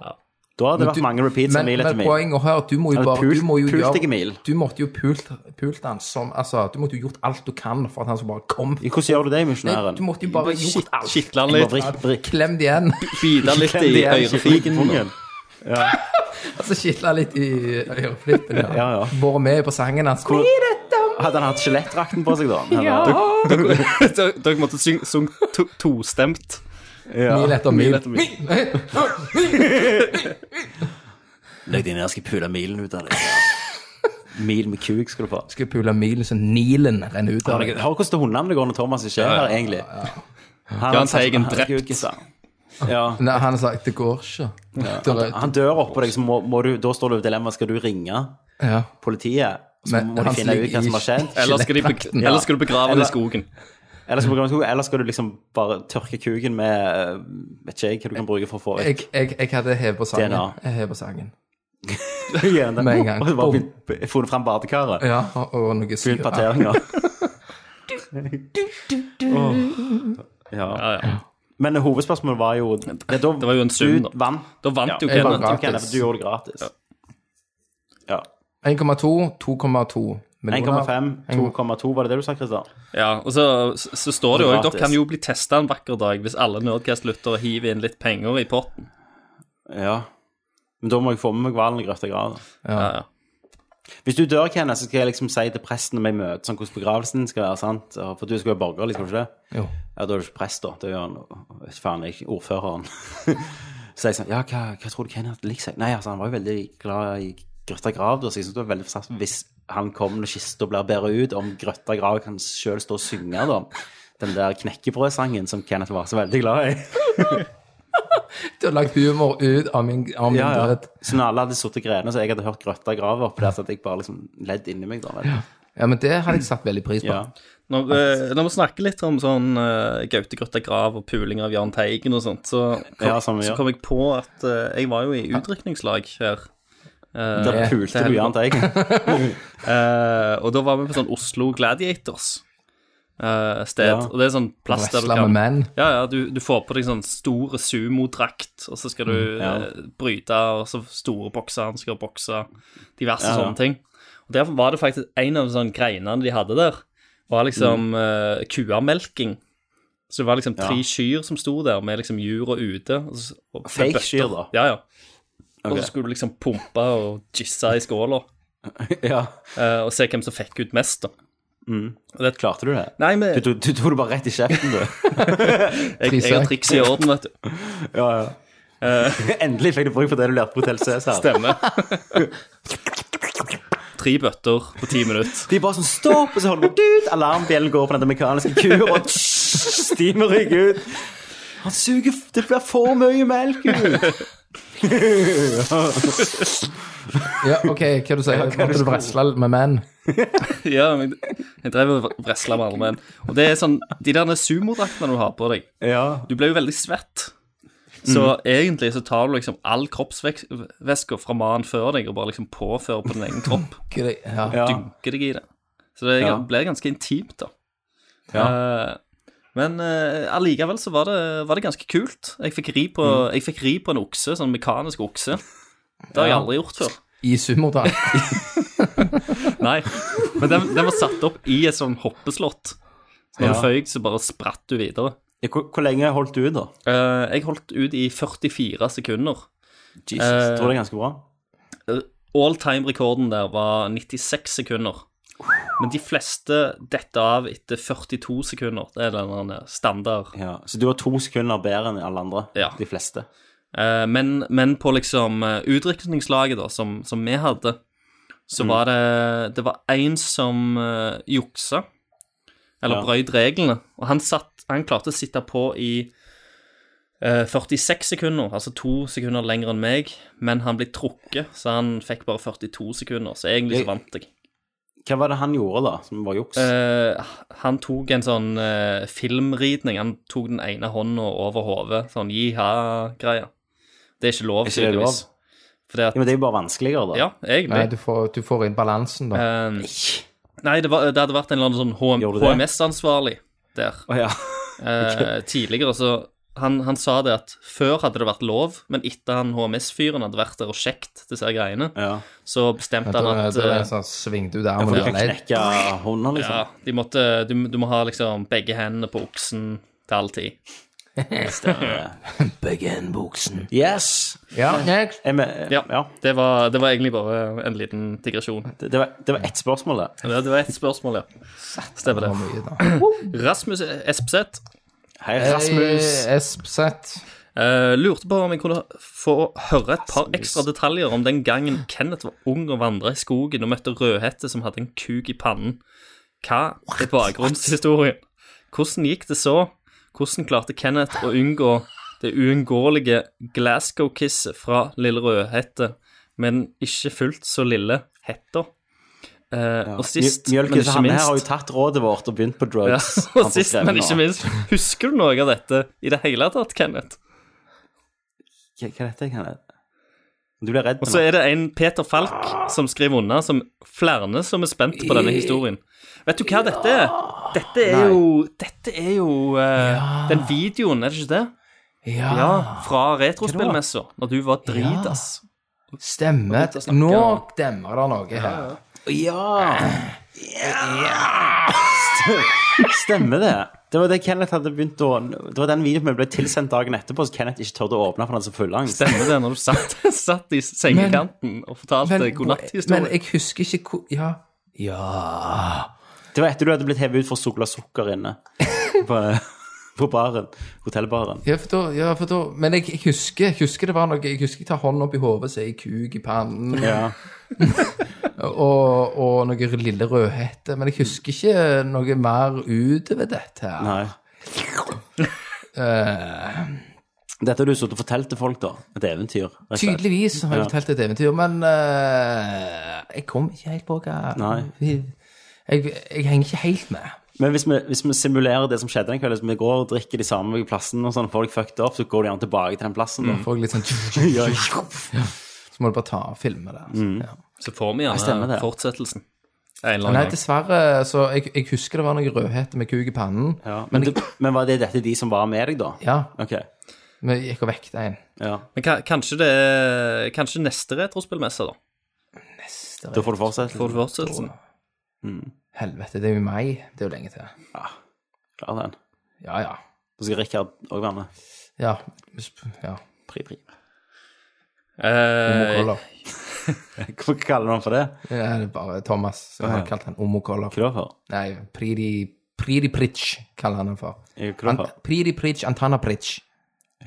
Speaker 1: Da hadde det
Speaker 2: Men
Speaker 1: vært
Speaker 2: du-
Speaker 1: mange repeats
Speaker 2: men,
Speaker 1: av mil etter
Speaker 2: men
Speaker 1: mil.
Speaker 2: poenget her, du må jo
Speaker 1: Eller
Speaker 2: bare
Speaker 1: pult-
Speaker 2: du må jo
Speaker 1: pult
Speaker 2: gjøre-
Speaker 1: ikke mil.
Speaker 2: Du måtte jo pult, pult han som Altså, du måtte jo gjort alt du kan for at han skulle bare komme.
Speaker 1: Hvordan gjør du det i
Speaker 2: Nei,
Speaker 1: misjonæren?
Speaker 2: du måtte jo bare gjort alt.
Speaker 3: Skitla han
Speaker 1: Bare
Speaker 3: litt,
Speaker 1: vrikk, vrikk.
Speaker 2: Klem det igjen.
Speaker 3: bita litt i ørefiken.
Speaker 2: Altså kitla litt i øreflippen.
Speaker 1: Ja, ja.
Speaker 2: Vært med på altså. sangen hans.
Speaker 1: Hvor- Hadde han hatt skjelettdrakten på seg, da? Eller-
Speaker 3: Dere dere måtte synge syng to, tostemt.
Speaker 2: Mil etter mil.
Speaker 3: etter mil.
Speaker 1: Legg deg ned, jeg skal pule milen ut av deg. Mil med kuk skal du få.
Speaker 2: Skal pule milen så Nilen renner ut av
Speaker 1: Herregud,
Speaker 2: deg.
Speaker 1: Hør hvordan det hundene det går når Thomas ikke er her, egentlig. Han
Speaker 3: Jahn Teigen
Speaker 1: han- herregud, Gissa. Ja.
Speaker 2: Nei, han har sagt det går ikke. Det er-
Speaker 1: Han dør oppå deg, så må, må du, da står det jo dilemma, skal du ringe
Speaker 2: ja.
Speaker 1: politiet? Så
Speaker 2: Men
Speaker 1: må de
Speaker 2: han
Speaker 1: finne ut
Speaker 2: ligger
Speaker 1: hva
Speaker 2: i
Speaker 1: som har skjedd.
Speaker 3: Eller skal, de, beg- eller skal du begrave det
Speaker 1: Eller-
Speaker 3: i skogen?
Speaker 1: Eller skal, du gå med sko, eller skal du liksom bare tørke kuken med eh, Vet ikke jeg hva du kan bruke for å få
Speaker 2: Jeg, jeg, jeg hadde hevet på sangen.
Speaker 1: DNA.
Speaker 2: Jeg hevet på sangen.
Speaker 1: Gjerne.
Speaker 2: Med en gang.
Speaker 1: Og så bare begynt- funnet fram badekaret.
Speaker 2: Ja, og, og noe
Speaker 1: Begynt
Speaker 2: syre.
Speaker 1: parteringer. Åh. Ja.
Speaker 3: Ja, ja.
Speaker 1: Men hovedspørsmålet var jo Det, da,
Speaker 3: Det var jo en sum, da.
Speaker 1: Du vant.
Speaker 3: Da vant jo
Speaker 2: Jeg bare
Speaker 3: Kenneth.
Speaker 2: ga-
Speaker 1: Du, Kenneth, du gjorde det gratis. Ja.
Speaker 2: 1,2, 2,2
Speaker 1: 1,5, 2,2, var det det du sa, Christer?
Speaker 3: Ja, og så, så, så står det jo òg
Speaker 1: Gratis.
Speaker 3: Dere kan jo bli testa en vakker dag hvis alle Nerdcast-lyttere hiver inn litt penger i potten.
Speaker 1: Ja. Men da må jeg få med meg hvalen i grøfta grav. da.
Speaker 3: Ja, ja.
Speaker 1: Hvis du dør, Kenneth, så skal jeg liksom si til presten når vi møtes sånn hvordan begravelsen skal være, sant? Og For du skal jo være borgerlig, skal du ikke det?
Speaker 2: Jo.
Speaker 1: Ja, da er du ikke prest, da. Da er han vet ikke faen, ikke ordføreren. så jeg sånn Ja, hva, hva tror du Kenneth liker seg? Nei, altså, han var jo veldig glad i Grøtta grav, da, så jeg synes det var veldig fantastisk hvis han kom når kista blir båret ut, om Grøtta grav kan sjøl stå og synge, da. Den der knekkebrødsangen som Kenneth var så veldig glad i.
Speaker 2: Du har lagt humor ut av min, av min
Speaker 1: Ja, ja.
Speaker 2: død.
Speaker 1: Så når alle hadde sittet grene, så jeg hadde hørt Grøtta grav oppe der, så hadde jeg bare liksom ledd inni meg, da. Vel.
Speaker 2: Ja, men det hadde jeg satt veldig pris på.
Speaker 1: Ja.
Speaker 3: Når, eh, når vi snakker litt om sånn eh, Gaute Grøtta Grav og puling av Jahn Teigen og sånt, så kom,
Speaker 1: Ja, som vi
Speaker 3: så
Speaker 1: gjør.
Speaker 3: kom jeg på at eh, jeg var jo i utdrikningslag her. eh,
Speaker 1: Der
Speaker 2: Det-
Speaker 1: pulte
Speaker 3: det
Speaker 1: du
Speaker 3: er-
Speaker 1: Jahn Teigen.
Speaker 3: eh, og da var vi på sånn Oslo Gladiators. eh, sted,
Speaker 1: Ja.
Speaker 3: og det er sånn plass der du
Speaker 2: Wrestler med
Speaker 3: kan
Speaker 2: menn.
Speaker 3: Ja, ja, du, du får på deg sånn store sumodrakt, og så skal du
Speaker 1: Mm, ja.
Speaker 3: eh, bryte, og så store boksehansker, bokse, diverse
Speaker 1: Ja, ja.
Speaker 3: sånne ting. Og Derfor var det faktisk en av sånne greinene de hadde der, var liksom eh, kuamelking. Så det var liksom tre
Speaker 1: Mm. Ja.
Speaker 3: kyr som sto der, med liksom jura ute. Og så, og med
Speaker 1: Fake
Speaker 3: bøtter.
Speaker 1: kyr, da?
Speaker 3: Ja, ja. Og
Speaker 1: Ok.
Speaker 3: så skulle du liksom pumpe og jisse i skåla,
Speaker 1: Ja.
Speaker 3: eh, og se hvem som fikk ut mest, da.
Speaker 1: Klarte du det?
Speaker 3: Nei, men
Speaker 1: Du, du, du tok det bare rett i kjeften, du.
Speaker 3: jeg, jeg har trikset i orden, vet du.
Speaker 1: Ja, ja. Eh. Endelig fikk du bruk for det du lærte på Hotell Cæsar.
Speaker 3: Stemmer. tre bøtter på ti minutter.
Speaker 1: De er bare sånn stopp, og så holder du ut. Alarmbjellen går på den mekaniske kua, og stimer rygg ut. Han suger f- Det blir for mye melk ut.
Speaker 2: Ja, OK, hva du sier Måtte du wrestle med menn?
Speaker 3: Ja, men jeg drev og wrestla med armen. Og det er sånn, de der sumodraktene du har på deg,
Speaker 1: Ja.
Speaker 3: du blir jo veldig svett. Så egentlig så tar du liksom all kroppsvæske fra mannen før deg og bare liksom påfører på din egen kropp.
Speaker 2: Hva det- Ja.
Speaker 1: ja.
Speaker 3: Dunker deg i det. Så det
Speaker 1: Ja.
Speaker 3: blir ganske intimt, da.
Speaker 1: Ja.
Speaker 3: Eh, men eh, allikevel så var det, var det ganske kult. Jeg fikk, ri på, jeg fikk ri på en okse, sånn mekanisk okse. Det har jeg aldri gjort før.
Speaker 2: I sumodrakt?
Speaker 3: Nei, men den, den var satt opp i et sånn hoppeslott. Så når
Speaker 1: Ja.
Speaker 3: du føyk, så bare spratt du videre.
Speaker 1: Ja, Hvor, hvor lenge holdt du ut, da?
Speaker 3: Eh, jeg holdt ut i 44 sekunder.
Speaker 1: Jesus, jeg tror det er ganske bra.
Speaker 3: All time-rekorden der var 96 sekunder. Men de fleste detter av etter 42 sekunder. Det er den der standard.
Speaker 1: Ja. Så du var to sekunder bedre enn alle andre?
Speaker 3: Ja.
Speaker 1: De fleste?
Speaker 3: Eh, men, men på liksom eh, utdrikningslaget da, som, som vi hadde, så
Speaker 1: Mm.
Speaker 3: var det Det var en som eh, juksa, eller
Speaker 1: Ja.
Speaker 3: brøyt reglene, og han, satt, han klarte å sitte på i eh, 46 sekunder, altså to sekunder lenger enn meg, men han ble trukket, så han fikk bare 42 sekunder, så egentlig
Speaker 1: Jeg-
Speaker 3: så vant jeg.
Speaker 1: Hva var det han gjorde, da, som var juks?
Speaker 3: Eh, han tok en sånn eh, filmridning. Han tok den ene hånda over hodet, sånn jiha-greie. Det er ikke lov,
Speaker 1: ikke det lov?
Speaker 3: tydeligvis. Fordi at
Speaker 1: ja, men det er jo bare vanskeligere, da.
Speaker 3: Ja, egentlig.
Speaker 2: Nei, du får, du får inn balansen, da.
Speaker 3: Eh, nei, det, var, det hadde vært en eller annen sånn HM,
Speaker 1: Gjorde du det?
Speaker 3: HMS-ansvarlig der
Speaker 1: Å, ja.
Speaker 3: eh, tidligere. Så han, han sa det at før hadde det vært lov, men etter han HMS-fyren hadde vært der og sjekt disse greiene,
Speaker 1: ja.
Speaker 3: så bestemte
Speaker 2: Da
Speaker 3: han
Speaker 2: er
Speaker 3: at
Speaker 2: det
Speaker 3: eh,
Speaker 2: en sånn svingte ut
Speaker 1: For
Speaker 2: armen
Speaker 1: du
Speaker 2: og
Speaker 1: kan
Speaker 2: ledd.
Speaker 1: knekke hånda, liksom.
Speaker 3: Ja, de måtte, du, du må ha liksom begge hendene på oksen til all tid.
Speaker 1: Eh. Yes!
Speaker 2: Ja, next.
Speaker 1: Jeg med,
Speaker 3: Ja,
Speaker 1: ja.
Speaker 3: Det, var, det var egentlig bare en liten digresjon.
Speaker 1: Det, det, var, det var ett spørsmål, det.
Speaker 3: Det, det var ett spørsmål, ja. Stemmer
Speaker 2: Det
Speaker 3: det.
Speaker 2: var mye, da.
Speaker 3: Rasmus Espseth
Speaker 1: Hei,
Speaker 2: Eh,
Speaker 1: Rasmus.
Speaker 2: Hey, Espseth.
Speaker 3: eh, lurte på om jeg kunne få høre et par ekstra detaljer om den gangen Kenneth var ung og vandra i skogen og møtte Rødhette som hadde en kuk i pannen. Hva er bakgrunnshistorien? Hvordan gikk det så? Hvordan klarte Kenneth å unngå det uunngåelige Glasgow-kisset fra Lille Rødhette, men ikke fullt så lille hetta? Eh, Og sist,
Speaker 1: Mjø-
Speaker 3: men
Speaker 1: Mjølkes,
Speaker 3: ikke
Speaker 1: han her har jo
Speaker 3: minst
Speaker 1: tatt rådet vårt og begynt på
Speaker 3: ja,
Speaker 1: drugs. Han får
Speaker 3: Og sist,
Speaker 1: skremme
Speaker 3: men
Speaker 1: nå.
Speaker 3: ikke minst, husker du noe av dette i det hele tatt, Kenneth?
Speaker 1: Hva hva er dette, Kenneth? Du blir redd
Speaker 3: Og
Speaker 1: nå.
Speaker 3: så er det en Peter Falk som skriver unna, som flere som er spent på denne historien. Vet du hva dette er? Dette er jo, dette er jo eh, den videoen, er det ikke det? Ja, fra retrospillmessa, når du var dritass.
Speaker 2: Stemmer.
Speaker 3: å snakke
Speaker 2: Nå
Speaker 3: om.
Speaker 2: demmer det noe her.
Speaker 1: Ja! Stem- Stemmer det. Det var det Kenneth hadde begynt å Det var den videoen vi ble tilsendt dagen etterpå, så Kenneth ikke tørde å åpne for han hadde så fullangst.
Speaker 3: Stemmer det, når du satt, satt i sengekanten og fortalte
Speaker 2: men
Speaker 3: godnatthistorien?
Speaker 2: jeg husker ikke hvor Ja. Ja
Speaker 1: Det var etter du hadde blitt hevet ut for sukla sukker inne på, på baren. Hotellbaren.
Speaker 2: Ja, for da, ja, for da Men jeg, jeg husker jeg husker det var noe Jeg husker jeg tar hånden opp i hodet, så er jeg kuk i pannen,
Speaker 1: Ja.
Speaker 2: og, og noe lille rødhette. Men jeg husker ikke noe mer utover dette. her.
Speaker 1: Nei. Dette har du sittet og fortalt til folk, da. Et eventyr. rett og slett.
Speaker 2: Tydeligvis har jeg fortalt et eventyr, men eh, jeg kom ikke helt på hva
Speaker 1: Nei.
Speaker 2: Jeg, jeg henger ikke helt med.
Speaker 1: Men hvis vi, hvis vi simulerer det som skjedde den kvelden, hvis vi går og drikker de samme plassene, og sånn, folk fucked up, så går de gjerne tilbake til den plassen. Da.
Speaker 2: Får jeg litt sånn
Speaker 1: Ja, Mm.
Speaker 2: Så må du bare ta og filme det. Altså. Ja.
Speaker 3: Så får vi
Speaker 1: stemmer
Speaker 3: gjerne
Speaker 1: det.
Speaker 3: fortsettelsen. En eller
Speaker 2: Nei,
Speaker 3: annen gang.
Speaker 2: dessverre. Så jeg, jeg husker det var noe rødhette med kuk i pannen.
Speaker 1: ja. Men, du, men var det dette de som var med deg, da?
Speaker 2: Ja,
Speaker 1: Ok.
Speaker 2: men jeg gikk og vekket en.
Speaker 1: Ja.
Speaker 3: Men ka- kanskje det er Kanskje neste retrospillmesse, da?
Speaker 1: Da får du fortsette.
Speaker 3: Får du fortsettelsen?
Speaker 2: Helvete, det er jo i mai. Det er jo lenge til.
Speaker 1: Ah, Klar den.
Speaker 2: Ja, ja.
Speaker 1: Så skal Rikard òg være med.
Speaker 2: Ja. sp- ja.
Speaker 1: Pri, pri.
Speaker 3: Eh,
Speaker 2: Omokoller.
Speaker 1: Hvorfor kaller du han for det?
Speaker 2: Ja, det er bare Thomas. Så jeg har kalt han Omokoller.
Speaker 1: Hva da for?
Speaker 2: Nei, Pridi, Pridi Pritch kaller han han for.
Speaker 1: Jeg- Hva
Speaker 2: An,
Speaker 1: da for?
Speaker 2: Pridi Pritch, Antana Pritch.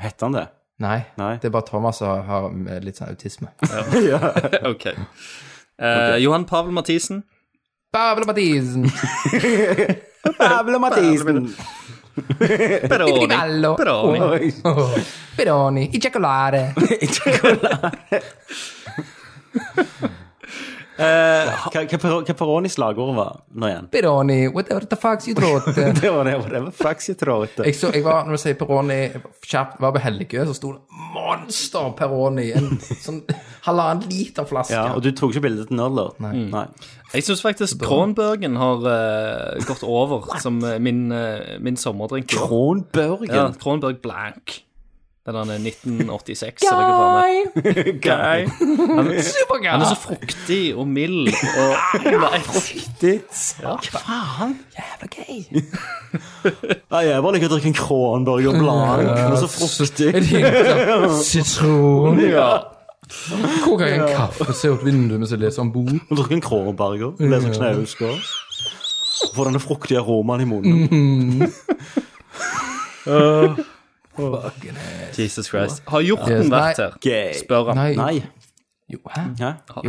Speaker 1: Heter han det?
Speaker 2: Nei,
Speaker 1: Nei.
Speaker 2: det er bare Thomas som har eh, litt sånn autisme.
Speaker 3: Ok. Eh, Johan Pavel Mathisen.
Speaker 2: Pavle Mathisen!
Speaker 1: Pablo Mathisen!
Speaker 3: Peroni.
Speaker 2: Gallo.
Speaker 3: Peroni.
Speaker 2: Oh, Peroni, i cioccolare.
Speaker 1: Hva, hva, per- hva Peronis slagord var nå igjen?
Speaker 2: Peroni, whatever the fuck you thought.
Speaker 1: Det var det. Whatever fucks you throw it.
Speaker 2: Jeg, så, jeg var, når du sier Peroni kjapt, var på Helgø, så sto det Monster Peroni. En sånn halvannen liter flaske.
Speaker 1: Ja, og du tok ikke bilde til Nerdler? Nei.
Speaker 3: Jeg syns faktisk Kronbergen har eh, gått over som eh, min, eh, min sommerdrink. i år.
Speaker 1: Kronbergen.
Speaker 3: Ja, Kronberg Blank. Den er 1986. eller hva faen det er.
Speaker 1: Guy.
Speaker 3: Han er så fruktig og mild og Nei,
Speaker 1: Hva faen? Jævla gøy. Jeg bare liker å drikke en Kronberger blank. Den er Eh, så fruktig.
Speaker 2: Sitron. Hvor kan jeg liksom en kaffe se ut vinduet mens jeg leser om bord?
Speaker 1: Du drikker en Kronberger, leser Knausgård. Får denne fruktige aromaen i munnen.
Speaker 3: Jesus Christ. Har
Speaker 2: Yes,
Speaker 3: hjorten
Speaker 2: nei.
Speaker 3: vært her?
Speaker 1: Gøy.
Speaker 3: Spør han.
Speaker 2: Nei.
Speaker 1: Nei.
Speaker 2: Jo, hæ?
Speaker 1: Hæ?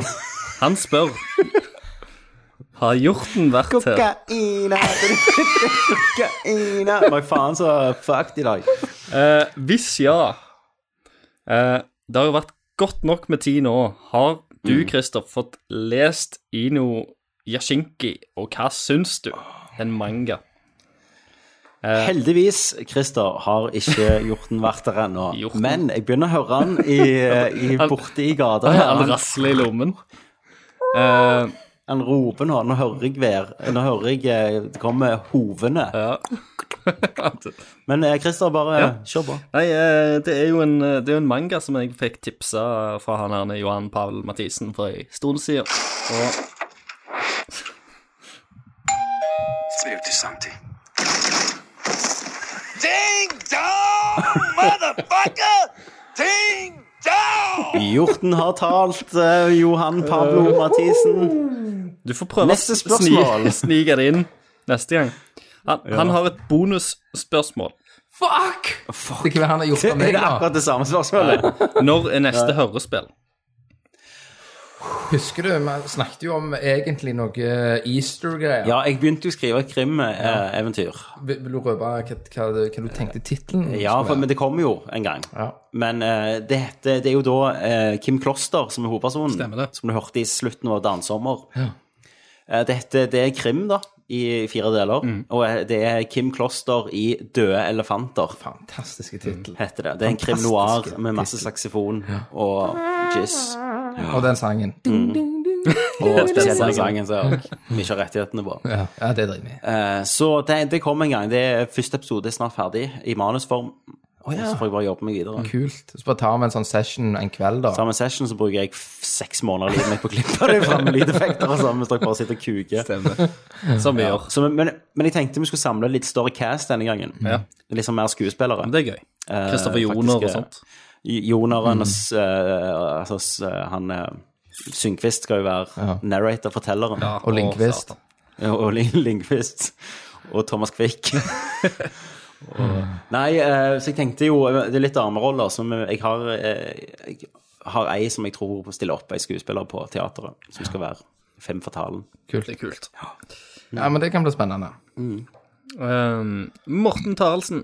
Speaker 3: Han spør. Har hjorten vært her?
Speaker 1: Kokaina. Kokaina. Hva faen så fucked i dag?
Speaker 3: Eh, hvis ja eh, Det har jo vært godt nok med tid nå. Har du, Christer, fått lest Ino Yashinki, og hva syns du? En manga. Eh.
Speaker 1: Heldigvis, Christer, har ikke hjorten vært der ennå.
Speaker 3: Hjorten.
Speaker 1: Men jeg begynner å høre han i, i, borte i gata. her.
Speaker 3: Han
Speaker 1: Han,
Speaker 3: rasler i lommen. Eh,
Speaker 1: han roper nå. Nå hører jeg vær. Nå hører jeg eh, det kommer hovene. Men eh, Christer, bare kjør på.
Speaker 3: Nei, eh, det er jo en, eh, det er jo en manga som jeg fikk tipsa fra han her Johan Pavel Mathisen for en stund siden. Og
Speaker 7: Slev til samtid. Ding dong, motherfucker! Ding dong!
Speaker 1: Hjorten har talt, eh, Johan Pablo Mathisen.
Speaker 3: du får prøve
Speaker 1: Neste
Speaker 3: å
Speaker 1: spørsmål.
Speaker 3: sni- snike det inn neste gang. Han, han har et bonusspørsmål.
Speaker 2: Fuck! Det kan være han har gjort
Speaker 1: Det
Speaker 2: av meg,
Speaker 1: er
Speaker 2: da.
Speaker 1: akkurat det samme spørsmålet.
Speaker 3: Når er neste hørespill?
Speaker 2: Husker du, vi snakket jo om egentlig noe Easter-greier.
Speaker 1: Ja, jeg begynte jo å skrive et krimeventyr.
Speaker 2: Vil vil du røpe hva, hva, hva du tenkte tittelen? skulle
Speaker 1: Ja, for,
Speaker 2: være?
Speaker 1: men det kommer jo en gang.
Speaker 2: Ja.
Speaker 1: Men eh, det, heter, det er jo da eh, Kim Kloster som er hovedpersonen,
Speaker 3: Stemmer det.
Speaker 1: som du hørte i slutten av Dansommer. Eh, det, heter, det er krim, da, i fire deler. Og eh, det er Kim Kloster i Døde elefanter,
Speaker 2: Fantastiske tittel.
Speaker 1: heter det. Det er en krim noir
Speaker 2: Fantastiske
Speaker 1: med masse saksofon og jizz.
Speaker 2: Og den sangen.
Speaker 1: Mm. Og spesielt den sangen som vi ikke har rettighetene på.
Speaker 2: Ja, ja det driter vi i.
Speaker 1: Eh, Så det, det kommer en gang. Det er første episode det er snart ferdig i manusform. Og så får jeg bare jobbe meg videre.
Speaker 2: Kult. Så bare tar vi en sånn session en kveld, da.
Speaker 1: Sammen med session så bruker jeg f- seks måneder av livet mitt på å klippe det fram med lydeffekter og sånn, mens dere bare sitter og kuker.
Speaker 3: Som vi gjør.
Speaker 1: Så, men, men jeg tenkte vi skulle samle litt større cast denne gangen.
Speaker 3: Ja.
Speaker 1: Litt sånn mer skuespillere.
Speaker 3: Det er gøy.
Speaker 1: Eh,
Speaker 3: Kristoffer Joner
Speaker 1: faktisk,
Speaker 3: og
Speaker 1: eh,
Speaker 3: sånt.
Speaker 1: J- Joneren og
Speaker 3: Mm.
Speaker 1: s- eh, altså, s- eh, han eh, Synkvist skal jo være narrator, fortelleren.
Speaker 2: Og Lindqvist.
Speaker 3: satan.
Speaker 1: og Ling- Lingvist og Thomas Quick. Og- Nei, eh, så jeg tenkte jo eh, Det er litt dameroller som eh, jeg har eh, Jeg har ei som jeg tror stiller opp ei skuespiller på teateret, som skal være Fem fatalen.
Speaker 3: Det er kult.
Speaker 2: Ja, men det kan bli spennende.
Speaker 1: Mm.
Speaker 3: Um, Morten Taraldsen.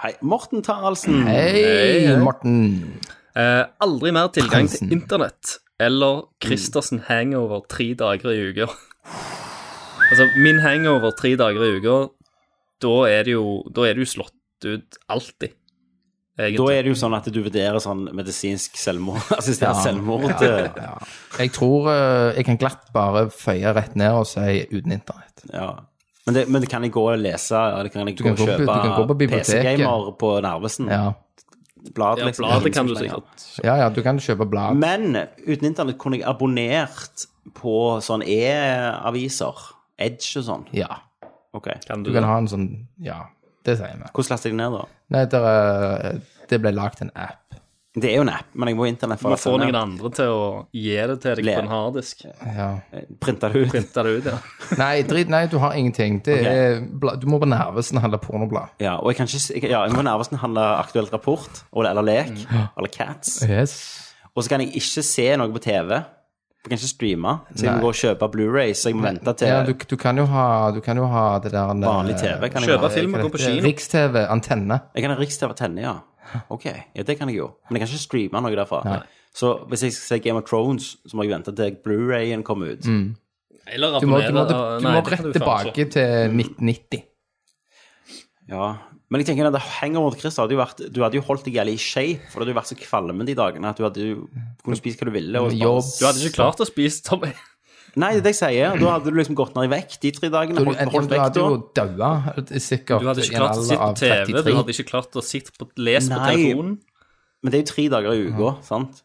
Speaker 1: Hei, Morten Taraldsen!
Speaker 2: Hei, Morten.
Speaker 3: Eh, aldri mer tilgang
Speaker 2: Hansen.
Speaker 3: til internett eller Christersen hangover tre dager i uka. altså, min hangover tre dager i uka, da er det jo Da er du slått ut alltid, egentlig.
Speaker 1: Da er det jo sånn at du vurderer sånn medisinsk selvmord, assistert selvmord. eh,
Speaker 2: Ja, ja. Jeg tror eh, jeg kan glatt bare føye rett ned og si uten internett.
Speaker 1: Ja. Men, det, men det kan jeg gå og lese, eller kan jeg gå
Speaker 2: kan
Speaker 1: og
Speaker 2: gå på- du kan gå på
Speaker 1: kjøpe
Speaker 2: biblioteket.
Speaker 1: PC-gamer på Narvesen?
Speaker 2: Ja.
Speaker 1: Blad,
Speaker 3: ja,
Speaker 1: liksom.
Speaker 3: bladet kan du sikkert.
Speaker 2: ja, ja, du kan kjøpe blad.
Speaker 1: Men uten internett kunne jeg abonnert på sånn e-aviser. Edge og sånn.
Speaker 2: Ja.
Speaker 1: Ok.
Speaker 3: Kan du,
Speaker 2: Du kan ha en sånn Ja, det sier vi.
Speaker 1: Hvordan laster jeg det ned, da?
Speaker 2: Nei, der, er- eh, det ble lagt en app.
Speaker 1: Det er jo en app, men jeg må ha internett for
Speaker 3: Man
Speaker 1: å
Speaker 3: får
Speaker 1: laste
Speaker 3: noen
Speaker 1: ned.
Speaker 3: andre til å gi det til deg
Speaker 1: Le.
Speaker 3: på en harddisk.
Speaker 2: Ja.
Speaker 1: Eh, Printer det ut.
Speaker 3: Printe det ut, ja.
Speaker 2: Nei, drit, nei, du har ingenting. Det er blad, du må på Nervesen og handle pornoblad.
Speaker 1: Ja, og jeg kan ikke s- jeg, ja, jeg må nærmest handle aktuelt
Speaker 3: Mm.
Speaker 1: rapport, eller, eller lek, eller Cats.
Speaker 2: Yes.
Speaker 1: Og så kan jeg ikke se noe på TV Jeg kan ikke streame, så jeg
Speaker 2: Nei.
Speaker 1: må gå og kjøpe Blu-ray, så jeg må vente til
Speaker 2: Ja, du, du, kan jo ha, du kan jo ha det der eh,
Speaker 1: vanlig TV. kan jeg
Speaker 3: Kjøpe
Speaker 1: ha.
Speaker 3: film og gå på kino.
Speaker 2: Riks-TV, antenne.
Speaker 1: Jeg kan ha Riks-TV Tenne, ja. Ok, ja, det kan jeg jo. Men jeg kan ikke streame noe derfra. Så hvis jeg skal se Game of Thrones, så må jeg vente til Blu-rayen kommer
Speaker 2: Mm.
Speaker 1: ut.
Speaker 3: Eller
Speaker 2: Du må,
Speaker 3: abonnere.
Speaker 2: du må, du,
Speaker 3: da.
Speaker 2: du
Speaker 3: Nei,
Speaker 2: må
Speaker 3: det kan
Speaker 2: rett
Speaker 3: du faen ikke.
Speaker 2: tilbake til 1990.
Speaker 1: Ja. Men jeg tenker at hangoveren til Chris hadde jo vært Du hadde jo holdt deg jævlig i skje, for du hadde jo vært så kvalm de dagene at du hadde jo kunne spise hva du ville. Og
Speaker 2: Jobb.
Speaker 1: bare-
Speaker 3: Du hadde ikke klart å spise Tommy.
Speaker 1: Nei, det er det jeg sier. Da hadde du liksom gått ned i vekt de tre dagene.
Speaker 2: Du,
Speaker 1: Holdt, holdt
Speaker 2: du
Speaker 1: vekt
Speaker 2: hadde
Speaker 1: da.
Speaker 2: jo daua sikkert
Speaker 3: Du hadde
Speaker 2: i
Speaker 3: ikke
Speaker 2: en
Speaker 3: klart å
Speaker 2: alder
Speaker 3: sitte på
Speaker 2: av
Speaker 3: TV, du
Speaker 2: 33.
Speaker 3: hadde ikke klart å sitte på, lese på
Speaker 1: Nei.
Speaker 3: telefonen.
Speaker 1: Men det er jo tre dager i uka, sant?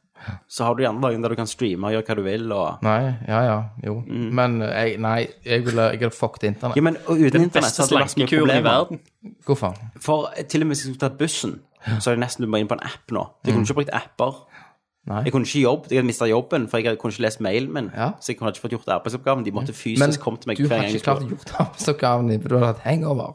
Speaker 1: Så har du de andre dagene der du kan streame og gjøre hva du vil. og...
Speaker 2: Nei, ja ja, jo.
Speaker 1: Mm.
Speaker 2: Men jeg, nei, jeg ville jeg hadde fucket
Speaker 1: Ja,
Speaker 2: internett.
Speaker 1: men og uten internett
Speaker 3: Beste
Speaker 1: så hadde det vært så mye
Speaker 3: slankekuren i
Speaker 1: problemer.
Speaker 3: verden.
Speaker 2: Hvor faen?
Speaker 1: For eh, til og med hvis jeg skulle tatt bussen, så er det nesten du må inn på en app nå. Jeg kunne ikke brukt apper.
Speaker 2: Mm. Nei.
Speaker 1: Jeg kunne ikke jobb, jeg hadde mista jobben, for jeg kunne ikke lest mailen min.
Speaker 2: Ja.
Speaker 1: Så jeg kunne ikke fått gjort arbeidsoppgaven. De måtte
Speaker 2: Men
Speaker 1: fysisk komme til meg
Speaker 2: du
Speaker 1: hver
Speaker 2: hadde
Speaker 1: gang jeg
Speaker 2: ikke klart å
Speaker 1: skulle.
Speaker 2: gjort arbeidsoppgaven din, for du hadde hatt hangover.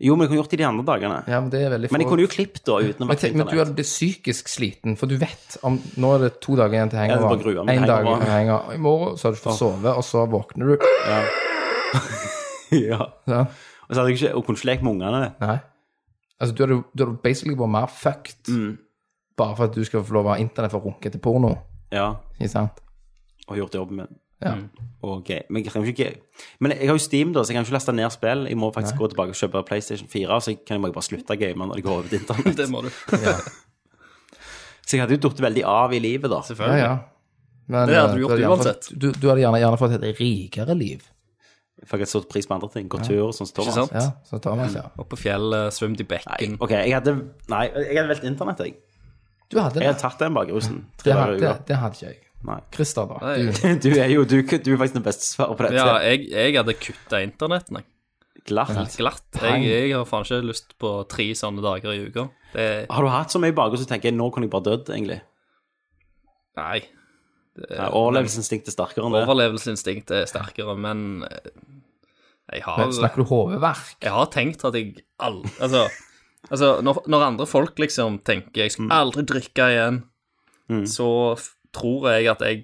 Speaker 1: Jo, men jeg kunne gjort det de andre dagene.
Speaker 2: Ja, men det er veldig
Speaker 1: Men jeg
Speaker 2: få-
Speaker 1: kunne jo klippet da, uten å
Speaker 2: Men,
Speaker 1: være
Speaker 2: tenk, men du hadde blitt psykisk sliten, for du vet om Nå er det to dager igjen til
Speaker 1: Jeg hadde
Speaker 2: hangover.
Speaker 1: bare grua meg
Speaker 2: En
Speaker 1: til
Speaker 2: dag
Speaker 1: hangover.
Speaker 2: til hangover. I morgen så har du fått sove, og så våkner du.
Speaker 1: Ja.
Speaker 2: Ja.
Speaker 1: Og så hadde jeg ikke, og kunne ikke lekt med ungene.
Speaker 2: Nei. Altså, du hadde, du hadde basically vært mer fucked
Speaker 1: Mm.
Speaker 2: bare for at du skal få lov å ha internett for å runke til porno.
Speaker 1: Ja.
Speaker 2: Ikke sant?
Speaker 1: Og gjort jobben min.
Speaker 2: Ja.
Speaker 3: Mm.
Speaker 1: Ok, men jeg, kan jo ikke, men jeg har jo Steam, da, så jeg kan jo ikke laste ned spill. Jeg må faktisk gå tilbake og kjøpe PlayStation 4, så jeg kan jo bare slutte å game når det går over til internett.
Speaker 3: Det må du.
Speaker 1: Så jeg hadde jo datt veldig av i livet, da.
Speaker 2: Ja,
Speaker 3: Selvfølgelig.
Speaker 2: ja. Men,
Speaker 3: Det hadde du
Speaker 2: eh,
Speaker 3: gjort
Speaker 2: gjerne
Speaker 3: uansett.
Speaker 2: Fått, du, du hadde gjerne, gjerne fått et rikere liv.
Speaker 1: For jeg hadde satt pris på andre ting. Gå tur og sånn som
Speaker 3: Ikke
Speaker 1: Thomas.
Speaker 3: sant?
Speaker 2: Ja, så tar man seg
Speaker 3: Opp på fjellet, svømt i
Speaker 1: Nei,
Speaker 3: bekken.
Speaker 1: ok, jeg hadde Nei, jeg hadde valgt internett, jeg.
Speaker 2: Du hadde
Speaker 1: Jeg
Speaker 2: det.
Speaker 1: hadde tatt den bak rusen. Tre
Speaker 2: Det
Speaker 1: dager
Speaker 2: hadde,
Speaker 1: i
Speaker 2: det,
Speaker 1: uka.
Speaker 2: hadde ikke jeg.
Speaker 1: Nei.
Speaker 2: Christer, da.
Speaker 3: Nei.
Speaker 2: Du,
Speaker 1: Du er jo du, du er faktisk den beste svaret på dette.
Speaker 3: Ja, jeg, jeg hadde kutta internetten, jeg.
Speaker 1: Glatt.
Speaker 3: Glatt. Jeg, jeg har faen ikke lyst på tre sånne dager i uka. Det
Speaker 1: Har du hatt så mye bakrus at du tenker nå kunne jeg bare dødd, egentlig?
Speaker 3: Nei. Eh,
Speaker 1: Ja, Overlevelsesinstinktet er sterkere enn det.
Speaker 3: Overlevelsesinstinktet er sterkere, men eh,
Speaker 2: men
Speaker 3: jeg har
Speaker 2: snakker du hodeverk?
Speaker 3: Jeg har tenkt at jeg all, Altså, altså når, når andre folk liksom tenker jeg
Speaker 1: Mm.
Speaker 3: skal aldri drikke igjen, så f- tror jeg at jeg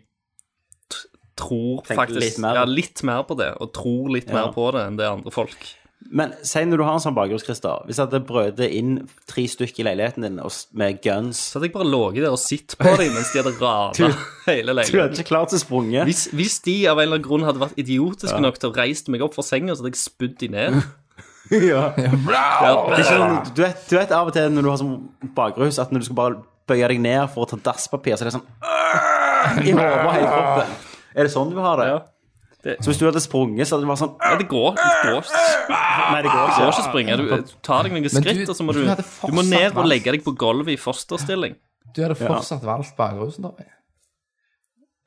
Speaker 3: t- tror
Speaker 1: Tenker
Speaker 3: faktisk
Speaker 1: litt mer.
Speaker 3: Ja, litt mer på det, og tror litt mer på det enn det andre folk.
Speaker 1: Men si når du har en sånn bakrus, Christer. Hvis jeg hadde brødet inn tre stykker i leiligheten din og s- med guns
Speaker 3: Så hadde jeg bare ligget der og sett på dem mens de hadde rana hele
Speaker 1: Du
Speaker 3: leiligheten.
Speaker 1: hadde ikke klart å sprunge.
Speaker 3: Hvis, hvis de av en eller annen grunn hadde vært idiotiske nok til å reise meg opp fra senga, så hadde jeg spydd de ned.
Speaker 1: Ja.
Speaker 3: Ja,
Speaker 1: Det er ikke sånn, du, vet, du vet av og til når du har sånn bakrus, at når du skal bare bøye deg ned for å ta dasspapir, så er det sånn «Åh!» I hodet og hele kroppen. Er det sånn du har det?
Speaker 3: Ja. Det-
Speaker 1: Så hvis du hadde sprunget, så hadde det vært sånn
Speaker 3: det går. Det går.
Speaker 1: Nei, det går
Speaker 3: Du må
Speaker 1: ikke.
Speaker 3: ikke springe. Du, du tar deg noen
Speaker 2: Men
Speaker 3: skritt,
Speaker 2: du-
Speaker 3: og så må du,
Speaker 2: du hadde
Speaker 3: du må ned
Speaker 2: fortsatt
Speaker 3: og
Speaker 2: valgt.
Speaker 3: legge deg på gulvet i fosterstilling.
Speaker 2: Du hadde fortsatt valgt bakgrusen, da.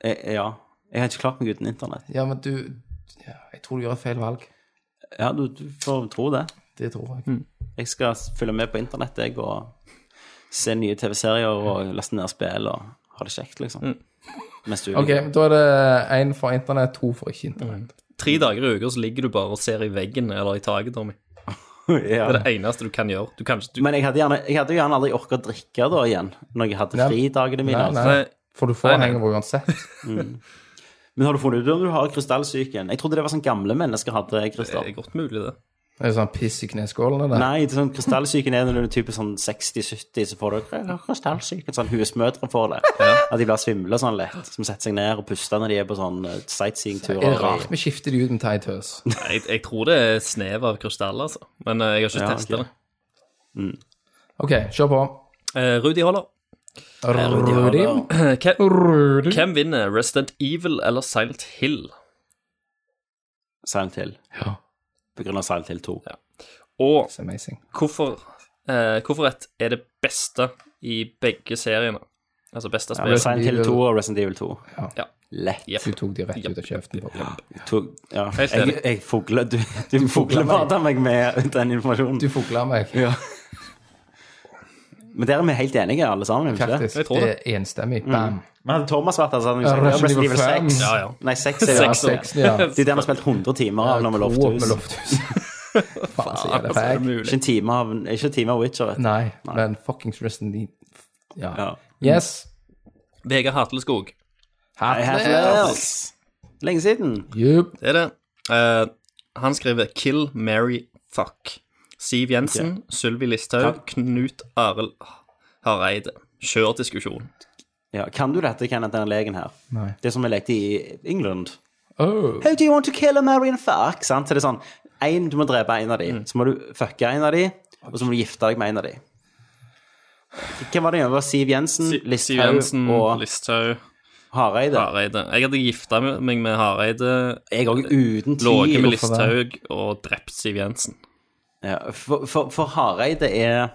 Speaker 1: Eh, Ja. Jeg har ikke klart meg uten internett.
Speaker 2: Ja, men du ja, Jeg tror du gjør et feil valg.
Speaker 1: Ja, du, du får tro det.
Speaker 2: Det tror jeg.
Speaker 1: Jeg skal følge med på internett, jeg, og se nye TV-serier og laste ned spill og ha det kjekt, liksom. Mest mulig.
Speaker 2: Ok, men Da er det én for internett, to for ikke internett.
Speaker 3: Tre dager i uka så ligger du bare og ser i veggen eller i taket, Tommy.
Speaker 1: ja.
Speaker 3: Det er det eneste du kan gjøre. Du kan ikke du,
Speaker 1: Men jeg hadde, gjerne, jeg hadde jo gjerne aldri orka å drikke da igjen, når jeg hadde
Speaker 2: Nei.
Speaker 1: fridagene mine.
Speaker 2: Nei,
Speaker 1: altså.
Speaker 2: nei.
Speaker 3: Nei,
Speaker 2: For du får
Speaker 3: Nei, nei.
Speaker 2: hangover uansett.
Speaker 1: Men har du funnet ut om du har krystallsyken? Jeg trodde det var sånn gamle mennesker hadde
Speaker 3: det
Speaker 1: krystall.
Speaker 3: er godt mulig, det.
Speaker 2: Det er sånn piss i kneskålene der.
Speaker 1: Nei, det er sånn, krystallsyken er når du er type sånn 60-70, så får du kry- krystallsyken. Sånn husmødre får det. At de blir svimle sånn lett. Som setter seg ned og puster når de er på sånn eh,
Speaker 2: Er det
Speaker 1: sightseeingturer.
Speaker 2: rart vi skifter de ut med teitøs?
Speaker 3: Nei, Jeg, jeg tror det er snev av krystaller, altså. Men eh, jeg har ikke
Speaker 1: Ja,
Speaker 3: testa
Speaker 1: ok.
Speaker 3: det.
Speaker 2: OK, kjør på.
Speaker 3: Eh, Rudi Holler,
Speaker 2: Rudi.
Speaker 3: hvem,
Speaker 2: Rudi.
Speaker 3: hvem vinner Resident Evil eller Silent Hill?
Speaker 1: Silent Hill.
Speaker 2: Ja.
Speaker 1: På grunn av Silent Hill 2.
Speaker 3: Og
Speaker 2: It's amazing.
Speaker 3: hvorfor, eh, hvorfor et er det beste i begge seriene? Altså beste
Speaker 1: Ja,
Speaker 3: spillet.
Speaker 1: Silent Hill
Speaker 2: Evil.
Speaker 1: 2 og Resident Evil 2.
Speaker 3: Ja.
Speaker 1: Lett.
Speaker 3: Jepp.
Speaker 2: Du tok de rett ut av kjeften på meg.
Speaker 1: To, ja.
Speaker 3: Helt enig.
Speaker 1: Jeg, jeg fugler, du, du fuglebada meg med den informasjonen.
Speaker 2: Du fugla meg.
Speaker 1: Men der er vi helt enige, alle sammen. er vi Ikke det?
Speaker 2: Faktisk.
Speaker 3: Jeg tror Mm.
Speaker 2: Det er enstemmig. Bam.
Speaker 1: Men hadde Thomas vært der, så hadde han
Speaker 2: Ja,
Speaker 1: jo sagt
Speaker 2: Resident
Speaker 1: Resident Evil
Speaker 2: Evil
Speaker 1: 6.
Speaker 3: Ja, ja.
Speaker 1: Nei, 6 er jo
Speaker 2: Ja,
Speaker 3: Seks,
Speaker 1: altså-
Speaker 2: seks, ja.
Speaker 1: Det er den vi har spilt 100 timer av når vi
Speaker 2: To opp
Speaker 1: lovte
Speaker 2: med
Speaker 1: hus.
Speaker 2: lofthus. Faen, så gjør det
Speaker 3: Er det
Speaker 2: feil.
Speaker 3: mulig?
Speaker 1: Ikke en time av, ikke en time av Witcher. vet du.
Speaker 2: Nei, men fuckings Resident Evil. Ja.
Speaker 1: Ja.
Speaker 2: Yes.
Speaker 3: Vegard Hatleskog.
Speaker 2: Hatlers!
Speaker 1: Lenge siden.
Speaker 2: Jupp.
Speaker 3: Det er det. Eh, han skriver 'Kill, Mary, fuck'. Siv Jensen, Sylvi Listhaug, Knut Arild Hareide. Kjør diskusjon.
Speaker 1: Ja, kan du dette, Kenneth, den legen her?
Speaker 2: Nei.
Speaker 1: Det som vi lekte i England.
Speaker 2: Oh.
Speaker 1: How do you want to kill a marry and fuck? Sant? Så det er sånn, en, du må drepe en av de,
Speaker 3: Mm.
Speaker 1: så må du fucke en av de, og så må du gifte deg med en av de. Hvem var det igjen? Det var Siv Jensen,
Speaker 3: Si- Siv Jensen,
Speaker 1: Listhaug og
Speaker 3: Listhaug,
Speaker 1: Hareide.
Speaker 3: Hareide. Jeg hadde gifta meg med Hareide,
Speaker 1: Jeg òg, uten
Speaker 3: ligget med
Speaker 2: hvorfor
Speaker 1: tvil.
Speaker 2: det?
Speaker 3: Listhaug og drept Siv Jensen.
Speaker 1: Ja, for, for, for Hareide er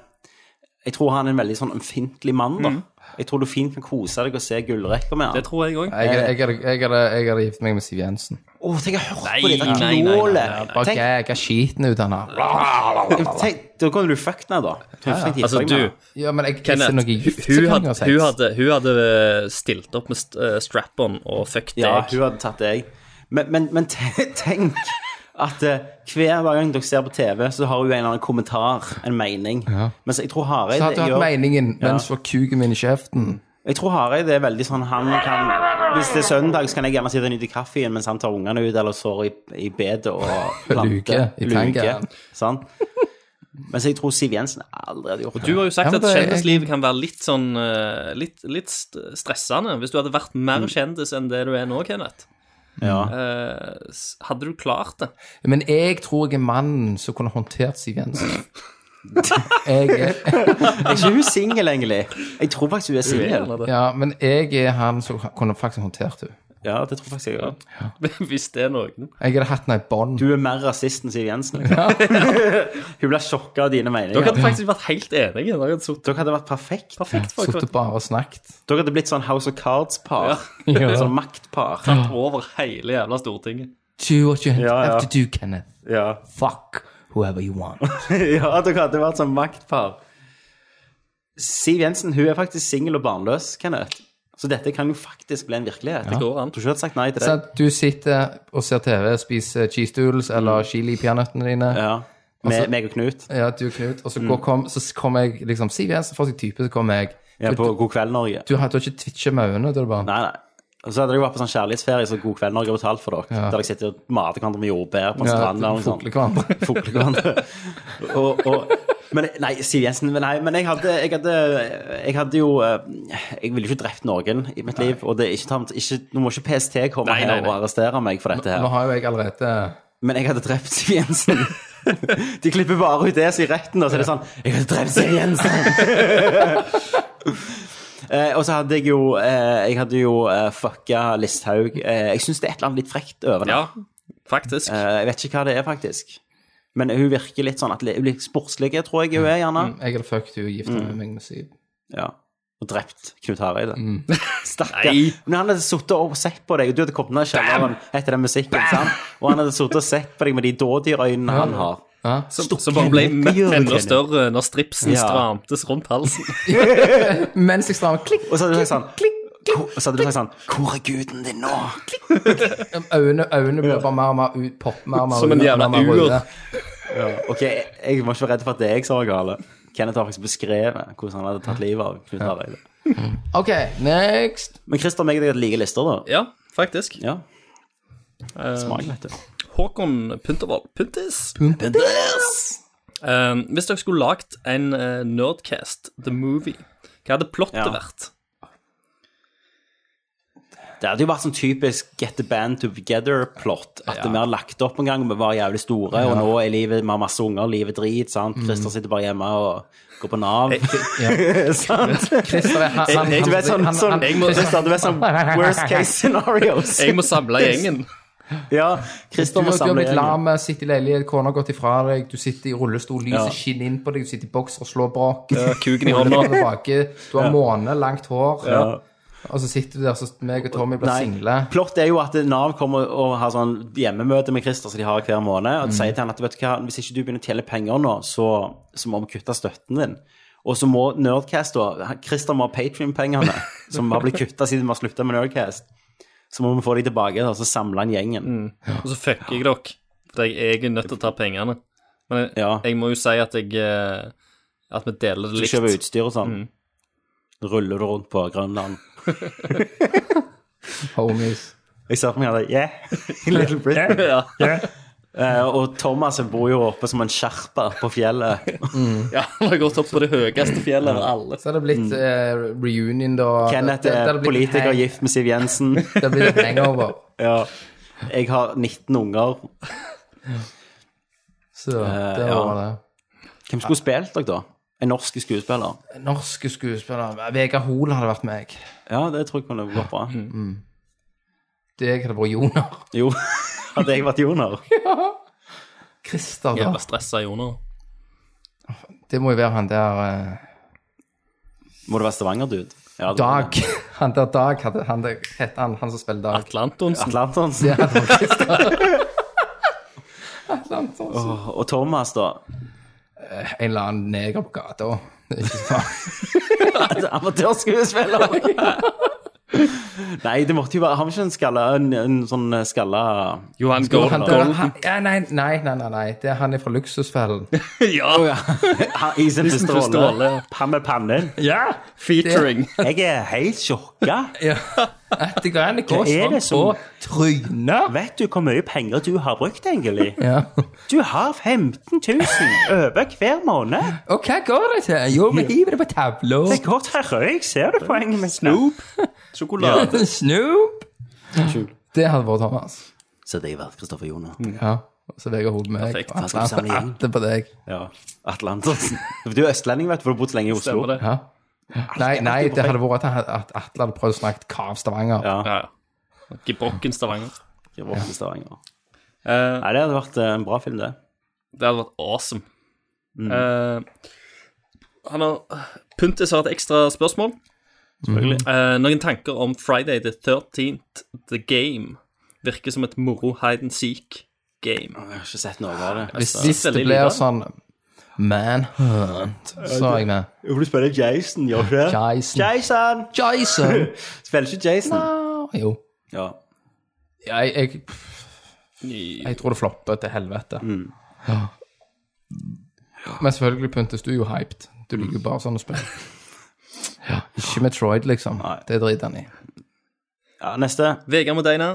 Speaker 1: Jeg tror han er en veldig sånn ømfintlig mann, da. Jeg tror du fint kan kose deg og se gullrekka med han.
Speaker 3: Mm. Det tror jeg òg.
Speaker 2: Jeg, jeg, jeg, jeg, hadde, jeg hadde gift meg med Siv Jensen.
Speaker 1: Å, tenk, jeg har hørt på
Speaker 3: Nei,
Speaker 1: det der
Speaker 3: nei, nei, nei,
Speaker 1: knålet!
Speaker 2: Bare
Speaker 1: Tenk,
Speaker 2: gæga skiten ut av han her.
Speaker 1: tenk, da kan du fucke den, da. Du trenger ikke gifte
Speaker 3: Altså,
Speaker 1: deg med
Speaker 3: du,
Speaker 1: han.
Speaker 2: Ja, men jeg, jeg ser
Speaker 3: Kenneth,
Speaker 2: noe
Speaker 3: hun,
Speaker 2: gift,
Speaker 3: hun,
Speaker 2: så kan jeg
Speaker 3: hadde,
Speaker 2: ha sex.
Speaker 3: hun, hadde, hun hadde stilt opp med st- eh, strap-on og fuck deg.
Speaker 1: Ja, hun hadde tatt deg. Men, men, men te- tenk at eh, hver gang dere ser på TV, så har hun en eller annen kommentar, en mening. Mens jeg tror
Speaker 2: Så
Speaker 1: Hareide
Speaker 2: hadde hun hatt
Speaker 1: gjør-
Speaker 2: meningen mens hun var kuken min i kjeften.
Speaker 1: Jeg tror Hareide er veldig sånn han kan Hvis det er søndag, så kan jeg gjerne sitte og nyte kaffen mens han tar ungene ut, eller sår i, i bedet og planter.
Speaker 2: Luke, i tanken.
Speaker 1: sant? Mens jeg tror Siv Jensen aldri hadde gjort
Speaker 3: Du
Speaker 1: det.
Speaker 3: har jo sagt
Speaker 2: Ja, men
Speaker 3: at
Speaker 2: det er-
Speaker 3: kjendislivet kan være litt sånn eh, litt, litt st- stressende. Hvis du hadde vært
Speaker 1: Mm.
Speaker 3: mer kjendis enn det du er nå, Kenneth,
Speaker 1: Ja.
Speaker 3: eh, s- hadde du klart det?
Speaker 2: Men jeg tror jeg er mannen som kunne håndtert Siv Jensen. jeg er,
Speaker 1: Er ikke hun singel, egentlig? Jeg tror faktisk hun er singel.
Speaker 2: ja, men jeg er han som kunne faktisk håndtert henne.
Speaker 1: Ja, det tror faktisk jeg òg.
Speaker 3: Hvis det er noen.
Speaker 2: Jeg hadde hatt henne i bånd.
Speaker 1: Du er mer rasist enn Siv Jensen. liksom. hun blir sjokka av dine meninger.
Speaker 3: Dere hadde faktisk vært helt enige. Dere hadde sittet
Speaker 1: Dere hadde vært perfekt.
Speaker 3: perfekt for
Speaker 2: Sittet bare og snakket.
Speaker 1: Dere hadde blitt sånn House of Cards-par.
Speaker 3: Ja.
Speaker 1: Sånn maktpar.
Speaker 3: hverandre over hele jævla Stortinget.
Speaker 2: Do what you have
Speaker 1: Ja, ja.
Speaker 2: to do, Kenneth.
Speaker 1: Ja.
Speaker 2: Fuck whoever you want.
Speaker 1: ja, dere hadde vært sånn maktpar. Siv Jensen hun er faktisk singel og barnløs, Kenneth. Så dette kan jo faktisk bli en virkelighet.
Speaker 3: Det går an.
Speaker 1: Jeg tror ikke du hadde sagt nei til det.
Speaker 2: Så du sitter og ser TV, spiser cheese doodles eller chili i peanøttene dine.
Speaker 1: Mm. Ja. Mm. Med
Speaker 2: Altså-
Speaker 1: meg og Knut
Speaker 2: Ja, du og Knut. Og så går- kom, så kommer jeg liksom Siv Jensen får seg type, så kommer jeg.
Speaker 1: ja, på
Speaker 2: du,
Speaker 1: God kveld, Norge.
Speaker 2: du, har, du har ikke twitcha med øynene? Du er bare
Speaker 1: Nei, nei. Og så hadde jeg vært på sånn kjærlighetsferie som God kveld Norge har betalt for dere. Der dere sitter og mater hverandre med jordbær på en strand. eller noe sånt.
Speaker 2: fukler hverandre.
Speaker 1: Fukle hverandre. Og, og, men nei, Siv Jensen men Nei, men jeg hadde, jeg hadde, jeg hadde jo eh, Jeg ville ikke drept noen i mitt liv. Og det er ikke, tamt- ikke, nå må ikke PST komme
Speaker 3: Nei, nei,
Speaker 1: her og
Speaker 3: nei.
Speaker 1: arrestere meg for dette
Speaker 2: Nå
Speaker 1: her.
Speaker 2: har jo jeg allerede
Speaker 1: Men jeg hadde drept Siv Jensen. De klipper bare ut det som er i retten, og så er det sånn Jeg hadde drept Siv Jensen! Eh, og så hadde jeg jo eh, Jeg hadde jo eh, fucka Listhaug. Eh, jeg syns det er et eller annet litt frekt over det.
Speaker 3: Ja, faktisk.
Speaker 1: Eh, jeg vet ikke hva det er, faktisk. Men hun virker litt sånn at hun blir sportslig, tror jeg hun er, gjerne.
Speaker 2: Mm, Jeg hadde fucked henne og gifta
Speaker 1: Mm.
Speaker 2: meg med Siv.
Speaker 1: Ja. Og drept Knut Hareide.
Speaker 2: Mm.
Speaker 1: Stakkar.
Speaker 3: Nei.
Speaker 1: Men han hadde sittet og sett på deg, og du hadde kommet ned i kjelleren etter den musikken, sant? og han hadde sittet og sett på deg med de dådyrøynene han har.
Speaker 2: Ja.
Speaker 3: Som bare ble
Speaker 1: Hva gjør du,
Speaker 3: enda
Speaker 1: Kenneth?
Speaker 3: større når stripsen
Speaker 1: Ja.
Speaker 3: stramtes rundt halsen.
Speaker 2: Mens jeg strammer klikk,
Speaker 1: Og så hadde du sagt sånn Hvor- Så hadde du sagt sånn Hvor er guden din nå?
Speaker 2: øynene, øynene blir bare mer og mer ut, pop, mer og mer
Speaker 3: Som en
Speaker 2: ut,
Speaker 3: jævla
Speaker 2: mer og mer
Speaker 3: ur.
Speaker 2: røde.
Speaker 1: Ok, jeg jeg var ikke redd for at det er jeg som var gale. Kenneth har faktisk beskrevet hvordan han hadde tatt livet av Knut Hareide.
Speaker 2: OK, next.
Speaker 1: Men Christer og meg og deg hadde like lister, da.
Speaker 3: Ja, faktisk.
Speaker 1: Ja.
Speaker 2: Eh,
Speaker 1: Smak, vet du.
Speaker 3: Håkon Puntervold. Puntis. Eh, hvis dere skulle lagd en eh, Nerdcast, The Movie, hva hadde plottet
Speaker 1: Ja.
Speaker 3: vært?
Speaker 1: Det hadde jo vært sånn typisk get the band together-plot. At vi har lagt opp en gang, vi var jævlig store, og nå er livet, vi har masse unger, livet drit, sant? Christer sitter bare hjemme og går på Nav. sant?
Speaker 2: Christer er han, han,
Speaker 3: Jeg-
Speaker 1: Du vet sånn,
Speaker 2: han-
Speaker 1: sånn,
Speaker 2: han-
Speaker 3: jeg må-
Speaker 1: Christer, du vet sånn worst case scenarios.
Speaker 3: Jeg må samle gjengen.
Speaker 1: Ja,
Speaker 2: Du
Speaker 1: Christer må
Speaker 2: har
Speaker 1: samle
Speaker 2: blitt
Speaker 1: igjen.
Speaker 2: lam, sitter i leilighet, kona har gått ifra deg, du sitter i rullestol, lyset
Speaker 1: Ja.
Speaker 2: skinner inn på deg, du sitter i bokser og slår bråk.
Speaker 3: Kuken i
Speaker 2: Ruller
Speaker 3: hånda.
Speaker 2: tilbake, du har måne, langt hår,
Speaker 1: Ja.
Speaker 2: og så sitter du der så meg og Tommy blir single.
Speaker 1: Nei, plott er jo at Nav kommer og har sånn hjemmemøte med Christer som de har hver måned, og sier til han at vet du hva, hvis ikke du begynner å tjele penger nå, så, så må vi kutte støtten din. Og så må Nerdcast da, Christer må ha Patrion-pengene, som har blitt kutta siden vi har slutta med Nerdcast. Så må vi få de tilbake, og så samle han gjengen.
Speaker 3: Og så fucker jeg dere. For jeg jeg er nødt til å ta pengene. Men jeg,
Speaker 1: Ja.
Speaker 3: jeg må jo si at jeg eh, At vi deler det
Speaker 1: Du
Speaker 3: likt.
Speaker 1: kjøper utstyr og sånn. Ruller du rundt på Grønland.
Speaker 2: homies.
Speaker 1: Jeg ser for meg at Yeah, Little Britain.
Speaker 3: Ja.
Speaker 1: Eh, og Thomas bor jo oppe som en sherpa på fjellet.
Speaker 3: ja, han har gått opp på det høyeste fjellet av alle.
Speaker 2: Så er det blitt eh, reunion, da.
Speaker 1: Mm. Kenneth
Speaker 2: Det- det- det
Speaker 1: er
Speaker 2: har blitt et
Speaker 1: politiker
Speaker 2: hang-
Speaker 1: gift med Siv Jensen.
Speaker 2: Det har blitt et hangover.
Speaker 1: Ja. Jeg har 19 unger.
Speaker 2: Så
Speaker 3: Eh,
Speaker 2: det
Speaker 1: ja.
Speaker 2: var det.
Speaker 1: Hvem skulle spilt dere, da? En norsk skuespiller?
Speaker 2: Norske skuespillere. Vegard Hoel hadde vært meg.
Speaker 1: Ja, det tror jeg kunne gått bra.
Speaker 2: Mm. Deg hadde vært Joner.
Speaker 1: Jo, hadde jeg vært Joner?
Speaker 2: Christer, da.
Speaker 3: Jævla stressa Joner.
Speaker 2: Det må jo være han der eh,
Speaker 1: Må det være Stavanger-dude? Ja, det-
Speaker 2: Dag. Han der Dag hadde han, der, het han, han som spiller Dag.
Speaker 3: Atle Antonsen.
Speaker 1: Atle Antonsen.
Speaker 2: Atlantos.
Speaker 1: Åh, Og Thomas, da?
Speaker 2: En eller annen neger på gata. Det er ikke så farlig.
Speaker 1: Altså, Amatørskuespiller! Nei, det måtte jo være Har vi ikke en skalla en, en sånn skalla
Speaker 3: Johan
Speaker 2: Han
Speaker 3: Golden.
Speaker 2: der-
Speaker 3: Golden.
Speaker 2: han- ja, nei, nei, nei, nei, nei. Det er han er fra Luksusfellen.
Speaker 3: Ja,
Speaker 1: ha, I sin første
Speaker 3: første
Speaker 1: rolle.
Speaker 3: rolle.
Speaker 1: Han med pannen.
Speaker 3: featuring.
Speaker 1: Jeg er helt sjokka.
Speaker 2: Ja. Etter hva han
Speaker 1: Hva er det som-
Speaker 2: på trynet?
Speaker 1: Vet du hvor mye penger du har brukt, egentlig?
Speaker 2: Ja.
Speaker 1: Du har 15 000 over hver måned.
Speaker 2: Og hva går det til? Jo, vi hiver det på tavla.
Speaker 1: Det går til rød, jeg ser det poenget mitt. nå.
Speaker 3: Sjokolade.
Speaker 2: Snoop. Det hadde vært Thomas.
Speaker 1: Så det har vært Kristoffer Joner.
Speaker 2: Ja. Og så Vegard Hoel med meg.
Speaker 3: Perfekt.
Speaker 2: Og
Speaker 1: Han skal samle
Speaker 2: Atle
Speaker 1: igjen.
Speaker 2: Atle på deg.
Speaker 1: Ja. Atle Antonsen. Du er østlending, vet du, for du har bodd så lenge i Oslo.
Speaker 3: Stemmer det.
Speaker 2: Ja. Nei, nei, det hadde vært at han- at Atle hadde prøvd å snakke kav Stavanger.
Speaker 1: Ja.
Speaker 3: Ja, ja. Gebrokken Stavanger.
Speaker 1: Jeg var i Stavanger.
Speaker 3: Eh,
Speaker 1: Nei, det hadde vært eh, en bra film, det.
Speaker 3: Det hadde vært awesome.
Speaker 1: Mm.
Speaker 3: Eh, han har Puntis har et ekstra spørsmål. Eh, noen tanker om Friday the 13th, The Game, virker som et moro hide and seek-game.
Speaker 1: Jeg har ikke sett noe av det.
Speaker 2: Hvis, hvis det blir sånn Manhunt, så er jeg med.
Speaker 1: Jo, du spiller Jason, gjør du ikke?
Speaker 2: Jason.
Speaker 1: Jason!
Speaker 2: Jason!
Speaker 1: Spiller ikke Jason.
Speaker 2: Jo.
Speaker 1: Ja.
Speaker 2: Jeg, jeg, jeg tror det flopper til helvete.
Speaker 1: Mm.
Speaker 2: Ja. Men selvfølgelig, Puntes, du er jo hyped. Du liker jo bare sånne spill. Ja, ikke Metroid, liksom. Det driter han i.
Speaker 1: ja, neste.
Speaker 3: Vegard Modeina.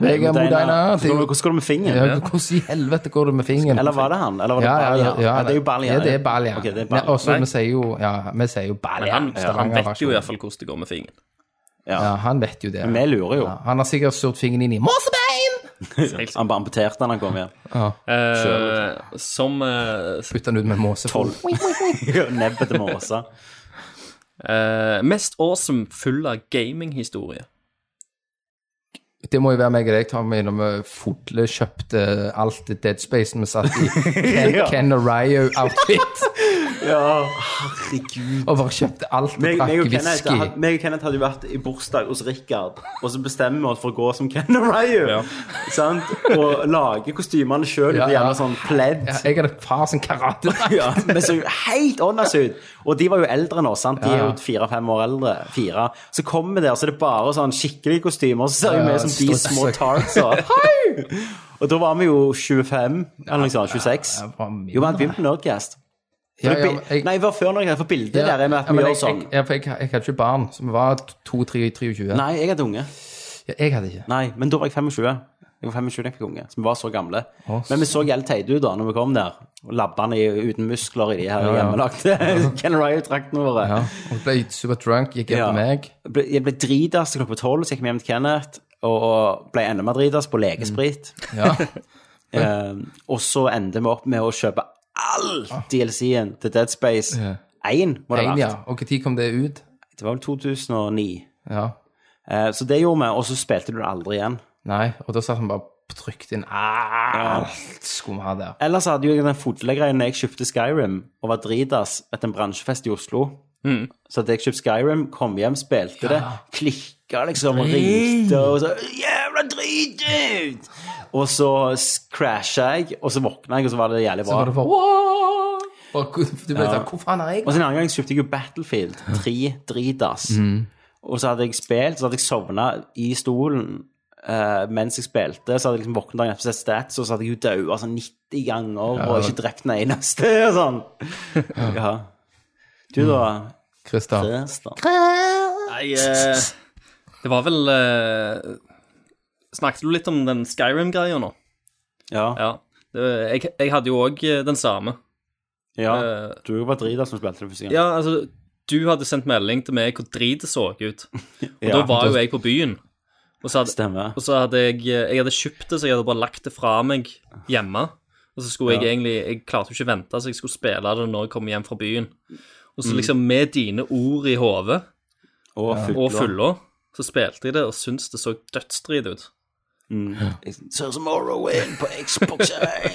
Speaker 2: Vegard Modeina. det er jo-
Speaker 1: Hvordan går det med fingeren?
Speaker 2: Ja, Hvordan i helvete går det med fingeren?
Speaker 1: Eller var det han? Eller var det
Speaker 2: ja, ja,
Speaker 1: Balja?
Speaker 2: ja, ja,
Speaker 1: det er jo Balja.
Speaker 2: Ja, det er Balja.
Speaker 1: Ok, det er
Speaker 2: Nei,
Speaker 1: Balja.
Speaker 2: også, vi sier jo, ja, vi sier jo Balja.
Speaker 3: Han, han
Speaker 2: Stavanger har
Speaker 3: vet
Speaker 2: ikke-
Speaker 3: jo iallfall hvordan det går med fingeren.
Speaker 2: Ja, han vet jo det.
Speaker 1: Vi lurer jo.
Speaker 2: Ja, han har sikkert sturt fingeren inn i Mossebein!
Speaker 1: Han bare amputerte da han kom hjem.
Speaker 3: Eh, som eh,
Speaker 2: Putta han ut med måsefot.
Speaker 1: Nebbet til Måsa.
Speaker 3: eh, mest awesome full av gaminghistorie.
Speaker 2: Det må jo være meg og deg, Tommy, når vi fotle kjøpte alt det Dead Space vi satt i. Ken,
Speaker 1: Ja.
Speaker 2: Ken og Ryo-outfit.
Speaker 1: Ja, herregud.
Speaker 2: Og bare kjøpte alt og
Speaker 1: Meg, meg,
Speaker 2: drakk
Speaker 1: og Kenneth,
Speaker 2: whisky.
Speaker 1: had- meg og Kenneth hadde jo vært i bursdag hos Richard, og så bestemmer vi oss for å gå som Ken og Ryu. Sant? Og lage kostymene sjøl.
Speaker 2: Ja, ja.
Speaker 1: Gjerne sånn pledd.
Speaker 2: Ja, jeg hadde far som karate.
Speaker 1: Ja, vi så jo helt åndas ut. Og de var jo eldre nå, sant? De er jo fire-fem år eldre. Fire. Så kommer vi der, så er det bare sånn skikkelige kostymer, og så ser vi
Speaker 2: Ja,
Speaker 1: mer som de
Speaker 2: stress.
Speaker 1: små tartsa. Hei! Og da var vi jo 25, eller noe sånt, 26.
Speaker 2: Ja, hva mener
Speaker 1: Jo, men vi begynte på Nerdcast.
Speaker 2: Ja, ja, men jeg-
Speaker 1: Nei, vi var før Nerdcast, for bildet der er med at
Speaker 2: ja,
Speaker 1: vi
Speaker 2: men
Speaker 1: gjør
Speaker 2: jeg-
Speaker 1: sånn.
Speaker 2: Jeg, ja, for jeg, jeg hadde ikke barn, så vi var 2-23.
Speaker 1: Nei, jeg hadde unge.
Speaker 2: Ja, jeg hadde ikke.
Speaker 1: Nei, men da var jeg 25. Jeg var 25 da jeg fikk unge, så vi var så gamle. Men vi så helt teite ut da når vi kom der. Og Labbene i- uten muskler i de her hjemmelagde Ken Ryan-traktene våre.
Speaker 2: Ja. Og ble super drunk, gikk etter
Speaker 1: Ja.
Speaker 2: meg.
Speaker 1: ble, jeg ble dritas til klokka tolv, så gikk vi hjem til Kenneth og ble enda mer dritas på legesprit.
Speaker 2: Mm. Ja.
Speaker 1: Eh, og så endte vi opp med å kjøpe all DLC-en til Dead Space.
Speaker 2: Ah. Ja.
Speaker 1: Én, må det ha
Speaker 2: En,
Speaker 1: vært.
Speaker 2: ja. Og når kom det ut?
Speaker 1: Det var vel 2009.
Speaker 2: Ja.
Speaker 1: Eh, så det gjorde vi, og så spilte du det aldri igjen.
Speaker 2: Nei, og da satt han bare og trykte inn "Ah, alt skulle vi ha der.
Speaker 1: Ellers hadde jo jeg den fotlegreia når jeg kjøpte Skyrim og var dritas etter en bransjefest i Oslo.
Speaker 2: Mm.
Speaker 1: Så hadde jeg kjøpt Skyrim, kom hjem, spilte det, klikka liksom og ringte og så Jævla drit ut! Og så s- crasha jeg, og så våkna jeg, og så var det jævlig
Speaker 2: Så
Speaker 1: bra.
Speaker 2: var det bare «Wow!» Bare, Du ble sånn Hvor faen er jeg?
Speaker 1: Og så en annen gang kjøpte jeg jo Battlefield 3 dritas. Og så hadde jeg spilt, så hadde jeg sovna i stolen eh, mens jeg spilte. Så hadde jeg liksom våknet dagen etter og sett stats, og så hadde jeg jo daua sånn 90 ganger og ikke drept den eneste og sånn. Ja. Du da,
Speaker 2: Christer.
Speaker 1: Christer?
Speaker 3: Nei, eh, Det var vel eh, Snakket du litt om den Skyrim-greia nå?
Speaker 1: Ja.
Speaker 3: Ja. Det, jeg, jeg hadde jo òg den samme.
Speaker 1: ja.
Speaker 3: eh,
Speaker 1: Du var drita som spilte det første gang.
Speaker 3: Ja, altså, du hadde sendt melding til meg hvor drit det så ut. Og da var jo jeg på byen. Og så hadde,
Speaker 1: Stemmer.
Speaker 3: og så hadde jeg Jeg hadde kjøpt det, så jeg hadde bare lagt det fra meg hjemme. Og så skulle jeg egentlig Jeg klarte jo ikke å vente, så jeg skulle spille det når jeg kom hjem fra byen. Og
Speaker 1: Mm.
Speaker 3: så liksom med dine ord i hodet
Speaker 1: Og full.
Speaker 3: og fulla, så spilte jeg det og syntes det så dødsdrit ut.
Speaker 1: Mm. Ser ut som Morrowind på Xbox.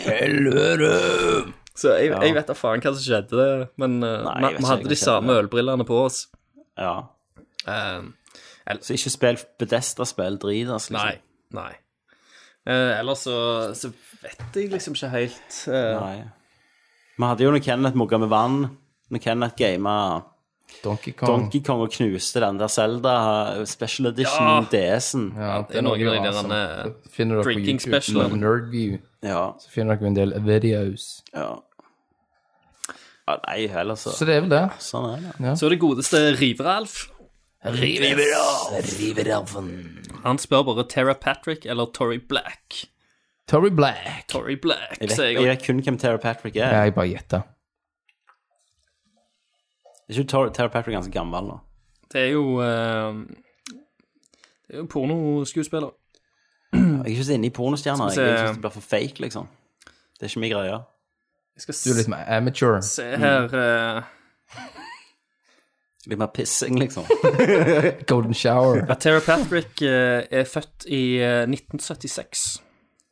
Speaker 1: Helvete!
Speaker 3: Så jeg, jeg vet da faen hva som skjedde, men
Speaker 1: Nei, jeg vet
Speaker 3: eh, vi vi
Speaker 1: ikke,
Speaker 3: hadde
Speaker 1: jeg
Speaker 3: de
Speaker 1: vet
Speaker 3: samme
Speaker 1: ikke.
Speaker 3: ølbrillene på oss.
Speaker 1: Ja.
Speaker 3: Eh,
Speaker 1: Så ikke spill Bedesta-spill drit, altså. Liksom.
Speaker 3: Nei. nei. Eh, ellers så, så vet jeg liksom ikke helt eh,
Speaker 1: Nei. Vi hadde jo når Kenneth mugga med vann, når Kenneth gama
Speaker 2: Donkey Kong.
Speaker 1: Donkey Kong og knuste den der Zelda eh, Special Edition DS-en. Ja.
Speaker 2: Ja,
Speaker 3: Det er noen av de der, eh,
Speaker 2: Finner dere på
Speaker 3: drinking
Speaker 2: YouTube,
Speaker 3: special.
Speaker 2: Nerdview,
Speaker 1: Ja.
Speaker 2: så finner dere en del videos.
Speaker 1: ja. Nei, heller så
Speaker 2: Så det er vel det.
Speaker 1: Sånn er det.
Speaker 3: Så det godeste River-Alf. Han spør bare Tara Patrick eller Tori Black.
Speaker 2: Torrey Black.
Speaker 3: Tori Black,
Speaker 1: Jeg vet,
Speaker 3: sier
Speaker 1: jeg
Speaker 3: jeg.
Speaker 1: vet kun hvem Tara Patrick
Speaker 2: Ja,
Speaker 1: er.
Speaker 2: jeg bare gjetta.
Speaker 1: Er ikke Tara, Tara Patrick ganske gammel nå?
Speaker 3: Det er jo eh, Det er jo pornoskuespiller.
Speaker 1: Jeg er ikke så inne i pornostjerner.
Speaker 3: Skal vi
Speaker 1: Jeg, jeg
Speaker 3: se.
Speaker 1: synes det blir for fake, liksom. Det er ikke min greie.
Speaker 3: Jeg skal
Speaker 2: Du er litt mer amateur.
Speaker 3: se her eh,
Speaker 1: Litt mer pissing, liksom.
Speaker 2: Golden shower.
Speaker 3: at Tara Patrick eh, er født i eh, 1976.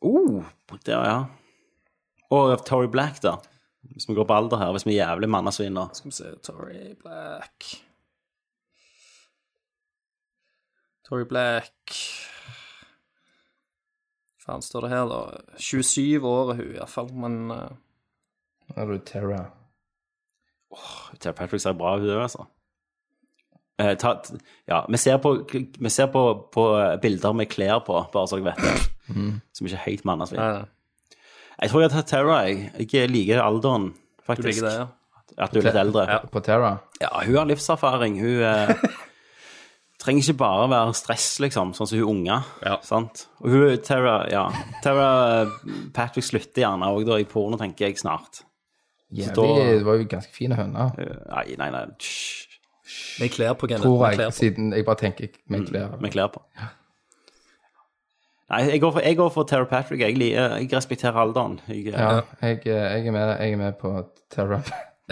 Speaker 1: Uh, det var, ja. Og Tory Black, da. Hvis vi går på alder her, hvis vi er jævlig mannesvinner.
Speaker 3: Skal vi se Tory Black Tory Black Faen står det her, da. 27 år er hun i hvert fall, men eh,
Speaker 2: Nå er du Terra.
Speaker 1: Tara Patrick ser bra ut, altså. Eh, ta, t- ja, vi ser, på, vi ser på, på bilder med klær på, bare så dere vet det. Som ikke er helt manneslig.
Speaker 3: Nei,
Speaker 1: Jeg tror jeg har tatt Tara. Jeg, jeg liker alderen,
Speaker 3: du
Speaker 1: faktisk.
Speaker 3: liker det, ja.
Speaker 1: At du er litt eldre. Ja,
Speaker 2: På Terra.
Speaker 1: hun har livserfaring. Hun eh, trenger ikke bare være stress, liksom, sånn som hun unge.
Speaker 3: Ja.
Speaker 1: Sant? Og hun, Tara, ja. Tara eh, Patrick slutter gjerne òg da i porno, tenker jeg, snart. da-
Speaker 2: Jævlig, det var jo ganske fine høner.
Speaker 1: Eh, Nei, nei, nei. Hysj.
Speaker 3: Med klær på, Kenneth.
Speaker 2: Tror
Speaker 3: Med
Speaker 2: jeg,
Speaker 3: klær på. Mm.
Speaker 2: siden jeg bare tenker med klær.
Speaker 1: med klær på. Nei, jeg går for, jeg går for Tara Patrick. Jeg, liker- jeg respekterer alderen. Jeg eh,
Speaker 2: Ja, jeg, jeg, er med, jeg er med på Terra.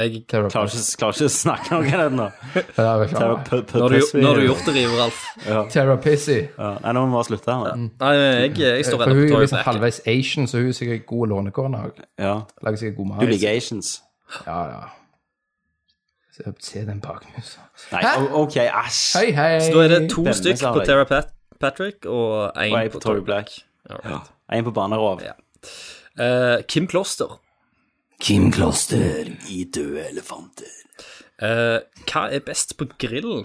Speaker 3: Jeg,
Speaker 2: Terra
Speaker 1: klarer, ikke, klarer ikke å snakke om det nå.
Speaker 2: Terra, hva
Speaker 1: Tara
Speaker 2: faen?
Speaker 1: P- P-
Speaker 3: nå har du,
Speaker 1: Pussy.
Speaker 3: nå har du gjort det, River Alf.
Speaker 2: Terra Pissy.
Speaker 1: Ja, Nei, nå må vi bare slutte her.
Speaker 3: Nei, jeg, jeg står
Speaker 2: For
Speaker 3: ennå
Speaker 2: hun
Speaker 3: på
Speaker 2: er
Speaker 3: Tory
Speaker 2: liksom
Speaker 3: Black.
Speaker 2: halvveis Asian, så hun er sikkert god lånekone. og
Speaker 1: Ja.
Speaker 2: Lager sikkert god mat.
Speaker 1: Du liker Asians.
Speaker 2: Ja, ja. Se- Se den bakmusa.
Speaker 1: Nei,
Speaker 2: Hæ?
Speaker 1: o- OK, æsj.
Speaker 2: Hei, hei.
Speaker 3: Så da er det to
Speaker 1: Denne
Speaker 3: stykk
Speaker 1: sa
Speaker 3: på
Speaker 1: jeg.
Speaker 3: Tara Pat Patrick og én
Speaker 1: Og jeg
Speaker 3: på Tory Black. Alright.
Speaker 1: En på Banerov.
Speaker 3: Ja. Eh, Kim Kloster.
Speaker 1: Kim Kloster i Døde elefanter.
Speaker 3: Eh, hva er best på grillen?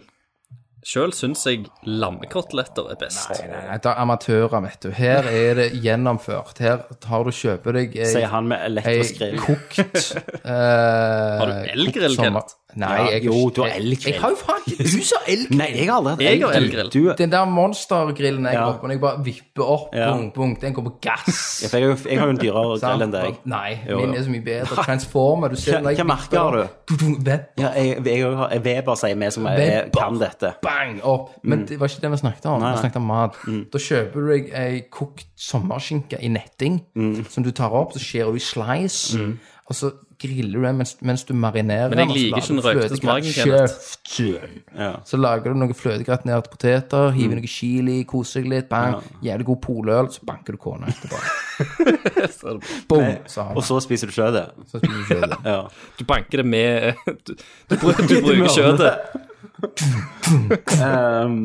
Speaker 3: Sjøl syns jeg lammekoteletter er best.
Speaker 2: Nei, det er amatører, vet du. Her er det gjennomført. Her tar du kjøper deg ei-
Speaker 1: Sier han med
Speaker 2: ei
Speaker 1: elektrisk grill.
Speaker 2: kokt
Speaker 3: Har
Speaker 2: Eh,
Speaker 3: du elgrill, Kenneth?
Speaker 2: Nei, jeg
Speaker 1: jo, du har
Speaker 2: jeg-
Speaker 1: elgrill.
Speaker 2: Jeg har jo faen ikke Du sa elgrill!
Speaker 1: Nei, jeg har aldri hatt
Speaker 3: Jeg har
Speaker 1: elgrill.
Speaker 3: elgrill.
Speaker 1: Du,
Speaker 2: Den der monstergrillen jeg
Speaker 1: Ja.
Speaker 2: har oppe, når jeg bare vipper opp,
Speaker 1: Ja.
Speaker 2: bung, bung, den går på gass.
Speaker 1: jeg, har jo- jeg har jo en dyrere
Speaker 2: Sant?
Speaker 1: grill enn deg.
Speaker 2: Nei,
Speaker 1: Jo,
Speaker 2: min
Speaker 1: jo.
Speaker 2: er så mye bedre. Transformer, du ser
Speaker 1: Hva-
Speaker 2: når jeg
Speaker 1: hva merker
Speaker 2: vipper
Speaker 1: har
Speaker 2: opp, dudung, vep,
Speaker 1: Ja, jeg, jeg, har- Weber sier vi som er,
Speaker 2: Weber.
Speaker 1: kan dette. Mm.
Speaker 2: Bang! Opp. Men det var ikke det vi snakket om. Vi snakket om mat. Da kjøper du deg ei kokt sommerskinke i netting
Speaker 1: Mm.
Speaker 2: som du tar opp, så skjærer du i slice, og så griller du den mens, mens du marinerer
Speaker 3: Men jeg
Speaker 2: og så
Speaker 3: liker
Speaker 2: lager
Speaker 3: ikke den
Speaker 2: du
Speaker 3: røkte
Speaker 2: fløtegrat-
Speaker 3: smaken, Kenneth.
Speaker 2: Kjeft! Så lager du noen fløtegratinerte poteter,
Speaker 1: Mm.
Speaker 2: hiver noe chili, koser deg litt, bang. Jævlig god poløl, så banker du kona etterpå. Boom! Så har
Speaker 1: Og
Speaker 2: du
Speaker 1: så spiser du sjøl det.
Speaker 2: så spiser du kjøttet.
Speaker 1: Ja.
Speaker 3: Du banker det med Du, du, bru- du bruker kjøttet.
Speaker 1: Um,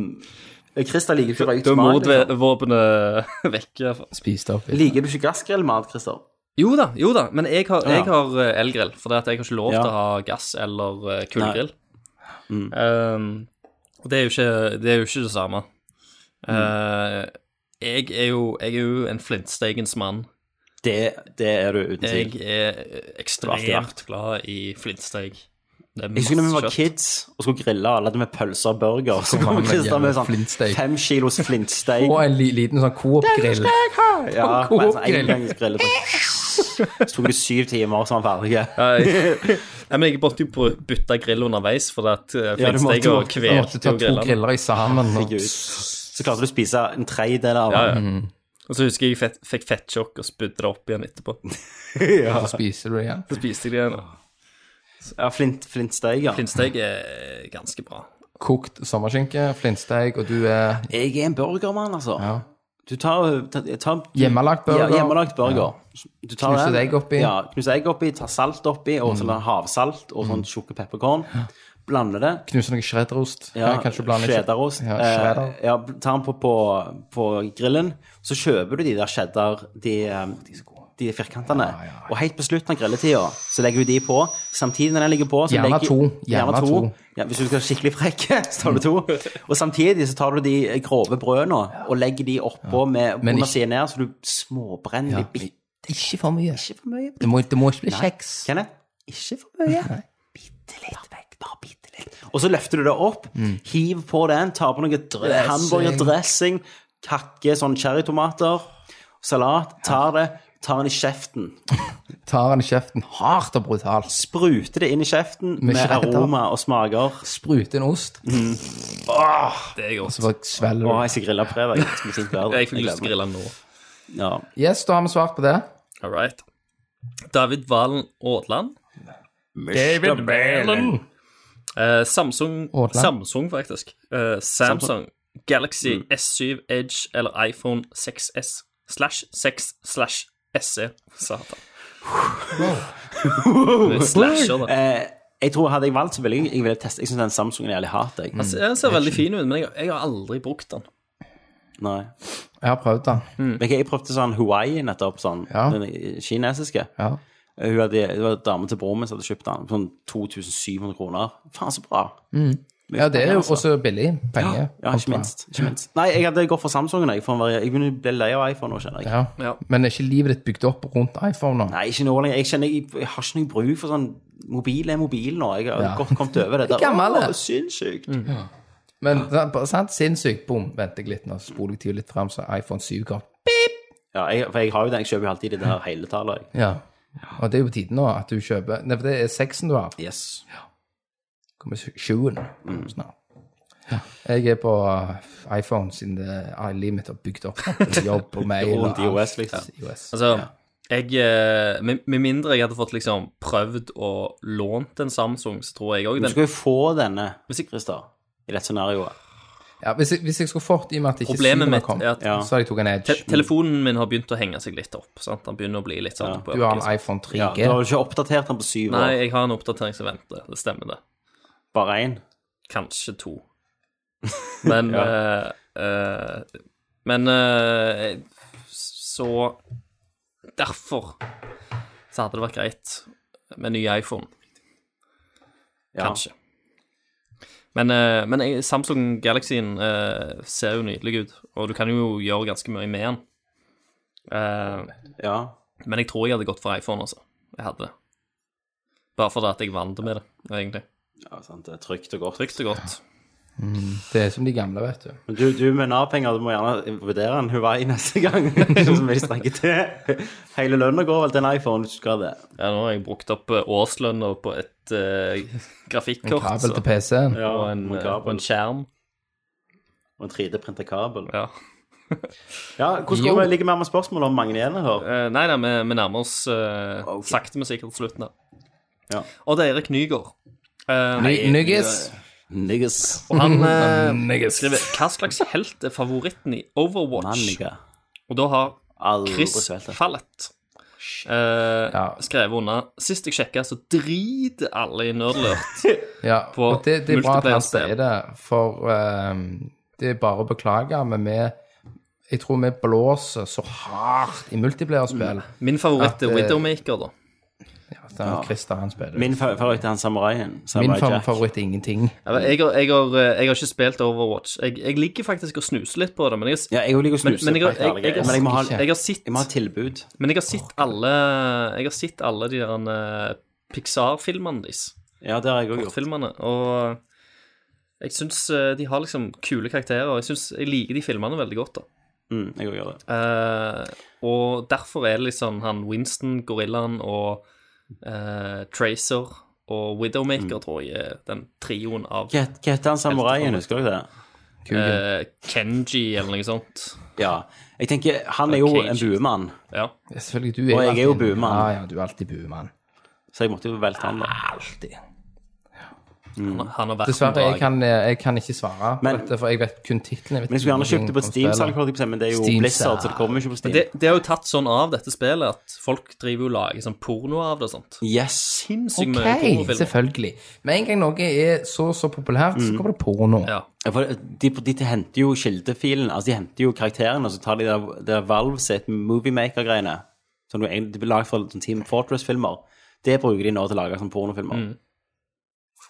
Speaker 1: Christer liker ikke røykt
Speaker 3: Da er
Speaker 1: smak. Liksom.
Speaker 3: mordvåpenet vekk. i hvert fall.
Speaker 2: Spis det opp. litt.
Speaker 1: Liker du ikke gassgrillmat, Christer?
Speaker 3: Jo da, jo da, men jeg har, jeg
Speaker 1: Ja.
Speaker 3: har eh, elgrill. For det at jeg har ikke lov
Speaker 1: Ja. Mm.
Speaker 3: til å ha gass eller eh, kullgrill. Um, og det er, jo ikke, det er jo ikke det samme.
Speaker 1: Mm.
Speaker 3: Eh, jeg, er jo, jeg er jo en flintsteigens mann.
Speaker 1: Det, det er du uten tvil.
Speaker 3: Jeg er ekstremt glad i flintsteig. Det er
Speaker 1: Jeg husker da vi
Speaker 3: masse
Speaker 1: var
Speaker 3: kjøtt.
Speaker 1: kids og skulle grille, alle hadde med pølser og burger. Så kom
Speaker 2: han med
Speaker 1: Christer med
Speaker 2: jævla
Speaker 1: sånn
Speaker 2: flintsteik.
Speaker 1: fem kilos flintsteik.
Speaker 2: Og en li, liten sånn Coop-grill.
Speaker 1: Ja,
Speaker 2: og
Speaker 1: med en sånn
Speaker 2: kokgrill.
Speaker 1: engangsgrill. Så tok det syv timer, så var han ferdig.
Speaker 3: Nei, Nei, men jeg måtte jo br- bytte grill underveis, for at eh,
Speaker 1: Ja, du måtte
Speaker 3: flintsteik og
Speaker 1: jo-
Speaker 2: Jeg måtte
Speaker 3: kvelte
Speaker 2: ta
Speaker 3: jo
Speaker 2: to
Speaker 3: grillene.
Speaker 2: griller i sammen. Og,
Speaker 1: Gud. Så klarte du å spise en tredjedel av
Speaker 3: Ja,
Speaker 1: den.
Speaker 3: ja. Og så husker jeg jeg fett, fikk fettsjokk og spydde det opp igjen etterpå.
Speaker 2: så spiser du det igjen.
Speaker 3: Så spiste jeg det igjen.
Speaker 1: Ja, flint, flintsteik, ja.
Speaker 3: Flintsteik er ganske bra.
Speaker 2: Kokt sommerskinke, flintsteik, og du er
Speaker 1: Jeg er en burgermann, altså.
Speaker 2: Ja.
Speaker 1: Du tar, ta- ta-
Speaker 2: Hjemmelagt burger.
Speaker 1: Ja, hjemmelagt burger. Du tar
Speaker 2: Knuser
Speaker 1: den.
Speaker 2: egg oppi. Mm.
Speaker 1: Ja, knuser egg oppi, tar salt oppi, og sånn havsalt og sånn tjukke pepperkorn. Blander det.
Speaker 2: knuser noe shredderost. Ja, kanskje du blander litt-
Speaker 1: Cheddarost.
Speaker 2: Ja,
Speaker 1: eh,
Speaker 2: cheddar.
Speaker 1: ja, tar den på, på, på grillen. Så kjøper du de der cheddar, de, eh, de firkantene. Og helt på slutten av grilletida så legger du de på. Samtidig når den ligger på så
Speaker 2: Gjerne
Speaker 1: legger,
Speaker 2: to. Gjerne to.
Speaker 1: Ja, hvis du skal være skikkelig frekk, så tar du to. Og samtidig så tar du de eh, grove brødene og legger de oppå med
Speaker 2: Men
Speaker 1: under
Speaker 2: ikke-
Speaker 1: siden her, så du småbrenner de bitte
Speaker 2: Ikke for mye.
Speaker 1: ikke for mye.
Speaker 2: Det må, det må ikke bli kjeks.
Speaker 1: Kenneth, ikke for mye. Bitte litt vekk. Bare bitte litt. Mm. Og så løfter du det opp, hiv på den, tar på noe dr- hamburgerdressing, kakke sånn cherrytomater, salat, tar det, tar den i kjeften.
Speaker 2: Tar han i kjeften hardt og brutalt.
Speaker 1: Spruter det inn i kjeften
Speaker 2: Med
Speaker 1: med,
Speaker 2: cheddar.
Speaker 1: aroma og smaker.
Speaker 2: Spruter en ost,
Speaker 3: Det er godt.
Speaker 2: så bare svelger
Speaker 1: Å,
Speaker 2: du.
Speaker 1: jeg skal grille på fredag. Det skal bli fint vær.
Speaker 3: Altså, Jeg fikk lyst til å grille nå.
Speaker 1: Ja.
Speaker 2: Yes, da har vi svart på det.
Speaker 3: All right. David Valen Aadland.
Speaker 2: David Valen.
Speaker 3: Eh, Samsung,
Speaker 2: Aadland.
Speaker 3: Samsung faktisk. Eh, Samsung Mm. Galaxy S7 Edge eller iPhone 6S slash 6 slash SE. Satan. Det er Slasher, da.
Speaker 1: Eh, jeg tror Hadde jeg valgt, så ville jeg, jeg ville teste. Jeg syns den Samsungen er jævlig hat. Jeg.
Speaker 3: Den ser- Den ser veldig fin ut, men jeg, jeg har aldri brukt den.
Speaker 1: Nei.
Speaker 2: Jeg har prøvd den.
Speaker 1: Men jeg prøvde sånn Hawaii nettopp, sånn,
Speaker 2: Ja.
Speaker 1: den kinesiske.
Speaker 2: Ja.
Speaker 1: Eh, Hun hadde, det var en dame til broren min som hadde kjøpt den for sånn 2700 kroner. Faen, så bra.
Speaker 2: Mm.
Speaker 1: altså.
Speaker 2: ja, det er jo også billig. Penger.
Speaker 1: Ja, ikke minst. Ikke minst. Nei, jeg hadde gått for Samsungen. Jeg, for å være- jeg begynner å bli lei av iPhone nå, kjenner jeg.
Speaker 2: Ja.
Speaker 3: Ja.
Speaker 2: Men er ikke livet ditt bygd opp rundt iPhone nå?
Speaker 1: Nei, ikke nå lenger. Jeg kjenner jeg, jeg har ikke noe bruk for sånn Mobil er mobil nå. Jeg har
Speaker 2: Ja.
Speaker 1: godt kommet over det.
Speaker 2: Jeg er gammel,
Speaker 1: Åh,
Speaker 2: jeg. Mm.
Speaker 1: Sinnssykt.
Speaker 2: Men sant, bare- sant, sinnssykt, bom, venter jeg litt nå, spoler jeg tida litt fram, så iPhone 7 kom.
Speaker 1: Ja, jeg, for jeg har jo den. Jeg kjøper jo alltid det der hele tallet. jeg.
Speaker 2: Ja. Og det er jo på tide nå at du kjøper Nei, for det er seksen du har.
Speaker 1: Yes.
Speaker 2: Kommer sj- sjuen snart. Jeg er på uh, iPhone siden det er livet mitt har bygd opp til jobb og mail
Speaker 1: Rundt i OS, liksom.
Speaker 2: iOS.
Speaker 3: Altså, jeg eh, med, med mindre jeg hadde fått liksom prøvd å lånt en Samsung, så tror jeg òg
Speaker 1: Du
Speaker 3: den
Speaker 1: skal jo få denne,
Speaker 3: Musikk-
Speaker 1: Christer, i dette scenarioet.
Speaker 2: Ja, hvis, jeg, hvis jeg skulle fått, i og med at ikke
Speaker 3: Problemet
Speaker 2: syvende
Speaker 3: mitt
Speaker 2: kom,
Speaker 3: er at
Speaker 1: Ja.
Speaker 2: så hadde jeg tok en
Speaker 3: te
Speaker 2: Edge.
Speaker 3: telefonen min har begynt å henge seg litt opp. sant? Den begynner å bli litt sånn på
Speaker 2: Du har en
Speaker 3: liksom.
Speaker 2: iPhone 3G.
Speaker 1: Ja, du har jo ikke oppdatert den på syv
Speaker 3: Nei,
Speaker 1: år.
Speaker 3: jeg har en oppdatering som venter. Det stemmer, det.
Speaker 1: Bare én.
Speaker 3: Kanskje to. Men eh, eh, Men eh, så Derfor så hadde det vært greit med ny iPhone.
Speaker 1: Ja.
Speaker 3: Kanskje. Men, eh, men jeg- Samsung Galaxyen eh, ser jo nydelig ut, og du kan jo gjøre ganske mye med den. Eh,
Speaker 1: Ja.
Speaker 3: men jeg tror jeg hadde gått for iPhone, altså. Jeg hadde det. Bare fordi at jeg vant med det, egentlig.
Speaker 1: ja sant. Det er trygt og godt.
Speaker 3: Trygt og godt.
Speaker 2: Det er som de gamle, vet du.
Speaker 1: Men Du, du med Nav-penger, du må gjerne vurdere en Huawei neste gang. Ikke så mye strekker til. Hele lønna går vel til en iPhone hvis du skal ha det.
Speaker 3: Ja, nå har jeg brukt opp eh, årslønna på et eh, grafikkort
Speaker 2: Kabel til
Speaker 3: så-
Speaker 2: PC-en.
Speaker 1: Ja,
Speaker 3: og, en,
Speaker 1: og
Speaker 3: eh,
Speaker 1: en
Speaker 3: og en
Speaker 1: kabel.
Speaker 3: skjerm.
Speaker 1: Og en 3D-printa kabel.
Speaker 3: Ja.
Speaker 1: Ja, hvordan
Speaker 2: Jo.
Speaker 1: går det ligger mer med spørsmålet om mange igjen her?
Speaker 3: Eh, nei da, vi, vi nærmer oss eh,
Speaker 1: Ok.
Speaker 3: sakte, men sikkert slutten her.
Speaker 1: Ja.
Speaker 3: Odd Eirik Nygaard. Eh,
Speaker 2: Ny- Nuggets.
Speaker 1: Niggas.
Speaker 3: Og han eh,
Speaker 2: Nuggets.
Speaker 3: skriver Hva slags helt er favoritten i Overwatch?
Speaker 1: Manniga.
Speaker 3: Og da har
Speaker 1: Aldri
Speaker 3: Chris
Speaker 1: spilt det.
Speaker 3: Fallett eh,
Speaker 2: Ja.
Speaker 3: skrevet under Sist jeg sjekka, så driter alle i nerdlurt.
Speaker 2: Ja,
Speaker 3: på
Speaker 2: og det, det er bra at han
Speaker 3: multiplayer-spill.
Speaker 2: sier det, for ehm, det er bare å beklage, men vi Jeg tror vi blåser så hardt i multiplierspill.
Speaker 3: Min favoritt
Speaker 2: At,
Speaker 3: er
Speaker 2: eh,
Speaker 3: Widowmaker, da.
Speaker 2: Ja, det er Christer han spiller.
Speaker 1: Min fa- favoritt er han samuraien.
Speaker 2: Min
Speaker 1: Samurai
Speaker 2: fa-
Speaker 1: Jack.
Speaker 2: favoritt er ingenting.
Speaker 3: Jeg, jeg, har, jeg, har, eh, jeg har ikke spilt Overwatch. Jeg, jeg ligger faktisk og snuser litt på det, men jeg, har-
Speaker 1: Ja, jeg liker å
Speaker 3: men,
Speaker 1: snuse.
Speaker 3: men jeg, har-
Speaker 1: for helt
Speaker 3: jeg,
Speaker 1: ærlig.
Speaker 3: jeg,
Speaker 1: men jeg må ha,
Speaker 2: orker
Speaker 1: jeg,
Speaker 3: jeg har sett
Speaker 1: jeg må ha tilbud.
Speaker 3: Men jeg har sett alle Jeg har sett alle de der eh, Pixar-filmene deres.
Speaker 1: Ja, det har jeg òg gjort.
Speaker 3: kortfilmene. Og eh, jeg syns de har liksom kule karakterer. Jeg synes jeg liker de filmene veldig godt. da.
Speaker 1: Mm, jeg også gjør det.
Speaker 3: Eh, og derfor er det liksom han Winston, gorillaen og eh, Tracer og Widowmaker,
Speaker 1: Mm.
Speaker 3: tror jeg, er den trioen av
Speaker 1: Hva het- hva heter han samuraien, husker dere det?
Speaker 3: eh, Kenji eller noe sånt.
Speaker 1: Ja. Jeg tenker, han er jo en
Speaker 3: Cage.
Speaker 1: buemann,
Speaker 3: Ja.
Speaker 2: Ja, Selvfølgelig, du er
Speaker 1: Og jeg
Speaker 2: alltid
Speaker 1: er jo
Speaker 2: en-
Speaker 1: buemann.
Speaker 2: Ja, ja, du er alltid buemann.
Speaker 1: så jeg måtte jo velte han, da.
Speaker 2: Alltid.
Speaker 3: Han, han har vært
Speaker 2: Dessverre,
Speaker 3: en
Speaker 2: jeg
Speaker 3: drag.
Speaker 2: kan, eh, jeg kan ikke svare
Speaker 1: Men-
Speaker 2: på dette, for jeg vet kun titlene.
Speaker 1: Men jeg skulle gjerne kjøpt det på Steam, salg, holdt jeg på å si, men det er jo
Speaker 2: Steam
Speaker 1: Blizzard, så
Speaker 2: salg.
Speaker 1: det kommer jo ikke på Steam.
Speaker 3: Det, det er jo tatt sånn av dette spillet at folk driver jo og lager sånn porno av det og sånt.
Speaker 1: Yes.
Speaker 3: Sinnssykt mye
Speaker 2: Ok,
Speaker 3: pornofilmer.
Speaker 2: selvfølgelig. Med en gang noe er så så populært, så kommer det porno.
Speaker 3: Ja.
Speaker 1: Mm. Ja, For de, de henter jo kildefilen, altså de henter jo karakterene, og så tar de der, der Valve sitt moviemaker-greiene, som du egentlig blir laget for sånn Team Fortress-filmer, det bruker de nå til å lage sånn pornofilmer.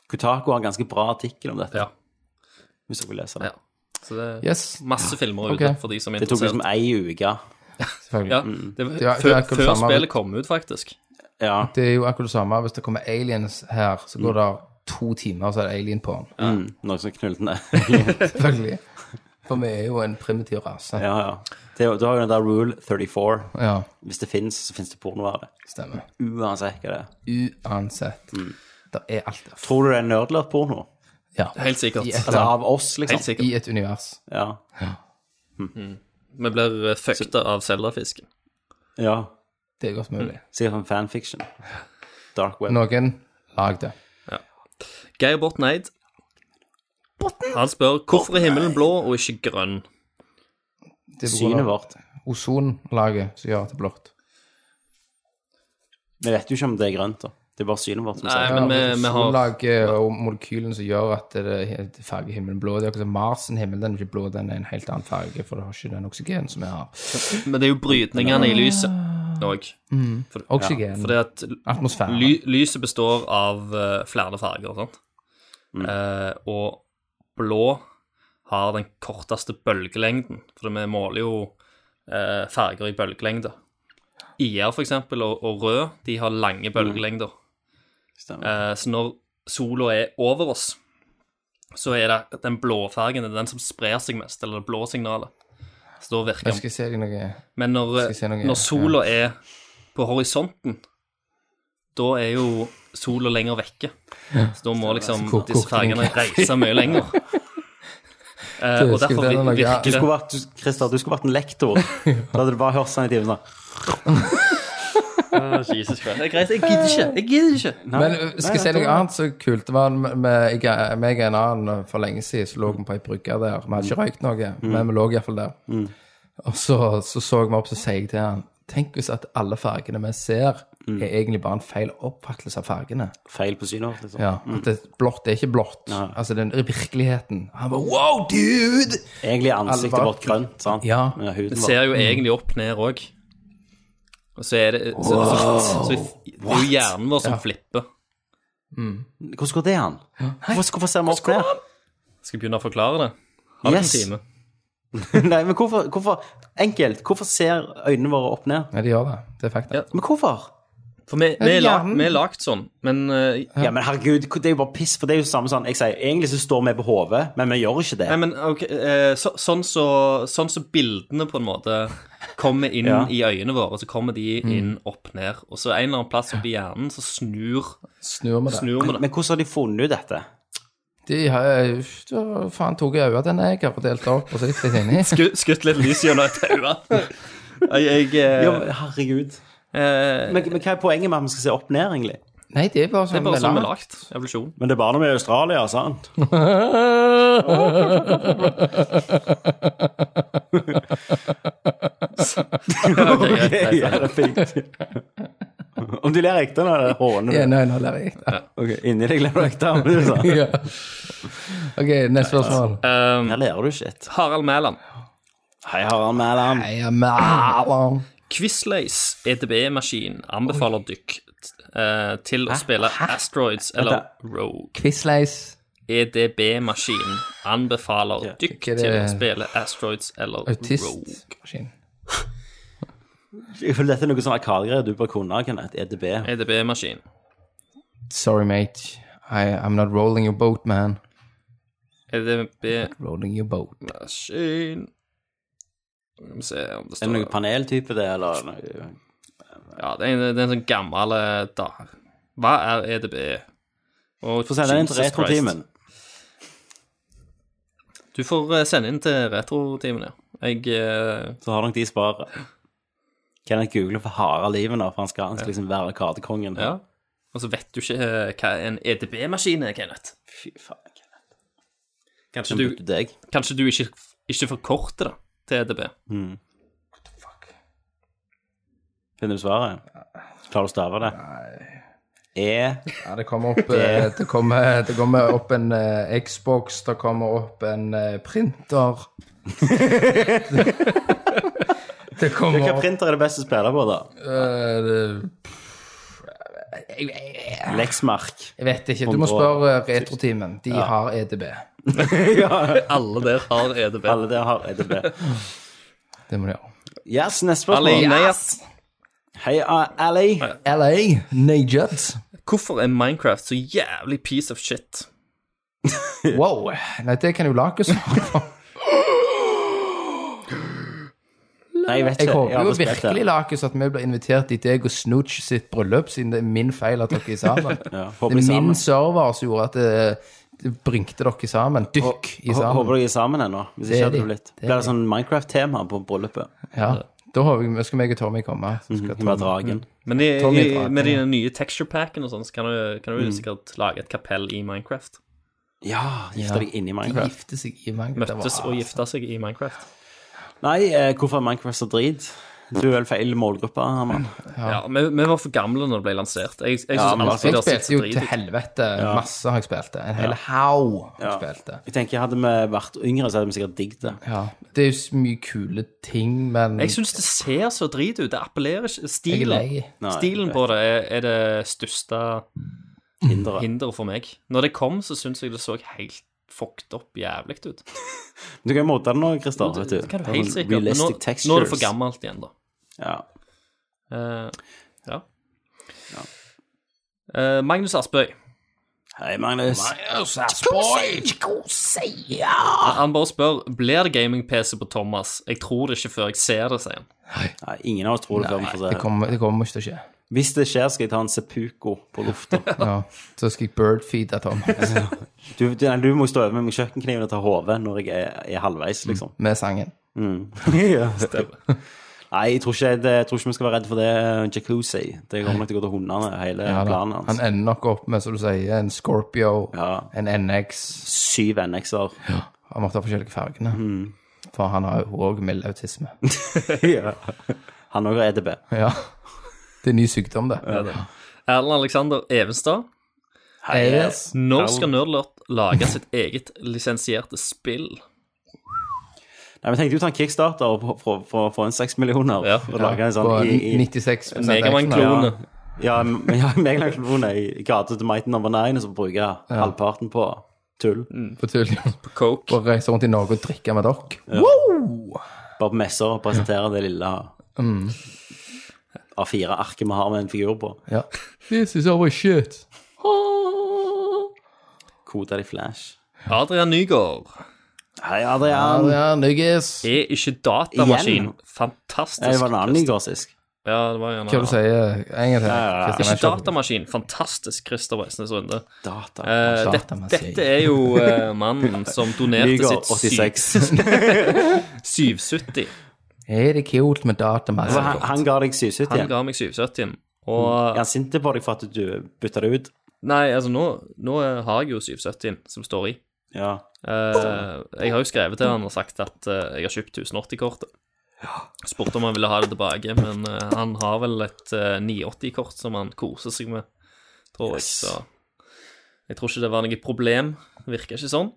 Speaker 1: Kutako har en ganske bra artikkel om dette,
Speaker 3: Mm. ja.
Speaker 1: hvis dere vil lese
Speaker 3: ja.
Speaker 1: det.
Speaker 3: Så det er
Speaker 2: Yes,
Speaker 3: masse filmer
Speaker 2: Ok.
Speaker 3: ute for de som er
Speaker 1: Det tok Mm.
Speaker 3: interessert.
Speaker 1: liksom ei uke.
Speaker 2: selvfølgelig.
Speaker 3: Ja, det
Speaker 2: Det
Speaker 3: var,
Speaker 2: er- det er
Speaker 3: før,
Speaker 2: akkurat
Speaker 3: før
Speaker 2: samme-
Speaker 3: spillet kom ut, faktisk.
Speaker 1: Ja.
Speaker 2: Det er jo akkurat det samme. Hvis det kommer aliens her, så går det to timer, så er det alien porn.
Speaker 1: Mm, noen som knullte ned.
Speaker 2: Selvfølgelig. For vi er jo en primitiv rase.
Speaker 1: ja, ja. Det, er jo- du har jo den der Rule 34.
Speaker 2: Ja,
Speaker 1: Hvis det fins, så fins det porno av det.
Speaker 2: stemmer.
Speaker 1: Uansett hva det er.
Speaker 2: Uansett. Det er alt der.
Speaker 1: Tror du det er nerdlert-porno?
Speaker 2: Ja.
Speaker 3: Helt sikkert.
Speaker 2: I et,
Speaker 1: Altså av oss,
Speaker 3: Helt
Speaker 1: liksom?
Speaker 3: sikkert.
Speaker 2: I et univers.
Speaker 1: Ja.
Speaker 3: Vi blir eh, fucked av Zelda-fisken.
Speaker 1: ja.
Speaker 2: Det er godt mulig.
Speaker 1: Sikkert sånn fanfiction. Dark web.
Speaker 2: Noen lag det.
Speaker 3: Geir Borten Eid Han spør hvorfor er himmelen blå og ikke grønn.
Speaker 2: det er på grunn
Speaker 1: Synet
Speaker 2: av
Speaker 1: vårt.
Speaker 2: Ozonlaget som gjør at det er blått.
Speaker 1: Vi vet jo ikke om det er grønt, da. Det er bare synet vårt som
Speaker 3: Nei,
Speaker 1: sier det.
Speaker 3: men vi, vi
Speaker 2: altså,
Speaker 3: har
Speaker 2: Ozonlaget og molekylene som gjør at det det farger himmelen blå. Det er akkurat som Mars' sin himmel, den er ikke blå, den er en helt annen farge, for det har ikke den oksygen som vi har.
Speaker 3: Men det er jo brytningene i lyset òg.
Speaker 2: Mm. Oksygen.
Speaker 3: Fordi at
Speaker 2: Atmosfære.
Speaker 3: ly, lyset består av eh, flere farger, sant. Eh, og blå har den korteste bølgelengden, for vi måler jo eh, farger i bølgelengde. IR, for eksempel, og, og rød, de har lange bølgelengder.
Speaker 1: Stemmer.
Speaker 3: Eh, Så når sola er over oss, så er det den blåfargen det er den som sprer seg mest, eller det blå signalet. Så da virker
Speaker 2: Jeg
Speaker 3: den.
Speaker 2: skal se deg noe
Speaker 3: Men når, eh,
Speaker 2: skal se noe,
Speaker 3: når sola er på horisonten, da er jo sola lenger vekke. Så da må liksom
Speaker 2: Hvor-
Speaker 3: disse
Speaker 2: hvor-
Speaker 3: fargene reise mye lenger. Eh,
Speaker 2: Du,
Speaker 3: og
Speaker 2: skal
Speaker 3: derfor
Speaker 2: vi ta noe-
Speaker 3: virker
Speaker 1: Du
Speaker 3: det
Speaker 1: skulle vært, du, Christer, du skulle vært en lektor. Da hadde du bare hørt sånn i timen sånn.
Speaker 3: Å, Jesus Christ. Det er greit, jeg gidder ikke. Jeg gidder ikke.
Speaker 2: Men øh, skal jeg si noe annet så kult Det var med, med, jeg- meg og en annen for lenge siden Så lå vi på ei brygge der Vi hadde ikke røykt noe,
Speaker 3: Mm.
Speaker 2: men vi lå i hvert fall der Og så så, så vi opp, så sier jeg til han Tenk hvis at alle fargene vi ser
Speaker 3: Mm.
Speaker 2: Er egentlig bare en feil oppfattelse av fargene
Speaker 1: Feil på synet vårt, liksom.
Speaker 2: Ja, at det, blått er ikke blått Altså den i virkeligheten Han bare, wow dude
Speaker 1: Egentlig er ansiktet
Speaker 2: Alvar.
Speaker 1: vårt grønt, sant?
Speaker 2: Ja.
Speaker 1: Men huden vår.
Speaker 3: ser jo egentlig opp ned òg. Og så er det så, så, så, det er jo hjernen vår som flipper.
Speaker 1: Hvordan går det an? Hvorfor, hvorfor ser vi opp ned?
Speaker 3: Skal jeg begynne å forklare det? Har du
Speaker 1: Yes.
Speaker 3: en time?
Speaker 1: Nei, men hvorfor, hvorfor Enkelt. Hvorfor ser øynene våre opp ned?
Speaker 2: Nei, de gjør det, det er fakta
Speaker 3: Ja.
Speaker 1: Men hvorfor?
Speaker 3: For vi, vi, er lag,
Speaker 2: hjernen.
Speaker 3: vi er lagt sånn, men eh,
Speaker 1: Ja, men herregud, det er jo bare piss, for det er jo samme sånn Jeg sier, egentlig så står vi på hodet, men vi gjør ikke det.
Speaker 3: Nei, men ok, eh, så, sånn så, sånn så bildene på en måte kommer inn
Speaker 1: Ja. Mm.
Speaker 3: i øynene våre, så kommer de inn opp ned. Og så en eller annen plass oppi hjernen så snur,
Speaker 2: Snur vi det
Speaker 3: snur vi det.
Speaker 1: Men hvordan har de funnet ut dette?
Speaker 2: De har, øh, faen tok jeg øyet den jeg har delt opp Og så litt litt inni
Speaker 3: Skutt, skutt litt lys gjennom et øye. Jeg, jeg, eh,
Speaker 1: Ja, men herregud.
Speaker 3: eh,
Speaker 1: Men, men hva er poenget med at vi skal se opp ned, egentlig?
Speaker 2: Nei, det er bare sånn
Speaker 3: det er bare sånn vi er
Speaker 2: lagt.
Speaker 3: lagt. Evolusjon.
Speaker 1: Men det er bare når vi er i Australia, sant?
Speaker 3: Ok, greit, greit,
Speaker 1: ja, det er fint. Om du ler ekte nå, er det håner
Speaker 2: Ja,
Speaker 1: du.
Speaker 2: nei, nå lærer jeg
Speaker 1: Ok, inni deg ler du ekte. men du sa,
Speaker 2: Ja. OK, neste spørsmål.
Speaker 3: Um,
Speaker 1: Her ler du shit.
Speaker 3: Harald Mæland.
Speaker 1: Hei, Harald Mæland.
Speaker 2: Nei, ja, ah, mælan.
Speaker 3: Quizlays EDB-maskin E anbefaler dykk eh, til å spille Asteroids eller Rogue.
Speaker 2: Quizleis.
Speaker 3: EDB-maskin anbefaler
Speaker 1: Ja.
Speaker 3: dykk
Speaker 2: Ikke det-
Speaker 3: til å spille Asteroids eller Rogue.
Speaker 2: Autistmaskin.
Speaker 1: Jeg føler dette er E
Speaker 3: E
Speaker 1: noe sånn arkadegreier du bør kunne, Kenneth. EDB.
Speaker 3: EDB-maskin.
Speaker 2: Sorry, mate. I, I'm not rolling your boat, man.
Speaker 3: Er det med
Speaker 2: Rolling your boat.
Speaker 3: maskin Skal vi se om
Speaker 1: Er
Speaker 3: det står
Speaker 1: det noe paneltype, det, eller noe?
Speaker 3: Ja, det er en, det er en sånn gammel eh, da. Hva er EDB? Og
Speaker 1: Få sende den til
Speaker 3: Jesus
Speaker 1: retrotimen.
Speaker 3: Christ. Du får eh, sende inn til retrotimen, ja. Jeg eh,
Speaker 1: Så har nok de sparet. Kenneth googler for harde livet nå, for han skal, han skal liksom være kadekongen.
Speaker 3: Ja. Og så vet du ikke eh, hva en EDB-maskin er, Kenneth.
Speaker 1: Fy faen, Kenneth.
Speaker 3: Kanskje
Speaker 1: Den
Speaker 3: du,
Speaker 1: bytter deg.
Speaker 3: kanskje du ikke, ikke forkorter det til E EDB.
Speaker 1: Finner du svaret? Klarer du å stave det? E
Speaker 2: Ja, det kommer opp, eh, det kommer, det kommer opp en eh, Xbox, det kommer opp en eh, printer. det kommer
Speaker 1: Hvilken
Speaker 2: opp
Speaker 1: printer er det beste å spille på, da?
Speaker 2: eh, det- jeg, jeg,
Speaker 1: Lexmark.
Speaker 2: jeg vet ikke. Du må spørre eh, Retroteamen. De har E EDB.
Speaker 3: Alle der har E EDB.
Speaker 1: Alle der har EDB.
Speaker 2: Det må de gjøre.
Speaker 1: Yes, neste
Speaker 3: Ali,
Speaker 1: spørsmål.
Speaker 3: nei,
Speaker 1: Hei, uh, Ali.
Speaker 2: LA, Najat.
Speaker 3: Hvorfor er Minecraft så jævlig piece of shit?
Speaker 2: Wow. Nei, det kan jo Lake svare på.
Speaker 1: Nei, jeg vet
Speaker 2: Jeg
Speaker 1: ikke.
Speaker 2: håper
Speaker 1: har
Speaker 2: jo
Speaker 1: aldri spilt det.
Speaker 2: virkelig Lakes at vi blir invitert i deg og Snooch sitt bryllup, siden det er min feil at dere er sammen.
Speaker 1: Ja,
Speaker 2: det
Speaker 1: håper
Speaker 2: er
Speaker 1: vi sammen.
Speaker 2: min server som gjorde at det, det bringte dere sammen. Dykk i
Speaker 1: Hå- Håper
Speaker 2: sammen.
Speaker 1: dere er sammen ennå. Hvis
Speaker 2: Det er
Speaker 1: ikke hadde
Speaker 2: de.
Speaker 1: det blitt.
Speaker 2: Det er
Speaker 1: Blir det
Speaker 2: de.
Speaker 1: sånn Minecraft-tema på bryllupet?
Speaker 2: Ja. Da har vi, skal meg og Tommy
Speaker 1: Mhm.
Speaker 2: komme. Så skal
Speaker 1: Med dragen.
Speaker 3: Men i,
Speaker 2: Tommy
Speaker 3: i,
Speaker 2: Drake,
Speaker 3: med
Speaker 2: ja. Mm.
Speaker 3: de nye texture packene og sånn, så kan du, kan du sikkert lage et kapell i Minecraft.
Speaker 1: Ja, gifte deg inn i
Speaker 2: Tommy
Speaker 1: Minecraft.
Speaker 2: gifte seg i Minecraft. Det var-
Speaker 3: Møttes og gifta seg i Minecraft.
Speaker 1: Nei, eh, hvorfor er Minecraft så drit? Du er vel feil målgruppe, Herman.
Speaker 3: Ja, vi, vi var for gamle når det ble lansert. Jeg, jeg synes
Speaker 1: men
Speaker 3: alltid
Speaker 2: Altså, Jeg
Speaker 3: det har sett
Speaker 2: spilte jo
Speaker 3: så drit
Speaker 2: til
Speaker 3: ut.
Speaker 2: helvete. Masse har jeg spilt det. En hel haug har jeg
Speaker 1: Ja.
Speaker 2: spilt det.
Speaker 1: Jeg tenker, Hadde vi vært yngre, så hadde vi sikkert digget det.
Speaker 2: Ja. Det er jo så mye kule ting, men
Speaker 3: Jeg syns det ser så drit ut. Det appellerer ikke.
Speaker 2: jeg er
Speaker 3: Stilen,
Speaker 2: lei.
Speaker 1: Nei,
Speaker 3: stilen
Speaker 1: jeg
Speaker 3: på det er, er det største
Speaker 1: Hinderet.
Speaker 3: hinderet for meg. Når det kom, så syns jeg det så helt fucked opp jævlig ut.
Speaker 1: Du kan modde det nå, Christer.
Speaker 3: Det
Speaker 1: vet du.
Speaker 3: kan du
Speaker 1: Sånn
Speaker 3: helt sikkert. Men nå,
Speaker 1: Realistic textures.
Speaker 3: nå er det for gammelt igjen, da.
Speaker 1: Ja.
Speaker 3: Eh, ja. Eh, Magnus Aspøy.
Speaker 1: Hei, Magnus.
Speaker 3: Han bare spør blir det gaming-PC på Thomas. Jeg tror det ikke før jeg ser det, sier han.
Speaker 1: Nei, ingen av oss tror det før vi får se.
Speaker 2: Det kommer, det kommer ikke til å skje.
Speaker 1: Hvis det skjer, skal jeg ta en sepuko på lufta.
Speaker 2: Ja. Så skal jeg birdfeede Thomas
Speaker 1: Du, du, nei, du må stå over med meg kjøkkenkniven og ta hodet når jeg er, er halvveis, liksom.
Speaker 2: med sangen.
Speaker 1: ja. Nei, jeg tror, ikke, det, jeg tror ikke vi skal være redd for det eh, jacuzzi. Det kommer nok til å gå til hundene, hele
Speaker 2: Ja, da.
Speaker 1: planen hans.
Speaker 2: Han ender nok opp med, som du sier, en Scorpio,
Speaker 1: Ja.
Speaker 2: en NX.
Speaker 1: Syv NX-er.
Speaker 2: Han måtte ha forskjellige fargene.
Speaker 1: Mm.
Speaker 2: For han har jo òg mild autisme.
Speaker 1: ja. Han E òg har EDB.
Speaker 2: ja. Det er en ny sykdom, det.
Speaker 3: Erlend Alexander Evenstad.
Speaker 1: Hei,
Speaker 2: Yes.
Speaker 3: Når skal Nerdlert lage sitt eget lisensierte spill?
Speaker 1: Nei, men tenkte jo å ta en kickstarter og få- få- få- få en seks millioner
Speaker 3: Ja.
Speaker 1: og lage en
Speaker 2: På
Speaker 1: sånn i, i,
Speaker 2: 96
Speaker 3: Megaman-klone.
Speaker 1: Ja, men- ja Megalanklone i gata til Mighty Number Nine, og så bruker jeg halvparten på tull.
Speaker 3: Mm.
Speaker 2: på tull.
Speaker 3: På Coke.
Speaker 2: Og reiser rundt i Norge og drikker med dere.
Speaker 1: Bare på messer og presentere det lille A4-arket vi har med en figur på.
Speaker 2: Ja. This is our shit.
Speaker 1: Koder de flash.
Speaker 3: Adrian Nygaard.
Speaker 1: Hei, Adrian.
Speaker 2: Ja, Nuggis.
Speaker 3: Er ikke datamaskin
Speaker 1: Igjen?
Speaker 3: fantastisk?
Speaker 1: Nei, det var en annen
Speaker 3: Christer?
Speaker 1: igårsisk.
Speaker 3: Ja, det var en
Speaker 2: Hva du
Speaker 3: annen.
Speaker 2: sier du? En gang til.
Speaker 1: ja, ja.
Speaker 2: Christian,
Speaker 3: Ikke
Speaker 2: jeg kjøper-
Speaker 3: datamaskin, fantastisk Christer Weisnes Runde.
Speaker 1: Data.
Speaker 3: Eh, det,
Speaker 2: Datamaskin.
Speaker 3: dette er jo eh, mannen som donerte
Speaker 1: Nygaard
Speaker 3: sitt syv-
Speaker 1: 86.
Speaker 3: 770.
Speaker 2: Er det kult med datamasser?
Speaker 1: Så han, han ga deg 770
Speaker 3: Han
Speaker 1: igjen.
Speaker 3: ga meg 770. Og
Speaker 1: Er han sint på deg for at du bytta det ut?
Speaker 3: Nei, altså, nå, nå har jeg jo 770 som står i.
Speaker 1: Ja.
Speaker 3: Eh, jeg har jo skrevet til han og sagt at eh, jeg har kjøpt 1080-kortet. Spurte om han ville ha det tilbake, men eh, han har vel et eh, 980-kort som han koser seg med, tror
Speaker 1: Yes.
Speaker 3: jeg. Så jeg tror ikke det var noe problem. Det virker ikke sånn.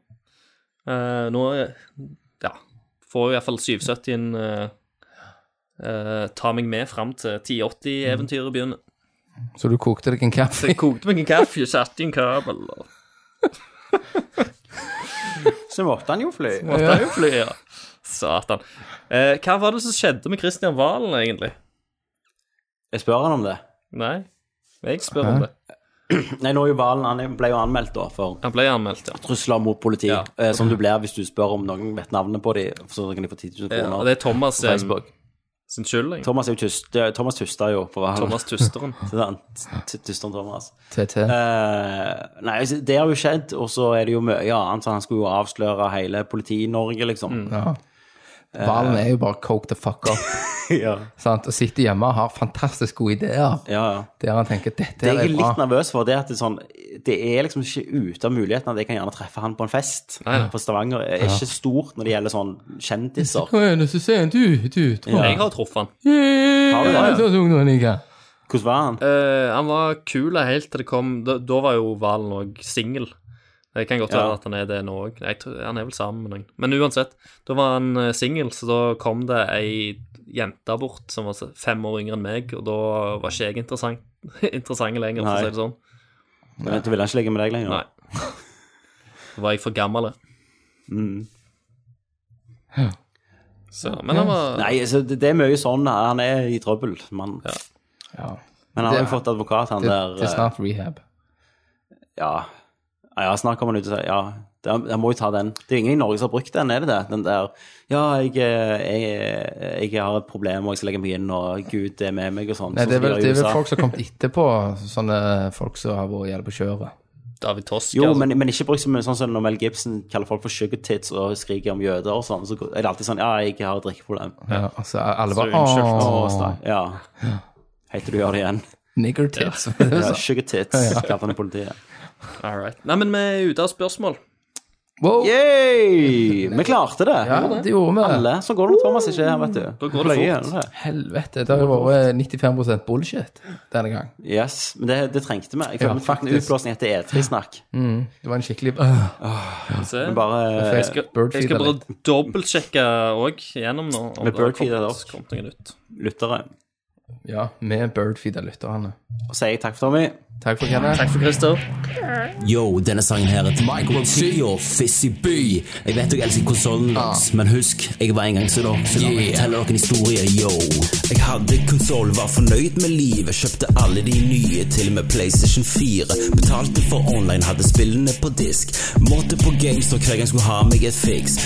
Speaker 3: Eh, nå eh, ja, får jeg i hvert fall 770-en eh, eh, ta meg med fram til 1080-eventyret begynner.
Speaker 2: Så du kokte deg en
Speaker 3: Så jeg
Speaker 2: kaffe?
Speaker 3: kokte meg en kaffe, satte i en kabel og
Speaker 1: Så måtte han jo fly.
Speaker 3: måtte jo fly. Ja. Satan. Eh, hva var det som skjedde med Christian Valen, egentlig?
Speaker 1: Jeg spør han om det.
Speaker 3: Nei, jeg spør om det.
Speaker 1: Nei, nå er jo Valen han ble jo anmeldt da for
Speaker 3: Han ble anmeldt, ja.
Speaker 1: trusler mot politi,
Speaker 3: Ja.
Speaker 1: eh, som du blir hvis du spør om noen vet navnet på dem, så kan de få 10 000
Speaker 3: ja.
Speaker 1: kroner
Speaker 3: Og det er
Speaker 1: på
Speaker 3: Thomas sin,
Speaker 1: Facebook.
Speaker 3: sin skyld. egentlig.
Speaker 1: Thomas er jo tyst, eh, Thomas tuster jo på Valen.
Speaker 3: Thomas Tusteren.
Speaker 1: Tysteren Thomas.
Speaker 2: TT.
Speaker 1: Eh, nei, altså, det har jo skjedd, og så er det jo mye annet. så Han skulle jo avsløre hele Politi-Norge, liksom.
Speaker 2: Ja. Valen er jo bare coke the fuck up.
Speaker 3: Mm.
Speaker 1: ja.
Speaker 2: sant? Og sitter hjemme og har fantastisk gode ideer.
Speaker 1: ja, ja.
Speaker 2: Der han tenker dette
Speaker 1: Det jeg
Speaker 2: er
Speaker 1: er litt
Speaker 2: bra.
Speaker 1: nervøs for, det er at det er, sånn, det er liksom ikke ute av muligheten at jeg kan gjerne treffe han på en fest. For Stavanger er ikke stort når det gjelder sånn kjendiser.
Speaker 2: Hva er det som ser du ut
Speaker 1: Ja.
Speaker 3: Jeg har truffet han.
Speaker 1: du det, ja?
Speaker 2: Ja.
Speaker 1: Hvordan var han?
Speaker 3: Eh, han var kul helt til det kom Da, da var jo Valen òg singel. Det kan godt
Speaker 1: Ja.
Speaker 3: være at han er det nå òg. Han er vel sammen med noen. Men uansett, da var han eh, singel, så da kom det ei jente bort som var fem år yngre enn meg, og da var ikke jeg interessant, interessant lenger, for
Speaker 1: Nei.
Speaker 3: å si det sånn.
Speaker 1: Men Du ville ikke ligge med deg lenger?
Speaker 3: Nei. Da var jeg for gammel.
Speaker 1: Mm.
Speaker 3: Så, men han var
Speaker 1: Nei, så det, det er mye sånn. Han er i trøbbel, mann.
Speaker 2: Ja.
Speaker 1: Men han har
Speaker 2: Det-
Speaker 1: jo fått advokat, han
Speaker 2: Det,
Speaker 1: der.
Speaker 2: det er snart rehab.
Speaker 1: eh, Ja. Ja, ja, snart kommer han ut og sier ja. det- Jeg må jo ta den. Det er jo ingen i Norge som har brukt den, er det det? Den der Ja, jeg, eh, jeg, jeg har et problem, og jeg skal legge meg inn, og Gud er med meg, og sånn.
Speaker 2: Nei, det
Speaker 1: sånn
Speaker 2: er
Speaker 1: som de
Speaker 2: vel,
Speaker 1: gjør i
Speaker 2: det er vel
Speaker 1: USA.
Speaker 2: folk som har kommet etterpå, sånne folk som har vært jævlig på kjøret.
Speaker 3: David Tosk.
Speaker 1: Jo,
Speaker 3: altså.
Speaker 1: men, men ikke brukt som en sånn som når Mel Gibson kaller folk for sugar tits og skriker om jøder og sånn. Så er det alltid sånn Ja, jeg har et drikkeproblem.
Speaker 2: Ja, altså, alle bare
Speaker 3: unnskyld.
Speaker 1: Og
Speaker 2: Åh,
Speaker 1: sånn, Ja. Heter du gjør det igjen.
Speaker 2: nigger tits.
Speaker 1: Ja, sugar tits, kalte han i politiet.
Speaker 3: All right. Nei, men vi er ute av spørsmål.
Speaker 2: Wow,
Speaker 1: Yay! Vi klarte det.
Speaker 2: ja, det gjorde vi.
Speaker 1: Alle. Så går det når Thomas ikke er her, vet du.
Speaker 3: Da går det
Speaker 1: Pløyer
Speaker 3: fort.
Speaker 1: gjennom det.
Speaker 2: Helvete, det har jo vært 95 bullshit denne gang.
Speaker 1: Yes, men det, det trengte vi. Jeg
Speaker 2: Ja,
Speaker 1: føler vi fikk en
Speaker 2: faktisk. Mm.
Speaker 1: utblåsning etter E3-snakk.
Speaker 2: Det var en skikkelig øh,
Speaker 3: Se.
Speaker 1: Bare eh,
Speaker 3: Jeg skal,
Speaker 2: Bird
Speaker 3: jeg skal
Speaker 2: feeder
Speaker 3: bare dobbeltsjekke òg gjennom nå. Om
Speaker 1: Med
Speaker 3: det har
Speaker 1: bird feeder, da.
Speaker 3: kommet- kommet noe nytt.
Speaker 1: lyttere.
Speaker 2: Ja, med birdfeeder-lytterne.
Speaker 1: Og sier takk for Tommy.
Speaker 2: Takk for Kenneth.
Speaker 3: Takk for Christer.
Speaker 8: Yo, denne sangen her er til Michael T og Fizzy By. Jeg vet dere elsker konsollen deres, men husk, jeg var en gang så da, så la meg fortelle dere en historie, yo. Jeg hadde konsoll, var fornøyd med livet, kjøpte alle de nye, til og med PlayStation 4. Betalte for online, hadde spillene på disk. Måtte på GameStop hver gang skulle ha meg et fiks.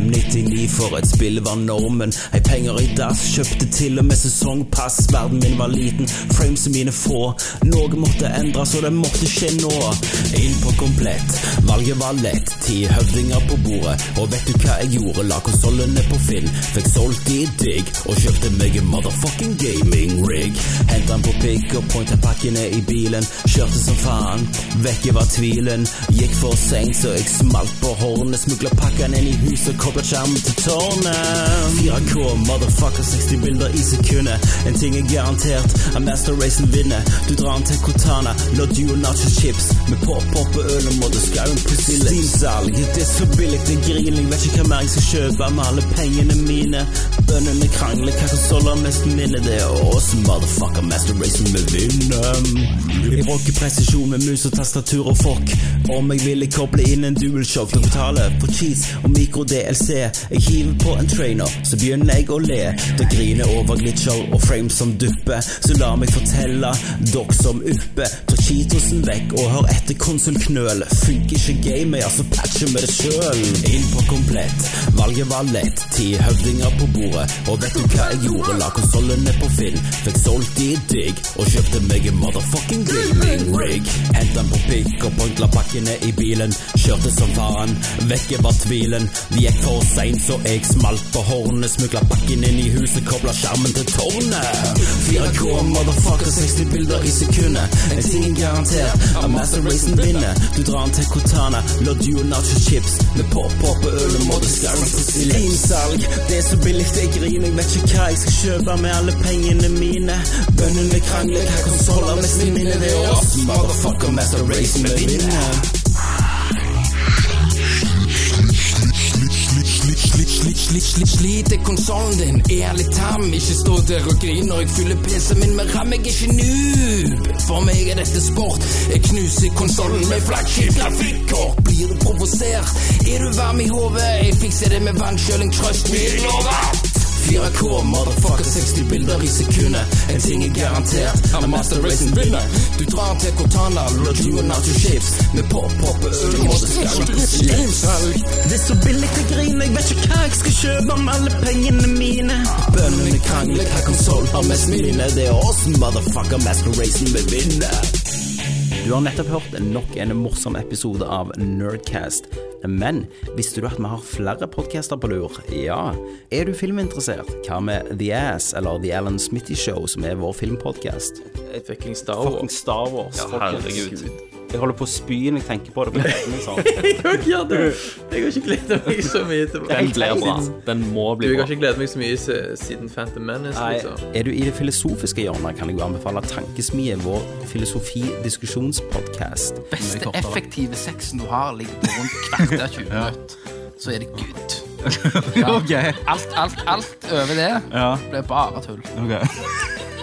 Speaker 8: 599 for et spill var normen. Hei, penger i dass, kjøpte til og med sesongpass. Verden min var liten, frames mine få. Noe måtte endres, og det måtte skje nå. Inn på komplett, valget var lett. Ti høvdinger på bordet, og vet du hva jeg gjorde? La konsollene på Finn, fikk solgt de digg, og kjøpte meg en motherfucking gaming rig. Hentet den på pick og pointa pakkene i bilen. Kjørte som faen, vekke var tvilen. Gikk for seint, så jeg smalt på hornet. Smugla pakkene inn i huset, kobla skjermen til tårnet. 4K, motherfucker, 60 bilder i sekundet. En ting er garantert, at Master Racen vinner. Du drar den til Cortana, la duo nacho chips. Med pop-pop og øl og måte skauen pussig litt. Steamsalg, det er så billig, det er grilling. Vet ikke hva mer jeg skal kjøpe med alle pengene mine. Bøndene krangler, hva konsoller mest minner det er oss, motherfucker, Master Racen vi vinner. Jeg bruker presisjon med mus og tastatur og fork. Om jeg ville koble inn en DualShock og betale for cheese og mikro-DLC. Jeg hiver på en trainer, så begynner jeg å le. Da griner over glitcher og frames som dupper. Så la meg fortelle, dere som uppe. Ta cheetosen vekk og hør etter konsulknøl. Funker ikke gamet, ja, så patcher vi det sjøl. Inn på komplett, valget var lett. Ti høvdinger på bordet, og vet du hva jeg gjorde? La konsollene på Finn, fikk solgt de digg, og kjøpte meg en motherfucking gaming rig. Hentet den på pikk og pointla pakkene i bilen. Kjørte som faren, vekke var tvilen. Det gikk for seint, så jeg smalt på hornet. Smugla pakken inn i huset, kobla skjermen til tårnet. 4K, motherfucker, 60 bilder i sekundet. En ting er garantert, at Master Racen vinner. Du drar den til Cortana, la duo nacho chips. Med pop-pop og øl og måte skarren på Steamsalg, det er så billig det griner. Jeg vet ikke hva jeg skal kjøpe med alle pengene mine. Bøndene krangler, hva konsoller mest minner det er oss. Motherfucker, Master Racen vi vinner.
Speaker 9: Slitt, slitt, slitt, slitt, slitt, slit er konsollen din. Er litt tam, ikke stå der og grin når jeg fyller PC-en min med ram. Jeg er ikke noob. For meg er dette sport. Jeg knuser konsollen med flaggskip, grafikkort. Blir du provosert? Er du varm i hodet? Jeg fikser det med vannkjøling, trøst me, jeg lover. 4K, motherfucker 60 bilder i sekundet En ting er garantert, han er master racen vinner Du drar til Cortana, Lodgeon out your shapes Med pop, pop og øl, måtte skalle på slimsalg
Speaker 10: Det er så billig til grin, jeg vet ikke hva jeg skal kjøpe om alle pengene mine.
Speaker 9: Bøndene krangler, hva konsol har mest mine Det er oss, motherfucker, master racen vil vinne
Speaker 1: Du har nettopp hørt nok en morsom episode av Nerdcast. Men visste du at vi har flere podcaster på lur? Ja. Er du filminteressert? Hva med The Ass eller The Alan Smitty Show, som er vår filmpodcast?
Speaker 11: Et fucking Star Wars.
Speaker 1: Fucking Star Wars.
Speaker 11: Ja,
Speaker 1: folkens.
Speaker 11: herregud.
Speaker 1: Jeg holder på å spy når jeg tenker på det. på nettene, sånn.
Speaker 11: jeg gjør det. Jeg har ikke gledet meg så mye til
Speaker 3: Den blir bra. Den må
Speaker 11: Du,
Speaker 3: bli
Speaker 11: jeg
Speaker 3: bra.
Speaker 11: har ikke gledet meg så mye se- siden Phantom Menace,
Speaker 1: Nei,
Speaker 12: Altså.
Speaker 11: liksom.
Speaker 1: er du i det filosofiske hjørnet, kan jeg jo anbefale Tankesmie, vår filosofi-diskusjonspodcast.
Speaker 2: beste effektive sexen du har, ligger på rundt kvarter 20 minutter. Så er det good.
Speaker 12: OK.
Speaker 2: Alt, alt, alt over det
Speaker 12: Ja,
Speaker 2: blir bare tull.
Speaker 12: ok.